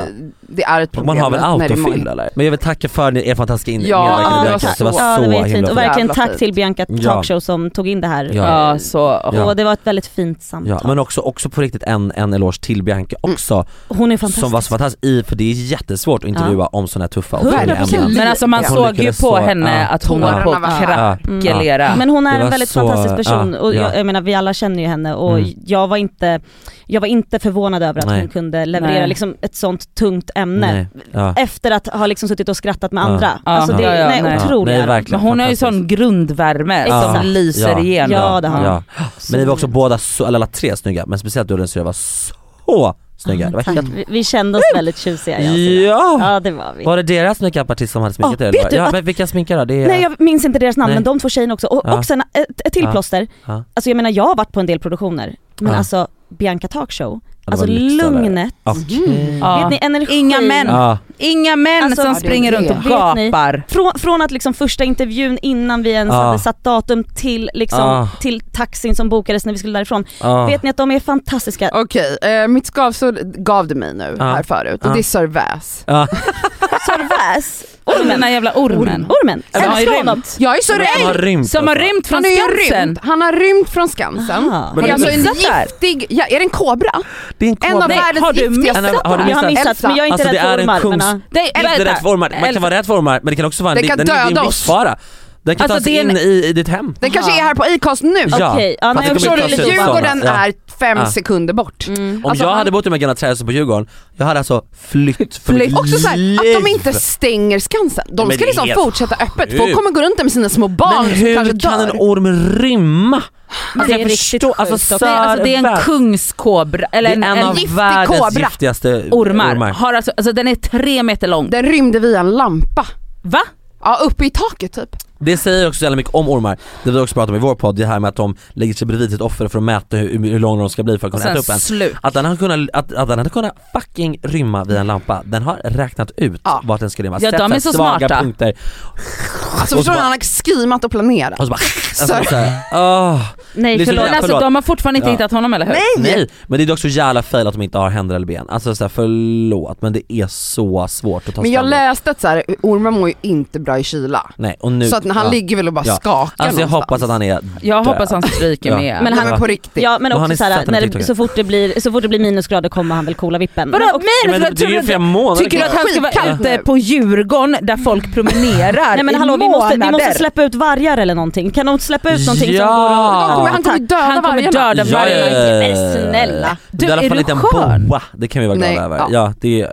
[SPEAKER 1] det är ett
[SPEAKER 3] Och
[SPEAKER 1] problem.
[SPEAKER 3] man har väl
[SPEAKER 1] när det är
[SPEAKER 3] autofill
[SPEAKER 1] många-
[SPEAKER 3] eller? Men jag vill tacka för er fantastiska in-
[SPEAKER 1] Ja,
[SPEAKER 3] medverkan i
[SPEAKER 1] det var
[SPEAKER 3] Bianca.
[SPEAKER 1] så-
[SPEAKER 3] det var så,
[SPEAKER 4] ja, det var
[SPEAKER 3] himla
[SPEAKER 4] jättefint. Och
[SPEAKER 3] bra.
[SPEAKER 4] verkligen
[SPEAKER 1] Jävla
[SPEAKER 4] tack
[SPEAKER 1] fint.
[SPEAKER 4] till Bianca
[SPEAKER 3] Ja.
[SPEAKER 4] Talkshow som tog in det här.
[SPEAKER 3] Ja.
[SPEAKER 2] Ja, så
[SPEAKER 3] Ja.
[SPEAKER 4] Och det var ett väldigt fint samtal.
[SPEAKER 3] Ja, men också, också på riktigt en, en eloge till Bianca
[SPEAKER 4] Mm.
[SPEAKER 3] också
[SPEAKER 4] Hon är fantastisk.
[SPEAKER 3] som var så fantastisk i, för det är jättesvårt att intervjua om sådana här tuffa och
[SPEAKER 4] Hundra
[SPEAKER 3] tunga
[SPEAKER 1] procent.
[SPEAKER 3] ämnen.
[SPEAKER 2] Men alltså man
[SPEAKER 1] Ja.
[SPEAKER 3] Hon
[SPEAKER 2] såg ju
[SPEAKER 3] lyckades
[SPEAKER 2] på
[SPEAKER 3] så,
[SPEAKER 2] henne
[SPEAKER 3] ja.
[SPEAKER 2] att hon var på
[SPEAKER 1] Tårarna var här.
[SPEAKER 2] att krackelera.
[SPEAKER 4] Men hon är
[SPEAKER 3] Det
[SPEAKER 4] en
[SPEAKER 3] var
[SPEAKER 4] väldigt
[SPEAKER 3] så-
[SPEAKER 4] fantastisk person
[SPEAKER 3] ja,
[SPEAKER 4] och
[SPEAKER 3] ja.
[SPEAKER 4] Jag, jag menar vi alla känner ju henne och
[SPEAKER 3] Mm.
[SPEAKER 4] jag, var inte, jag var inte förvånad över att
[SPEAKER 3] Nej.
[SPEAKER 4] hon kunde leverera
[SPEAKER 2] Nej.
[SPEAKER 4] liksom ett sånt tungt ämne
[SPEAKER 3] Ja.
[SPEAKER 4] efter att ha liksom suttit och skrattat med
[SPEAKER 3] Ja.
[SPEAKER 4] andra.
[SPEAKER 2] Ja.
[SPEAKER 4] Alltså det,
[SPEAKER 2] Ja, ja,
[SPEAKER 4] nej,
[SPEAKER 2] nej.
[SPEAKER 4] otrolig
[SPEAKER 3] Nej,
[SPEAKER 4] ära.
[SPEAKER 3] verkligen.
[SPEAKER 2] Men hon har ju
[SPEAKER 3] Fantastisk.
[SPEAKER 2] sån grundvärme
[SPEAKER 4] Exakt.
[SPEAKER 2] som lyser
[SPEAKER 3] Ja.
[SPEAKER 2] igenom.
[SPEAKER 4] Ja det har hon.
[SPEAKER 3] Ja. Men ni var också båda, så, eller alla tre snygga, men speciellt du och din syrra var så snygga. Det var helt...
[SPEAKER 4] Vi, vi kände oss väldigt tjusiga jag och Silla.
[SPEAKER 3] Ja!
[SPEAKER 4] Ja det var vi.
[SPEAKER 3] Var det deras makeupartist som hade sminkat
[SPEAKER 4] Ja,
[SPEAKER 3] er?
[SPEAKER 4] vet
[SPEAKER 3] eller?
[SPEAKER 4] du
[SPEAKER 3] ja,
[SPEAKER 4] att-
[SPEAKER 3] men vilka sminkar då? Det är...
[SPEAKER 4] Nej jag minns inte deras namn
[SPEAKER 3] Nej.
[SPEAKER 4] men de två tjejerna också. Och
[SPEAKER 3] Ja.
[SPEAKER 4] också en, ett, ett till
[SPEAKER 3] Ja.
[SPEAKER 4] plåster.
[SPEAKER 3] Ja.
[SPEAKER 4] Alltså jag menar jag har varit på en del produktioner men
[SPEAKER 3] Ja.
[SPEAKER 4] alltså Bianca Talkshow
[SPEAKER 3] det
[SPEAKER 4] Alltså
[SPEAKER 3] var lyxare.
[SPEAKER 4] lugnet.
[SPEAKER 3] Okej.
[SPEAKER 2] Ja.
[SPEAKER 4] Vet ni, energi.
[SPEAKER 2] Inga män.
[SPEAKER 3] Ja.
[SPEAKER 2] Inga män
[SPEAKER 4] Alltså,
[SPEAKER 2] som
[SPEAKER 4] ja,
[SPEAKER 5] det är
[SPEAKER 2] springer
[SPEAKER 5] det.
[SPEAKER 2] runt och
[SPEAKER 4] Vet ni?
[SPEAKER 2] gapar.
[SPEAKER 4] Från, från att liksom första intervjun innan vi ens
[SPEAKER 3] Ah.
[SPEAKER 4] hade satt datum till, liksom,
[SPEAKER 3] Ah.
[SPEAKER 4] till taxin som bokades när vi skulle därifrån.
[SPEAKER 3] Ja.
[SPEAKER 4] Vet ni att de är fantastiska?
[SPEAKER 2] Ah.
[SPEAKER 1] Okej, eh, mitt skavsår gav det mig nu
[SPEAKER 3] Ja.
[SPEAKER 1] här förut och
[SPEAKER 3] Ja.
[SPEAKER 1] det är Sörväs.
[SPEAKER 3] Ja.
[SPEAKER 2] [LAUGHS]
[SPEAKER 4] Servais,
[SPEAKER 2] Den
[SPEAKER 4] ormen,
[SPEAKER 2] där jävla ormen.
[SPEAKER 4] ormen,
[SPEAKER 2] Ja, det
[SPEAKER 4] älskar
[SPEAKER 2] är
[SPEAKER 4] honom.
[SPEAKER 1] Jag är så
[SPEAKER 3] Som att de har
[SPEAKER 1] rädd!
[SPEAKER 3] rymt
[SPEAKER 2] Som har
[SPEAKER 3] alltså.
[SPEAKER 2] rymt från
[SPEAKER 1] Han, är ju
[SPEAKER 2] Skansen.
[SPEAKER 1] rymt. han har rymt från Skansen.
[SPEAKER 4] Ah.
[SPEAKER 1] Det
[SPEAKER 3] Men
[SPEAKER 1] är alltså en
[SPEAKER 2] missat det här?
[SPEAKER 1] giftig, ja, är det en kobra?
[SPEAKER 3] Det är en
[SPEAKER 1] En av
[SPEAKER 3] kobra.
[SPEAKER 1] världens
[SPEAKER 2] har du
[SPEAKER 1] giftigaste.
[SPEAKER 3] missat Har du
[SPEAKER 4] Jag har
[SPEAKER 3] missat?
[SPEAKER 4] missat
[SPEAKER 1] Elsa.
[SPEAKER 4] men jag är inte
[SPEAKER 3] Alltså, det
[SPEAKER 4] rädd
[SPEAKER 3] är
[SPEAKER 4] för
[SPEAKER 3] en
[SPEAKER 4] ormar.
[SPEAKER 3] kungs-
[SPEAKER 4] men, ja.
[SPEAKER 2] Nej,
[SPEAKER 3] Inte
[SPEAKER 2] vänta.
[SPEAKER 3] rätt formad, man
[SPEAKER 2] Elsa.
[SPEAKER 3] kan vara rätt formad men det kan också vara en,
[SPEAKER 1] Den kan
[SPEAKER 3] den, är- det är
[SPEAKER 1] döda
[SPEAKER 3] en
[SPEAKER 1] oss.
[SPEAKER 3] livsfara. Den kan
[SPEAKER 2] Alltså,
[SPEAKER 3] tas
[SPEAKER 2] det är en-
[SPEAKER 3] in i, i ditt hem.
[SPEAKER 1] Den kanske
[SPEAKER 4] Aha.
[SPEAKER 1] är här på Acast nu.
[SPEAKER 3] Ja.
[SPEAKER 4] Okej, ja,
[SPEAKER 3] Fast
[SPEAKER 4] nej,
[SPEAKER 3] det
[SPEAKER 4] jag
[SPEAKER 3] kommer
[SPEAKER 1] Förstår
[SPEAKER 4] förstår
[SPEAKER 1] du?
[SPEAKER 3] inte
[SPEAKER 4] lite
[SPEAKER 3] ta sig
[SPEAKER 4] hur
[SPEAKER 3] ut.
[SPEAKER 1] Djurgården
[SPEAKER 3] Ja.
[SPEAKER 1] är fem
[SPEAKER 3] Ja.
[SPEAKER 1] sekunder bort.
[SPEAKER 3] Om
[SPEAKER 1] Alltså,
[SPEAKER 3] jag
[SPEAKER 1] han-
[SPEAKER 3] hade bott i de här gamla trähusen på Djurgården, jag hade alltså flytt för mitt
[SPEAKER 1] Också Alltså, så här, att de inte
[SPEAKER 3] liv.
[SPEAKER 1] stänger Skansen. De
[SPEAKER 3] Men
[SPEAKER 1] ska
[SPEAKER 3] det är
[SPEAKER 1] liksom
[SPEAKER 3] helt
[SPEAKER 1] fortsätta öppet. Folk
[SPEAKER 3] sjukt.
[SPEAKER 1] kommer gå runt där med sina små barn
[SPEAKER 3] Men
[SPEAKER 1] som
[SPEAKER 3] hur
[SPEAKER 1] kanske
[SPEAKER 3] kan en
[SPEAKER 1] dör.
[SPEAKER 3] orm rymma?
[SPEAKER 4] Men det är
[SPEAKER 3] jag
[SPEAKER 4] riktigt
[SPEAKER 3] förstår-
[SPEAKER 4] sjukt
[SPEAKER 3] alltså,
[SPEAKER 4] också.
[SPEAKER 3] så-
[SPEAKER 2] Nej, alltså, det är en
[SPEAKER 3] Världens-
[SPEAKER 2] kungskobra,
[SPEAKER 3] Det
[SPEAKER 2] eller
[SPEAKER 3] är
[SPEAKER 2] en,
[SPEAKER 3] en
[SPEAKER 2] en,
[SPEAKER 3] av
[SPEAKER 1] giftig
[SPEAKER 3] världens
[SPEAKER 1] kobra.
[SPEAKER 3] giftigaste
[SPEAKER 2] ormar. Har alltså, alltså, den är tre meter lång.
[SPEAKER 1] Den rymde via en lampa.
[SPEAKER 2] Va?
[SPEAKER 1] Ja, uppe i taket typ.
[SPEAKER 3] Det säger också så jävla mycket om ormar, det vi också pratar om i vår podd, det här med att de lägger sig bredvid sitt offer för att mäta hur, hur långa de ska bli för att
[SPEAKER 2] Och
[SPEAKER 3] kunna äta
[SPEAKER 2] sen
[SPEAKER 3] upp en.
[SPEAKER 2] slut.
[SPEAKER 3] Att den, hade kunnat, att, att den hade kunnat fucking rymma via en lampa, den har räknat ut
[SPEAKER 1] Ja.
[SPEAKER 3] vart den ska rymma.
[SPEAKER 2] Ja,
[SPEAKER 3] Sett
[SPEAKER 2] de är så
[SPEAKER 3] svaga
[SPEAKER 2] smarta.
[SPEAKER 3] punkter.
[SPEAKER 1] Alltså
[SPEAKER 3] Och så
[SPEAKER 1] förstår du,
[SPEAKER 3] bara-
[SPEAKER 1] han har skrimat och planerat. [LAUGHS]
[SPEAKER 3] Och så bara, alltså,
[SPEAKER 1] Sorry.
[SPEAKER 3] så här, åh,
[SPEAKER 4] Nej
[SPEAKER 3] Lyssna
[SPEAKER 4] förlåt.
[SPEAKER 2] Men
[SPEAKER 3] Ja,
[SPEAKER 2] alltså,
[SPEAKER 3] förlåt.
[SPEAKER 2] de har fortfarande inte
[SPEAKER 3] Ja.
[SPEAKER 2] hittat honom eller hur?
[SPEAKER 3] nej. Men det är dock så jävla fail att de inte har händer eller ben. Alltså så här, förlåt men det är så svårt att ta
[SPEAKER 1] Men jag
[SPEAKER 3] ställning.
[SPEAKER 1] läste att så här, ormar mår ju inte bra i kyla.
[SPEAKER 3] Nej och nu,
[SPEAKER 1] Så att när han
[SPEAKER 3] ja.
[SPEAKER 1] ligger väl och bara
[SPEAKER 3] Ja.
[SPEAKER 1] skakar
[SPEAKER 3] Alltså jag
[SPEAKER 1] någonstans.
[SPEAKER 3] hoppas att han är
[SPEAKER 2] Jag
[SPEAKER 3] död.
[SPEAKER 2] hoppas han stryker
[SPEAKER 3] Ja.
[SPEAKER 2] med.
[SPEAKER 1] Men
[SPEAKER 4] Men
[SPEAKER 1] han
[SPEAKER 4] han-
[SPEAKER 1] är på riktigt.
[SPEAKER 4] Ja men
[SPEAKER 3] Och han
[SPEAKER 4] också
[SPEAKER 3] är
[SPEAKER 4] såhär,
[SPEAKER 3] satt på
[SPEAKER 4] när det,
[SPEAKER 3] TikTok.
[SPEAKER 4] så, fort det blir, så fort det blir minusgrader kommer han väl coola vippen. Men,
[SPEAKER 2] Vadå
[SPEAKER 4] och,
[SPEAKER 3] Ja,
[SPEAKER 2] minus?
[SPEAKER 3] men
[SPEAKER 2] Vad
[SPEAKER 3] det är
[SPEAKER 2] tror
[SPEAKER 3] ju
[SPEAKER 2] du-
[SPEAKER 3] flera månader
[SPEAKER 2] Tycker du att han ska vara
[SPEAKER 1] Skitkallt
[SPEAKER 2] ute
[SPEAKER 3] eh,
[SPEAKER 1] nu.
[SPEAKER 2] på Djurgården där
[SPEAKER 3] Mm.
[SPEAKER 2] folk promenerar
[SPEAKER 4] nej men
[SPEAKER 2] i
[SPEAKER 4] hallå vi måste, vi måste
[SPEAKER 2] månader?
[SPEAKER 4] släppa ut vargar eller någonting. Kan de inte släppa ut någonting
[SPEAKER 3] Ja.
[SPEAKER 4] som går
[SPEAKER 1] De kommer, han kommer döda
[SPEAKER 2] Han kommer
[SPEAKER 1] vargarna.
[SPEAKER 2] döda
[SPEAKER 3] Ja, ja, ja, ja.
[SPEAKER 4] Men snälla.
[SPEAKER 3] Du,
[SPEAKER 2] Du,
[SPEAKER 3] I alla
[SPEAKER 2] är
[SPEAKER 3] fall
[SPEAKER 2] du
[SPEAKER 3] inte en
[SPEAKER 2] skön?
[SPEAKER 3] boa, det kan vi vara
[SPEAKER 1] Nej,
[SPEAKER 3] glada över.
[SPEAKER 1] ja.
[SPEAKER 3] Ja. det är,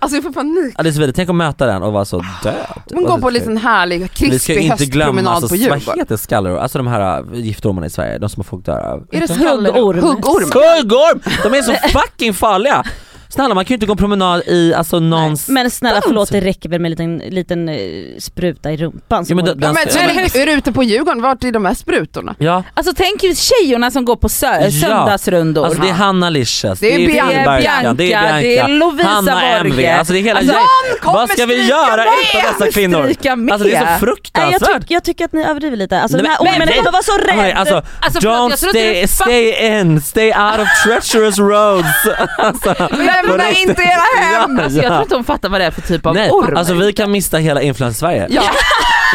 [SPEAKER 1] Alltså jag får panik.
[SPEAKER 3] ja, det är så vidare. tänk att möta den och vara så död. Alltså,
[SPEAKER 1] Men gå på en liten härlig
[SPEAKER 3] Vi ska
[SPEAKER 1] krispig
[SPEAKER 3] inte glömma,
[SPEAKER 1] höstpromenad på
[SPEAKER 3] alltså, vad
[SPEAKER 1] Djurgården.
[SPEAKER 3] heter skalleror? Alltså de här äh, giftormarna i Sverige, de som folk dör av.
[SPEAKER 1] Är det skalleror?
[SPEAKER 4] Huggorm.
[SPEAKER 1] Huggorm.
[SPEAKER 3] Skuggorm! De är så fucking farliga! Snälla man kan ju inte gå en promenad i alltså någons...
[SPEAKER 4] Men snälla
[SPEAKER 3] Dans.
[SPEAKER 4] förlåt det räcker väl med en liten, liten eh, spruta i rumpan.
[SPEAKER 3] Ja, men
[SPEAKER 4] går
[SPEAKER 3] den-
[SPEAKER 4] bra.
[SPEAKER 1] Ja, men,
[SPEAKER 3] ska-
[SPEAKER 1] men, är du ute på Djurgården, vart är de här sprutorna?
[SPEAKER 3] Ja,
[SPEAKER 2] Alltså tänk ju tjejerna som går på sö-
[SPEAKER 3] Ja.
[SPEAKER 2] söndagsrundor.
[SPEAKER 3] alltså det är Hanna Licious,
[SPEAKER 1] Det är Bianca,
[SPEAKER 3] Fjällbergan,
[SPEAKER 2] det är Lovisa
[SPEAKER 3] Hanna MV,
[SPEAKER 2] Borge.
[SPEAKER 3] alltså det är hela
[SPEAKER 2] Alltså,
[SPEAKER 3] gänget.
[SPEAKER 1] någon kommer
[SPEAKER 3] Vad ska vi
[SPEAKER 1] stryka
[SPEAKER 3] göra
[SPEAKER 1] med!
[SPEAKER 3] utan dessa kvinnor?
[SPEAKER 2] Stryka med.
[SPEAKER 3] Alltså det är så
[SPEAKER 4] Nej, jag,
[SPEAKER 3] fruktansvärt.
[SPEAKER 4] tyck, jag tycker att ni överdriver lite. Alltså,
[SPEAKER 3] Nej,
[SPEAKER 4] den här
[SPEAKER 3] men-
[SPEAKER 4] ormen,
[SPEAKER 3] nej.
[SPEAKER 4] jag var så rädd.
[SPEAKER 3] Nej, alltså,
[SPEAKER 2] Alltså, förlåt,
[SPEAKER 3] don't
[SPEAKER 2] jag trodde
[SPEAKER 3] stay,
[SPEAKER 2] du-
[SPEAKER 3] stay in, stay out of treacherous roads.
[SPEAKER 1] Lämna inte era hem!
[SPEAKER 2] Alltså, jag tror inte hon fattar vad det är för typ av
[SPEAKER 3] [LAUGHS] Nej,
[SPEAKER 2] orm.
[SPEAKER 3] alltså vi kan mista hela influencer-Sverige.
[SPEAKER 1] Ja.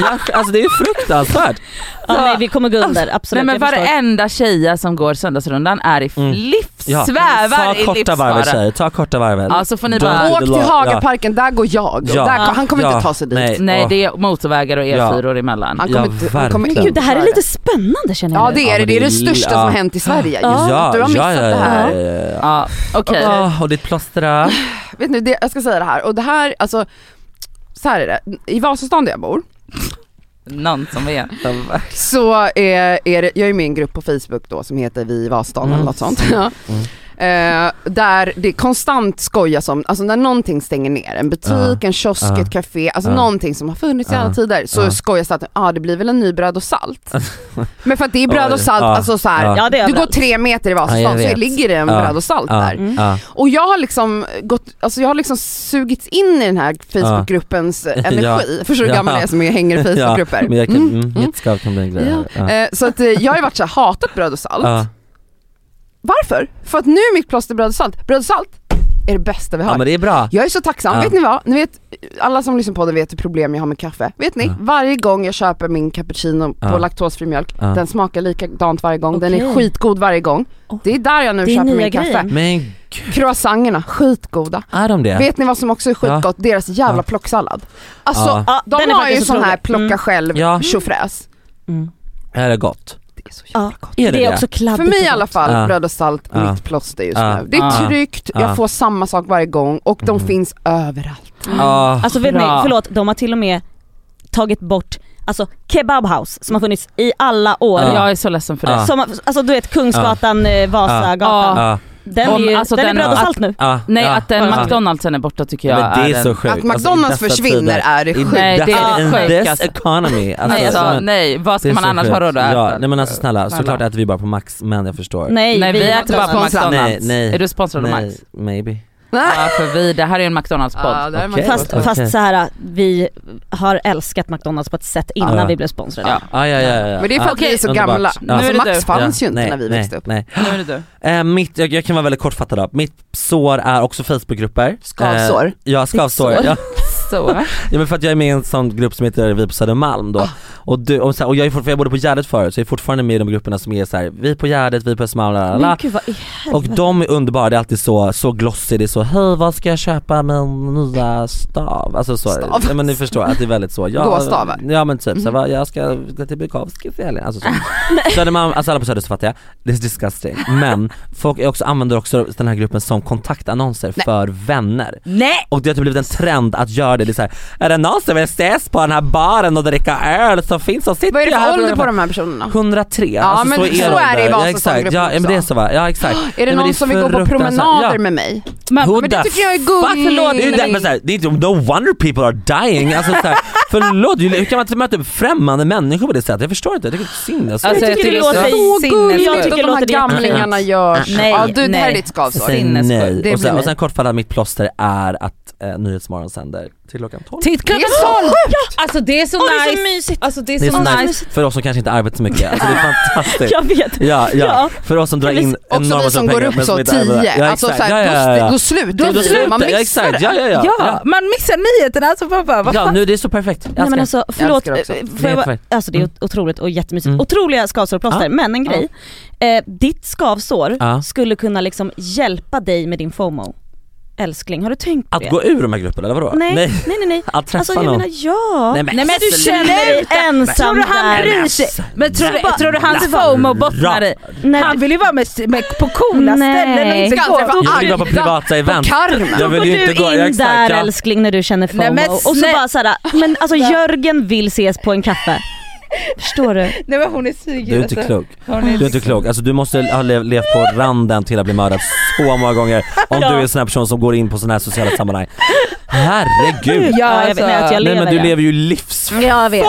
[SPEAKER 3] Ja, Alltså det är fruktansvärt.
[SPEAKER 4] ja, nej, vi kommer gå under, absolut.
[SPEAKER 2] Nej, men
[SPEAKER 4] jag förstår.
[SPEAKER 2] varenda tjeja som går söndagsrundan är i
[SPEAKER 3] Mm.
[SPEAKER 2] livs,
[SPEAKER 3] Ja.
[SPEAKER 2] svävar
[SPEAKER 3] Ta
[SPEAKER 2] i
[SPEAKER 3] korta varvet
[SPEAKER 2] livsfara.
[SPEAKER 3] tjejer, ta korta varvet.
[SPEAKER 2] Ja, så får ni
[SPEAKER 3] Don't
[SPEAKER 2] bara-
[SPEAKER 3] do
[SPEAKER 1] Åk
[SPEAKER 3] the
[SPEAKER 1] till
[SPEAKER 3] law.
[SPEAKER 1] Hagaparken, där går jag.
[SPEAKER 3] Ja.
[SPEAKER 1] Där, han kommer
[SPEAKER 3] Ja.
[SPEAKER 1] inte ta sig dit.
[SPEAKER 3] Nej.
[SPEAKER 2] Nej
[SPEAKER 3] Åh.
[SPEAKER 2] det är motorvägar och E4 emellan.
[SPEAKER 1] Han kommer
[SPEAKER 3] Ja, Alltså.
[SPEAKER 1] inte, han kommer
[SPEAKER 3] verkligen.
[SPEAKER 1] inte
[SPEAKER 4] Gud, det här är
[SPEAKER 1] göra
[SPEAKER 4] lite spännande känner jag
[SPEAKER 1] Ja
[SPEAKER 4] nu.
[SPEAKER 1] det
[SPEAKER 3] Ja,
[SPEAKER 1] är det,
[SPEAKER 3] men
[SPEAKER 1] det är
[SPEAKER 3] det
[SPEAKER 1] det
[SPEAKER 3] är
[SPEAKER 1] största
[SPEAKER 3] li-
[SPEAKER 1] som
[SPEAKER 3] ja.
[SPEAKER 1] hänt i Sverige.
[SPEAKER 3] Ja,
[SPEAKER 1] Just, du har missat
[SPEAKER 3] ja, ja,
[SPEAKER 1] det här.
[SPEAKER 3] Ja, ja, ja.
[SPEAKER 2] Ja, okej.
[SPEAKER 3] Åh, och ditt plåster.
[SPEAKER 1] Vet ni, det, jag ska säga det här och det här, alltså så här är det. I Vasastan där jag bor
[SPEAKER 2] Någon som vet.
[SPEAKER 1] så är, är det, jag är med i en grupp på Facebook då som heter Vi i Vasastan eller
[SPEAKER 3] Mm.
[SPEAKER 1] något sånt. [LAUGHS] Ja.
[SPEAKER 3] Mm.
[SPEAKER 1] Eh, där det konstant skojas om, alltså när någonting stänger ner, en butik,
[SPEAKER 3] Ja.
[SPEAKER 1] en kiosk,
[SPEAKER 3] Ja.
[SPEAKER 1] ett café, alltså
[SPEAKER 3] Ja.
[SPEAKER 1] någonting som har funnits i alla
[SPEAKER 3] Ja.
[SPEAKER 1] tider så
[SPEAKER 3] Ja.
[SPEAKER 1] skojas det att ah, det blir väl en ny bröd och
[SPEAKER 3] [LAUGHS]
[SPEAKER 1] salt. Men för att det är bröd och
[SPEAKER 3] Oj.
[SPEAKER 1] salt,
[SPEAKER 3] Ja.
[SPEAKER 1] alltså så här,
[SPEAKER 3] Ja.
[SPEAKER 4] Ja, det är
[SPEAKER 1] du går
[SPEAKER 4] överallt.
[SPEAKER 1] tre meter i
[SPEAKER 3] Ja, jag
[SPEAKER 1] Vasastan så
[SPEAKER 3] vet.
[SPEAKER 1] ligger det en
[SPEAKER 3] Ja.
[SPEAKER 1] bröd och salt
[SPEAKER 3] Ja,
[SPEAKER 1] där.
[SPEAKER 4] Mm.
[SPEAKER 3] ja.
[SPEAKER 1] Och jag har liksom gått, alltså jag har liksom sugits in i den här
[SPEAKER 3] [LAUGHS]
[SPEAKER 1] Facebookgruppens energi. Förstår du hur gammal
[SPEAKER 3] Ja.
[SPEAKER 1] jag är som jag hänger i Facebookgrupper?
[SPEAKER 3] [LAUGHS] Ja, men jag kan,
[SPEAKER 1] Mm.
[SPEAKER 3] mm, mitt skav kan bli en grej.
[SPEAKER 1] Ja.
[SPEAKER 3] här. Ja.
[SPEAKER 1] Eh, Så att eh, jag har ju varit så här, hatat bröd och salt.
[SPEAKER 3] Ja.
[SPEAKER 1] Varför? För att nu är mitt plåster bröd och salt. Bröd och salt är det bästa vi har.
[SPEAKER 3] ja men det är bra.
[SPEAKER 1] Jag är så tacksam,
[SPEAKER 3] Ja.
[SPEAKER 1] vet ni vad? Ni vet, alla som lyssnar på det vet hur problem jag har med kaffe. Vet ni?
[SPEAKER 3] Ja.
[SPEAKER 1] Varje gång jag köper min cappuccino
[SPEAKER 3] Ja.
[SPEAKER 1] på laktosfri mjölk,
[SPEAKER 3] Ja.
[SPEAKER 1] den smakar likadant varje gång, den är
[SPEAKER 4] Okej.
[SPEAKER 1] skitgod varje gång.
[SPEAKER 4] Åh.
[SPEAKER 1] Det är där jag nu
[SPEAKER 4] Det är
[SPEAKER 1] köper
[SPEAKER 4] nya
[SPEAKER 1] min kaffe.
[SPEAKER 4] grejen.
[SPEAKER 3] Men gud,
[SPEAKER 1] Croissangerna, skitgoda.
[SPEAKER 3] är de det?
[SPEAKER 1] Vet ni vad som också är skitgott? Deras jävla
[SPEAKER 3] Ja.
[SPEAKER 1] plocksallad. Alltså
[SPEAKER 3] Ja.
[SPEAKER 4] Ja,
[SPEAKER 1] de
[SPEAKER 4] den är
[SPEAKER 1] har ju
[SPEAKER 4] faktiskt
[SPEAKER 1] sån här
[SPEAKER 4] otrolig.
[SPEAKER 1] plocka
[SPEAKER 4] Mm.
[SPEAKER 1] själv
[SPEAKER 3] Ja.
[SPEAKER 1] tjofräs.
[SPEAKER 4] Mm.
[SPEAKER 3] Är det gott?
[SPEAKER 1] Det är så jävla
[SPEAKER 4] Ja,
[SPEAKER 1] gott.
[SPEAKER 4] det
[SPEAKER 3] Är det
[SPEAKER 4] är
[SPEAKER 3] det?
[SPEAKER 4] också kladdigt.
[SPEAKER 1] För mig i alla fall,
[SPEAKER 3] Ja.
[SPEAKER 1] bröd och salt,
[SPEAKER 3] Ja.
[SPEAKER 1] mitt plåster just
[SPEAKER 3] Ja.
[SPEAKER 1] nu. Det är
[SPEAKER 3] Ja.
[SPEAKER 1] tryggt,
[SPEAKER 3] Ja.
[SPEAKER 1] jag får samma sak varje gång och de
[SPEAKER 3] Mm.
[SPEAKER 1] finns överallt.
[SPEAKER 3] Ah.
[SPEAKER 4] Alltså vet ni,
[SPEAKER 2] Bra.
[SPEAKER 4] förlåt, de har till och med tagit bort alltså, kebabhouse som har funnits i alla år.
[SPEAKER 3] Ja.
[SPEAKER 2] Jag är så ledsen för det.
[SPEAKER 3] Ja.
[SPEAKER 4] Som, alltså du vet Kungsgatan, eh, Vasagatan.
[SPEAKER 2] Ja.
[SPEAKER 3] Ja.
[SPEAKER 4] Den,
[SPEAKER 2] Om-
[SPEAKER 4] är, ju,
[SPEAKER 2] alltså
[SPEAKER 4] den,
[SPEAKER 2] den-
[SPEAKER 4] är bröd och
[SPEAKER 2] att-
[SPEAKER 4] salt nu.
[SPEAKER 3] Ja,
[SPEAKER 2] Nej
[SPEAKER 3] ja,
[SPEAKER 2] att den
[SPEAKER 3] ja.
[SPEAKER 2] McDonaldsen är borta tycker jag
[SPEAKER 3] Men det är
[SPEAKER 2] en-
[SPEAKER 3] så sjukt.
[SPEAKER 1] Att McDonalds
[SPEAKER 3] Alltså, i dessa
[SPEAKER 1] försvinner
[SPEAKER 3] tider.
[SPEAKER 1] är det sjukt.
[SPEAKER 2] Nej,
[SPEAKER 3] I
[SPEAKER 2] det
[SPEAKER 3] dessa-
[SPEAKER 2] är
[SPEAKER 3] in
[SPEAKER 2] sjukt,
[SPEAKER 3] this
[SPEAKER 2] alltså.
[SPEAKER 3] economy. Alltså,
[SPEAKER 2] Nej, alltså,
[SPEAKER 3] snälla,
[SPEAKER 2] nej, vad
[SPEAKER 3] det är
[SPEAKER 2] ska man
[SPEAKER 3] så
[SPEAKER 2] annars
[SPEAKER 3] sjukt.
[SPEAKER 2] ha råd att
[SPEAKER 3] Ja,
[SPEAKER 2] äta?
[SPEAKER 3] nej men alltså snälla,
[SPEAKER 2] Snälla.
[SPEAKER 3] såklart äter vi bara på Max men jag förstår.
[SPEAKER 4] Nej,
[SPEAKER 2] Nej vi, äter bara på
[SPEAKER 1] sponsrade.
[SPEAKER 2] McDonalds.
[SPEAKER 3] Nej, nej.
[SPEAKER 2] Är du sponsrad av Max?
[SPEAKER 3] Nej, maybe.
[SPEAKER 2] Ja för vi, det här är en McDonalds-podd.
[SPEAKER 1] Ja, där är man
[SPEAKER 3] Okej.
[SPEAKER 1] tillbaka.
[SPEAKER 4] Fast, fast så här, vi har älskat McDonalds på ett sätt innan
[SPEAKER 3] Ja.
[SPEAKER 4] vi blev sponsrade.
[SPEAKER 2] Ja.
[SPEAKER 3] Ah, ja, ja, ja, ja.
[SPEAKER 1] Men det är för
[SPEAKER 3] Ah,
[SPEAKER 1] att vi är så
[SPEAKER 3] underbart.
[SPEAKER 1] gamla.
[SPEAKER 3] Ja.
[SPEAKER 1] Alltså,
[SPEAKER 2] Nu är det
[SPEAKER 1] Max
[SPEAKER 2] du.
[SPEAKER 1] fanns
[SPEAKER 3] Ja,
[SPEAKER 1] ju inte
[SPEAKER 3] nej,
[SPEAKER 1] när vi
[SPEAKER 3] nej,
[SPEAKER 1] växte upp.
[SPEAKER 3] Nej.
[SPEAKER 2] Nu är det du.
[SPEAKER 3] Eh, mitt, jag, jag kan vara väldigt kortfattad då. Mitt sår är också Facebookgrupper.
[SPEAKER 1] Skavsår.
[SPEAKER 3] Eh, ja, skavsår.
[SPEAKER 4] Ditt sår. Ah.
[SPEAKER 3] Ja, [LAUGHS]
[SPEAKER 2] Så.
[SPEAKER 3] ja, men för att jag är med i en sån grupp som heter Vi på Södermalm då. Och, du, och, så här, och jag, är fortfarande, jag bodde på Gärdet förut så jag är fortfarande med i de grupperna som är så här, vi på Gärdet, vi på Södermalm, la, la, la.
[SPEAKER 4] Men gud vad i
[SPEAKER 3] Och
[SPEAKER 4] helvete.
[SPEAKER 3] de är underbara, det är alltid så, så glossy, det är så hej vad ska jag köpa min nya stav? Alltså så,
[SPEAKER 1] Stav.
[SPEAKER 3] Ja, men ni förstår att det är väldigt så. Ja,
[SPEAKER 1] Gåstav. Mhm.
[SPEAKER 3] Ja men typ så, vad, jag ska gå till Bukowskis i helgen. Alltså så. Södermalm, alltså alla på Söder så fattar jag, det är disgusting. Men folk är också, använder också den här gruppen som kontaktannonser för vänner.
[SPEAKER 2] Nej!
[SPEAKER 3] Och det har typ blivit en trend att göra det, det är så här, är det någon som vill ses på den här baren och dricka öl så finns så sitter
[SPEAKER 1] Vad är det
[SPEAKER 3] jag här
[SPEAKER 1] för ålder på de här personerna?
[SPEAKER 3] 103, ja, alltså,
[SPEAKER 1] men
[SPEAKER 3] så,
[SPEAKER 1] så
[SPEAKER 3] de
[SPEAKER 1] är det i
[SPEAKER 3] där.
[SPEAKER 1] Vasastan
[SPEAKER 3] ja, exakt.
[SPEAKER 1] gruppen
[SPEAKER 3] Ja, men det är
[SPEAKER 1] också.
[SPEAKER 3] så va? Ja exakt.
[SPEAKER 1] Är det
[SPEAKER 3] Nej, men
[SPEAKER 1] någon som vill gå på
[SPEAKER 3] fruktansvärt.
[SPEAKER 1] promenader
[SPEAKER 3] Ja.
[SPEAKER 1] med mig?
[SPEAKER 2] Men,
[SPEAKER 3] Who
[SPEAKER 1] Men det
[SPEAKER 3] the
[SPEAKER 1] tycker jag är
[SPEAKER 3] fuck?
[SPEAKER 1] gulligt.
[SPEAKER 3] Förlåt, det är ju det, men så här, det är inte, no wonder people are dying. Alltså,
[SPEAKER 1] [LAUGHS]
[SPEAKER 3] så här, förlåt, hur kan man möta upp främmande människor på det sättet? Jag förstår inte, jag tycker det är synd. Alltså.
[SPEAKER 2] Alltså,
[SPEAKER 4] Jag tycker det låter
[SPEAKER 1] Så gulligt
[SPEAKER 4] Jag
[SPEAKER 1] att
[SPEAKER 4] tycker det
[SPEAKER 1] de här
[SPEAKER 4] låter jättefint.
[SPEAKER 1] gamlingarna gör.
[SPEAKER 2] Nej,
[SPEAKER 1] ja, du, det här är
[SPEAKER 2] nej.
[SPEAKER 1] ditt skavsår.
[SPEAKER 3] Säg
[SPEAKER 2] sinnessjukt.
[SPEAKER 3] nej.
[SPEAKER 1] Det
[SPEAKER 3] Och
[SPEAKER 1] blir
[SPEAKER 3] sen,
[SPEAKER 1] nej.
[SPEAKER 3] och sen kortfattat, mitt plåster är att eh, Nyhetsmorgon sänder till klockan 12.
[SPEAKER 2] Titt,
[SPEAKER 1] Det
[SPEAKER 2] klockan
[SPEAKER 1] är så sjukt!
[SPEAKER 2] Alltså det är så
[SPEAKER 4] Åh, det är så
[SPEAKER 2] nice.
[SPEAKER 4] mysigt. [LAUGHS]
[SPEAKER 2] alltså det är
[SPEAKER 3] Det är
[SPEAKER 2] så
[SPEAKER 3] så
[SPEAKER 2] nice.
[SPEAKER 3] nice för oss som kanske inte arbetar så mycket. Alltså,
[SPEAKER 1] [LAUGHS]
[SPEAKER 3] det är fantastiskt.
[SPEAKER 4] Jag vet.
[SPEAKER 3] Ja, ja.
[SPEAKER 4] Ja.
[SPEAKER 3] För oss som drar
[SPEAKER 4] Eller
[SPEAKER 3] in
[SPEAKER 1] Också
[SPEAKER 3] enorma
[SPEAKER 1] vi som går
[SPEAKER 3] pengar,
[SPEAKER 1] upp
[SPEAKER 3] men
[SPEAKER 1] så
[SPEAKER 3] inte arbetar.
[SPEAKER 1] tio,
[SPEAKER 3] Ja,
[SPEAKER 1] alltså
[SPEAKER 3] exakt.
[SPEAKER 1] såhär,
[SPEAKER 3] ja, ja, ja.
[SPEAKER 1] då, då slutar
[SPEAKER 3] Ja, då
[SPEAKER 1] vi, man
[SPEAKER 3] slutar- ja,
[SPEAKER 1] missar
[SPEAKER 3] exakt.
[SPEAKER 1] det.
[SPEAKER 3] Ja, ja, ja.
[SPEAKER 2] Ja, man missar nyheterna alltså. Vad, vad, vad
[SPEAKER 3] Ja,
[SPEAKER 2] fan?
[SPEAKER 3] nu det är så perfekt. Jag
[SPEAKER 4] Nej, men
[SPEAKER 3] älskar.
[SPEAKER 4] alltså, förlåt,
[SPEAKER 1] älskar det också.
[SPEAKER 4] eh,
[SPEAKER 3] Det
[SPEAKER 4] får
[SPEAKER 3] är
[SPEAKER 4] jag bara,
[SPEAKER 3] perfekt.
[SPEAKER 4] alltså det är otroligt och jättemysigt.
[SPEAKER 3] Mm.
[SPEAKER 4] Otroliga skavsår och plåster,
[SPEAKER 3] Ja.
[SPEAKER 4] men en grej. Eh, ditt skavsår
[SPEAKER 3] Ja.
[SPEAKER 4] skulle kunna liksom hjälpa dig med din FOMO. Älskling, har du tänkt på
[SPEAKER 3] Att
[SPEAKER 4] det?
[SPEAKER 3] gå ur de här grupperna eller vadå?
[SPEAKER 4] alltså, Nej, nej, nej. nej.
[SPEAKER 3] Att träffa
[SPEAKER 4] Alltså jag
[SPEAKER 3] någon.
[SPEAKER 4] menar ja.
[SPEAKER 3] Nej, men-
[SPEAKER 2] Nej men du
[SPEAKER 4] känner dig
[SPEAKER 2] Tror
[SPEAKER 4] ensam
[SPEAKER 2] du han
[SPEAKER 4] där.
[SPEAKER 2] bryr sig? Alltså, Men tror du, tror du hans
[SPEAKER 3] alltså,
[SPEAKER 2] FOMO bottnar i?
[SPEAKER 4] Nej,
[SPEAKER 2] Han vill ju vara med, med, på coola
[SPEAKER 4] Nej.
[SPEAKER 2] ställen och inte
[SPEAKER 1] Ska han
[SPEAKER 2] gå.
[SPEAKER 1] träffa
[SPEAKER 3] Jag vill vara på privata event.
[SPEAKER 1] Carmen.
[SPEAKER 3] Jag
[SPEAKER 4] Då
[SPEAKER 3] vill
[SPEAKER 4] går
[SPEAKER 3] ju
[SPEAKER 4] du
[SPEAKER 3] inte gå,
[SPEAKER 4] in
[SPEAKER 3] ja, exakt,
[SPEAKER 4] där
[SPEAKER 3] ja.
[SPEAKER 4] älskling när du känner FOMO
[SPEAKER 2] Nej, men
[SPEAKER 4] och så
[SPEAKER 2] snä-
[SPEAKER 4] bara såhär, men alltså Jörgen vill ses på en kaffe. Förstår du?
[SPEAKER 2] Nej men hon är sugen
[SPEAKER 3] Du är inte
[SPEAKER 2] alltså.
[SPEAKER 3] klok.
[SPEAKER 2] Hon
[SPEAKER 3] Du är inte klok, alltså du måste ha lev- levt på randen till att bli mördad så många gånger om
[SPEAKER 4] Ja.
[SPEAKER 3] du är en sån här person som går in på såna här sociala sammanhang. Herregud!
[SPEAKER 2] Ja,
[SPEAKER 4] Ja, jag
[SPEAKER 2] alltså.
[SPEAKER 4] vet, nej, att jag
[SPEAKER 3] Nej men
[SPEAKER 4] lever,
[SPEAKER 3] du
[SPEAKER 4] ja.
[SPEAKER 3] lever ju livsfara!
[SPEAKER 4] Jag vet.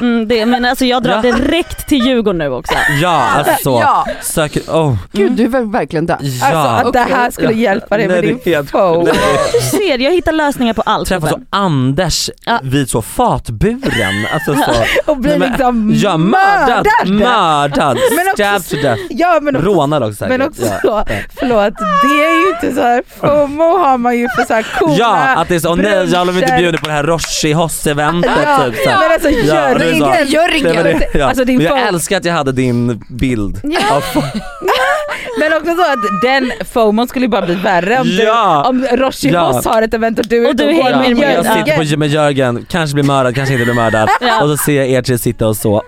[SPEAKER 4] Mm, det, men alltså jag drar
[SPEAKER 3] Ja.
[SPEAKER 4] direkt till Djurgården nu också.
[SPEAKER 3] Ja alltså,
[SPEAKER 1] Ja.
[SPEAKER 3] söker, oh,
[SPEAKER 1] Gud du är verkligen där.
[SPEAKER 3] ja.
[SPEAKER 2] Alltså att det här skulle
[SPEAKER 3] Ja.
[SPEAKER 2] hjälpa dig med
[SPEAKER 3] Nej,
[SPEAKER 2] din
[SPEAKER 3] det är helt-
[SPEAKER 2] FOMO.
[SPEAKER 4] Du ser, jag hittar lösningar på allt.
[SPEAKER 3] Träffa så
[SPEAKER 4] gubben.
[SPEAKER 3] Anders
[SPEAKER 4] Ja.
[SPEAKER 3] vid så fatburen, alltså så.
[SPEAKER 2] [LAUGHS] Och bli
[SPEAKER 3] Nej, men-
[SPEAKER 2] liksom
[SPEAKER 3] Ja mördad, mördad,
[SPEAKER 2] [LAUGHS] Men också-
[SPEAKER 3] stabbed to death,
[SPEAKER 2] Ja men också,
[SPEAKER 3] rånad också säkert.
[SPEAKER 2] men också
[SPEAKER 3] Ja.
[SPEAKER 2] så, förlåt, det är ju inte så här FOMO har man ju för så här coola
[SPEAKER 3] Ja, att det är så, åh nej jag vill inte
[SPEAKER 2] bruncher.
[SPEAKER 3] bjuda på det här Roshi Hoss-eventet
[SPEAKER 2] Ja,
[SPEAKER 3] typ så.
[SPEAKER 2] men alltså
[SPEAKER 3] Ja,
[SPEAKER 2] gör
[SPEAKER 3] det är
[SPEAKER 2] det
[SPEAKER 3] så.
[SPEAKER 2] inte.
[SPEAKER 3] Nej, men
[SPEAKER 1] Jörgen.
[SPEAKER 3] det- ja.
[SPEAKER 2] Alltså, din
[SPEAKER 3] men jag
[SPEAKER 2] far-
[SPEAKER 3] älskar att jag hade din bild.
[SPEAKER 4] Ja.
[SPEAKER 3] av far-
[SPEAKER 2] [LAUGHS] Men också så att den FOMOn skulle ju bara bli värre om,
[SPEAKER 3] Ja.
[SPEAKER 2] du, om Roshi
[SPEAKER 3] Ja.
[SPEAKER 2] Hoss har ett event och du är
[SPEAKER 4] Och
[SPEAKER 2] ute
[SPEAKER 4] du
[SPEAKER 2] och
[SPEAKER 4] hänger
[SPEAKER 2] går
[SPEAKER 4] med
[SPEAKER 2] med
[SPEAKER 3] Jag
[SPEAKER 4] Ja.
[SPEAKER 3] sitter på gym med Jörgen, kanske blir mördad, kanske inte blir mördad.
[SPEAKER 4] Ja.
[SPEAKER 3] Och så ser jag er tre sitta och så,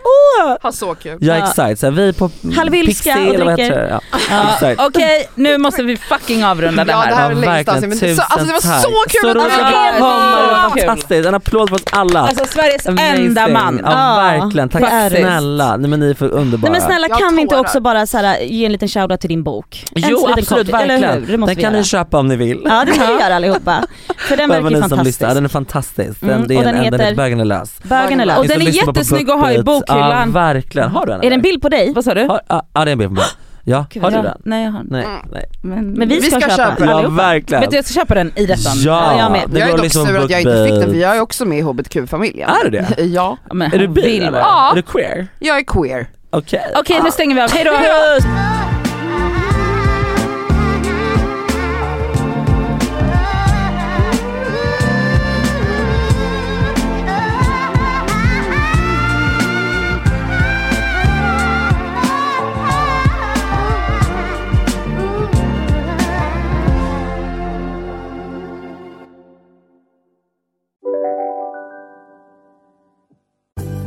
[SPEAKER 1] Ha så kul.
[SPEAKER 3] ja
[SPEAKER 4] Ja.
[SPEAKER 3] exakt, så här, vi på
[SPEAKER 4] Halvilska
[SPEAKER 3] Pixie,
[SPEAKER 4] och
[SPEAKER 3] eller vad
[SPEAKER 4] dricker.
[SPEAKER 3] heter det? Ja.
[SPEAKER 2] Ja,
[SPEAKER 3] Exakt.
[SPEAKER 2] Okej, nu måste vi fucking avrunda det
[SPEAKER 1] Ja, det
[SPEAKER 2] här.
[SPEAKER 1] här är längst
[SPEAKER 3] verkligen.
[SPEAKER 1] avsnitt, men det- så- alltså, det var
[SPEAKER 3] Tusen
[SPEAKER 1] så
[SPEAKER 3] tack.
[SPEAKER 1] kul
[SPEAKER 3] Så
[SPEAKER 1] att
[SPEAKER 3] roligt
[SPEAKER 1] du
[SPEAKER 3] att
[SPEAKER 1] var
[SPEAKER 3] du
[SPEAKER 1] här.
[SPEAKER 3] kom, det var
[SPEAKER 2] Kul.
[SPEAKER 3] fantastiskt. En applåd för oss alla.
[SPEAKER 2] Alltså Sveriges
[SPEAKER 3] Amazing.
[SPEAKER 2] enda man.
[SPEAKER 3] Ja,
[SPEAKER 4] Ja.
[SPEAKER 3] verkligen, tack
[SPEAKER 2] Faktiskt.
[SPEAKER 3] snälla. Nej men ni är för underbara.
[SPEAKER 4] Nej men snälla
[SPEAKER 1] Jag
[SPEAKER 4] kan vi inte
[SPEAKER 1] tårar.
[SPEAKER 4] också bara så här, ge en liten shoutout till din bok? En
[SPEAKER 3] Jo
[SPEAKER 4] liten
[SPEAKER 3] absolut,
[SPEAKER 4] copy, Eller hur? Det
[SPEAKER 3] verkligen.
[SPEAKER 4] måste
[SPEAKER 3] Den
[SPEAKER 4] vi
[SPEAKER 3] kan
[SPEAKER 4] göra.
[SPEAKER 3] ni köpa om ni vill.
[SPEAKER 4] Ja det ska vi göra allihopa. För den verkar
[SPEAKER 3] Även
[SPEAKER 4] ju
[SPEAKER 3] ni som
[SPEAKER 4] fantastisk.
[SPEAKER 3] lyssnar, den är fantastisk. Den,
[SPEAKER 4] Mm,
[SPEAKER 3] det är
[SPEAKER 4] och
[SPEAKER 3] en, en-
[SPEAKER 4] den
[SPEAKER 3] den
[SPEAKER 4] heter-
[SPEAKER 3] heter Bögen är lös.
[SPEAKER 4] Bögen är
[SPEAKER 1] Och
[SPEAKER 4] lös.
[SPEAKER 3] Ni
[SPEAKER 2] den
[SPEAKER 3] som
[SPEAKER 2] är
[SPEAKER 3] lyssnar på
[SPEAKER 2] jättesnygg att ha i
[SPEAKER 3] BookBeat,
[SPEAKER 2] bokhyllan.
[SPEAKER 3] Ja, verkligen. Har du den?
[SPEAKER 4] Är den bild på dig?
[SPEAKER 2] Vad sa du?
[SPEAKER 3] Har, ja, ja, det är en bild på mig. Ja, har du
[SPEAKER 2] Ja,
[SPEAKER 3] den?
[SPEAKER 2] Nej jag har inte.
[SPEAKER 3] Nej,
[SPEAKER 1] Mm.
[SPEAKER 3] nej.
[SPEAKER 2] Men,
[SPEAKER 4] Men vi,
[SPEAKER 1] Vi ska köpa
[SPEAKER 2] Mm.
[SPEAKER 1] den.
[SPEAKER 3] Ja,
[SPEAKER 4] allihopa.
[SPEAKER 3] verkligen.
[SPEAKER 2] Vet du jag ska köpa den i detta.
[SPEAKER 3] Ja,
[SPEAKER 4] Ja, jag med.
[SPEAKER 3] den
[SPEAKER 1] Jag är
[SPEAKER 3] går
[SPEAKER 1] dock
[SPEAKER 3] liksom
[SPEAKER 1] sur att jag inte
[SPEAKER 3] BookBeat.
[SPEAKER 1] fick den för jag är också med i HBTQ-familjen.
[SPEAKER 3] Är du
[SPEAKER 1] [LAUGHS]
[SPEAKER 3] det?
[SPEAKER 1] Ja,
[SPEAKER 2] Men
[SPEAKER 3] Är du
[SPEAKER 2] hon
[SPEAKER 3] bi
[SPEAKER 2] vill
[SPEAKER 3] eller?
[SPEAKER 2] vara.
[SPEAKER 1] Ja.
[SPEAKER 3] Är du queer?
[SPEAKER 1] jag är queer.
[SPEAKER 3] Okej.
[SPEAKER 2] Okej nu stänger vi av, [LAUGHS] hejdå!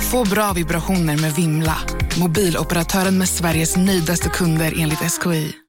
[SPEAKER 6] Få bra vibrationer med Vimla. Mobiloperatören med Sveriges nöjdaste kunder enligt SKI.